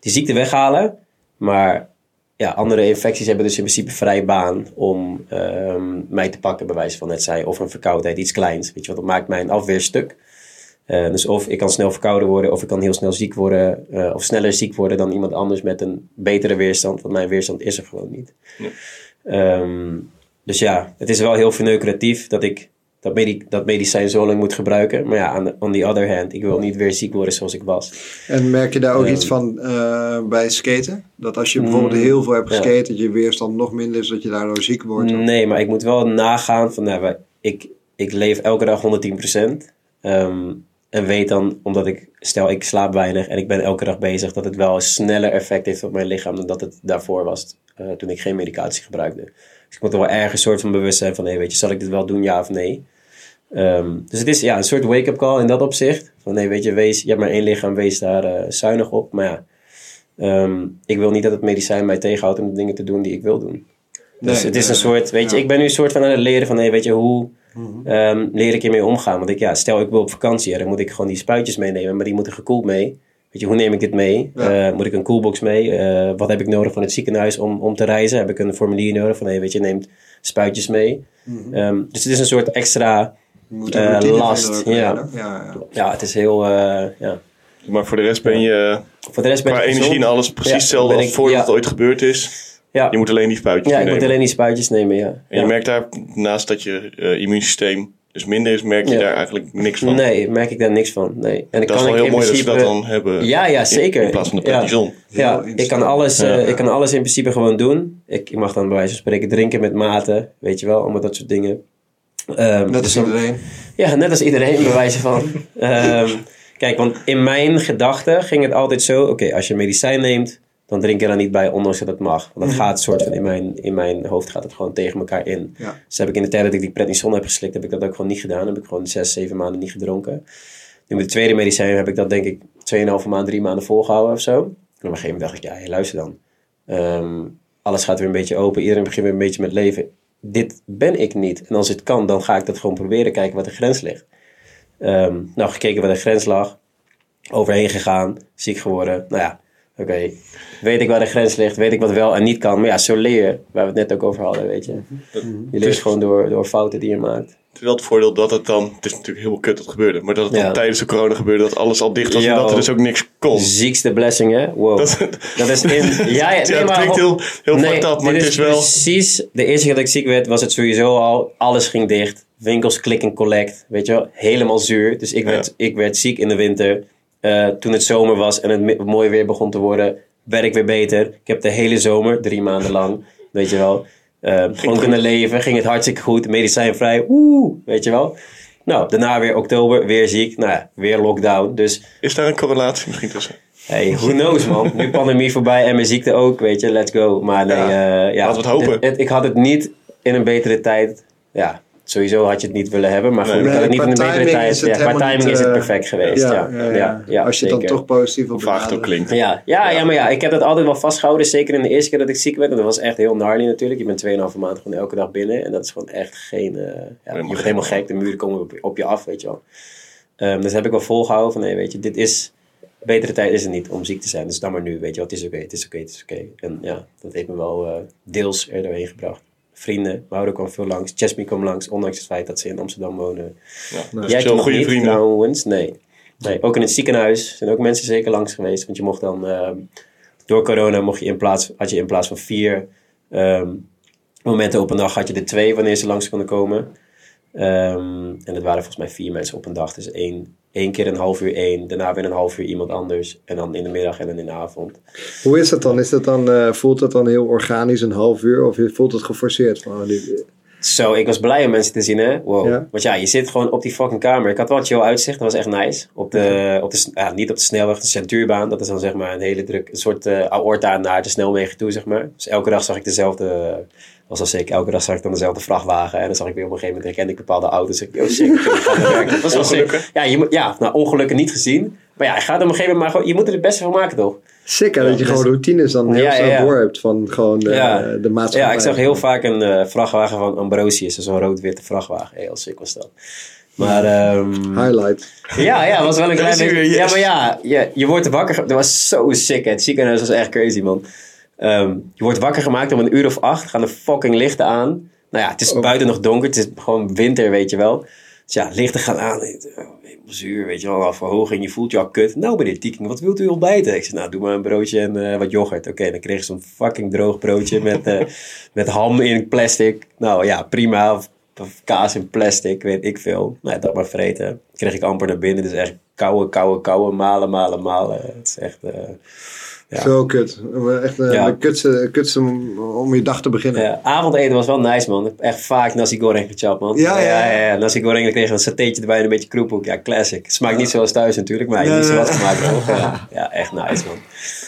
Speaker 3: die ziekte weghalen. Maar ja, andere infecties hebben dus in principe vrij baan om ehm, mij te pakken, bij wijze van net zei. Of een verkoudheid, iets kleins. Weet je, want dat maakt mijn afweer stuk. Eh, dus of ik kan snel verkouden worden, of ik kan heel snel ziek worden, eh, of sneller ziek worden dan iemand anders met een betere weerstand, want mijn weerstand is er gewoon niet. Ehm, dus ja, het is wel heel verneukeratief dat ik dat, medi- dat medicijn zo lang moet gebruiken. Maar ja, aan de- on the other hand, ik wil niet weer ziek worden zoals ik was.
Speaker 1: En merk je daar ook iets van eh, bij skaten? Dat als je bijvoorbeeld heel veel hebt
Speaker 3: Mm, ja. Mm,
Speaker 1: geskaten, dat je weerstand nog minder is, dat je daardoor ziek wordt? of-
Speaker 3: Nee, maar ik moet wel nagaan van, nou, wij- ik, ik leef elke dag 110%. ehm, en weet dan, omdat ik, stel ik slaap weinig en ik ben elke dag bezig, dat het wel een sneller effect heeft op mijn lichaam dan dat het daarvoor was eh, toen ik geen medicatie gebruikte. Dus ik moet er wel ergens een soort van bewust zijn van, hé, weet je, zal ik dit wel doen, ja of nee? Ehm, dus het is ja, een soort wake-up call in dat opzicht. Van nee, weet je, wees, je hebt maar één lichaam, wees daar eh, zuinig op. Maar ja, ehm, ik wil niet dat het medicijn mij tegenhoudt om de dingen te doen die ik wil doen. Dus
Speaker 1: Nee,
Speaker 3: het is
Speaker 1: nee,
Speaker 3: een soort, weet je,
Speaker 1: ja. Mhm.
Speaker 3: ik ben nu een soort van aan het leren van, nee, weet je, hoe ehm, leer ik hiermee omgaan? Want ik, ja, stel ik wil op vakantie, ja, dan moet ik gewoon die spuitjes meenemen, maar die moeten gekoeld mee. Weet je, hoe neem ik dit mee?
Speaker 1: Ja.
Speaker 3: Eh, moet ik een koelbox mee? Eh, wat heb ik nodig van het ziekenhuis om, om te reizen? Heb ik een formulier nodig van, nee, weet je, neemt spuitjes mee.
Speaker 1: Mhm.
Speaker 3: Ehm, dus het is een soort extra
Speaker 1: Je moet een
Speaker 3: eh,
Speaker 1: routine vinden
Speaker 3: last,
Speaker 1: ook weer,
Speaker 3: ja.
Speaker 1: hè? ja, ja.
Speaker 3: ja, het is heel. eh, ja.
Speaker 2: Maar voor de rest ben je eh,
Speaker 3: Voor de rest ben
Speaker 2: qua
Speaker 3: ik
Speaker 2: energie
Speaker 3: gezond.
Speaker 2: en alles precies
Speaker 3: Ja,
Speaker 2: hetzelfde
Speaker 3: ben
Speaker 2: als
Speaker 3: ik-
Speaker 2: voordat
Speaker 3: ja.
Speaker 2: het ooit gebeurd is.
Speaker 3: Ja,
Speaker 2: Je moet alleen die spuitjes
Speaker 3: ja ik
Speaker 2: nemen.
Speaker 3: moet alleen die spuitjes nemen. Ja.
Speaker 2: En je
Speaker 3: Ja.
Speaker 2: merkt daar, naast dat je eh, immuunsysteem dus minder is, merk je
Speaker 3: Ja.
Speaker 2: daar eigenlijk niks van.
Speaker 3: Nee, merk ik daar niks van. Nee. En dan
Speaker 2: dat is wel
Speaker 3: ik
Speaker 2: heel
Speaker 3: in
Speaker 2: mooi dat ze
Speaker 3: principe-
Speaker 2: dat dan hebben.
Speaker 3: Ja, ja, zeker.
Speaker 2: In, in plaats van de
Speaker 3: Ja.
Speaker 2: prednison.
Speaker 3: Ja,
Speaker 1: Heel
Speaker 3: ik kan, alles, eh,
Speaker 2: Ja.
Speaker 3: ik kan alles in principe gewoon doen. Ik, ik mag dan bij wijze van spreken drinken met mate, weet je wel, allemaal dat soort dingen. Ehm,
Speaker 1: Net
Speaker 3: dus
Speaker 1: als
Speaker 3: dan-
Speaker 1: iedereen.
Speaker 3: Ja, net als iedereen, bij wijze van. Ehm, kijk, want in mijn gedachten ging het altijd zo: oké, als je medicijn neemt, dan drink je daar niet bij, ondanks dat het mag. Want dat gaat soort van in mijn, in mijn hoofd gaat het gewoon tegen elkaar in.
Speaker 1: Ja.
Speaker 3: Dus heb ik in de tijd dat ik die prednison heb geslikt, heb ik dat ook gewoon niet gedaan. Heb ik gewoon zes, zeven maanden niet gedronken. Nu met het tweede medicijn heb ik dat denk ik 2,5 maand, drie maanden volgehouden of zo. En op een gegeven moment dacht ik, ja, hey, luister dan. Ehm, alles gaat weer een beetje open. Iedereen begint weer een beetje met leven. Dit ben ik niet. En als het kan, dan ga ik dat gewoon proberen. Kijken waar de grens ligt. Ehm, nou, gekeken waar de grens lag. Overheen gegaan. Ziek geworden. Nou ja, oké. Weet ik waar de grens ligt. Weet ik wat wel en niet kan. Maar ja, zo leer je. Waar we het net ook over hadden, weet je. Je leert gewoon door, door fouten die je maakt.
Speaker 2: Het is wel het voordeel dat het dan, het is natuurlijk heel kut dat het gebeurde, maar dat het
Speaker 3: Ja.
Speaker 2: dan tijdens de corona gebeurde, dat alles al dicht was
Speaker 3: Ja. oh.
Speaker 2: en dat er dus ook niks kon.
Speaker 3: Ziekste blessing, hè? Wow.
Speaker 2: Dat-
Speaker 3: Dat is in. Ja, ja, nee,
Speaker 2: het
Speaker 3: maar
Speaker 2: klinkt heel, heel
Speaker 3: nee,
Speaker 2: fucked up, maar
Speaker 3: dit dus-
Speaker 2: het is wel...
Speaker 3: Precies, de eerste keer dat ik ziek werd, was het sowieso al. Alles ging dicht. Winkels klik en collect. Weet je wel, helemaal zuur. Dus ik werd,
Speaker 2: Ja.
Speaker 3: ik werd ziek in de winter. Eh, toen het zomer was en het mi- mooi weer begon te worden, werd ik weer beter. Ik heb de hele zomer, drie maanden lang, weet je wel, eh, gewoon kunnen leven. Ging het hartstikke goed. Medicijnvrij. Oeh, weet je wel. Nou, daarna weer oktober, weer ziek. Nou ja, weer lockdown. Dus
Speaker 2: Is daar een correlatie misschien tussen?
Speaker 3: Hey, who knows man. Nu pandemie voorbij en mijn ziekte ook, weet je. Let's go. Maar nee, ja. ja
Speaker 2: laten we het hopen.
Speaker 3: het- het- ik had het niet in een betere tijd. Ja, sowieso had je het niet willen hebben. Maar goed, ik
Speaker 1: Nee,
Speaker 3: had het niet
Speaker 1: qua
Speaker 3: in een betere
Speaker 1: timing
Speaker 3: tijd.
Speaker 1: is het
Speaker 3: Ja, qua
Speaker 1: helemaal
Speaker 3: timing
Speaker 1: niet,
Speaker 3: is het
Speaker 1: eh,
Speaker 3: perfect geweest. Ja, ja, ja,
Speaker 1: Als je het
Speaker 3: zeker.
Speaker 1: dan toch positief op
Speaker 2: Vaag het ook
Speaker 1: benadert.
Speaker 2: klinkt.
Speaker 3: Ja, ja, ja, maar ja, ik heb dat altijd wel vastgehouden. Zeker in de eerste keer dat ik ziek werd. En dat was echt heel gnarly natuurlijk. Je bent 2,5 maand gewoon elke dag binnen. En dat is gewoon echt geen... eh, ja, je
Speaker 2: Helemaal
Speaker 3: wordt helemaal gek. De muren komen op, op je af, weet je wel. Ehm, dus heb ik wel volgehouden van... Nee, weet je, dit is... Betere tijd is het niet om ziek te zijn. Dus dan maar nu, weet je wel. Het is oké, het is oké, het is oké. En ja, dat heeft me wel eh, deels er doorheen gebracht. Vrienden, Mauro kwam veel langs. Chesmi kwam langs. Ondanks het feit dat ze in Amsterdam wonen.
Speaker 2: Ja. Dus
Speaker 3: Jij
Speaker 2: veel
Speaker 3: kent
Speaker 2: goede
Speaker 3: niet
Speaker 2: vrienden.
Speaker 3: trouwens, nee. nee. Ook in het ziekenhuis zijn ook mensen zeker langs geweest. Want je mocht dan, ehm, door corona mocht je in plaats, had je in plaats van vier ehm, momenten op een dag, had je er twee wanneer ze langs konden komen. Ehm, en dat waren volgens mij vier mensen op een dag. Dus één, één keer een half uur één, daarna weer een half uur iemand anders. En dan in de middag en dan in de avond.
Speaker 1: Hoe is dat dan? Is dat dan eh, voelt dat dan heel organisch een half uur? Of voelt het geforceerd? Van, oh, nu-
Speaker 3: Zo, ik was blij om mensen te zien, hè? Wow.
Speaker 1: Ja.
Speaker 3: Want ja, je zit gewoon op die fucking kamer. Ik had wel een chill uitzicht, dat was echt nice. Op de, op de, s- ja, niet op de snelweg, de centuurbaan. Dat is dan zeg maar een hele druk, een soort eh, aorta naar de snelwegen toe, zeg maar. Dus elke dag zag ik dezelfde, was al zeker, elke dag zag ik dan dezelfde vrachtwagen. En dan zag ik weer op een gegeven moment, herkende ik bepaalde auto's. Ik, oh shit, ik ga naar werk. Dat was wel
Speaker 2: Ongelukken?
Speaker 3: sick. Ja, je, moet- ja, nou ongelukken niet gezien. Maar ja, je gaat op een gegeven moment maar gewoon, je moet er het beste van maken, toch?
Speaker 1: Sick hè, dat je
Speaker 3: dus-
Speaker 1: gewoon routines dan heel
Speaker 3: Ja,
Speaker 1: snel
Speaker 3: ja, ja.
Speaker 1: door hebt van gewoon eh, de, de maatschappij.
Speaker 3: Ja, ik zag heel vaak een eh, vrachtwagen van Ambrosius. Dat is een rood-witte vrachtwagen. Heel sick was dat. Maar ehm,
Speaker 1: Highlight.
Speaker 3: ja, ja, was wel een klein
Speaker 2: is hij
Speaker 3: beetje.
Speaker 2: weer,
Speaker 3: Ja,
Speaker 2: yes.
Speaker 3: maar ja, je, je wordt wakker. ge- Dat was zo sick. hè. Het ziekenhuis was echt crazy, man. Ehm, je wordt wakker gemaakt om een uur of acht. Gaan de fucking lichten aan. Nou ja, het is buiten nog donker. Het is gewoon winter, weet je wel. Dus ja, lichten gaan aan. oh, Helemaal zuur, weet je wel. Al verhoging. Je voelt je al kut. Nou, meneer Tieking, wat wilt u ontbijten? Ik zeg, nou, doe maar een broodje en eh, wat yoghurt. Oké, dan kreeg ze zo'n fucking droog broodje met, eh, met ham in plastic. Nou ja, prima. Of, of kaas in plastic, weet ik veel. Nou, ja, dat maar vreten. Kreeg ik amper naar binnen. Dus echt kouwen, kouwen, kouwen. Malen, malen, malen. Het is echt... eh, Ja.
Speaker 1: Zo kut. Maar Echt eh,
Speaker 3: Ja.
Speaker 1: de kutste, kutste om- om je dag te beginnen.
Speaker 3: Ja, avondeten was wel nice, man. Ik heb echt vaak nasi goreng gechapt, man.
Speaker 1: Ja, ja, ja.
Speaker 3: ja, ja. Nasi goreng, dan kreeg je een satéetje erbij en een beetje kroephoek. Ja, classic. Smaakt niet zoals thuis natuurlijk, maar je
Speaker 1: Nee,
Speaker 3: hebt niet
Speaker 1: nee.
Speaker 3: zo wat gemaakt, toch? Ja, ja, echt nice,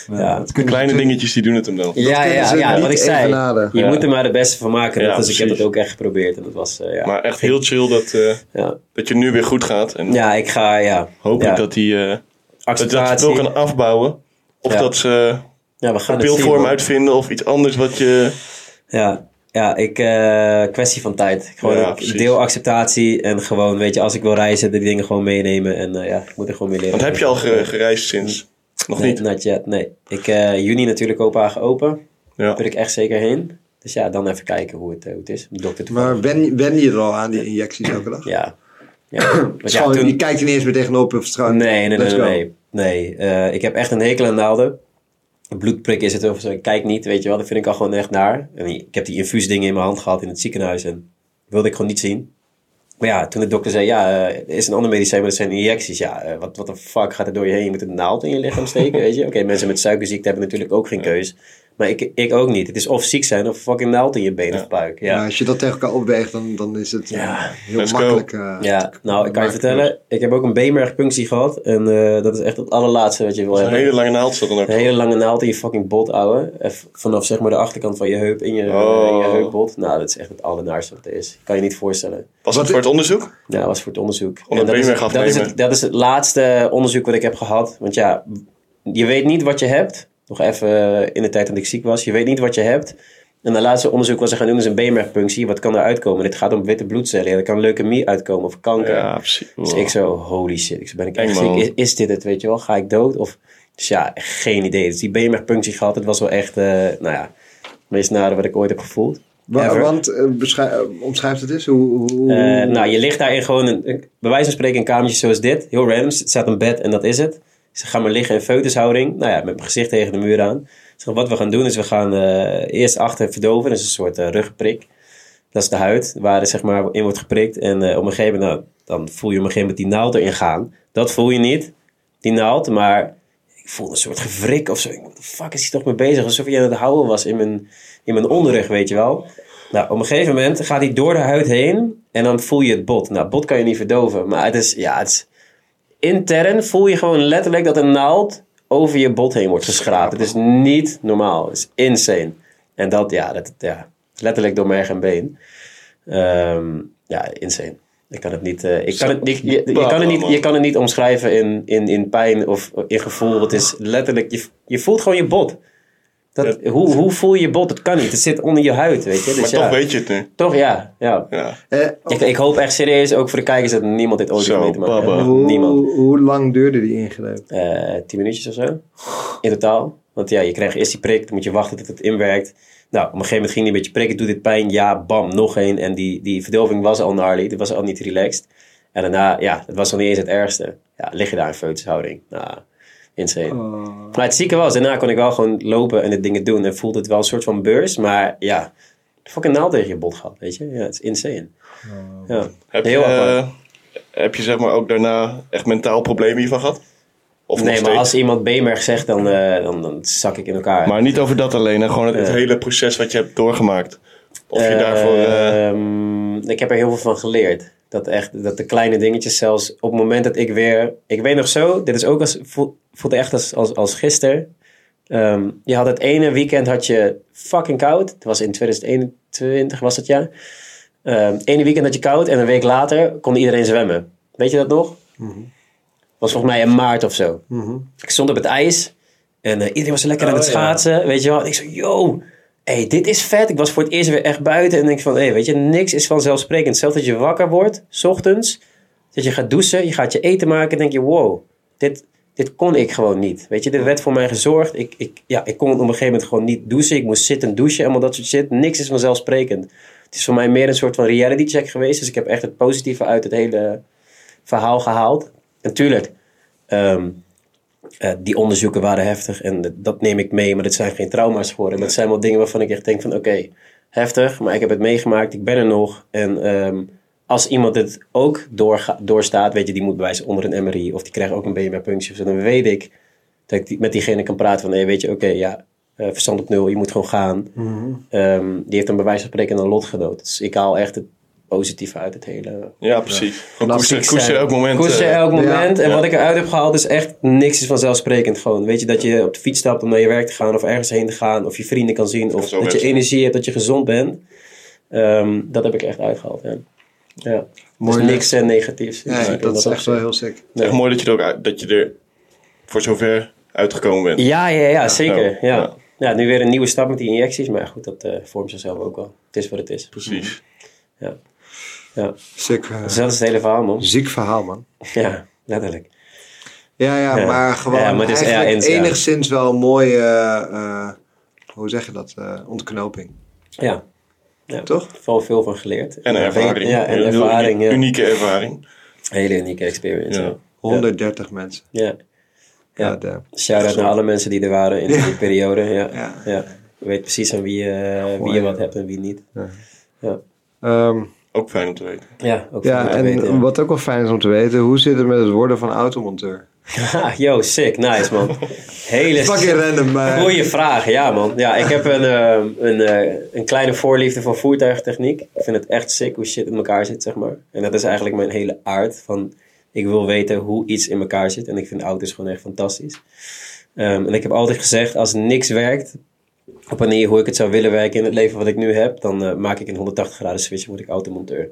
Speaker 3: man. Ja,
Speaker 1: Dat kunnen
Speaker 2: Kleine
Speaker 1: ze-
Speaker 2: dingetjes die doen het hem dan.
Speaker 3: ja,
Speaker 1: kunnen
Speaker 3: ja,
Speaker 1: ze
Speaker 3: ja,
Speaker 1: niet
Speaker 3: wat ik zei.
Speaker 1: evenaren.
Speaker 3: Je
Speaker 2: Ja.
Speaker 3: moet er maar de beste van maken.
Speaker 2: Ja,
Speaker 3: dus ik heb
Speaker 2: precies.
Speaker 3: het ook echt geprobeerd. En dat was, eh, ja.
Speaker 2: Maar echt heel chill dat, eh,
Speaker 3: ja.
Speaker 2: dat je nu weer goed gaat. En
Speaker 3: ja, ik ga, ja.
Speaker 2: hopelijk
Speaker 3: ja.
Speaker 2: dat die eh, dat je dat
Speaker 3: acceptatie.
Speaker 2: veel kan afbouwen. Of
Speaker 3: Ja.
Speaker 2: dat ze
Speaker 3: ja, we gaan
Speaker 2: een
Speaker 3: het zien,
Speaker 2: pilvorm
Speaker 3: man.
Speaker 2: uitvinden of iets anders wat je...
Speaker 3: Ja, ja ik, eh, kwestie van tijd. Gewoon
Speaker 2: Ja,
Speaker 3: ik
Speaker 2: precies.
Speaker 3: deel acceptatie en gewoon, weet je, als ik wil reizen, de dingen gewoon meenemen. En eh, ja, ik moet er gewoon mee leren.
Speaker 2: Want heb je al ge- gereisd sinds? Nog
Speaker 3: nee,
Speaker 2: niet?
Speaker 3: not yet, nee. Ik, eh, juni natuurlijk Kopenhagen open.
Speaker 2: Ja.
Speaker 3: Daar wil ik echt zeker heen. Dus ja, dan even kijken hoe het, eh, hoe het is. De dokter te
Speaker 1: Maar wen, wen je er al aan, die injecties elke dag?
Speaker 3: Ja. ja. Want ja,
Speaker 1: Gewoon, Je
Speaker 3: toen...
Speaker 1: kijkt er niet eens meer tegenop of straat.
Speaker 3: Oh, Nee, nee, nee,
Speaker 1: Let's
Speaker 3: nee.
Speaker 1: go.
Speaker 3: nee. Nee, eh, ik heb echt een hekel aan naalden. Een bloedprik is het of zo. Ik kijk niet, weet je wel. Dat vind ik al gewoon echt naar. En ik heb die infuusdingen in mijn hand gehad in het ziekenhuis. En wilde ik gewoon niet zien. Maar ja, toen de dokter zei, ja, eh, er is een ander medicijn, maar dat zijn injecties. Ja, eh, wat, wat de fuck gaat er door je heen? Je moet een naald in je lichaam steken, weet je? Oké, mensen met suikerziekte hebben natuurlijk ook geen keus. Maar ik, ik ook niet. Het is of ziek zijn of fucking naald in je been of buik.
Speaker 1: Maar als je dat tegen elkaar opweegt, dan, dan is het eh, heel
Speaker 2: let's go.
Speaker 1: makkelijk. eh,
Speaker 3: Ja, nou, ik kan je
Speaker 1: Maar-
Speaker 3: vertellen, ik heb ook een beenmergpunctie gehad. En eh, dat is echt het allerlaatste wat je wil
Speaker 2: Een
Speaker 3: hebben.
Speaker 2: hele lange naald zat dan ook.
Speaker 3: Een hele lange naald in je fucking bot, ouwe. En v- Vanaf zeg maar de achterkant van je heup in je,
Speaker 2: Oh.
Speaker 3: in je heupbot. Nou, dat is echt het allernaarste wat er is. Kan je niet voorstellen.
Speaker 2: Was dat voor het onderzoek?
Speaker 3: Ja, dat was voor het onderzoek.
Speaker 2: Om
Speaker 3: En
Speaker 2: het
Speaker 3: dat, is,
Speaker 2: beenmerg af te
Speaker 3: dat, is
Speaker 2: nemen.
Speaker 3: het, dat is het laatste onderzoek wat ik heb gehad. Want ja, je weet niet wat je hebt. Nog even eh, in de tijd dat ik ziek was. Je weet niet wat je hebt. En het laatste onderzoek wat ze gaan doen is een beenmergpunctie. Wat kan er uitkomen? Dit gaat om witte bloedcellen. Ja, er kan leukemie uitkomen of kanker.
Speaker 2: Ja, precies.
Speaker 3: Dus ik zo, holy shit, ik zo, ben ik echt
Speaker 2: Eng, man.
Speaker 3: ziek? Is, is dit het, weet je wel? Ga ik dood? Of, dus ja, geen idee. Dus die beenmergpunctie gehad, het was wel echt, eh, nou ja, het meest nare wat ik ooit heb gevoeld.
Speaker 1: Wa-
Speaker 3: Ever.
Speaker 1: want, eh, beschrij- eh, omschrijf het eens. Hoe, hoe,
Speaker 3: Eh, nou, je ligt daar in gewoon, een, een- bij wijze van spreken, een kamertje zoals dit. Heel random, er staat een bed en dat is het. Ze gaan maar liggen in feutushouding. Nou ja, met mijn gezicht tegen de muur aan. Dus wat we gaan doen is, we gaan eh, eerst achter verdoven. Dat is een soort eh, rugprik. Dat is de huid waar het zeg maar in wordt geprikt. En eh, op een gegeven moment, nou, dan voel je op een gegeven moment die naald erin gaan. Dat voel je niet, die naald. Maar ik voel een soort gewrik of zo. Wat de fuck is hij toch mee bezig? Alsof hij aan het houden was in mijn, in mijn onderrug, weet je wel. Nou, op een gegeven moment gaat hij door de huid heen. En dan voel je het bot. Nou, bot kan je niet verdoven. Maar het is, ja, het is... Intern voel je gewoon letterlijk dat een naald over je bot heen wordt geschraapt. Het is niet normaal. Het is insane. En dat, ja, dat, ja letterlijk door merg en been. Ehm, ja, insane. Ik kan het niet, eh, ik kan het, ik- je, je kan het niet, je kan het niet omschrijven in, in, in pijn of in gevoel. Het is letterlijk, je, je voelt gewoon je bot. Dat, hoe, hoe voel je je bot? Dat kan niet. Het zit onder je huid, weet je. Dus
Speaker 2: Maar
Speaker 3: ja,
Speaker 2: toch weet je het nu.
Speaker 3: Toch, ja. ja.
Speaker 2: Ja.
Speaker 1: eh,
Speaker 3: Ik, ik hoop echt serieus, ook voor de kijkers, dat niemand dit ooit
Speaker 2: Zo,
Speaker 3: heeft mee te maken.
Speaker 2: baba.
Speaker 3: heeft.
Speaker 1: hoe,
Speaker 3: Niemand.
Speaker 1: hoe lang duurde die ingreep?
Speaker 3: Eh, 10 minuutjes of zo. In totaal. Want ja, je krijgt eerst die prik, dan moet je wachten tot het inwerkt. Nou, op een gegeven moment ging die een beetje prikken, doet dit pijn, ja, bam, nog één. En die, die verdoving was al gnarly, die was al niet relaxed. En daarna, ja, dat was nog niet eens het ergste. Ja, lig je daar in feutushouding. Nou, insane. Maar het zieke was, daarna kon ik wel gewoon lopen en de dingen doen. En voelde het wel een soort van beurs, maar ja, de fucking naald tegen je bot gehad, weet je. Ja, het is insane. ja,
Speaker 2: Heb je,
Speaker 3: heel apart.
Speaker 2: eh, heb je zeg maar ook daarna echt mentaal problemen hiervan gehad? Of nog
Speaker 3: Nee, maar
Speaker 2: steeds?
Speaker 3: als iemand Bemerg zegt, dan, eh, dan, dan zak ik in elkaar.
Speaker 2: Maar niet over dat alleen, hè? gewoon het, het
Speaker 3: Eh.
Speaker 2: hele proces wat je hebt doorgemaakt. Of je
Speaker 3: Eh,
Speaker 2: daarvoor... eh,
Speaker 3: ehm, ik heb er heel veel van geleerd. Dat, echt, dat de kleine dingetjes zelfs op het moment dat ik weer... Ik weet nog zo, dit is ook als, voelt, voelt echt als, als, als gisteren. Ehm, je had het ene weekend had je fucking koud. Het was in 2021 was dat jaar. Ehm ene weekend had je koud en een week later kon iedereen zwemmen. Weet je dat nog? Was volgens mij in maart of zo. Ik stond op het ijs en eh, iedereen was lekker aan
Speaker 4: Mhm. Oh,
Speaker 3: het
Speaker 4: ja.
Speaker 3: schaatsen. Weet je wel? En ik zo, yo, hey, dit is vet. Ik was voor het eerst weer echt buiten. En ik denk van, hey, weet je, niks is vanzelfsprekend. Zelfs dat je wakker wordt, s ochtends. Dat je gaat douchen, je gaat je eten maken en denk je, wow, dit, dit kon ik gewoon niet. Weet je, er werd voor mij gezorgd. Ik, ik, ja, ik kon op een gegeven moment gewoon niet douchen. Ik moest zitten douchen, allemaal dat soort shit. Niks is vanzelfsprekend. Het is voor mij meer een soort van reality check geweest. Dus ik heb echt het positieve uit het hele verhaal gehaald. Natuurlijk, ehm, eh, die onderzoeken waren heftig en dat- dat neem ik mee. Maar dat zijn geen trauma's geworden. Maar het zijn wel dingen waarvan ik echt denk van oké, heftig. Maar ik heb het meegemaakt, ik ben er nog. En ehm, als iemand het ook doorga- doorstaat, weet je, die moet bewijzen onder een MRI. Of die krijgt ook een BMR-punctie of zo. Dan weet ik dat ik die- met diegene kan praten van hé, weet je, oké, ja, eh, verstand op nul. Je moet gewoon gaan. Ehm, die heeft een bewijs van spreken een lotgenoot. Dus ik haal echt het positieve uit het hele
Speaker 2: Ja, precies. Gewoon koester,
Speaker 3: Klassiek
Speaker 2: koester
Speaker 3: zijn.
Speaker 2: elk moment.
Speaker 3: Koester
Speaker 2: eh,
Speaker 3: elk
Speaker 1: ja.
Speaker 3: moment. En
Speaker 2: Ja.
Speaker 3: wat ik eruit heb gehaald is echt niks is vanzelfsprekend gewoon. Weet je, dat je op de fiets stapt om naar je werk te gaan of ergens heen te gaan. Of je vrienden kan zien. Of
Speaker 2: zo
Speaker 3: dat je
Speaker 2: werkt het.
Speaker 3: energie hebt, dat je gezond bent. Ehm, dat heb ik echt uitgehaald, ja. ja.
Speaker 1: Mooi,
Speaker 3: dus niks en negatiefs. in
Speaker 1: Ja,
Speaker 3: principe, om
Speaker 1: dat is echt wel
Speaker 3: te
Speaker 1: heel sick.
Speaker 2: Het is echt mooi dat je er, ook uit- dat je er voor zover uitgekomen bent.
Speaker 3: zeggen. Ja, ja, ja, zeker.
Speaker 2: Ja.
Speaker 3: Ja.
Speaker 2: Ja.
Speaker 3: Ja. nu weer een nieuwe stap met die injecties. Maar goed, dat eh, vormt zichzelf ook wel. Het is wat het is.
Speaker 2: Precies.
Speaker 3: Ja.
Speaker 1: Sick, eh,
Speaker 3: Dus dat is het hele verhaal, man.
Speaker 1: ziek verhaal, man.
Speaker 3: Ja, letterlijk.
Speaker 1: Ja, ja,
Speaker 3: Ja.
Speaker 1: maar gewoon
Speaker 3: Ja, maar het is- ja,
Speaker 1: eigenlijk
Speaker 3: eens, ja.
Speaker 1: enigszins wel een mooie, eh, eh, hoe zeg je dat, eh, ontknoping.
Speaker 3: Ja. ja.
Speaker 1: Toch?
Speaker 3: Vooral veel van geleerd.
Speaker 2: En een ervaring.
Speaker 3: Ja, en
Speaker 2: Een heel
Speaker 3: ervaring.
Speaker 2: unie-
Speaker 3: ja.
Speaker 2: Unieke ervaring.
Speaker 3: Hele unieke experience.
Speaker 2: Ja.
Speaker 3: Ja.
Speaker 1: 130 mensen.
Speaker 3: ja. Ja.
Speaker 1: God damn.
Speaker 3: Shout-out naar alle mensen die er waren in die periode. Ja.
Speaker 1: Ja.
Speaker 3: Ja. Je weet precies aan wie, eh, wie
Speaker 1: ja.
Speaker 3: je wat hebt en wie niet.
Speaker 1: Ehm,
Speaker 2: Ook fijn om te weten.
Speaker 3: Ja, ook
Speaker 1: ja,
Speaker 3: voor
Speaker 1: en
Speaker 3: te weten, ja.
Speaker 1: wat ook wel fijn is om te weten, hoe zit het met het worden van automonteur?
Speaker 3: Ha, yo, sick. Nice, man. Hele
Speaker 1: Fucking random, eh, maar...
Speaker 3: goede vraag. Ja, man. Ja, ik heb een, eh, een, eh, een kleine voorliefde voor voertuigtechniek. Ik vind het echt sick hoe shit in elkaar zit, zeg maar. En dat is eigenlijk mijn hele aard. Van, ik wil weten hoe iets in elkaar zit. En ik vind auto's gewoon echt fantastisch. Ehm, en ik heb altijd gezegd, als niks werkt, op wanneer hoe ik het zou willen werken in het leven wat ik nu heb, dan eh, maak ik een 180 graden switch en word ik automonteur.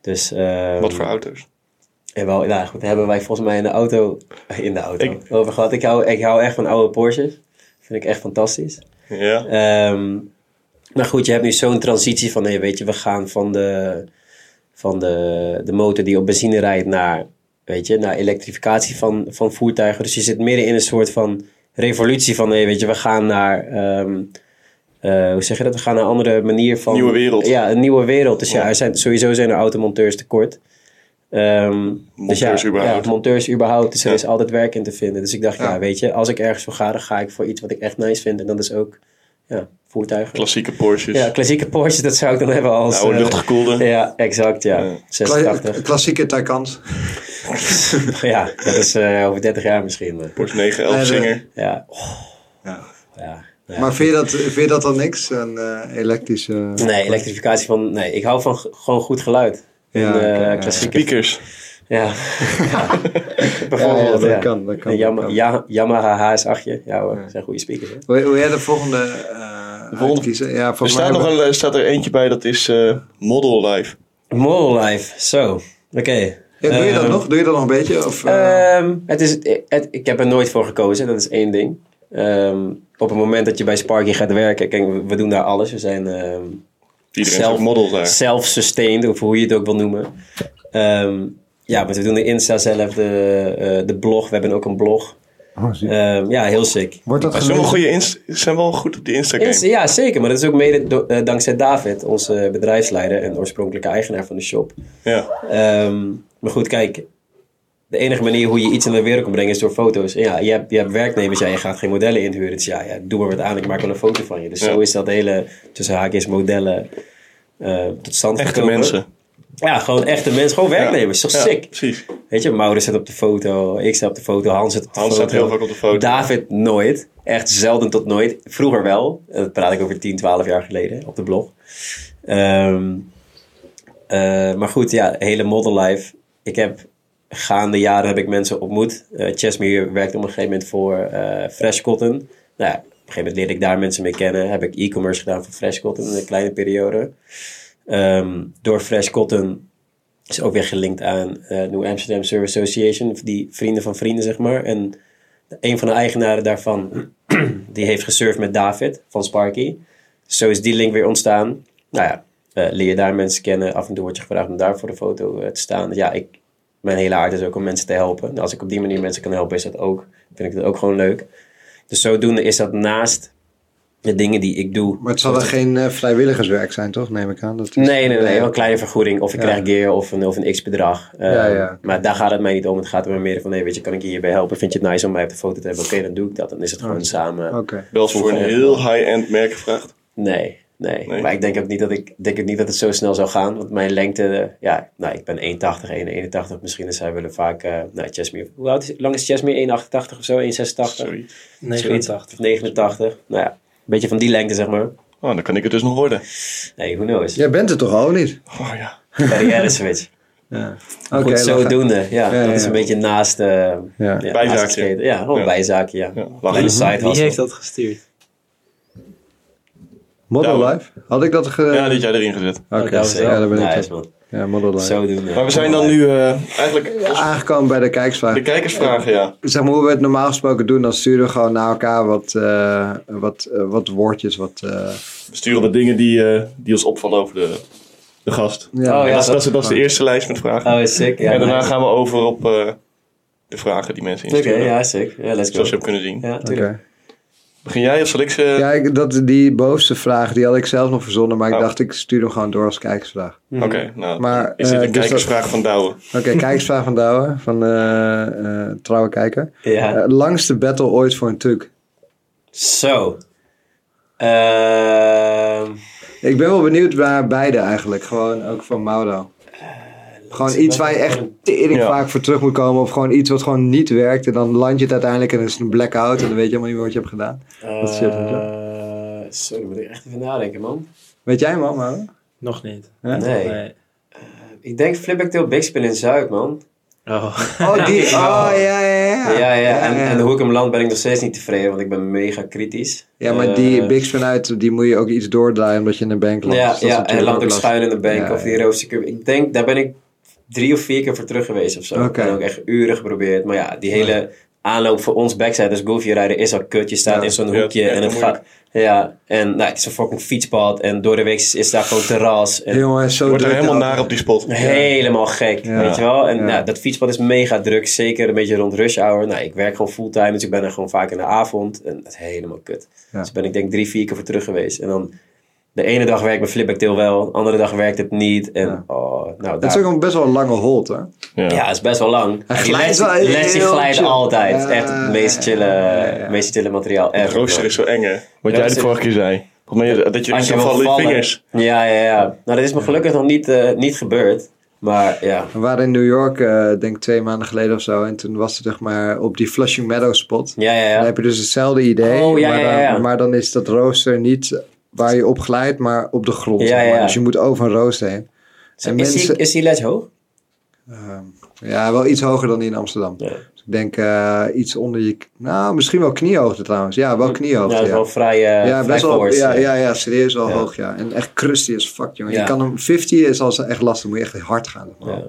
Speaker 3: Dus, ehm,
Speaker 2: Wat voor auto's?
Speaker 3: en wel, nou goed, daar hebben wij volgens mij in de auto, in de auto,
Speaker 2: Ik-
Speaker 3: over gehad. Ik hou, ik hou echt van oude Porsches. Vind ik echt fantastisch.
Speaker 2: Ja.
Speaker 3: Ehm, maar goed, je hebt nu zo'n transitie van, hey, weet je, we gaan van de, van de, de motor die op benzine rijdt naar, weet je, naar elektrificatie van, van voertuigen. Dus je zit midden in een soort van revolutie van, hey, weet je, we gaan naar, ehm, eh, hoe zeg je dat? We gaan naar een andere manier van...
Speaker 2: Nieuwe wereld.
Speaker 3: Ja, een nieuwe wereld. Dus ja, er zijn, sowieso zijn er automonteurs tekort. Ehm, dus ja,
Speaker 2: Monteurs überhaupt.
Speaker 3: Ja, monteurs überhaupt. Dus er
Speaker 2: Ja.
Speaker 3: is altijd werk in te vinden. Dus ik dacht, ja.
Speaker 1: Ja.
Speaker 3: weet je, als ik ergens voor ga, dan ga ik voor iets wat ik echt nice vind. En dat is ook ja, voertuigen.
Speaker 2: Klassieke Porsches.
Speaker 3: ja, klassieke Porsche, dat zou ik dan hebben als...
Speaker 2: Oude
Speaker 3: eh,
Speaker 2: luchtgekoelde.
Speaker 3: Ja, exact, ja.
Speaker 2: Ja.
Speaker 1: Kla-
Speaker 3: 86.
Speaker 1: klassieke Taycans.
Speaker 3: ja, dat is eh, over 30 jaar misschien. Maar,
Speaker 2: Porsche 911
Speaker 1: Nee, nee.
Speaker 2: Singer.
Speaker 3: ja,
Speaker 1: Ja.
Speaker 3: ja. ja.
Speaker 1: Maar vind je, dat, vind je dat dan niks? Een eh, elektrische...
Speaker 3: Nee, elektrificatie van... Nee, ik hou van g- gewoon goed geluid.
Speaker 1: Ja,
Speaker 3: en, eh,
Speaker 1: oké, ja.
Speaker 3: klassieke...
Speaker 2: Speakers.
Speaker 3: Ja. Ja.
Speaker 1: Ja, ja, dat
Speaker 3: Bijvoorbeeld, ja.
Speaker 1: kan, dat kan,
Speaker 3: Een
Speaker 1: dat
Speaker 3: Yama-
Speaker 1: kan.
Speaker 3: Ja- Yamaha HS8. Ja hoor, zijn goede speakers. Hè?
Speaker 1: Wil, wil jij de volgende, eh
Speaker 2: De volgende-
Speaker 1: uitkiezen? Ja,
Speaker 2: Er
Speaker 1: volgens mij
Speaker 2: staat, nog
Speaker 1: hebben-
Speaker 2: een, er staat er eentje bij, dat is eh, Model Life.
Speaker 3: Model Life, zo. Oké.
Speaker 1: Ja, doe je dat
Speaker 3: Ehm,
Speaker 1: nog? Doe je dat nog een beetje? Of, eh,
Speaker 3: Ehm, het is, het- ik heb er nooit voor gekozen, dat is één ding. Ehm, op het moment dat je bij Sparky gaat werken, kijk, we- we doen daar alles. We zijn ehm,
Speaker 2: Iedereen
Speaker 3: Zelf-
Speaker 2: is ook model daar.
Speaker 3: self-sustained, of hoe je het ook wil noemen. Ehm, ja, want we doen de Insta zelf, de, eh, de blog. We hebben ook een blog. Ehm, ja, heel sick.
Speaker 1: wordt dat
Speaker 2: Maar Ze zijn wel, goede inst- ze zijn wel goed op die Instagram.
Speaker 3: Insta- ja, zeker. Maar dat is ook mede do- eh, dankzij David, onze bedrijfsleider en oorspronkelijke eigenaar van de shop.
Speaker 2: ja.
Speaker 3: Ehm, maar goed, kijk. De enige manier hoe je iets in de wereld kan brengen is door foto's. En ja, je hebt, je hebt werknemers, ja, je gaat geen modellen inhuren. Dus ja, ja doe maar wat aan, ik maak wel een foto van je. Dus
Speaker 2: Ja.
Speaker 3: zo is dat hele, tussen haakjes, modellen eh, tot stand
Speaker 2: Echte
Speaker 3: gekomen.
Speaker 2: mensen.
Speaker 3: Ja, gewoon echte mensen, gewoon werknemers.
Speaker 2: Ja.
Speaker 3: Toch
Speaker 2: Ja,
Speaker 3: sick?
Speaker 2: precies.
Speaker 3: Weet je, Maurits zit op de foto, ik sta op de foto, Hans zit op de
Speaker 2: Hans
Speaker 3: foto.
Speaker 2: staat heel vaak op de foto.
Speaker 3: David nooit. Echt zelden tot nooit. Vroeger wel. En Dat praat ik over 10, 12 jaar geleden op de blog. Ehm, eh, maar goed, ja, hele model life. Ik heb gaande jaren heb ik mensen ontmoet. Eh Chesmere werkte op een gegeven moment voor eh, Fresh Cotton. Nou ja, op een gegeven moment leerde ik daar mensen mee kennen. Heb ik e-commerce gedaan voor Fresh Cotton in een kleine periode. Ehm, door Fresh Cotton is ook weer gelinkt aan eh New Amsterdam Service Association. Die vrienden van vrienden, zeg maar. En een van de eigenaren daarvan, die heeft gesurfd met David van Sparky. Zo is die link weer ontstaan. Nou ja, eh, leer je daar mensen kennen. Af en toe word je gevraagd om daar voor de foto eh, te staan. Ja, ik, mijn hele aard is ook om mensen te helpen. En als ik op die manier mensen kan helpen, is dat ook, vind ik dat ook gewoon leuk. Dus zodoende is dat naast de dingen die ik doe.
Speaker 1: Maar het zal dan geen eh, vrijwilligerswerk zijn, toch? Neem ik aan. Dat is-
Speaker 3: Nee, nee, nee. Wel een kleine vergoeding. Of ik
Speaker 1: Ja.
Speaker 3: krijg gear of een, of een x-bedrag. Eh,
Speaker 1: Ja, ja.
Speaker 3: Maar daar gaat het mij niet om. Het gaat er maar meer van, nee, weet je, kan ik je hierbij helpen? Vind je het nice om mij op de foto te hebben? Oké, dan doe ik dat. Dan is het gewoon samen.
Speaker 1: Oké.
Speaker 2: Wel eens voor een heel high-end merk gevraagd.
Speaker 3: Nee, nee,
Speaker 2: Nee?
Speaker 3: Maar ik denk ook niet dat, ik, denk ook niet dat het zo snel zou gaan. Want mijn lengte, eh, ja, nou, ik ben 1,80, 1,81. Misschien is zij willen vaak, eh nou, Chesmere. Hoe oud is, lang is Chesmere? 1,88 of zo? 1,86?
Speaker 2: Sorry.
Speaker 3: Zoiets.
Speaker 4: 89.
Speaker 3: 89. Nou ja, een beetje van die lengte, zeg maar.
Speaker 2: Oh, dan kan ik het dus nog worden.
Speaker 3: Nee, who knows?
Speaker 1: Jij bent het toch al, of niet?
Speaker 2: Oh ja.
Speaker 3: Carrière switch.
Speaker 1: Ja.
Speaker 3: Goed,
Speaker 1: Oké, dan ga-
Speaker 3: zodoende. Ja,
Speaker 1: Ja, ja,
Speaker 3: dat is
Speaker 1: ja.
Speaker 3: een beetje naast... eh ja, naast
Speaker 2: Bijzaakje.
Speaker 3: het skaten. ja, gewoon
Speaker 2: Ja.
Speaker 3: bijzaakje, ja.
Speaker 2: Ja, lachen.
Speaker 3: Kleine side
Speaker 4: Mhm. Wie
Speaker 3: hustle.
Speaker 4: heeft dat gestuurd?
Speaker 1: Model
Speaker 2: Ja,
Speaker 1: Life? Had ik dat ge...
Speaker 2: Ja, die had jij erin gezet.
Speaker 1: Oké,
Speaker 4: Oh, dat was
Speaker 1: ja,
Speaker 4: wel
Speaker 1: daar ben ik.
Speaker 3: Nice,
Speaker 1: dan.
Speaker 3: man.
Speaker 1: Ja, Model Life.
Speaker 3: Zodoende.
Speaker 2: Maar we zijn dan nu eh, eigenlijk als
Speaker 1: Aangekomen bij de kijksvraag.
Speaker 2: de kijkersvragen, ja.
Speaker 1: Zeg maar hoe we het normaal gesproken doen, dan sturen we gewoon naar elkaar wat, eh, wat, eh, wat woordjes. Wat, eh,
Speaker 2: We sturen de dingen die, eh, die ons opvallen over de, de gast.
Speaker 1: ja.
Speaker 3: Oh,
Speaker 2: En
Speaker 3: ja.
Speaker 2: dat, is- dat, is, dat is de eerste lijst met vragen.
Speaker 3: Oh, sick. Ja,
Speaker 2: en daarna
Speaker 3: nice.
Speaker 2: gaan we over op eh, de vragen die mensen
Speaker 3: Oké,
Speaker 2: insturen.
Speaker 3: ja, sick. Ja, let's go.
Speaker 2: Zoals je hebt kunnen zien.
Speaker 3: Ja,
Speaker 1: Oké.
Speaker 3: tuurlijk.
Speaker 2: Begin jij of zal ik ze...
Speaker 3: Eh,
Speaker 1: Ja, ik- dat, die bovenste vraag, die had ik zelf nog verzonnen, maar ik
Speaker 2: Oh.
Speaker 1: dacht ik stuur hem gewoon door als kijkersvraag.
Speaker 2: Oké,
Speaker 3: Mhm.
Speaker 2: nou.
Speaker 1: Maar,
Speaker 2: is dit
Speaker 1: eh,
Speaker 2: een
Speaker 1: dus dat-
Speaker 2: kijkersvraag van
Speaker 3: Oh,
Speaker 2: Douwe?
Speaker 1: Oké, kijkersvraag van Douwe, van eh, eh, trouwe kijker.
Speaker 3: Ja.
Speaker 1: Eh, langste battle ooit voor een tuk.
Speaker 3: Zo. Ehm,
Speaker 1: Ik ben wel benieuwd naar beide eigenlijk, gewoon ook van Mauro.
Speaker 3: Eh,
Speaker 1: Gewoon iets waar je echt tering
Speaker 2: Ja.
Speaker 1: vaak voor terug moet komen. Of gewoon iets wat gewoon niet werkt. En dan land je het uiteindelijk en dan is het een blackout. En dan weet je helemaal niet meer wat je hebt gedaan. Dat is shit,
Speaker 3: eh,
Speaker 1: hoor.
Speaker 3: Zo, daar moet ik echt even nadenken, man.
Speaker 1: Weet jij hem al, Mauro?
Speaker 4: Nog niet.
Speaker 1: Hè?
Speaker 3: Nee. Ik denk Flipbacktail Big Spin in Zuid, man.
Speaker 4: Oh.
Speaker 1: Oh, die. Oh, ja, ja,
Speaker 3: Ja,
Speaker 1: ja.
Speaker 3: ja. En, en hoe ik hem land ben ik nog steeds niet tevreden, want ik ben mega kritisch.
Speaker 1: Ja, maar
Speaker 3: Eh,
Speaker 1: die Big Spin uit, die moet je ook iets doordraaien omdat je in een bank landt.
Speaker 3: Ja,
Speaker 1: Dus dat is
Speaker 3: ja en
Speaker 1: natuurlijk
Speaker 3: land ook
Speaker 1: lastig.
Speaker 3: schuin in de bank
Speaker 1: Ja,
Speaker 3: of die
Speaker 1: ja.
Speaker 3: roadster curve. Ik denk, daar ben ik drie of vier keer voor terug geweest of zo.
Speaker 1: Oké.
Speaker 3: En ook echt uren geprobeerd. Maar ja, die hele aanloop voor ons backside als goofy rijden is al kut. Je staat
Speaker 1: Ja.
Speaker 3: in zo'n
Speaker 2: Ja,
Speaker 3: hoekje
Speaker 2: echt
Speaker 3: en het gaat...
Speaker 2: moeilijk.
Speaker 3: Ja, en nou, het is een fucking fietspad en door de week is, is daar gewoon terras. En
Speaker 1: Jongen, zo
Speaker 2: Je wordt er
Speaker 1: druk
Speaker 2: helemaal
Speaker 1: altijd.
Speaker 2: naar op die spot.
Speaker 3: Helemaal gek,
Speaker 1: Ja.
Speaker 3: weet je wel. En
Speaker 1: Ja.
Speaker 3: nou, dat fietspad is mega druk, zeker een beetje rond rush hour. Nou, ik werk gewoon fulltime, dus ik ben er gewoon vaak in de avond. En dat is helemaal kut.
Speaker 1: Ja.
Speaker 3: Dus ben ik denk drie, vier keer voor terug geweest. En dan, de ene dag werkt mijn flipbacktail wel, de andere dag werkt het niet. En
Speaker 1: Ja.
Speaker 3: oh, nou,
Speaker 1: Het
Speaker 3: daar,
Speaker 1: is ook een best wel een lange hold, hè?
Speaker 2: Ja.
Speaker 3: ja, het is best wel lang. En die
Speaker 1: glijdt
Speaker 3: les,
Speaker 1: wel
Speaker 3: die les die
Speaker 1: heel
Speaker 3: glijdt
Speaker 1: chill.
Speaker 3: altijd. Het is
Speaker 1: Ja,
Speaker 3: echt het meest
Speaker 1: ja,
Speaker 3: chille,
Speaker 1: ja, ja, ja.
Speaker 3: meest chille materiaal
Speaker 2: Het
Speaker 3: ever.
Speaker 2: rooster is zo eng, hè? Wat jij de
Speaker 3: Rooster-
Speaker 2: vorige keer zei. Volgens mij dat je erin kan
Speaker 3: wil
Speaker 2: vallen in je
Speaker 3: vallen-
Speaker 2: vingers.
Speaker 3: Ja, ja, ja. Nou, dat is me gelukkig nog niet, eh, niet gebeurd. Maar ja,
Speaker 1: We waren in New York, eh, denk twee maanden geleden of zo. En toen was het zeg maar op die Flushing Meadows spot.
Speaker 3: ja, ja,
Speaker 1: Dan
Speaker 3: ja.
Speaker 1: heb je dus hetzelfde idee.
Speaker 3: Oh, ja,
Speaker 1: maar, dan,
Speaker 3: ja, ja.
Speaker 1: maar dan is dat rooster niet waar je op glijdt, maar op de grond.
Speaker 3: Ja,
Speaker 1: zeg maar.
Speaker 3: ja, ja.
Speaker 1: Dus je moet over een rooster heen. En
Speaker 3: Is, die,
Speaker 1: mensen-
Speaker 3: is die les hoog?
Speaker 1: Ja, wel iets hoger dan die in Amsterdam.
Speaker 3: Ja.
Speaker 1: Dus ik denk eh, iets onder je... Nou, misschien wel kniehoogte trouwens. Ja, wel kniehoogte, ja.
Speaker 3: Hm. Ja, dat is wel vrij, eh
Speaker 1: Ja,
Speaker 3: vrij
Speaker 1: best wel,
Speaker 3: forwards,
Speaker 1: ja,
Speaker 3: eh.
Speaker 1: ja, ja, serieus wel
Speaker 3: Ja.
Speaker 1: hoog, ja. En echt crusty as fuck, jongen.
Speaker 3: Ja.
Speaker 1: Je kan hem, 50 is al echt lastig, moet je echt hard gaan. zeg maar.
Speaker 3: Ja.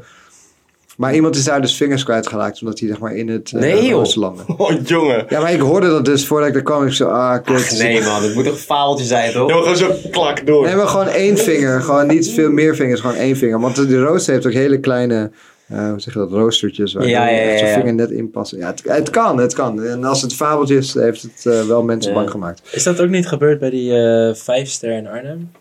Speaker 1: Maar iemand is daar dus vingers kwijtgeraakt, omdat hij zeg maar in het eh,
Speaker 3: Nee, joh.
Speaker 1: rooster landde.
Speaker 2: Oh, jongen.
Speaker 1: Ja, maar ik hoorde dat dus voordat ik daar kwam. Ik zo, ah, kut.
Speaker 3: Ach, nee man, het moet toch een faaltje zijn toch?
Speaker 2: Jongen, gewoon zo klak door.
Speaker 1: Nee, maar gewoon één vinger. Gewoon niet veel meer vingers, gewoon één vinger. Want de rooster heeft ook hele kleine, eh, hoe zeg je dat, roostertjes. Waar
Speaker 3: Ja,
Speaker 1: je
Speaker 3: ja, ja,
Speaker 1: echt zo'n
Speaker 3: ja.
Speaker 1: vinger net in passen. Ja, het, het kan, het kan. En als het fabeltje is, heeft het eh, wel mensen
Speaker 3: Ja.
Speaker 1: bang gemaakt.
Speaker 4: Is dat ook niet gebeurd bij die eh vijfster in Arnhem?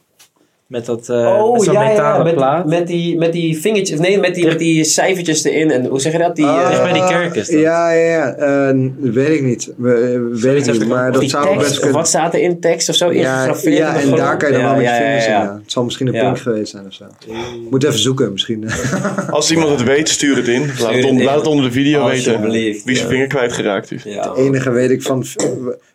Speaker 4: Met dat eh
Speaker 3: oh,
Speaker 4: met zo'n metalen
Speaker 3: met,
Speaker 4: plaat?
Speaker 3: met die, met die vingertjes, nee, met die, met die cijfertjes erin en hoe zeg je dat? Die, eh,
Speaker 4: dicht
Speaker 1: Ah,
Speaker 4: bij die kerk is dat.
Speaker 1: Ja, ja, ja. Eh, weet ik niet. We- eh, weet
Speaker 4: heeft
Speaker 1: ik niet,
Speaker 4: het
Speaker 1: maar
Speaker 4: ook-
Speaker 1: dat
Speaker 3: die
Speaker 1: zou wel
Speaker 3: tekst,
Speaker 1: best kunnen.
Speaker 3: wat staat er in tekst of
Speaker 1: Ja,
Speaker 3: zo? ingegraveerd
Speaker 1: ja,
Speaker 3: de
Speaker 1: en daar
Speaker 3: grond?
Speaker 1: kan je dan
Speaker 3: Ja,
Speaker 1: wel met je
Speaker 3: ja,
Speaker 1: vingers
Speaker 3: ja, ja.
Speaker 1: in. ja. Het zal misschien een
Speaker 3: Ja.
Speaker 1: pink geweest zijn of zo. Moet even zoeken misschien. eh,
Speaker 2: Als iemand het weet, stuur het in. Laat, het,
Speaker 3: het
Speaker 2: on-
Speaker 3: in.
Speaker 2: laat het onder de video weten
Speaker 3: Alsjeblieft,
Speaker 2: wie zijn
Speaker 3: ja.
Speaker 2: vinger kwijtgeraakt is.
Speaker 3: Ja, man.
Speaker 1: enige weet ik van v-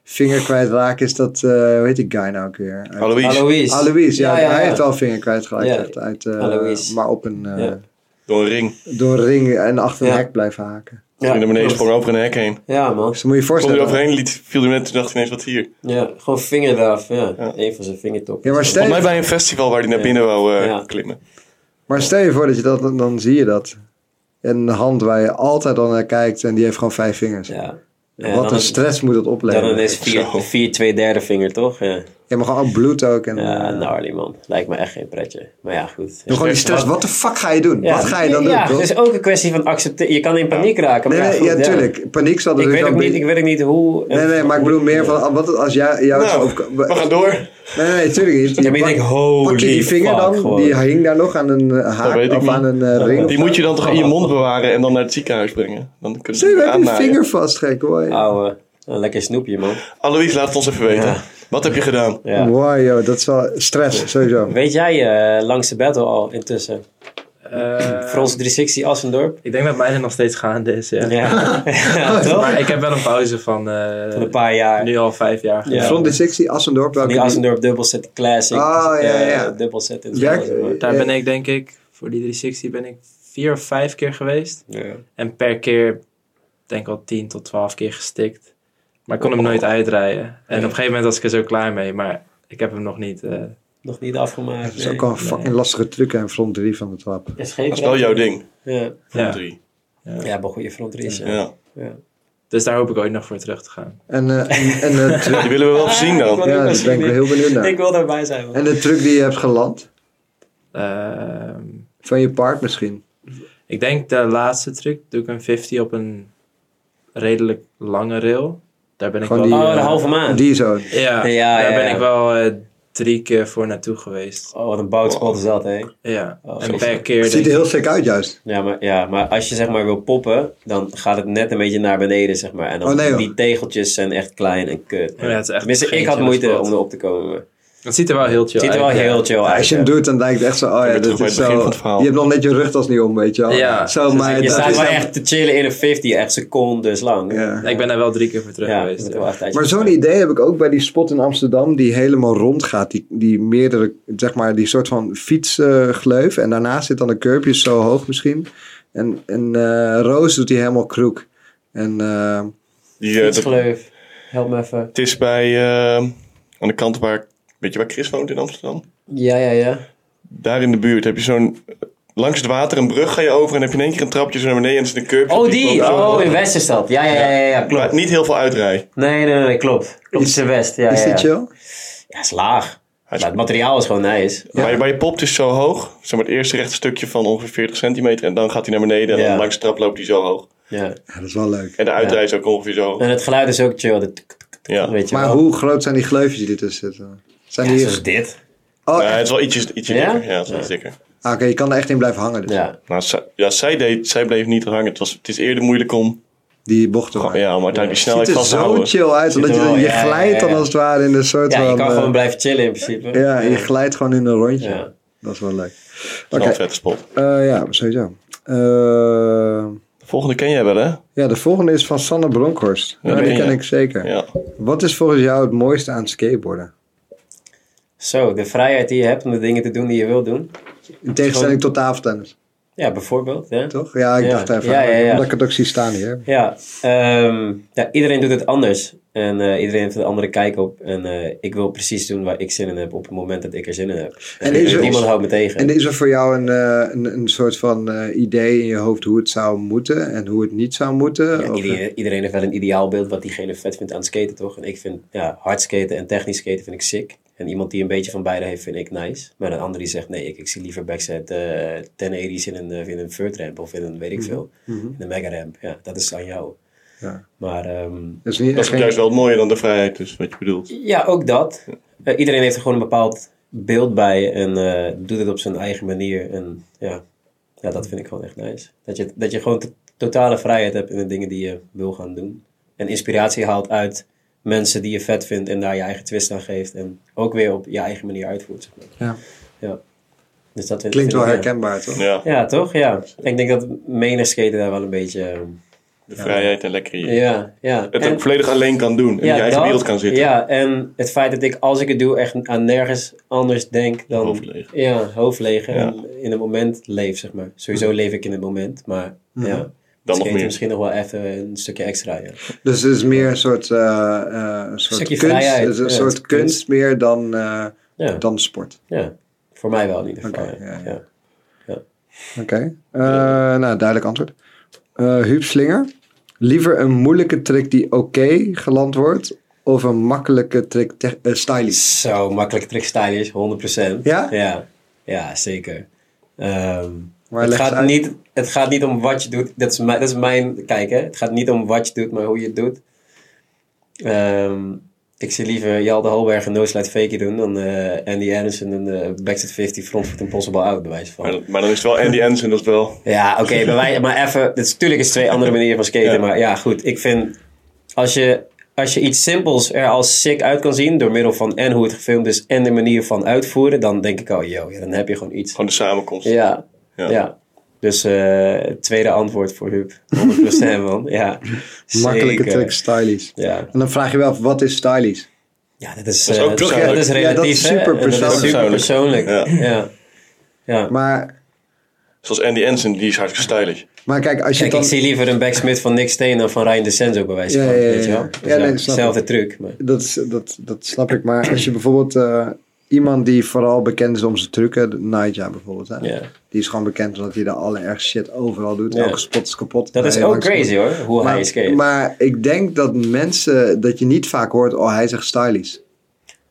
Speaker 1: vinger kwijtraken is dat, eh hoe heet die guy nou ook weer? Uit-
Speaker 2: Alois.
Speaker 3: Alois.
Speaker 1: Alois, ja, hij heeft
Speaker 3: al.
Speaker 1: al vinger kwijtgeraakt.
Speaker 3: Ja.
Speaker 1: echt uit, eh,
Speaker 3: Alois.
Speaker 1: Maar op een, eh,
Speaker 3: Ja.
Speaker 2: Door een ring.
Speaker 1: door een ring en achter een
Speaker 3: Ja.
Speaker 1: hek blijven haken.
Speaker 2: Ging naar beneden, sprong over een hek heen.
Speaker 3: Ja man,
Speaker 1: Dus dan moet je je
Speaker 2: Kom er
Speaker 1: voorstellen.
Speaker 2: overheen, liet, viel hij net, toen dacht hij ineens wat hier.
Speaker 3: ja, gewoon vinger eraf, ja.
Speaker 2: Ja.
Speaker 3: Eén van zijn vingertoppen.
Speaker 1: Ja, maar stel,
Speaker 2: Volgens
Speaker 1: je,
Speaker 2: mij bij een festival waar hij naar binnen wou eh,
Speaker 3: Ja.
Speaker 2: klimmen.
Speaker 1: maar stel je voor dat je dat, dan zie je dat. En de hand waar je altijd al naar kijkt en die heeft gewoon vijf vingers.
Speaker 3: Ja. Ja,
Speaker 1: Wat
Speaker 3: dan
Speaker 1: een
Speaker 3: is-
Speaker 1: stress moet dat
Speaker 3: Dan
Speaker 1: opleveren.
Speaker 3: ineens vier,
Speaker 2: Zo.
Speaker 3: vier, twee derde vinger toch? Ja.
Speaker 1: Ja, maar gewoon ook bloed ook. En,
Speaker 3: Ja, nou,
Speaker 1: eh,
Speaker 3: gnarly man. Lijkt me echt geen pretje. Maar ja, goed.
Speaker 1: Gewoon die stress. Wat de fuck ga je doen?
Speaker 3: Ja,
Speaker 1: Wat ga je dan doen?
Speaker 3: Ja,
Speaker 1: toch?
Speaker 3: het is ook een kwestie van accepteren. Je kan in paniek raken. Maar
Speaker 1: nee,
Speaker 3: ja,
Speaker 1: nee,
Speaker 3: goed,
Speaker 1: ja, tuurlijk. Paniek zal er
Speaker 3: Ik
Speaker 1: dus
Speaker 3: weet, ook
Speaker 1: bij-
Speaker 3: niet, ik weet ook niet hoe...
Speaker 1: Nee, nee, maar ik bedoel meer van, wat als jij, jou het
Speaker 2: Nou,
Speaker 1: opko-
Speaker 2: we gaan door.
Speaker 1: Nee, nee, nee, tuurlijk niet.
Speaker 3: Ja, maar je
Speaker 1: Pak-
Speaker 3: denkt, holy
Speaker 1: Pak je die vinger
Speaker 3: fuck,
Speaker 1: dan,
Speaker 3: gewoon.
Speaker 1: die hing daar nog aan een eh,
Speaker 2: Dat
Speaker 1: haak
Speaker 2: weet ik
Speaker 1: of
Speaker 2: niet.
Speaker 1: aan een eh, ring.
Speaker 2: Die moet je dan toch in je mond bewaren en dan naar het ziekenhuis brengen? Dan kunnen ze
Speaker 1: Zo,
Speaker 2: het
Speaker 1: we hebben je
Speaker 2: aannaaien.
Speaker 1: vinger vast, gek hoor.
Speaker 3: Ouwe, een lekker snoepje man.
Speaker 2: Alois, laat het ons even weten.
Speaker 3: Ja.
Speaker 2: Wat heb je gedaan?
Speaker 3: Ja.
Speaker 1: Wow, joh, dat is wel stress, sowieso.
Speaker 3: Weet jij eh langste battle al intussen?
Speaker 4: Eh,
Speaker 3: Frans 360 Assendorp?
Speaker 4: Ik denk dat mijne nog steeds gaande is, ja.
Speaker 1: Oh,
Speaker 3: Ja, ja toch?
Speaker 4: Maar ik heb wel een pauze van, eh,
Speaker 3: Van een paar jaar.
Speaker 4: nu al vijf jaar.
Speaker 3: Ja.
Speaker 1: Front 60, Assendorp, welke
Speaker 3: Die Assendorp dubbelset classic.
Speaker 1: Oh, ja,
Speaker 3: eh,
Speaker 1: ja.
Speaker 3: dubbelset in het
Speaker 1: Werk-
Speaker 3: Gelderse, man.
Speaker 4: Daar ben ik denk ik, voor die 360 ben ik vier of vijf keer geweest.
Speaker 3: Ja.
Speaker 4: En per keer denk ik al 10 tot 12 keer gestikt. Maar ik kon hem nooit uitrijden. En op een gegeven moment was ik er zo klaar mee. Maar ik heb hem nog niet. eh,
Speaker 3: Nog niet afgemaakt.
Speaker 1: Dat is
Speaker 3: nee.
Speaker 1: ook al een fucking lastige truc, hè, front 3 van de trap.
Speaker 3: Is geen
Speaker 2: Dat is wel jouw ding.
Speaker 3: Ja,
Speaker 2: Front
Speaker 4: ja.
Speaker 2: drie.
Speaker 3: ja maar goede front drie is, ja.
Speaker 2: Ja.
Speaker 4: Dus daar hoop ik ooit nog voor terug te gaan.
Speaker 1: En, eh, en, en de truc,
Speaker 2: Die willen we wel even zien
Speaker 3: Ik
Speaker 2: dan.
Speaker 3: wil
Speaker 1: ja,
Speaker 3: ook wel
Speaker 1: daar ben
Speaker 3: zien,
Speaker 1: ik wel
Speaker 3: ik-
Speaker 1: heel benieuwd
Speaker 3: Ik
Speaker 1: naar.
Speaker 3: wil daarbij zijn man.
Speaker 1: En de truc die je hebt geland,
Speaker 4: Ehm,
Speaker 1: van je paard misschien.
Speaker 4: ik denk de laatste truc. Doe ik een 50 op een redelijk lange rail. Daar ben ik
Speaker 1: Gewoon
Speaker 4: wel.
Speaker 1: die,
Speaker 3: Oh, de
Speaker 1: eh,
Speaker 3: halve maan.
Speaker 1: Die zo.
Speaker 4: Ja,
Speaker 3: eh, Ja,
Speaker 4: daar
Speaker 3: ja,
Speaker 4: ben
Speaker 3: ja.
Speaker 4: ik wel eh, drie keer voor naartoe geweest.
Speaker 3: Oh, wat een boutspot is dat, hè?
Speaker 4: Ja.
Speaker 3: Oh,
Speaker 4: en
Speaker 3: zo.
Speaker 4: per keer.
Speaker 1: Het
Speaker 4: denk
Speaker 1: ziet er
Speaker 4: ik-
Speaker 1: heel sick uit juist.
Speaker 3: Ja maar, ja, maar als je zeg maar wil poppen, dan gaat het net een beetje naar beneden, zeg maar. En dan
Speaker 1: Oh, nee, joh.
Speaker 3: die tegeltjes zijn echt klein en kut.
Speaker 4: Ja, het is echt
Speaker 3: Tenminste,
Speaker 4: geen
Speaker 3: ik had
Speaker 4: chille
Speaker 3: moeite
Speaker 4: sport.
Speaker 3: om erop te komen.
Speaker 4: Het ziet er wel heel chill
Speaker 3: Het ziet er wel
Speaker 4: uit, ja.
Speaker 3: heel chill uit.
Speaker 1: Als je hem
Speaker 3: ja.
Speaker 1: doet, dan lijkt het echt zo, oh ja,
Speaker 2: weer terug
Speaker 1: dit
Speaker 2: bij
Speaker 1: is
Speaker 2: het begin
Speaker 1: zo.
Speaker 2: van het verhaal.
Speaker 1: Je hebt nog net je rugtas niet om, weet je wel.
Speaker 4: Ja,
Speaker 1: Zo,
Speaker 4: dus
Speaker 1: maar
Speaker 4: ik- je
Speaker 1: dat
Speaker 3: staat
Speaker 1: is
Speaker 3: wel
Speaker 1: dan-
Speaker 3: echt te chillen in een 50, echt secondes lang.
Speaker 1: Ja.
Speaker 4: Ik ben daar wel drie keer voor terug
Speaker 3: Ja,
Speaker 4: geweest.
Speaker 3: dat
Speaker 4: ja.
Speaker 3: wel echt tijdje
Speaker 1: Maar zo'n
Speaker 3: geleden.
Speaker 1: idee heb ik ook bij die spot in Amsterdam die helemaal rond gaat. Die, die meerdere, zeg maar, die soort van fietsgleuf. en daarnaast zit dan een curbje zo hoog misschien. En, en eh, Roos doet die helemaal kroek. En eh,
Speaker 2: Die, eh, dat-
Speaker 3: Fietsgleuf, help me even.
Speaker 2: het is bij, eh, aan de kant waar, weet je waar Chris woont in Amsterdam?
Speaker 3: Ja, ja, ja.
Speaker 2: Daar in de buurt heb je zo'n, eh, langs het water een brug ga je over en heb je in één keer een trapje zo naar beneden en er zit een curbje.
Speaker 3: Oh,
Speaker 2: op
Speaker 3: die!
Speaker 2: boom zo-
Speaker 3: Oh, in West is dat. Ja, ja, ja, ja, ja,
Speaker 2: Maar
Speaker 3: klopt.
Speaker 2: Niet heel veel uitrij.
Speaker 3: Nee, nee, nee, nee, klopt. Klopt, het is in West. Ja,
Speaker 1: is
Speaker 3: ja,
Speaker 1: die
Speaker 3: ja.
Speaker 1: chill?
Speaker 3: Ja, is laag.
Speaker 2: Hij is-
Speaker 3: Maar het materiaal is gewoon nice.
Speaker 2: Waar, je, waar je popt is zo hoog. Zeg maar het eerste rechte stukje van ongeveer 40 centimeter. En dan gaat hij naar beneden. En
Speaker 3: Ja.
Speaker 2: dan langs de trap loopt hij zo hoog.
Speaker 3: Ja.
Speaker 1: Ja, dat is wel leuk.
Speaker 2: En de uitrij is ook ongeveer zo hoog.
Speaker 3: En het geluid is ook chill. Dat tuk, tuk, tuk,
Speaker 2: Ja.
Speaker 3: Weet je
Speaker 1: Maar
Speaker 3: wel.
Speaker 1: hoe groot zijn die gleufjes die ertussen zitten? Zijn
Speaker 3: Ja,
Speaker 1: die
Speaker 3: zoals dit.
Speaker 1: Oh,
Speaker 2: Ja,
Speaker 1: echt?
Speaker 2: het is wel ietsje, ietsje
Speaker 3: Ja?
Speaker 2: dikker. Ja, het is wel iets dikker.
Speaker 1: Ah, oké, je kan er echt in blijven hangen. Dus.
Speaker 3: Ja.
Speaker 2: Nou, zij, ja, zij, deed, zij bleef niet hangen. Het, was, het is eerder moeilijk om,
Speaker 1: Die bochten. maken.
Speaker 2: ja, om uiteindelijk die
Speaker 1: Het
Speaker 2: snelheid
Speaker 1: ziet er
Speaker 2: vast te
Speaker 1: zo
Speaker 2: houden.
Speaker 1: chill uit. Omdat je,
Speaker 3: er wel-
Speaker 1: je
Speaker 3: ja,
Speaker 1: glijdt
Speaker 3: ja, ja.
Speaker 1: dan als het ware in een soort
Speaker 3: Ja,
Speaker 1: van...
Speaker 3: je kan
Speaker 1: eh,
Speaker 3: gewoon blijven chillen in principe.
Speaker 1: Ja, je glijdt gewoon in een rondje.
Speaker 3: Ja.
Speaker 1: Dat is wel leuk. Oké,
Speaker 2: Dat is wel een vette spot.
Speaker 1: eh, ja, sowieso. Eh,
Speaker 2: De volgende ken jij wel, hè?
Speaker 1: ja, de volgende is van Sanne Bronkhorst.
Speaker 2: Ja,
Speaker 1: nou, die
Speaker 2: die ken
Speaker 1: ken
Speaker 2: je.
Speaker 1: ik zeker.
Speaker 2: Ja.
Speaker 1: Wat is volgens jou het mooiste aan skateboarden?
Speaker 3: Zo, de vrijheid die je hebt om de dingen te doen die je wilt doen.
Speaker 1: In tegenstelling tot tafeltennis,
Speaker 3: Ja, bijvoorbeeld. Ja.
Speaker 1: toch? Ja, ik
Speaker 3: Ja.
Speaker 1: dacht even.
Speaker 3: Ja, ja, ja.
Speaker 1: Omdat ik het ook zie staan hier.
Speaker 3: Ja, ehm, ja, iedereen doet het anders. En eh, iedereen heeft een andere kijk op. En eh, ik wil precies doen waar ik zin in heb op het moment dat ik er zin in heb.
Speaker 1: En
Speaker 3: En,
Speaker 1: is er-
Speaker 3: niemand houdt me tegen.
Speaker 1: En is er voor jou een, eh, een, een soort van eh, idee in je hoofd hoe het zou moeten en hoe het niet zou moeten?
Speaker 3: Ja,
Speaker 1: Of-
Speaker 3: iedereen, iedereen heeft wel een ideaalbeeld wat diegene vet vindt aan het skaten, toch? En ik vind ja, hard skaten en technisch skaten vind ik sick. En iemand die een beetje van beide heeft, vind ik nice. Maar een ander die zegt, nee, ik, ik zie liever backside eh 1080's in een, eh, in een vert ramp of in een, weet ik veel, in een mega ramp. Ja, dat is aan jou.
Speaker 1: Mhm. Ja.
Speaker 3: Maar ehm,
Speaker 1: dat is niet
Speaker 2: Dat is
Speaker 1: geen-
Speaker 2: juist wel mooier dan de vrijheid, dus wat je bedoelt.
Speaker 3: ja, ook dat. Eh, iedereen heeft er gewoon een bepaald beeld bij en eh, doet het op zijn eigen manier. En ja, ja dat vind ik gewoon echt nice. Dat je, dat je gewoon to- totale vrijheid hebt in de dingen die je wil gaan doen. En inspiratie haalt uit mensen die je vet vindt en daar je eigen twist aan geeft. En ook weer op je eigen manier uitvoert. Zeg maar.
Speaker 1: Ja.
Speaker 3: ja. Dus dat vind,
Speaker 1: Klinkt
Speaker 3: vind
Speaker 1: wel
Speaker 3: ik, ja.
Speaker 1: herkenbaar, toch?
Speaker 2: Ja,
Speaker 3: Ja, toch? Ja. Ik denk dat menig skaten daar wel een beetje... eh,
Speaker 2: de vrijheid en lekker je.
Speaker 3: Ja, ja.
Speaker 2: Het
Speaker 3: En-
Speaker 2: ook volledig alleen kan doen. En in je eigen
Speaker 3: dat.
Speaker 2: wereld kan zitten.
Speaker 3: Ja, en het feit dat ik, als ik het doe, echt aan nergens anders denk dan...
Speaker 2: Hoofd leeg.
Speaker 3: Ja, hoofd leeg en
Speaker 2: Ja. Mhm.
Speaker 3: in het moment leef, zeg maar. Sowieso leef ik in het moment, maar ja.
Speaker 2: nog
Speaker 3: skaten
Speaker 2: meer.
Speaker 3: misschien nog wel even een stukje extra, ja.
Speaker 1: Dus het is meer een soort, eh, eh, een soort
Speaker 3: Stukje
Speaker 1: kunst,
Speaker 3: vrijheid,
Speaker 1: het is een
Speaker 3: ja,
Speaker 1: soort
Speaker 3: het is
Speaker 1: kunst,
Speaker 3: kunst.
Speaker 1: meer dan, eh,
Speaker 3: Ja,
Speaker 1: dan sport.
Speaker 3: ja. Voor mij wel in ieder geval,
Speaker 1: Oké,
Speaker 3: ja.
Speaker 1: ja,
Speaker 3: Ja.
Speaker 1: ja. Oké, Eh, nou duidelijk antwoord. Eh Huub Slinger, liever een moeilijke trick die oké geland wordt of een makkelijke trick te- eh, stylish?
Speaker 3: Zo makkelijk trickstyle is, 100%.
Speaker 1: Ja?
Speaker 3: Ja, ja zeker. Ehm,
Speaker 1: Maar
Speaker 3: het,
Speaker 1: leg eens
Speaker 3: gaat
Speaker 1: uit.
Speaker 3: niet, het gaat niet om wat je doet. Dat is mijn, dat is mijn kijk, hè. Het gaat niet om wat je doet, maar hoe je het doet. Ehm, ik zie liever Jalde Holberg en No Slide Fakie doen dan eh, Andy Anderson en eh Backstreet 50 Frontfoot Impossible Out, bij wijze van.
Speaker 2: Maar, maar dan is het wel Andy Anderson, dat is wel...
Speaker 3: Ja, oké, maar wij- maar even. het is- Tuurlijk is het twee andere manieren van skaten.
Speaker 2: Ja.
Speaker 3: Maar ja, goed. Ik vind. Als je, als je iets simpels er als sick uit kan zien. door middel van. en hoe het gefilmd is. en de manier van uitvoeren. dan denk ik al, yo, ja, dan heb je gewoon iets.
Speaker 2: Gewoon de samenkomst.
Speaker 3: Ja.
Speaker 2: Ja.
Speaker 3: Ja. Dus eh, het tweede antwoord voor Huub. 100% man. Ja.
Speaker 1: Makkelijke
Speaker 3: zeker.
Speaker 1: trick stylish.
Speaker 3: Ja.
Speaker 1: En dan vraag je wel af, wat is stylish?
Speaker 3: ja, dat is.
Speaker 2: Dat is
Speaker 3: eh,
Speaker 2: ook
Speaker 3: dat, is
Speaker 2: persoonlijk.
Speaker 3: dat is
Speaker 1: Ja, dat
Speaker 3: relatief.
Speaker 1: is
Speaker 3: hè.
Speaker 1: super
Speaker 3: En dat
Speaker 1: persoonlijk.
Speaker 3: super persoonlijk.
Speaker 2: Ja.
Speaker 3: Ja. ja.
Speaker 1: Maar,
Speaker 2: Zoals Andy Anderson, die is hartstikke stylish.
Speaker 1: maar kijk, als je
Speaker 3: Kijk,
Speaker 1: dan...
Speaker 3: ik zie liever een backsmith van Nick Steen dan van Ryan DeSenzo bij wijze
Speaker 1: Ja,
Speaker 3: van.
Speaker 1: ja, ja,
Speaker 3: Weet je
Speaker 1: ja.
Speaker 3: wel?
Speaker 1: Ja,
Speaker 3: Dus
Speaker 1: nee,
Speaker 3: ja,
Speaker 1: snap ik.
Speaker 3: hetzelfde truc. Maar.
Speaker 1: Dat, is, dat, dat snap ik, maar als je bijvoorbeeld eh, iemand die vooral bekend is om zijn trucken, Naija bijvoorbeeld, hè?
Speaker 3: Ja.
Speaker 1: die is gewoon bekend omdat hij de allerergste shit overal doet.
Speaker 3: Ja.
Speaker 1: Elke spot is kapot.
Speaker 3: Dat is
Speaker 1: Hij
Speaker 3: ook
Speaker 1: langs-
Speaker 3: crazy hoor, hoe hij
Speaker 1: Maar,
Speaker 3: skate.
Speaker 1: maar ik denk dat mensen, dat je niet vaak hoort, oh hij zegt stylish.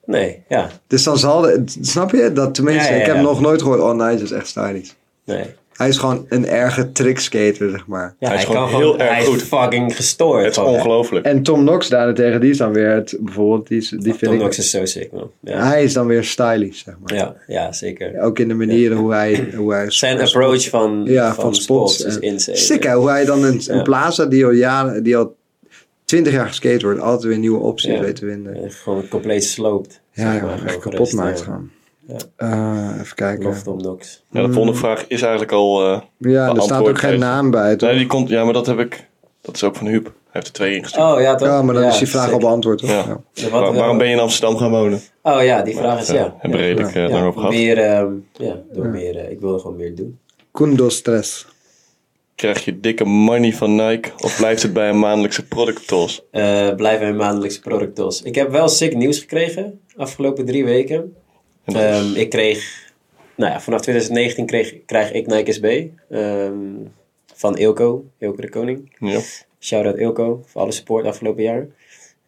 Speaker 3: nee, ja,
Speaker 1: Dus dan zal, de- snap je? Dat tenminste,
Speaker 3: Ja, ja,
Speaker 1: ik heb
Speaker 3: ja.
Speaker 1: nog nooit gehoord, oh Naija is echt stylish.
Speaker 3: nee.
Speaker 1: Hij is gewoon een erge trickskater, zeg maar.
Speaker 3: Ja, hij,
Speaker 2: is
Speaker 3: kan
Speaker 2: gewoon
Speaker 3: gewoon
Speaker 2: heel erg
Speaker 3: hij
Speaker 2: goed.
Speaker 3: is fucking gestoord.
Speaker 2: Het is
Speaker 3: gewoon.
Speaker 2: ongelooflijk.
Speaker 1: En Tom Knox daarentegen, die is dan weer het, bijvoorbeeld, die, is- die vind
Speaker 3: Tom
Speaker 1: ik... Ah.
Speaker 3: Knox is zo sick man. Ja,
Speaker 1: Hij is dan weer stylish, zeg maar.
Speaker 3: ja, ja zeker.
Speaker 1: Ook in de manieren hoe hij... Hoe hij
Speaker 3: Zijn approach van,
Speaker 1: ja, van, spots.
Speaker 3: is
Speaker 1: en-
Speaker 3: insane.
Speaker 1: Sick, hè? Hoe hij dan een, een
Speaker 3: Ja.
Speaker 1: plaza die al, jaren, die al 20 jaar geskate wordt, altijd weer nieuwe opties
Speaker 3: Ja.
Speaker 1: weet te winnen.
Speaker 3: Ja, Gewoon compleet sloopt.
Speaker 1: Ja,
Speaker 3: zeg
Speaker 1: ja,
Speaker 3: maar. eh,
Speaker 1: echt
Speaker 3: Gewoon
Speaker 1: kapot maakt
Speaker 3: gerust, ja.
Speaker 1: gaan.
Speaker 3: Ja.
Speaker 1: even kijken.
Speaker 3: Love Tom Knox.
Speaker 2: Ja, de volgende vraag is eigenlijk al... eh,
Speaker 1: Ja, er staat ook
Speaker 2: beantwoord
Speaker 1: geen
Speaker 2: heeft.
Speaker 1: naam bij. toch?
Speaker 2: nee, die komt... Ja, maar dat heb ik... Dat is ook van Huub. Hij heeft er twee ingestuurd.
Speaker 3: Oh ja, toch?
Speaker 1: Ja, maar dan is die vraag
Speaker 3: sick.
Speaker 1: al beantwoord, toch?
Speaker 2: Ja.
Speaker 1: Ja.
Speaker 3: Oh. Wat-
Speaker 2: Waar- waarom ben je in Amsterdam gaan wonen?
Speaker 3: Oh ja, die vraag is ja.
Speaker 2: Ja, hebben we redelijk eh, lang over gehad.
Speaker 3: Meer, ehm, ja, door meer, eh, ik wilde gewoon meer doen.
Speaker 1: Kundo stress.
Speaker 2: Krijg je dikke money van Nike of blijft het bij een maandelijkse product tools?
Speaker 3: Eh, blijven mijn maandelijkse productos. Ik heb wel sick nieuws gekregen afgelopen drie weken.
Speaker 2: En dat is-
Speaker 3: Ehm, ik kreeg, nou ja, vanaf 2019 kreeg, krijg ik Nike SB ehm, van Ilko, Ilko de Koning.
Speaker 2: ja.
Speaker 3: Shout-out Ilko voor alle support afgelopen jaar.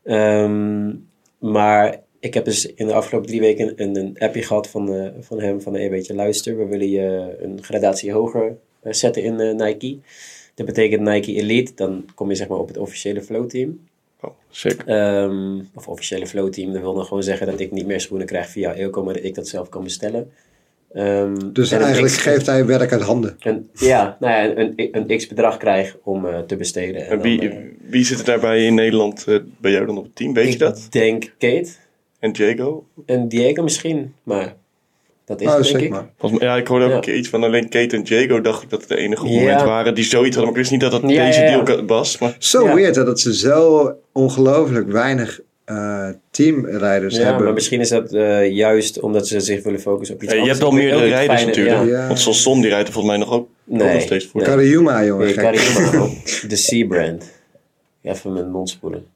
Speaker 3: Ehm, maar ik heb dus in de afgelopen drie weken een, een appje gehad van, eh, van hem, van een beetje luister, we willen je een gradatie hoger eh, zetten in eh, Nike. Dat betekent Nike Elite, dan kom je zeg maar op het officiële flow team.
Speaker 2: Oh, sick.
Speaker 3: Ehm, of officiële flowteam. Dat wil dan gewoon zeggen dat ik niet meer schoenen krijg via Eelco, maar dat ik dat zelf kan bestellen. Ehm,
Speaker 1: Dus
Speaker 3: en een
Speaker 1: eigenlijk
Speaker 3: X-
Speaker 1: geeft hij werk uit handen.
Speaker 3: Een, ja, nou ja, een, een x-bedrag krijg om eh, te besteden. En
Speaker 2: En
Speaker 3: dan,
Speaker 2: wie,
Speaker 3: eh,
Speaker 2: wie zit er daarbij in Nederland eh, bij jou dan op het team? Weet je dat?
Speaker 3: Ik denk Kate
Speaker 2: En Diego?
Speaker 3: en Diego misschien, maar dat is
Speaker 1: Oh,
Speaker 3: het, denk
Speaker 1: zeg
Speaker 3: ik.
Speaker 1: maar.
Speaker 2: Volgens mij, ja, ik hoorde ook
Speaker 3: Ja.
Speaker 2: een keer iets van alleen Kate en Diego dacht ik dat het de enige
Speaker 3: Ja.
Speaker 2: moment waren die zoiets hadden. Maar ik wist niet dat dat
Speaker 3: Ja,
Speaker 2: deze
Speaker 3: ja, ja.
Speaker 2: deal was. Maar
Speaker 1: Zo
Speaker 3: Ja.
Speaker 1: weird hè, dat ze zo ongelooflijk weinig eh, teamrijders
Speaker 3: Ja,
Speaker 1: hebben.
Speaker 3: maar misschien is dat eh, juist omdat ze zich willen focussen op iets
Speaker 2: eh, je
Speaker 3: anders.
Speaker 2: hebt al
Speaker 3: Ik weet
Speaker 2: meer
Speaker 3: ook
Speaker 2: de
Speaker 3: niet
Speaker 2: rijders
Speaker 3: fijne-
Speaker 2: natuurlijk.
Speaker 1: ja. Ja.
Speaker 2: Want Sanson die rijdt er volgens mij nog ook ook
Speaker 3: Nee.
Speaker 2: nog steeds voor.
Speaker 3: Nee.
Speaker 1: Karayuma,
Speaker 3: Ja,
Speaker 1: jongen.
Speaker 3: ik
Speaker 1: gek.
Speaker 3: kan hier maar op. De C-brand. Even mijn mond spoelen.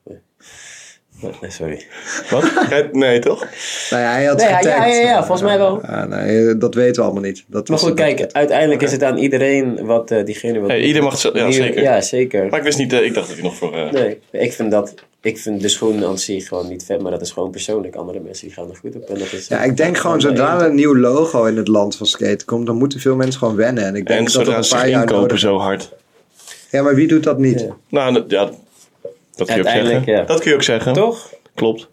Speaker 3: Nee, sorry.
Speaker 2: Wat? Rijdt- nee, toch?
Speaker 1: Nou ja, hij had
Speaker 3: Nee, ja,
Speaker 1: getagd.
Speaker 3: ja, ja, ja, volgens mij wel.
Speaker 1: Ah, nee, dat weten we allemaal niet. Dat
Speaker 3: Maar
Speaker 1: is
Speaker 3: goed,
Speaker 1: het.
Speaker 3: kijk, uiteindelijk is het aan iedereen wat eh, diegene wil
Speaker 2: Hey,
Speaker 3: doen.
Speaker 2: ieder mag het zelf- ja,
Speaker 3: Die-
Speaker 2: zeker.
Speaker 3: Ja, zeker.
Speaker 2: Maar ik wist niet, eh, ik dacht dat hij nog voor... eh,
Speaker 3: Nee, ik vind dat... Ik vind de schoen aan zich gewoon niet vet, maar dat is gewoon persoonlijk. Andere mensen die gaan er goed op. En dat is,
Speaker 1: Ja, ik denk gewoon, zodra er een nieuw logo in het land van skate komt, dan moeten veel mensen gewoon wennen. En ik denk
Speaker 2: En
Speaker 1: dat er
Speaker 2: zodra
Speaker 1: een
Speaker 2: ze
Speaker 1: paar
Speaker 2: zich
Speaker 1: jaar
Speaker 2: inkopen
Speaker 1: nodig
Speaker 2: zo hard.
Speaker 1: Ja, maar wie doet dat niet?
Speaker 3: Ja.
Speaker 2: Nou, dat- ja, dat kun je ook
Speaker 3: Uiteindelijk,
Speaker 2: zeggen.
Speaker 3: ja.
Speaker 2: Dat kun je ook zeggen.
Speaker 3: Toch?
Speaker 2: Klopt. Dat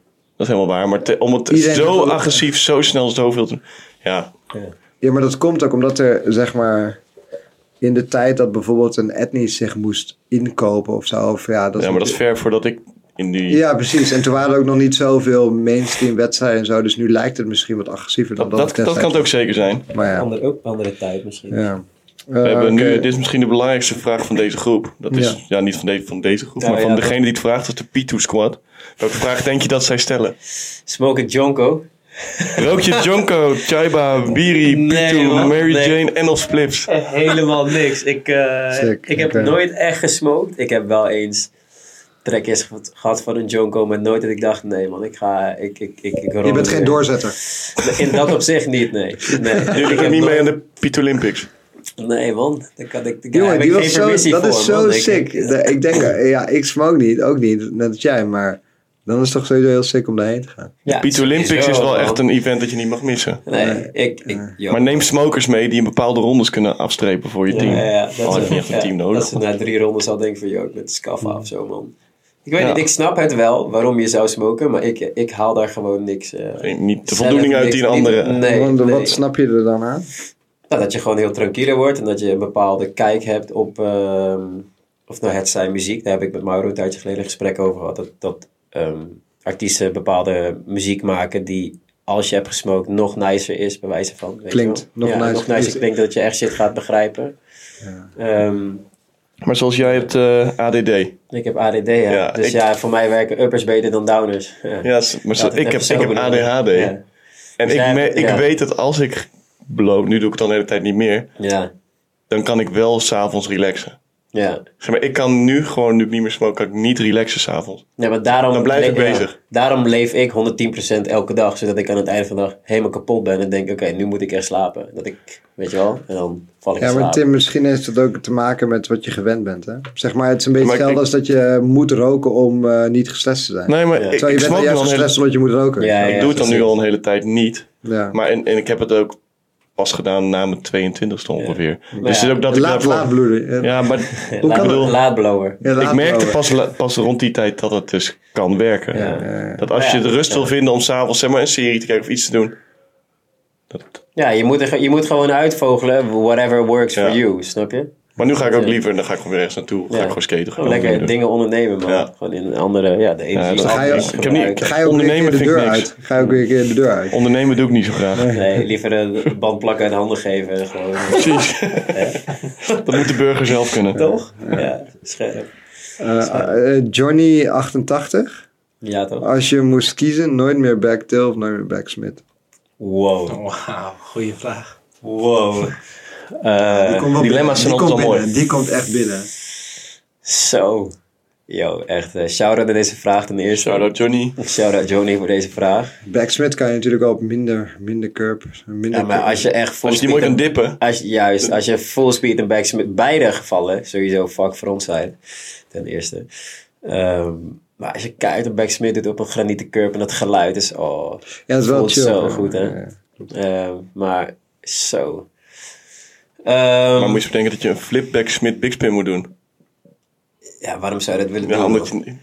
Speaker 2: is helemaal waar. Maar te- om het
Speaker 1: Iedereen heeft
Speaker 2: zo
Speaker 1: wel-
Speaker 2: agressief, zo snel, zoveel te... Ja,
Speaker 1: Ja, maar dat komt ook omdat er, zeg maar, in de tijd dat bijvoorbeeld een etnisch zich moest inkopen of zo. Of, ja, dat
Speaker 2: ja maar dat is ver voordat ik in die...
Speaker 1: Ja, precies. En toen waren er ook nog niet zoveel mainstream wedstrijden en zo. Dus nu lijkt het misschien wat agressiever dan
Speaker 2: dat,
Speaker 1: dat,
Speaker 2: dat,
Speaker 1: het
Speaker 2: dat kan het ook zeker zijn.
Speaker 1: destijds was. Maar ja.
Speaker 3: Ander, ook andere tijd misschien.
Speaker 1: ja. Eh,
Speaker 2: We hebben Eh, nu, dit is misschien de belangrijkste vraag van deze groep. Dat is, ja, niet van, de- van deze groep,
Speaker 3: Nou,
Speaker 2: maar van
Speaker 3: ja,
Speaker 2: degene die het vraagt. Dat is de P2 Squad. Welke vraag denk je dat zij stellen?
Speaker 3: Smoke it Jonko.
Speaker 2: Rookje Jonko, Chaiba, Biri, P2,
Speaker 3: Nee, man.
Speaker 2: Mary
Speaker 3: Nee.
Speaker 2: Jane en of Spliffs.
Speaker 3: Helemaal niks. Ik, eh,
Speaker 1: Sick,
Speaker 3: ik heb
Speaker 1: oké.
Speaker 3: nooit echt gesmoked. Ik heb wel eens trekjes ge- gehad van een Jonko, maar nooit dat ik dacht, nee man, ik ga... Ik, ik, ik, ik
Speaker 1: Je bent geen doorzetter.
Speaker 3: In dat opzicht niet, nee. nee.
Speaker 2: Jullie
Speaker 3: Ik
Speaker 2: doen niet
Speaker 3: heb
Speaker 2: mee
Speaker 3: nooit-
Speaker 2: aan de P2 Olympics.
Speaker 3: Nee man, daar kan ik, daar
Speaker 1: Jongen,
Speaker 3: heb
Speaker 1: die
Speaker 3: ik geen
Speaker 1: was zo,
Speaker 3: permissie
Speaker 1: dat
Speaker 3: voor.
Speaker 1: is zo
Speaker 3: man. Ik-
Speaker 1: sick.
Speaker 3: ik-
Speaker 1: De- Ik denk, eh, ja, ik smoke niet, ook niet, net als jij. Maar Dan is het toch sowieso heel sick om daarheen te gaan.
Speaker 3: Ja,
Speaker 2: Beat Olympics is wel echt een event dat je niet mag missen.
Speaker 3: Nee, ik... ik joh.
Speaker 2: Maar neem smokers mee die een bepaalde rondes kunnen afstrepen voor je team.
Speaker 3: Ja, ja,
Speaker 2: Al heb je niet echt een
Speaker 3: ja,
Speaker 2: team nodig.
Speaker 3: Dat ze na drie rondes al denken van, joh, ik ben scaffa of zo, man. Ik weet
Speaker 2: Ja.
Speaker 3: niet, ik snap het wel waarom je zou smoken, maar ik, ik haal daar gewoon niks... eh,
Speaker 2: Niet de
Speaker 3: zelf
Speaker 2: voldoening uit
Speaker 3: niks-
Speaker 2: die
Speaker 3: niet-
Speaker 2: andere.
Speaker 3: Nee,
Speaker 1: Want,
Speaker 3: nee.
Speaker 1: Wat snap je er dan aan?
Speaker 3: Nou, dat je gewoon heel tranquieler wordt en dat je een bepaalde kijk hebt op, ehm, of nou het zijn muziek, daar heb ik met Mauro een tijdje geleden een gesprek over gehad, dat, dat ehm, artiesten bepaalde muziek maken die als je hebt gesmokt nog nicer is, bij wijze van. Weet
Speaker 1: Klinkt
Speaker 3: je wel.
Speaker 1: nog
Speaker 3: ja,
Speaker 1: nicer.
Speaker 3: Nog nicer klinkt dat je echt shit gaat begrijpen. Ehm,
Speaker 2: Maar zoals jij hebt eh, ADD.
Speaker 3: ik heb ADD, ja.
Speaker 2: Ja,
Speaker 3: dus
Speaker 2: ik-
Speaker 3: ja, voor mij werken uppers beter dan downers. Ja.
Speaker 2: Ja, s- maar zo-
Speaker 3: Laat het
Speaker 2: ik, heb,
Speaker 3: even
Speaker 2: ik heb
Speaker 3: zo
Speaker 2: ADHD.
Speaker 3: benoemen. Ja.
Speaker 2: En
Speaker 3: Dus jij
Speaker 2: ik, me-
Speaker 3: hebt-
Speaker 2: ik
Speaker 3: ja.
Speaker 2: weet dat als ik bloot, nu doe ik het al de hele tijd niet meer,
Speaker 3: ja,
Speaker 2: dan kan ik wel s'avonds relaxen.
Speaker 3: ja.
Speaker 2: Zeg maar, ik kan nu gewoon, nu ik niet meer smoke, kan ik niet relaxen s'avonds.
Speaker 3: Nee, maar daarom
Speaker 2: Dan blijf ik
Speaker 3: le- ja,
Speaker 2: bezig.
Speaker 3: daarom leef ik 110% elke dag, zodat ik aan het einde van de dag helemaal kapot ben en denk: oké, nu moet ik echt slapen. Dat ik, weet je wel, en dan val ik in
Speaker 1: Ja, maar
Speaker 3: slaap.
Speaker 1: Tim, misschien heeft het ook te maken met wat je gewend bent. Hè? Zeg maar, het is een beetje
Speaker 2: Maar ik-
Speaker 1: hetzelfde als dat je moet roken om eh, niet gestrest te zijn.
Speaker 2: Nee, maar ik,
Speaker 1: Terwijl
Speaker 2: ik
Speaker 1: je bent
Speaker 2: smoke
Speaker 1: er
Speaker 2: nu
Speaker 1: juist
Speaker 2: al een hele-
Speaker 1: gestrest omdat je moet roken.
Speaker 3: Ja,
Speaker 2: ik doe het dan nu
Speaker 3: precies.
Speaker 2: al een hele tijd niet.
Speaker 1: Ja.
Speaker 2: Maar en, en ik heb het ook pas gedaan na mijn 22 e ongeveer. Dus het is
Speaker 3: ja,
Speaker 2: ook dat ik
Speaker 1: laat,
Speaker 2: daarvoor-
Speaker 1: laat bloeden.
Speaker 2: Ja, maar
Speaker 3: Laat-
Speaker 2: ik bedoel,
Speaker 3: Laadblower.
Speaker 1: Ja, laat
Speaker 2: ik merkte
Speaker 1: bloeden.
Speaker 2: pas, la- pas rond die tijd dat het dus kan werken. Dat als
Speaker 3: Ja,
Speaker 2: je de rust wil vinden om s'avonds zeg maar een serie te kijken of iets te doen. Dat,
Speaker 3: Ja, je moet, er, ge- je moet gewoon uitvogelen, whatever works
Speaker 2: Ja.
Speaker 3: for you, snap je?
Speaker 2: maar nu ga ik ook
Speaker 3: Ja.
Speaker 2: liever, dan ga ik gewoon weer ergens naartoe. Ga
Speaker 3: eh, Ja.
Speaker 2: ik gewoon skaten. Ga ik
Speaker 3: Gewoon
Speaker 2: gewoon eh,
Speaker 3: lekker
Speaker 2: dingen
Speaker 3: dingen ondernemen, man.
Speaker 2: Ja.
Speaker 3: Gewoon in een andere, ja, de
Speaker 2: doen. Ja,
Speaker 3: energie.
Speaker 2: dat-
Speaker 1: Dan ga je
Speaker 2: ik,
Speaker 1: ook-
Speaker 2: ik heb niet,
Speaker 1: Ga je ook weer een
Speaker 2: ondernemen
Speaker 1: keer de
Speaker 2: vind ik
Speaker 1: deur
Speaker 2: niks.
Speaker 1: uit? Ga je ook weer een keer de deur uit?
Speaker 2: Ondernemen doe ik niet zo graag.
Speaker 3: Nee, liever eh, bandplakken uit handen geven. en Gewoon,
Speaker 2: Precies. dat moet de burger zelf kunnen.
Speaker 3: toch? Ja, scherp.
Speaker 2: Oh,
Speaker 1: Eh, eh, Johnny 88.
Speaker 3: Ja, toch?
Speaker 1: Als je moest kiezen, nooit meer backtail of nooit meer backsmith.
Speaker 3: Wow.
Speaker 4: Wauw, goede vraag.
Speaker 3: Wow.
Speaker 2: Eh,
Speaker 3: Eh,
Speaker 2: dilemma's zijn altijd wel mooi.
Speaker 1: Die komt echt binnen.
Speaker 3: Zo. Yo, echt. eh, shout-out aan deze vraag ten eerste.
Speaker 2: Shout-out Johnny.
Speaker 3: Shout-out Johnny voor deze vraag.
Speaker 1: Backsmith kan je natuurlijk al op minder, minder curb. Minder
Speaker 3: Ja, maar
Speaker 1: curb.
Speaker 3: als je echt full
Speaker 2: Als je die mooi kan
Speaker 3: speed... en-
Speaker 2: dippen.
Speaker 3: Als, je- juist, als je full speed en backs met beide gevallen sowieso fuck front zijn. Ten eerste. Ehm, maar als je keihard een backsmith doet op een granieten curb en dat geluid is... Oh,
Speaker 1: ja, dat is wel
Speaker 3: voelt
Speaker 1: chill.
Speaker 3: zo
Speaker 1: ja.
Speaker 3: goed, hè?
Speaker 1: Ja.
Speaker 3: Ehm, maar zo.
Speaker 2: Maar
Speaker 3: Ehm,
Speaker 2: moet je eens bedenken dat je een flipback smith big spin moet doen.
Speaker 3: Ja, waarom zou je dat willen
Speaker 2: Ja,
Speaker 3: doen?
Speaker 2: omdat je,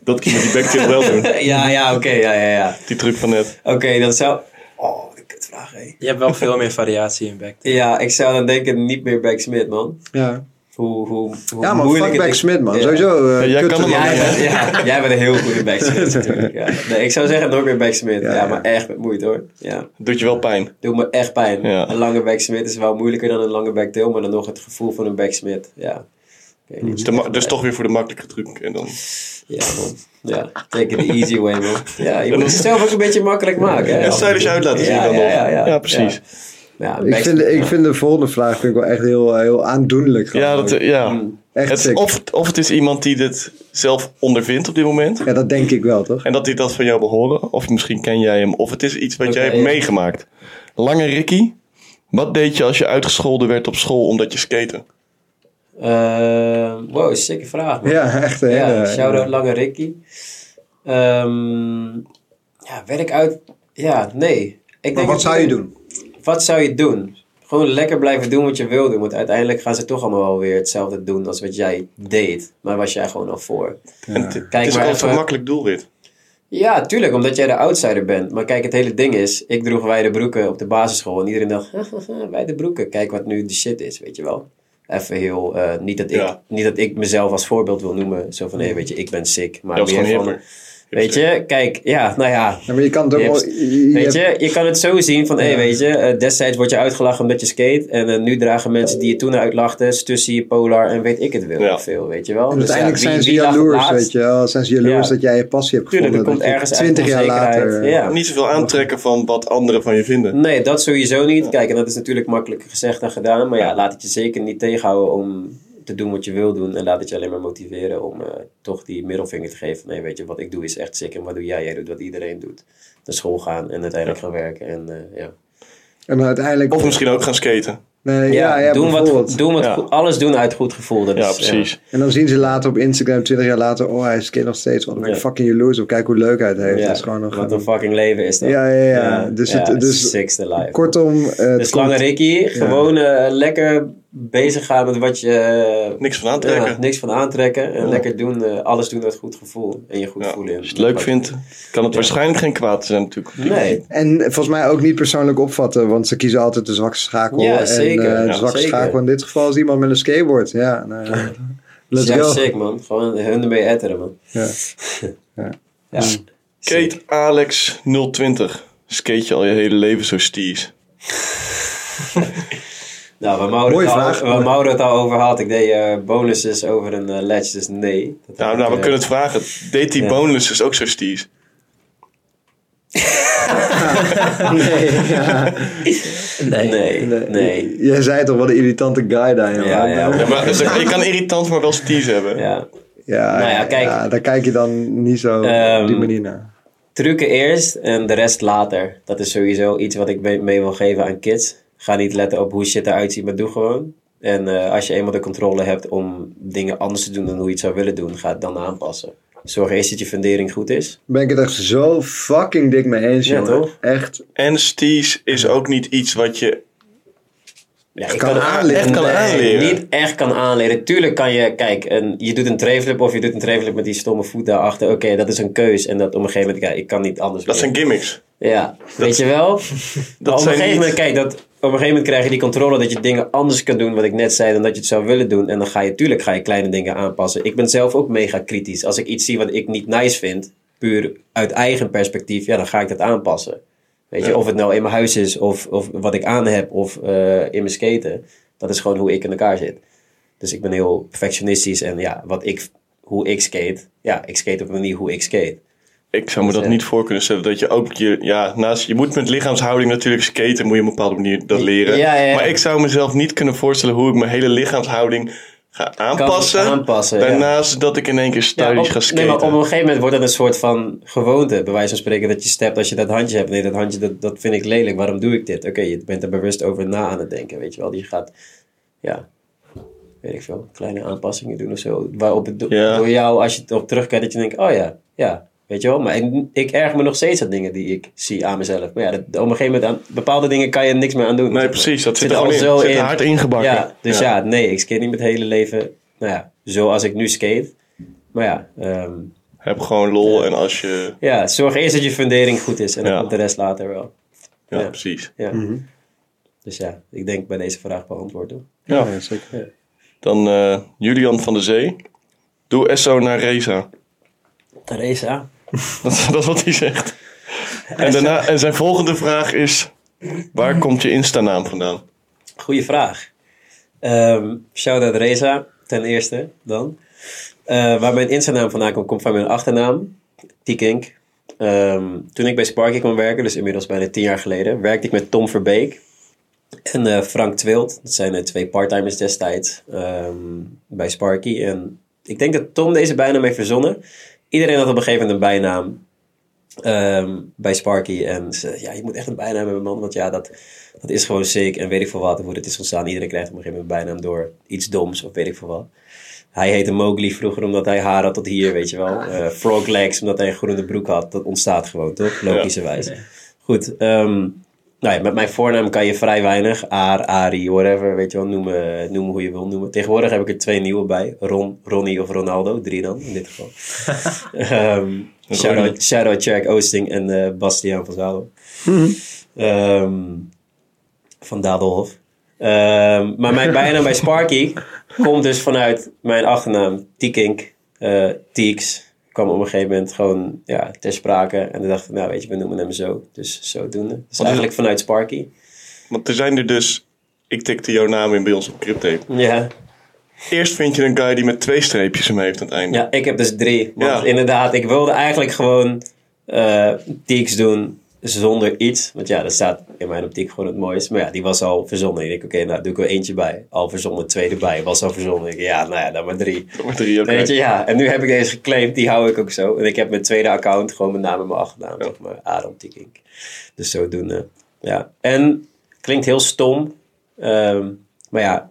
Speaker 2: dat kun je met die backtail wel doen.
Speaker 3: Ja, ja, oké, ja, ja, ja.
Speaker 2: Die truc van net.
Speaker 3: Oké, dan zou... Oh, de kutvraag, hé.
Speaker 4: Je hebt wel veel meer variatie in back.
Speaker 3: Ja, ik zou dan denken niet meer Beck Smit, man.
Speaker 1: Ja.
Speaker 3: Hoe, hoe, hoe
Speaker 1: ja, man,
Speaker 3: moeilijk
Speaker 1: fuck
Speaker 3: het is.
Speaker 1: backsmith, man.
Speaker 3: Ja.
Speaker 1: Sowieso. eh,
Speaker 2: Ja, jij
Speaker 1: kut-
Speaker 2: kan hem
Speaker 1: ja,
Speaker 2: al-
Speaker 3: Jij
Speaker 2: Ja,
Speaker 3: bent, ja, jij bent een heel goede Beck Smit natuurlijk. Ja. Nee, ik zou zeggen nooit meer Beck Smit. Ja, maar echt met moeite hoor. Ja.
Speaker 2: Doet je wel pijn.
Speaker 3: Doet me echt pijn.
Speaker 2: Ja.
Speaker 3: Een lange Beck Smit is wel moeilijker dan een lange Beck Deel, maar dan nog het gevoel van een Beck Smit. Ja. Ik weet niet.
Speaker 1: Mm-hmm.
Speaker 2: Dus, de ma- dus toch weer voor de makkelijke truc. En dan,
Speaker 3: Ja, man. Ja, take it the easy way, man. Ja, je moet het zelf ook een beetje makkelijk maken. Hè?
Speaker 2: en strijders je uit laten zien
Speaker 3: Ja,
Speaker 2: dan
Speaker 3: ja,
Speaker 2: nog.
Speaker 3: ja, ja.
Speaker 2: precies.
Speaker 3: Ja,
Speaker 1: Ik
Speaker 3: Beck
Speaker 1: vind,
Speaker 3: Smit,
Speaker 1: ik
Speaker 3: ja.
Speaker 1: vind de volgende vraag vind ik wel echt heel, heel aandoenlijk.
Speaker 2: Ja,
Speaker 1: gewoon
Speaker 2: dat, eh,
Speaker 1: ook.
Speaker 2: ja.
Speaker 3: Mm,
Speaker 1: Echt
Speaker 2: Het,
Speaker 1: sick.
Speaker 2: of, het- of het is iemand die dit zelf ondervindt op dit moment.
Speaker 1: Ja, dat denk ik wel, toch?
Speaker 2: En dat hij dat van jou behoren. Of misschien ken jij hem. Of het is iets wat
Speaker 3: Oké,
Speaker 2: jij hebt
Speaker 3: ja.
Speaker 2: meegemaakt. Lange Ricky. Wat deed je als je uitgescholden werd op school omdat je skaten?
Speaker 3: Ehm, wow, sikke vraag, man.
Speaker 1: Ja, echt. hè.
Speaker 3: Ja,
Speaker 1: Ja,
Speaker 3: shout-out Lange Ricky. Ehm, ja, werk uit... Ja, nee.
Speaker 1: Maar
Speaker 3: Ik denk
Speaker 1: wat
Speaker 3: dat-
Speaker 1: zou je doen?
Speaker 3: Wat zou je doen? Gewoon lekker blijven doen wat je wil doen. Want uiteindelijk gaan ze toch allemaal wel weer hetzelfde doen als wat jij deed. Maar was jij gewoon al voor.
Speaker 2: En het, het
Speaker 3: Kijk
Speaker 2: is
Speaker 3: maar
Speaker 2: altijd
Speaker 3: even-
Speaker 2: een makkelijk doelwit.
Speaker 3: Ja, tuurlijk, omdat jij de outsider bent. Maar kijk, het hele ding is, ik droeg wijde broeken op de basisschool. En iedereen dacht, wijde broeken, kijk wat nu de shit is, weet je wel. Even heel, eh, niet, dat ik,
Speaker 2: Ja.
Speaker 3: niet dat ik mezelf als voorbeeld wil noemen. Zo van, hé, weet je, ik ben sick. Maar
Speaker 2: Dat was
Speaker 3: meer
Speaker 2: gewoon
Speaker 3: van,
Speaker 2: hipper.
Speaker 3: Weet je, kijk, ja, nou ja.
Speaker 1: Ja, maar je kan het ook
Speaker 3: Je
Speaker 1: wel...
Speaker 3: hebt-
Speaker 1: je- je
Speaker 3: Weet
Speaker 1: hebt-
Speaker 3: je, je kan het zo zien van, hé, weet je, eh, destijds word je uitgelachen omdat je skate. En eh, nu dragen mensen die je toen uitlachten, Stussy, Polar en weet ik het wel,
Speaker 2: Ja.
Speaker 3: veel, weet je wel.
Speaker 1: En
Speaker 3: Dus ja,
Speaker 1: uiteindelijk
Speaker 3: wie-
Speaker 1: zijn ze
Speaker 3: wie lacht het
Speaker 1: jaloers,
Speaker 3: laatst?
Speaker 1: weet je wel. Zijn ze jaloers
Speaker 3: Ja.
Speaker 1: dat jij je passie hebt
Speaker 3: Tuurlijk,
Speaker 1: gevonden.
Speaker 3: er komt
Speaker 1: dat je
Speaker 3: ergens uit
Speaker 1: 20 jaar
Speaker 3: onzekerheid,
Speaker 1: later... eh,
Speaker 3: ja.
Speaker 2: Niet zoveel aantrekken van wat anderen van je vinden.
Speaker 3: Nee, dat sowieso niet. Kijk, en dat is natuurlijk makkelijker gezegd dan gedaan. Maar ja, laat het je zeker niet tegenhouden om te doen wat je wil doen. En laat het je alleen maar motiveren om eh, toch die middelvinger te geven. Nee, weet je, wat ik doe is echt sick. En wat doe jij? Jij doet wat iedereen doet. Naar school gaan en uiteindelijk gaan werken. En eh, ja.
Speaker 1: En uiteindelijk...
Speaker 2: Of misschien ook gaan skaten.
Speaker 1: Nee, ja, ja,
Speaker 3: doen
Speaker 1: bijvoorbeeld.
Speaker 3: wat, doen wat
Speaker 2: Ja.
Speaker 3: goed- alles doen uit goed gevoel. Dat
Speaker 2: Ja,
Speaker 3: is,
Speaker 2: precies.
Speaker 1: En dan zien ze later op Instagram, 20 jaar later, oh hij skate nog steeds. Want dan ben ik
Speaker 3: Ja.
Speaker 1: fucking jaloers op, kijk hoe leuk hij het heeft.
Speaker 3: Ja,
Speaker 1: Dat is gewoon nog
Speaker 3: wat
Speaker 1: een-
Speaker 3: een fucking leven is dat.
Speaker 1: Ja, ja, ja. Dus het-
Speaker 3: is
Speaker 1: dus-
Speaker 3: sixte life.
Speaker 1: Kortom, eh, het
Speaker 3: dus lange
Speaker 1: komt-
Speaker 3: Ricky, gewoon eh, lekker bezig gaan met wat je... eh,
Speaker 2: Niks van aantrekken.
Speaker 3: ja, niks van aantrekken. En lekker doen, eh, alles doen uit goed gevoel. En je goed
Speaker 2: Ja,
Speaker 3: voelen. in.
Speaker 2: Als je het leuk vindt, kan het waarschijnlijk geen kwaad zijn natuurlijk.
Speaker 3: Nee.
Speaker 1: En volgens mij ook niet persoonlijk opvatten, want ze kiezen altijd de zwakke schakel.
Speaker 3: Ja,
Speaker 1: en
Speaker 3: zeker.
Speaker 1: eh, de
Speaker 3: Ja,
Speaker 1: zwakke
Speaker 3: zeker.
Speaker 1: schakel in dit geval is iemand met een skateboard. Ja, nou, ja. let's
Speaker 3: ja,
Speaker 1: go.
Speaker 3: sick man. Gewoon hun ermee etteren man.
Speaker 1: Ja.
Speaker 3: ja.
Speaker 1: Ja. Hmm.
Speaker 2: Kate Alex 020. Skate je al je hele leven zo stiers?
Speaker 3: Nou, waar Mauro,
Speaker 1: Mooie
Speaker 3: het al,
Speaker 1: vraag.
Speaker 3: waar Mauro het al over had. Ik deed eh bonuses over een eh, ledge, dus nee. Dat
Speaker 2: Nou,
Speaker 3: heb
Speaker 2: nou,
Speaker 3: ik,
Speaker 2: we
Speaker 3: eh,
Speaker 2: kunnen het vragen. Deed die
Speaker 3: Ja.
Speaker 2: bonus dus ook zo stiers?
Speaker 1: Nee, ja.
Speaker 4: Nee.
Speaker 3: Nee, nee.
Speaker 1: Jij zei toch wel een irritante guy daar, jongen.
Speaker 3: Ja, ja.
Speaker 2: Ja, maar, dus je kan irritant, maar wel stiers hebben.
Speaker 3: Ja.
Speaker 1: Ja,
Speaker 3: Nou ja, kijk.
Speaker 1: ja, daar kijk je dan niet zo op die
Speaker 3: Ehm,
Speaker 1: manier naar.
Speaker 3: Trucken eerst en de rest later. Dat is sowieso iets wat ik mee mee wil geven aan kids. Ga niet letten op hoe shit eruit ziet, maar doe gewoon. En eh, als je eenmaal de controle hebt om dingen anders te doen dan hoe je het zou willen doen, ga het dan aanpassen. Zorg eerst dat je fundering goed is.
Speaker 1: Ben ik het echt zo fucking dik mee eens,
Speaker 3: Ja,
Speaker 1: jongen.
Speaker 3: toch?
Speaker 1: Echt.
Speaker 2: En stiers is ook niet iets wat je
Speaker 3: Ja,
Speaker 1: kan aanleren.
Speaker 2: echt kan
Speaker 3: Nee,
Speaker 2: aanleren.
Speaker 3: Niet echt kan aanleren. Tuurlijk kan je, kijk, een, je doet een travelflip of je doet een travelflip met die stomme voet daarachter. Oké, dat is een keus. En dat op een gegeven moment, kijk, ik kan niet anders
Speaker 2: Dat
Speaker 3: meer.
Speaker 2: zijn gimmicks.
Speaker 3: Ja, weet je wel? Maar op
Speaker 2: zijn
Speaker 3: een gegeven moment,
Speaker 2: niet-
Speaker 3: kijk, dat, op een gegeven moment krijg je die controle dat je dingen anders kan doen, wat ik net zei, dan dat je het zou willen doen. En dan ga je, tuurlijk ga je kleine dingen aanpassen. Ik ben zelf ook mega kritisch. Als ik iets zie wat ik niet nice vind, puur uit eigen perspectief, ja, dan ga ik dat aanpassen. Weet je,
Speaker 2: Ja.
Speaker 3: of het nou in mijn huis is, of, of wat ik aan heb, of eh, in mijn skaten. Dat is gewoon hoe ik in elkaar zit. Dus ik ben heel perfectionistisch en ja, wat ik, hoe ik skate, ja, ik skate op een manier hoe ik skate.
Speaker 2: Ik zou me dat
Speaker 3: Ja.
Speaker 2: niet voor kunnen stellen. Dat je ook je, ja, naast je moet met lichaamshouding natuurlijk skaten, moet je op een bepaalde manier dat leren.
Speaker 3: Ja, ja, ja.
Speaker 2: Maar ik zou mezelf niet kunnen voorstellen hoe ik mijn hele lichaamshouding ga aanpassen.
Speaker 3: aanpassen, ja.
Speaker 2: daarnaast dat ik in één keer
Speaker 3: Ja,
Speaker 2: studies
Speaker 3: op-
Speaker 2: ga
Speaker 3: Nee,
Speaker 2: skaten.
Speaker 3: maar op een gegeven moment wordt dat een soort van gewoonte, bij wijze van spreken, dat je stept als je dat handje hebt. Nee, dat handje, dat, dat vind ik lelijk, waarom doe ik dit? Oké, je bent er bewust over na aan het denken, weet je wel. Je gaat, ja, weet ik veel, kleine aanpassingen doen of zo. Waarop het do-
Speaker 2: Ja.
Speaker 3: door jou, als je erop terugkijkt, dat je denkt, oh ja, ja, weet je wel. Maar ik, ik erg me nog steeds aan dingen die ik zie aan mezelf. Maar ja, dat, op een gegeven moment, aan, bepaalde dingen kan je niks meer aan doen.
Speaker 2: Nee, precies, dat zit
Speaker 3: er
Speaker 2: er
Speaker 3: al
Speaker 2: gewoon in. Zit er hard ingebakken.
Speaker 3: Ja, dus ja. nee, ik skate niet mijn hele leven, nou ja, zoals ik nu skate. Maar ja, ehm,
Speaker 2: Heb gewoon lol en als je...
Speaker 3: ja, zorg eerst dat je fundering goed is en dan
Speaker 2: Ja.
Speaker 3: komt de rest later wel.
Speaker 2: Ja,
Speaker 3: Ja.
Speaker 2: precies.
Speaker 3: Ja. Dus ja, ik denk bij deze vraag beantwoord hoor.
Speaker 2: Ja.
Speaker 1: Ja, zeker.
Speaker 2: Dan eh, Julian van der Zee. Doe SO naar Reza.
Speaker 3: Theresa.
Speaker 2: Dat, dat is wat hij zegt. En, daarna, en zijn volgende vraag is... Waar komt je Insta-naam vandaan?
Speaker 3: Goeie vraag. Ehm shout out Reza, ten eerste dan. Eh, waar mijn Insta-naam vandaan komt, komt van mijn achternaam, Tikink. Ehm, toen ik bij Sparky kwam werken, dus inmiddels bijna tien jaar geleden, werkte ik met Tom Verbeek en eh, Frank Twilt. Dat zijn eh, twee parttimers destijds ehm, bij Sparky. En ik denk dat Tom deze bijnaam heeft verzonnen. Iedereen had op een gegeven moment een bijnaam ehm, bij Sparky. En ze ja, je moet echt een bijnaam hebben, man. Want ja, dat, dat is gewoon sick. En weet ik veel wat. en Hoe dit is ontstaan. Iedereen krijgt op een gegeven moment een bijnaam door iets doms of weet ik veel wat. Hij heette Mowgli vroeger omdat hij haar had tot hier, weet je wel. Eh frog legs omdat hij een groene broek had. Dat ontstaat gewoon, toch? Logischerwijs. Goed. ehm, nou ja, met mijn voornaam kan je vrij weinig. Aar, Ari, whatever. Weet je wel, noemen, noemen hoe je wil noemen. Tegenwoordig heb ik er twee nieuwe bij. Ron, Ronnie of Ronaldo. Drie dan, in dit geval. Ehm shout-out, shout-out Jack Oosting en eh, Bastiaan van Zadel. Ehm, van Dadelhof. Ehm, maar mijn bijnaam bij Sparky komt dus vanuit mijn achternaam Tikink. eh Tieks kwam op een gegeven moment gewoon ja, ter sprake. En dan dacht ik, nou weet je, we noemen hem zo. Dus zodoende. Dus eigenlijk vanuit Sparky.
Speaker 2: Want er zijn er dus... Ik tikte jouw naam in bij ons op Cryptape.
Speaker 3: Ja.
Speaker 2: Eerst vind je een guy die met twee streepjes hem heeft aan het einde.
Speaker 3: Ja, ik heb dus drie. Want
Speaker 2: Ja.
Speaker 3: inderdaad, ik wilde eigenlijk gewoon eh tieks doen zonder iets. Want ja, dat staat in mijn optiek gewoon het mooiste. Maar ja, die was al verzonnen. Ik denk, oké, nou doe ik er eentje bij. Al verzonnen, twee erbij. Was al verzonnen. Ik, ja, nou ja, dan maar drie.
Speaker 2: Nummer drie, oké.
Speaker 3: Weet je, ja. En nu heb ik deze geclaimd. Die hou ik ook zo. En ik heb mijn tweede account gewoon mijn naam en mijn achternaam. Zeg maar, Adam Tikink. Dus zodoende. Ja. En klinkt heel stom. Ehm, maar ja,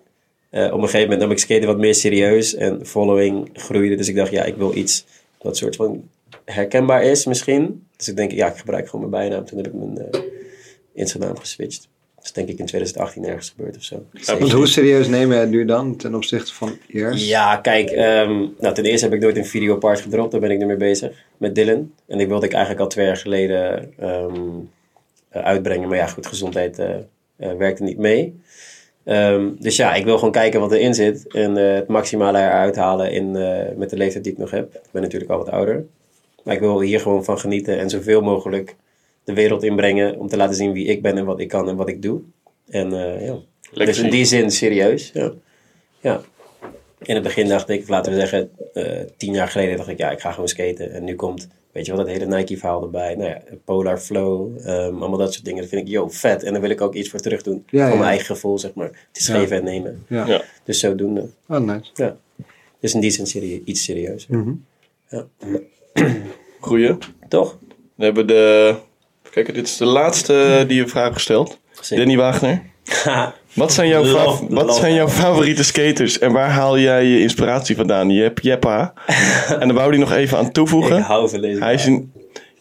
Speaker 3: eh, op een gegeven moment nam ik skaten wat meer serieus en following groeide. Dus ik dacht, ja, ik wil iets dat soort van herkenbaar is misschien. Dus ik denk, ja, ik gebruik gewoon mijn bijnaam. Toen heb ik mijn eh Instagram geswitcht. Dat is denk ik in 2018 ergens gebeurd of zo.
Speaker 1: Want hoe serieus nemen jij het nu dan ten opzichte van eerst?
Speaker 3: Ja, kijk, ehm, nou, ten eerste heb ik nooit een videopart gedropt. Daar ben ik nu mee bezig met Dylan. En die wilde ik eigenlijk al twee jaar geleden ehm, eh, uitbrengen. Maar ja, goed, gezondheid eh, eh, werkte niet mee. Ehm, dus ja, ik wil gewoon kijken wat erin zit. En eh, het maximale eruit halen in, eh, met de leeftijd die ik nog heb. Ik ben natuurlijk al wat ouder. Maar ik wil hier gewoon van genieten en zoveel mogelijk de wereld inbrengen. Om te laten zien wie ik ben en wat ik kan en wat ik doe. En eh, ja.
Speaker 2: Lekker
Speaker 3: Dus in
Speaker 2: zien.
Speaker 3: die zin serieus. Ja. ja. In het begin dacht ik, of laten we zeggen, eh, tien jaar geleden dacht ik, ja, ik ga gewoon skaten. En nu komt, weet je wel, dat hele Nike-verhaal erbij. Nou ja, Polar Flow, ehm, allemaal dat soort dingen. Dat vind ik, yo, vet. En daar wil ik ook iets voor terug doen.
Speaker 1: Ja,
Speaker 3: van
Speaker 1: ja.
Speaker 3: mijn eigen gevoel, zeg maar. Het is
Speaker 1: Ja.
Speaker 3: geven en nemen.
Speaker 1: Ja.
Speaker 2: Ja.
Speaker 3: Dus zodoende.
Speaker 1: Oh, nice.
Speaker 3: Ja. Dus in die zin serie- iets serieus.
Speaker 1: Mhm.
Speaker 2: Goeie.
Speaker 3: Toch?
Speaker 2: We hebben de... Kijk, dit is de laatste die je vraag gesteld.
Speaker 3: Zeker.
Speaker 2: Danny Wagner.
Speaker 3: Haha.
Speaker 2: Wat zijn, jouw
Speaker 3: Love,
Speaker 2: fav- wat
Speaker 3: love.
Speaker 2: zijn jouw favoriete skaters en waar haal jij je inspiratie vandaan? Jep, jeppa. en daar wou hij nog even aan toevoegen.
Speaker 3: ik hou van deze.
Speaker 2: Hij is in,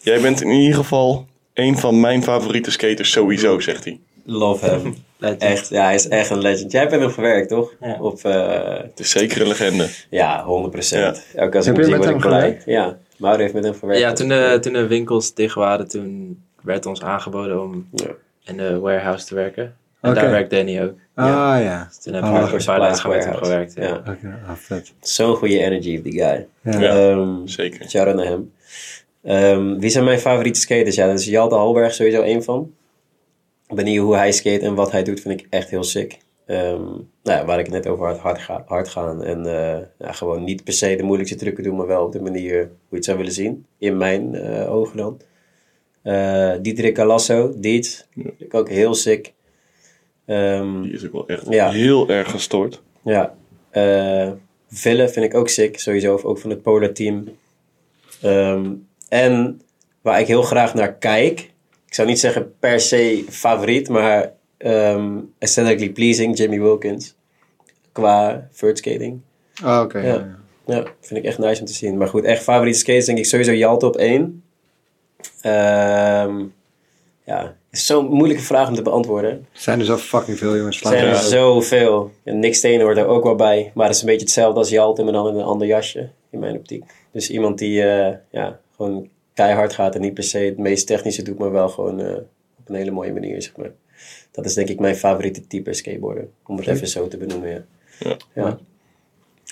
Speaker 2: jij bent in ieder geval een van mijn favoriete skaters sowieso, zegt hij.
Speaker 3: Love hem.
Speaker 4: Legend.
Speaker 3: echt, ja, hij is echt een legend. Jij hebt met hem gewerkt, toch?
Speaker 4: Ja.
Speaker 3: Op, eh,
Speaker 2: Het is zeker een legende.
Speaker 3: ja, 100%. Elke als
Speaker 1: Heb
Speaker 3: ik
Speaker 1: je
Speaker 3: zie,
Speaker 1: met
Speaker 3: word
Speaker 1: hem
Speaker 3: ik blij.
Speaker 1: gewerkt?
Speaker 3: Ja, Mauro heeft met hem gewerkt.
Speaker 4: Ja, toen de, toen de winkels dicht waren, toen werd ons aangeboden om
Speaker 3: Ja.
Speaker 4: in de warehouse te werken. En
Speaker 1: Oké.
Speaker 4: daar werkt Danny ook.
Speaker 1: Ah ja.
Speaker 4: Dus toen heb ik
Speaker 1: Ah,
Speaker 4: een
Speaker 3: voor
Speaker 4: paar dagen met hem
Speaker 3: warehouse.
Speaker 4: gewerkt. Ja.
Speaker 3: Ja.
Speaker 1: Oké, ah, vet.
Speaker 3: Zo'n goede energy, die guy.
Speaker 1: Ja.
Speaker 2: Ja.
Speaker 3: Ehm,
Speaker 2: Zeker.
Speaker 3: Shout out naar hem. Ehm, wie zijn mijn favoriete skaters? Ja, dat is Jalte Halberg sowieso één van. Ik ben hier hoe hij skate en wat hij doet, vind ik echt heel sick. Ehm, nou ja, waar ik het net over had, hard, ga- hard gaan. En eh, ja, gewoon niet per se de moeilijkste trucken doen, maar wel op de manier hoe je het zou willen zien. In mijn eh, ogen dan. Eh Dietrich Galasso, Diet. Vind ik ook heel sick. Ehm,
Speaker 2: Die is ook wel echt
Speaker 3: Ja.
Speaker 2: heel erg gestoord.
Speaker 3: ja. eh Ville vind ik ook sick, sowieso. Ook van het Polar team. Ehm, en waar ik heel graag naar kijk. Ik zou niet zeggen per se favoriet, maar ehm aesthetically pleasing, Jimmy Wilkins. Qua vert skating.
Speaker 1: Ah, oké.
Speaker 3: Ja.
Speaker 1: ja,
Speaker 3: Ja, vind ik echt nice om te zien. Maar goed, echt favoriete skates denk ik sowieso Jalte op één. Ehm, ja, is zo'n moeilijke vraag om te beantwoorden.
Speaker 1: Er zijn er zo fucking veel jongens. Slaan
Speaker 3: Er zijn er
Speaker 1: ze
Speaker 3: zoveel. En Nick Steen hoort er ook wel bij. Maar het is een beetje hetzelfde als Jalte, maar dan in een ander jasje. In mijn optiek. Dus iemand die eh, ja, gewoon keihard gaat en niet per se het meest technische doet, maar wel gewoon eh, op een hele mooie manier, zeg maar. Dat is denk ik mijn favoriete type skateboarder. Om het even zo te benoemen, ja.
Speaker 2: Ja.
Speaker 3: ja.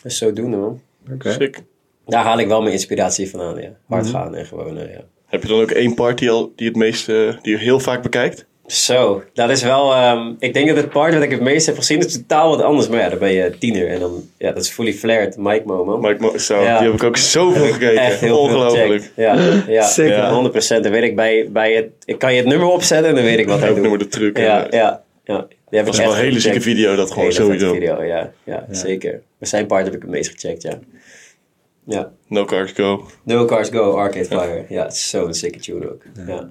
Speaker 3: Dus zodoende, man.
Speaker 1: Oké.
Speaker 2: Sick.
Speaker 3: Daar haal ik wel mijn inspiratie vandaan, ja. Hard gaan en gewoon, eh, ja.
Speaker 2: Heb je dan ook één part die, al, die het meest, eh, die je heel vaak bekijkt?
Speaker 3: Zo, dat is wel. ehm, ik denk dat het part wat ik het meest heb gezien is totaal wat anders. Maar ja, dan ben je tiener en dan. Ja, dat is fully flared Mike Momo.
Speaker 2: Maar ik mo- zo,
Speaker 3: Ja.
Speaker 2: die heb ik ook zoveel gekeken.
Speaker 3: Echt heel
Speaker 2: Ongelooflijk.
Speaker 3: Veel gecheckt. ja, ja,
Speaker 1: Zeker.
Speaker 3: ja, 100%. Dan weet ik bij, bij het. Ik kan je het nummer opzetten en dan weet ik wat
Speaker 2: Ook
Speaker 3: hij doet.
Speaker 2: nummer de truc.
Speaker 3: Ja,
Speaker 2: en, eh,
Speaker 3: ja, ja. Die heb
Speaker 2: Dat
Speaker 3: ik
Speaker 2: is wel
Speaker 3: echt
Speaker 2: een hele zieke
Speaker 3: gecheckt.
Speaker 2: video, dat gewoon
Speaker 3: Hele vette
Speaker 2: sowieso.
Speaker 3: video, ja, ja, zeker. Maar zijn part heb ik het meest gecheckt, ja. Ja.
Speaker 2: No Cars Go.
Speaker 3: No Cars Go, Arcade Fire. Ja, het is zo'n sikke tune ook. Ja.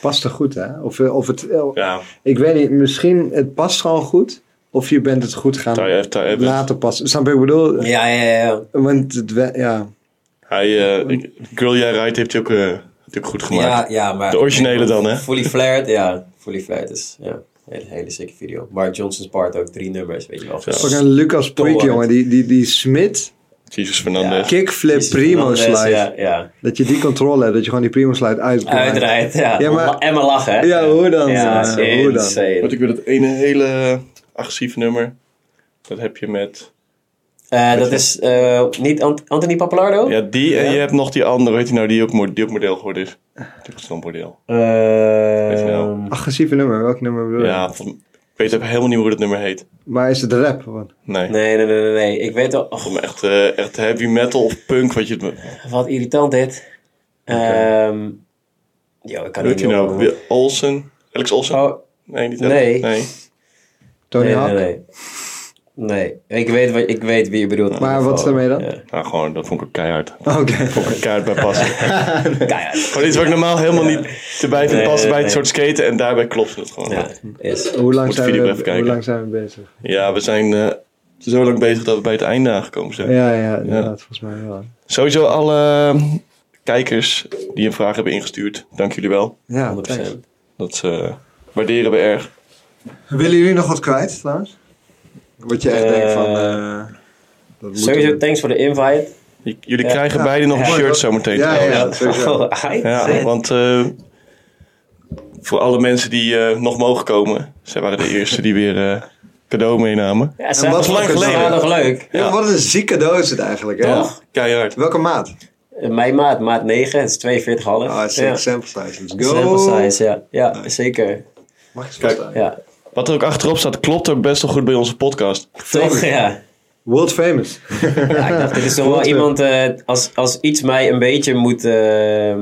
Speaker 1: Past er goed, hè? Of, eh, of het,
Speaker 2: Ja,
Speaker 1: Ik weet niet, misschien het past gewoon goed. Of je bent het goed gaan
Speaker 2: Ty F- Ty Evans.
Speaker 1: laten passen. Snap je wat ik bedoel? eh,
Speaker 3: Ja, ja, ja, ja.
Speaker 1: Want het, we- ja.
Speaker 2: hij, eh, ik- Girl Jij Ride heeft hij ook, eh, heeft hij ook goed gemaakt.
Speaker 3: Ja, ja, maar...
Speaker 2: De originele dan, hè?
Speaker 3: Fully Flared, ja. Fully Flared is ja, een hele, hele sikke video. Mark Johnson's part ook, drie nummers, weet je wel.
Speaker 1: Fucking Lucas Puig,
Speaker 3: Tolhard.
Speaker 1: jongen. Die, die, die Smit,
Speaker 2: Jesus Fernandez.
Speaker 1: kickflip,
Speaker 3: Jezus,
Speaker 1: primo
Speaker 3: Fernandez,
Speaker 1: slide.
Speaker 3: Ja, ja.
Speaker 1: Dat je die controle hebt, dat je gewoon die primo slide uit kan maken.
Speaker 3: Uitdraait, ja.
Speaker 1: Ja, maar-
Speaker 3: La- en maar lachen, hè?
Speaker 1: Ja, hoe dan? Ja, hoe dan?
Speaker 3: insane.
Speaker 2: Want ik wil dat ene hele agressieve nummer. Dat heb je met...
Speaker 3: Eh, dat is eh, niet Ant- Anthony Papalardo?
Speaker 2: Ja, die en je hebt nog die andere. Weet je nou, die ook, mo- die ook model geworden is. Die is dan model. Weet je wel.
Speaker 3: Ehm,
Speaker 1: Agressieve nummer, welk nummer bedoel je?
Speaker 2: Ja, van- ik weet even helemaal niet hoe dat nummer heet.
Speaker 1: Maar is het rap? Wat?
Speaker 2: Nee.
Speaker 3: nee, nee, nee, nee, nee. Ik weet oh, al... och,
Speaker 2: Om echt, eh, echt heavy metal of punk, wat je het... me-
Speaker 3: wat irritant dit. Ehm yo, ik
Speaker 2: Hoe
Speaker 3: kan
Speaker 2: heet
Speaker 3: het
Speaker 2: die
Speaker 3: niet
Speaker 2: nou?
Speaker 3: opnoemen.
Speaker 2: Wie- Olsen? Alex Olsen?
Speaker 3: Oh,
Speaker 2: nee, niet
Speaker 3: nee.
Speaker 2: Nee.
Speaker 1: Tony
Speaker 3: nee,
Speaker 1: Hawk?
Speaker 3: nee, nee. Nee, ik weet, wat, ik weet wie je bedoelt. in
Speaker 1: Maar
Speaker 3: ieder
Speaker 1: wat is
Speaker 3: geval.
Speaker 1: daarmee dan?
Speaker 3: Ja.
Speaker 2: Nou, gewoon, dat vond ik ook keihard.
Speaker 1: Oké.
Speaker 2: Vond ik ook keihard bij passen.
Speaker 3: Keihard.
Speaker 2: Gewoon iets wat ik normaal helemaal niet erbij vind
Speaker 3: Nee,
Speaker 2: passen bij
Speaker 3: nee.
Speaker 2: het soort skaten. En daarbij klopt het gewoon.
Speaker 3: Ja,
Speaker 2: Ja,
Speaker 3: is.
Speaker 1: Hoe lang,
Speaker 2: Moet de
Speaker 1: zijn
Speaker 2: video
Speaker 1: we,
Speaker 2: even kijken.
Speaker 1: hoe lang zijn we bezig?
Speaker 2: we zijn eh, zo lang bezig dat we bij het einde aangekomen zijn.
Speaker 1: Ja, ja, inderdaad, volgens mij wel.
Speaker 2: Sowieso alle ehm, kijkers die een vraag hebben ingestuurd. Dank jullie wel.
Speaker 1: Ja,
Speaker 3: 100%.
Speaker 2: Dat eh, waarderen we erg.
Speaker 1: Willen jullie nog wat kwijt trouwens? Wat je echt
Speaker 3: Eh,
Speaker 1: denkt van. eh, dat moeten
Speaker 3: Sowieso,
Speaker 1: we-
Speaker 3: thanks voor de invite.
Speaker 2: J- Jullie krijgen
Speaker 1: Ja.
Speaker 2: beide nog een
Speaker 1: Ja.
Speaker 2: shirt zometeen.
Speaker 1: Ja, ja, ja,
Speaker 2: trouwens.
Speaker 1: sowieso.
Speaker 3: Oh, hi.
Speaker 2: Ja, want eh, voor alle mensen die eh, nog mogen komen. Zij waren de eerste die weer eh, cadeau meenamen.
Speaker 3: Ja,
Speaker 1: En
Speaker 3: zijn
Speaker 1: wat
Speaker 3: nog
Speaker 1: lang
Speaker 3: ze waren
Speaker 2: geleden.
Speaker 3: nog leuk.
Speaker 1: Ja, wat een ziek cadeau is het eigenlijk, hè?
Speaker 2: Ja, keihard.
Speaker 1: Welke maat?
Speaker 3: Mijn maat, maat 9, het is 42,5.
Speaker 1: Ah, het is
Speaker 3: ja.
Speaker 1: sample size. Let's go.
Speaker 3: Sample size, ja. Ja, zeker.
Speaker 1: Mag eens Kijk,
Speaker 3: Ja.
Speaker 2: Wat er ook achterop staat, klopt ook best wel goed bij onze podcast.
Speaker 3: Toch? Ja.
Speaker 1: World famous.
Speaker 3: Ja, ik dacht, dit is toch wel iemand, eh, als, als iets mij een beetje moet, ehm,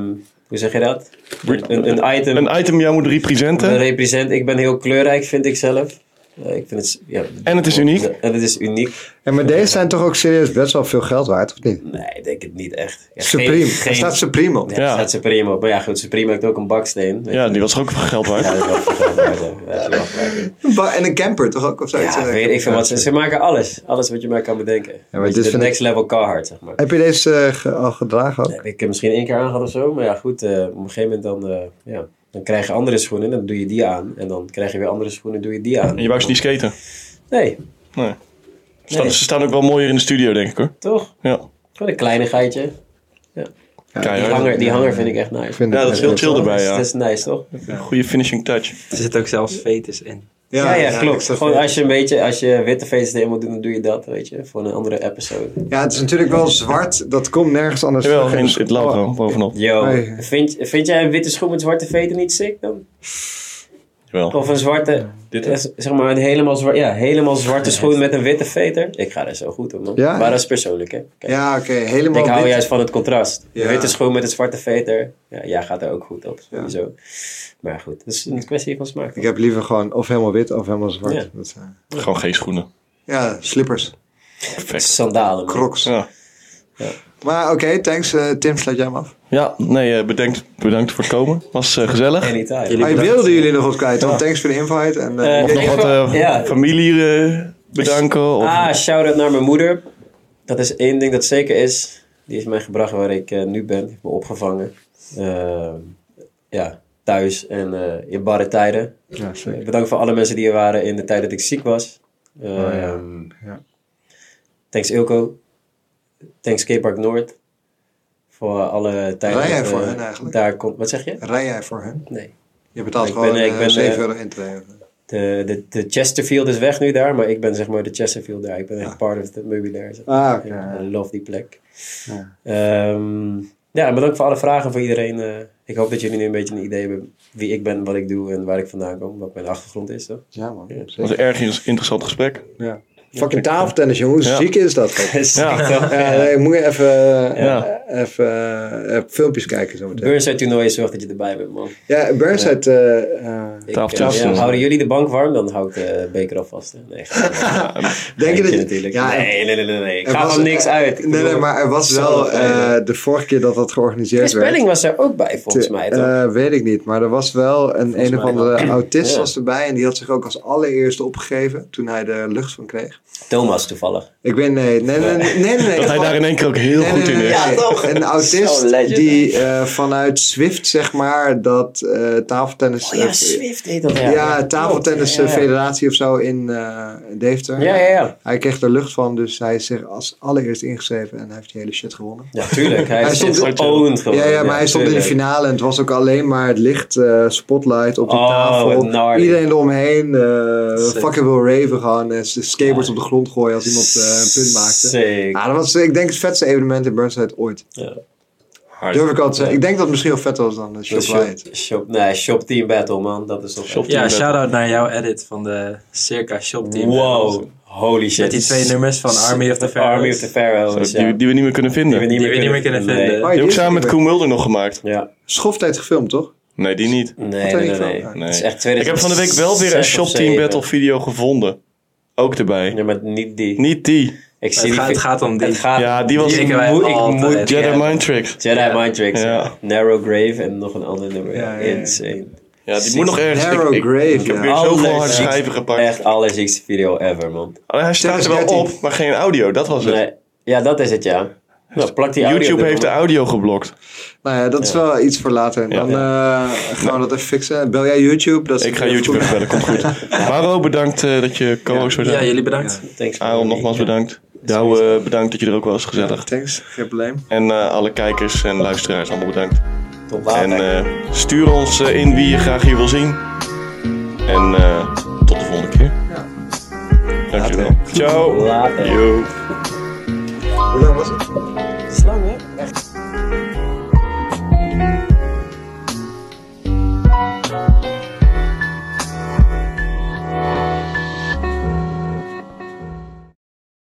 Speaker 3: hoe zeg je dat? Een, een item,
Speaker 2: Een item jou moet
Speaker 3: een
Speaker 2: representen.
Speaker 3: represent. Ik ben heel kleurrijk, vind ik zelf. Eh, ik vind het, ja,
Speaker 2: En het is uniek.
Speaker 3: en het is uniek.
Speaker 1: En maar deze zijn toch ook serieus best wel veel geld waard, of niet?
Speaker 3: Nee, ik denk het niet echt. Ja,
Speaker 1: Supreme.
Speaker 3: Geen,
Speaker 1: Er staat Supreme op.
Speaker 3: ja,
Speaker 2: Ja.
Speaker 3: er staat Supreme op. Maar ja, goed, Supreme heeft ook een baksteen. weet
Speaker 2: Ja,
Speaker 3: je.
Speaker 2: die was er ook geld waard.
Speaker 3: Ja, dat is wel vergelijkbaar, ja. Ja, dat is wel vergelijkbaar.
Speaker 1: Ba- En een camper toch ook, of zoiets?
Speaker 3: Ja, weet ik veel wat ze... Ze maken alles. Alles wat je maar kan bedenken. Dus
Speaker 1: maar dit
Speaker 3: de
Speaker 1: vind ik-
Speaker 3: next level Carhartt, zeg maar.
Speaker 1: Heb je deze eh, ge- al gedragen ook?
Speaker 3: Ja, ik heb misschien één keer aangehad of zo. Maar ja, goed. eh, op een gegeven moment dan... eh, ja, dan krijg je andere schoenen. Dan doe je die aan. En dan krijg je weer andere schoenen. doe je die aan.
Speaker 2: En je wou ze niet skaten.
Speaker 3: Nee,
Speaker 2: Nee. Ze staan-
Speaker 3: Nee.
Speaker 2: Ze staan ook wel mooier in de studio, denk ik hoor.
Speaker 3: toch?
Speaker 2: Ja,
Speaker 3: Gewoon een kleinigheidje. Die
Speaker 2: keihard.
Speaker 3: hanger, die hanger vind ik echt nice.
Speaker 1: Ik vind
Speaker 2: Ja,
Speaker 1: het
Speaker 2: dat is
Speaker 1: echt
Speaker 2: heel chill
Speaker 1: wel-
Speaker 2: erbij,
Speaker 3: Dat is-
Speaker 2: ja.
Speaker 3: Dat is nice, toch?
Speaker 2: Goede finishing touch.
Speaker 4: Er zit ook zelfs fetus in.
Speaker 3: Ja, ja,
Speaker 1: ik
Speaker 3: klopt.
Speaker 1: snap
Speaker 3: Gewoon
Speaker 1: het.
Speaker 3: als je een beetje... Als je witte feesten in moet doen, dan doe je dat, weet je. Voor een andere episode.
Speaker 1: Ja, het is natuurlijk wel zwart. Dat komt nergens anders
Speaker 2: Jawel,
Speaker 1: terug.
Speaker 2: in het logo bovenop.
Speaker 3: Yo,
Speaker 1: Hey.
Speaker 3: vind, vind jij een witte schoen met zwarte veten niet sick dan?
Speaker 2: Jawel.
Speaker 3: Of een zwarte,
Speaker 2: Dit
Speaker 3: eh, zeg maar een helemaal, zwa- ja, helemaal zwarte schoen met een witte veter? Ik ga daar zo goed op, man.
Speaker 1: Ja?
Speaker 3: Maar dat is persoonlijk, hè? Kijk,
Speaker 1: Ja, oké. helemaal
Speaker 3: ik oh hou
Speaker 1: wit.
Speaker 3: juist van het contrast.
Speaker 1: Ja.
Speaker 3: De witte schoen met een zwarte veter. Ja, jij gaat er ook goed op,
Speaker 1: Ja.
Speaker 3: sowieso. Maar goed, het is een kwestie van smaak.
Speaker 1: Ik heb liever gewoon of helemaal wit of helemaal zwart.
Speaker 3: Ja.
Speaker 1: Dat zijn...
Speaker 2: Gewoon geen schoenen.
Speaker 1: ja slippers.
Speaker 2: Perfect.
Speaker 3: Sandalen, man.
Speaker 1: Crocs.
Speaker 2: Ja,
Speaker 1: Maar oké, thanks. eh, Tim, sluit jij hem af.
Speaker 2: ja nee, eh, bedankt, bedankt voor het komen. Was eh, gezellig.
Speaker 3: Anytime.
Speaker 4: Jullie-
Speaker 1: Hij
Speaker 4: bedankt.
Speaker 1: wilde jullie nog wat kwijt. Dan thanks voor de invite. En, eh,
Speaker 3: Eh,
Speaker 2: Of nog
Speaker 3: Ik
Speaker 2: wat
Speaker 3: wil-
Speaker 2: eh,
Speaker 3: ja.
Speaker 2: familie eh, bedanken. Of,
Speaker 3: Ah, shout-out naar mijn moeder. Dat is één ding dat zeker is. Die heeft mij gebracht waar ik eh, nu ben. Die heeft me opgevangen. Ehm, ja, thuis en eh, in barre tijden.
Speaker 1: ja, zeker. Oh
Speaker 3: Eh, Bedankt voor alle mensen die er waren in de tijd dat ik ziek was. Ehm,
Speaker 1: ja. Ja.
Speaker 3: Thanks Ilko. Thanks Skatepark Noord. Voor alle tijd.
Speaker 1: Rij jij
Speaker 3: dat, eh,
Speaker 1: voor hen eigenlijk?
Speaker 3: Daar komt, wat zeg je?
Speaker 1: Rij jij voor hen?
Speaker 3: Nee.
Speaker 1: Je betaalt
Speaker 3: Ik ben-
Speaker 1: gewoon
Speaker 3: ik
Speaker 1: eh,
Speaker 3: ben,
Speaker 1: 7
Speaker 3: eh,
Speaker 1: euro intree.
Speaker 3: De, de, de Chesterfield is weg nu daar, maar ik ben zeg maar de Chesterfield daar. Ik ben echt part of the meubilair. zeg
Speaker 1: Ah, oké.
Speaker 3: Ja, I love die plek.
Speaker 1: Ja.
Speaker 3: Ja. ja, en bedankt voor alle vragen voor iedereen. eh. ik hoop dat jullie nu een beetje een idee hebben wie ik ben, wat ik doe en waar ik vandaan kom, wat mijn achtergrond is. Toch?
Speaker 1: Ja, man.
Speaker 2: was
Speaker 1: Zeker.
Speaker 2: een erg interessant gesprek.
Speaker 1: Ja. Fucking tafeltennis, jongen. Hoe
Speaker 2: Ja.
Speaker 1: ziek is dat? gek?
Speaker 3: Dus
Speaker 2: Ja.
Speaker 3: eh,
Speaker 1: Ja, nee, moet je even,
Speaker 2: Ja.
Speaker 1: eh, even eh, filmpjes kijken zo meteen.
Speaker 3: Burnside toernooi, zorg dat je erbij bent, man.
Speaker 1: Ja, Burnside. eh, eh,
Speaker 3: Ik,
Speaker 2: Tafeltennis.
Speaker 3: eh, ja, houden jullie de bank warm, dan hou ik de beker alvast. hè. Nee, eh,
Speaker 1: denk je dat je-
Speaker 3: natuurlijk.
Speaker 1: Ja, en-
Speaker 3: nee, nee, nee, nee, nee. Ik
Speaker 1: er
Speaker 3: ga
Speaker 1: was- eh,
Speaker 3: van niks uit. Ik
Speaker 1: Nee, nee,
Speaker 3: bedoel,
Speaker 1: maar er was
Speaker 3: zo
Speaker 1: wel
Speaker 3: fijn.
Speaker 1: eh, de vorige keer dat dat georganiseerd
Speaker 3: Chris
Speaker 1: werd.
Speaker 3: Belling was er ook bij, volgens mij. Toch?
Speaker 1: Eh, weet ik niet, maar er was wel een een of
Speaker 3: mij
Speaker 1: andere autist
Speaker 3: Ja.
Speaker 1: was erbij en die had zich ook als allereerste opgegeven toen hij de lucht van kreeg.
Speaker 3: Thomas toevallig.
Speaker 1: Ik weet nee, nee, nee, nee, nee, nee.
Speaker 2: Dat hij daar in één keer ook heel
Speaker 1: Nee,
Speaker 2: goed
Speaker 1: nee,
Speaker 2: in
Speaker 1: nee,
Speaker 2: is.
Speaker 1: nee.
Speaker 3: Ja, toch?
Speaker 1: Een
Speaker 3: Zo'n
Speaker 1: autist
Speaker 3: legend.
Speaker 1: die eh, vanuit Zwift, zeg maar, dat eh, tafeltennis...
Speaker 3: Oh ja,
Speaker 1: eh,
Speaker 3: Swift heet dat.
Speaker 1: ja,
Speaker 3: Ja,
Speaker 1: tafeltennis
Speaker 3: Klopt, ja,
Speaker 1: eh,
Speaker 3: ja.
Speaker 1: federatie of zo in eh, Deventer.
Speaker 3: Ja, ja, ja.
Speaker 1: Hij kreeg er lucht van, dus hij is zich als allereerst ingeschreven en hij heeft die hele shit gewonnen.
Speaker 3: Ja, tuurlijk. Hij,
Speaker 1: Hij
Speaker 3: is
Speaker 1: stond-
Speaker 3: owned gewoon.
Speaker 1: ja, ja, maar hij stond in de
Speaker 3: tuurlijk.
Speaker 1: finale en het was ook alleen maar het licht, eh, spotlight op de
Speaker 3: Oh,
Speaker 1: tafel.
Speaker 3: wat gnarly.
Speaker 1: Iedereen eromheen, eh
Speaker 4: Sick.
Speaker 1: fucking wil raven gaan en s- skateboards op de grond gooien als iemand eh, een punt maakte.
Speaker 3: Sick.
Speaker 1: Ja, dat was eh, ik denk het vetste evenement in Burnside ooit.
Speaker 2: Hard.
Speaker 1: Durf ik al te zeggen. Ik denk dat het misschien wel vetter was dan de Shop Riot.
Speaker 3: Shop, shop, nee, shop Team Battle, man. Dat is toch
Speaker 2: Shop
Speaker 3: echt-
Speaker 4: Ja,
Speaker 2: Team
Speaker 4: shout-out naar jouw edit van de Circa Shop Team.
Speaker 3: Wow, holy shit.
Speaker 4: Met die twee nummers van Army of the Pharaohs.
Speaker 3: Army of the Pharaohs,
Speaker 2: Zo, Eh, die, die we niet meer kunnen vinden. Die,
Speaker 4: Die we niet meer kunnen vinden.
Speaker 1: Oh,
Speaker 2: heb ik
Speaker 1: is
Speaker 2: samen met
Speaker 1: er.
Speaker 2: Koen Mulder nog gemaakt.
Speaker 3: Ja.
Speaker 1: Schoftijd gefilmd, toch?
Speaker 2: Nee, die niet.
Speaker 3: Nee,
Speaker 1: Wat
Speaker 3: nee, nee.
Speaker 1: weet ik
Speaker 3: nee.
Speaker 1: van?
Speaker 3: Het is
Speaker 2: Nee.
Speaker 3: echt
Speaker 2: Ik heb van de week wel weer een
Speaker 3: 2006
Speaker 2: Shop
Speaker 3: of
Speaker 2: Team
Speaker 3: 7.
Speaker 2: Battle video gevonden. ook erbij.
Speaker 3: Ja, maar niet die.
Speaker 2: Niet die.
Speaker 3: Ik zie
Speaker 4: Het,
Speaker 3: die
Speaker 4: gaat, het
Speaker 3: fi-
Speaker 4: gaat om die.
Speaker 3: het gaat-
Speaker 2: Ja, die was-
Speaker 3: ik
Speaker 4: Denken wij
Speaker 3: moet, ik
Speaker 4: altijd.
Speaker 3: moet
Speaker 4: Ja.
Speaker 2: Jedi
Speaker 3: Jedi,
Speaker 2: Mind Tricks.
Speaker 3: Jedi
Speaker 4: Ja.
Speaker 3: Mind Tricks.
Speaker 2: Ja.
Speaker 3: Narrow Grave en nog een ander nummer.
Speaker 1: Ja, ja, ja.
Speaker 3: Insane.
Speaker 2: Ja, die moet nog ergens.
Speaker 1: Narrow
Speaker 2: ik, ik,
Speaker 1: Grave,
Speaker 2: ik heb
Speaker 1: ja.
Speaker 2: weer zoveel harde
Speaker 3: Allerziekste-
Speaker 2: schijven gepakt.
Speaker 3: Echt allerziekste video ever, man.
Speaker 2: Alleen hij staat er wel
Speaker 1: 13.
Speaker 2: op, maar geen audio. Dat was het.
Speaker 3: Nee, ja, dat is het, ja. Nou, plak die audio
Speaker 2: YouTube
Speaker 3: erop.
Speaker 2: heeft de audio geblokt.
Speaker 1: Nou ja, dat is wel iets voor later. Dan eh, gaan we dat even fixen. Bel jij YouTube? Dat is
Speaker 2: Ik ga YouTube even bellen, komt goed. Maro, bedankt eh, dat je co-host was.
Speaker 4: Ja, jullie bedankt.
Speaker 3: Thanks for
Speaker 2: Aaron,
Speaker 3: having me.
Speaker 2: nogmaals bedankt. Douwe, eh, bedankt dat je er ook was. Gezellig.
Speaker 1: Thanks, geen probleem.
Speaker 2: En eh, alle kijkers en luisteraars, allemaal bedankt.
Speaker 3: Tot later.
Speaker 2: En eh, stuur ons eh, in wie je graag hier wil zien. En eh, tot de volgende keer. Dankjewel. Ciao.
Speaker 3: Later.
Speaker 2: Yo.
Speaker 1: Hoe lang was het?
Speaker 3: Slang, hè?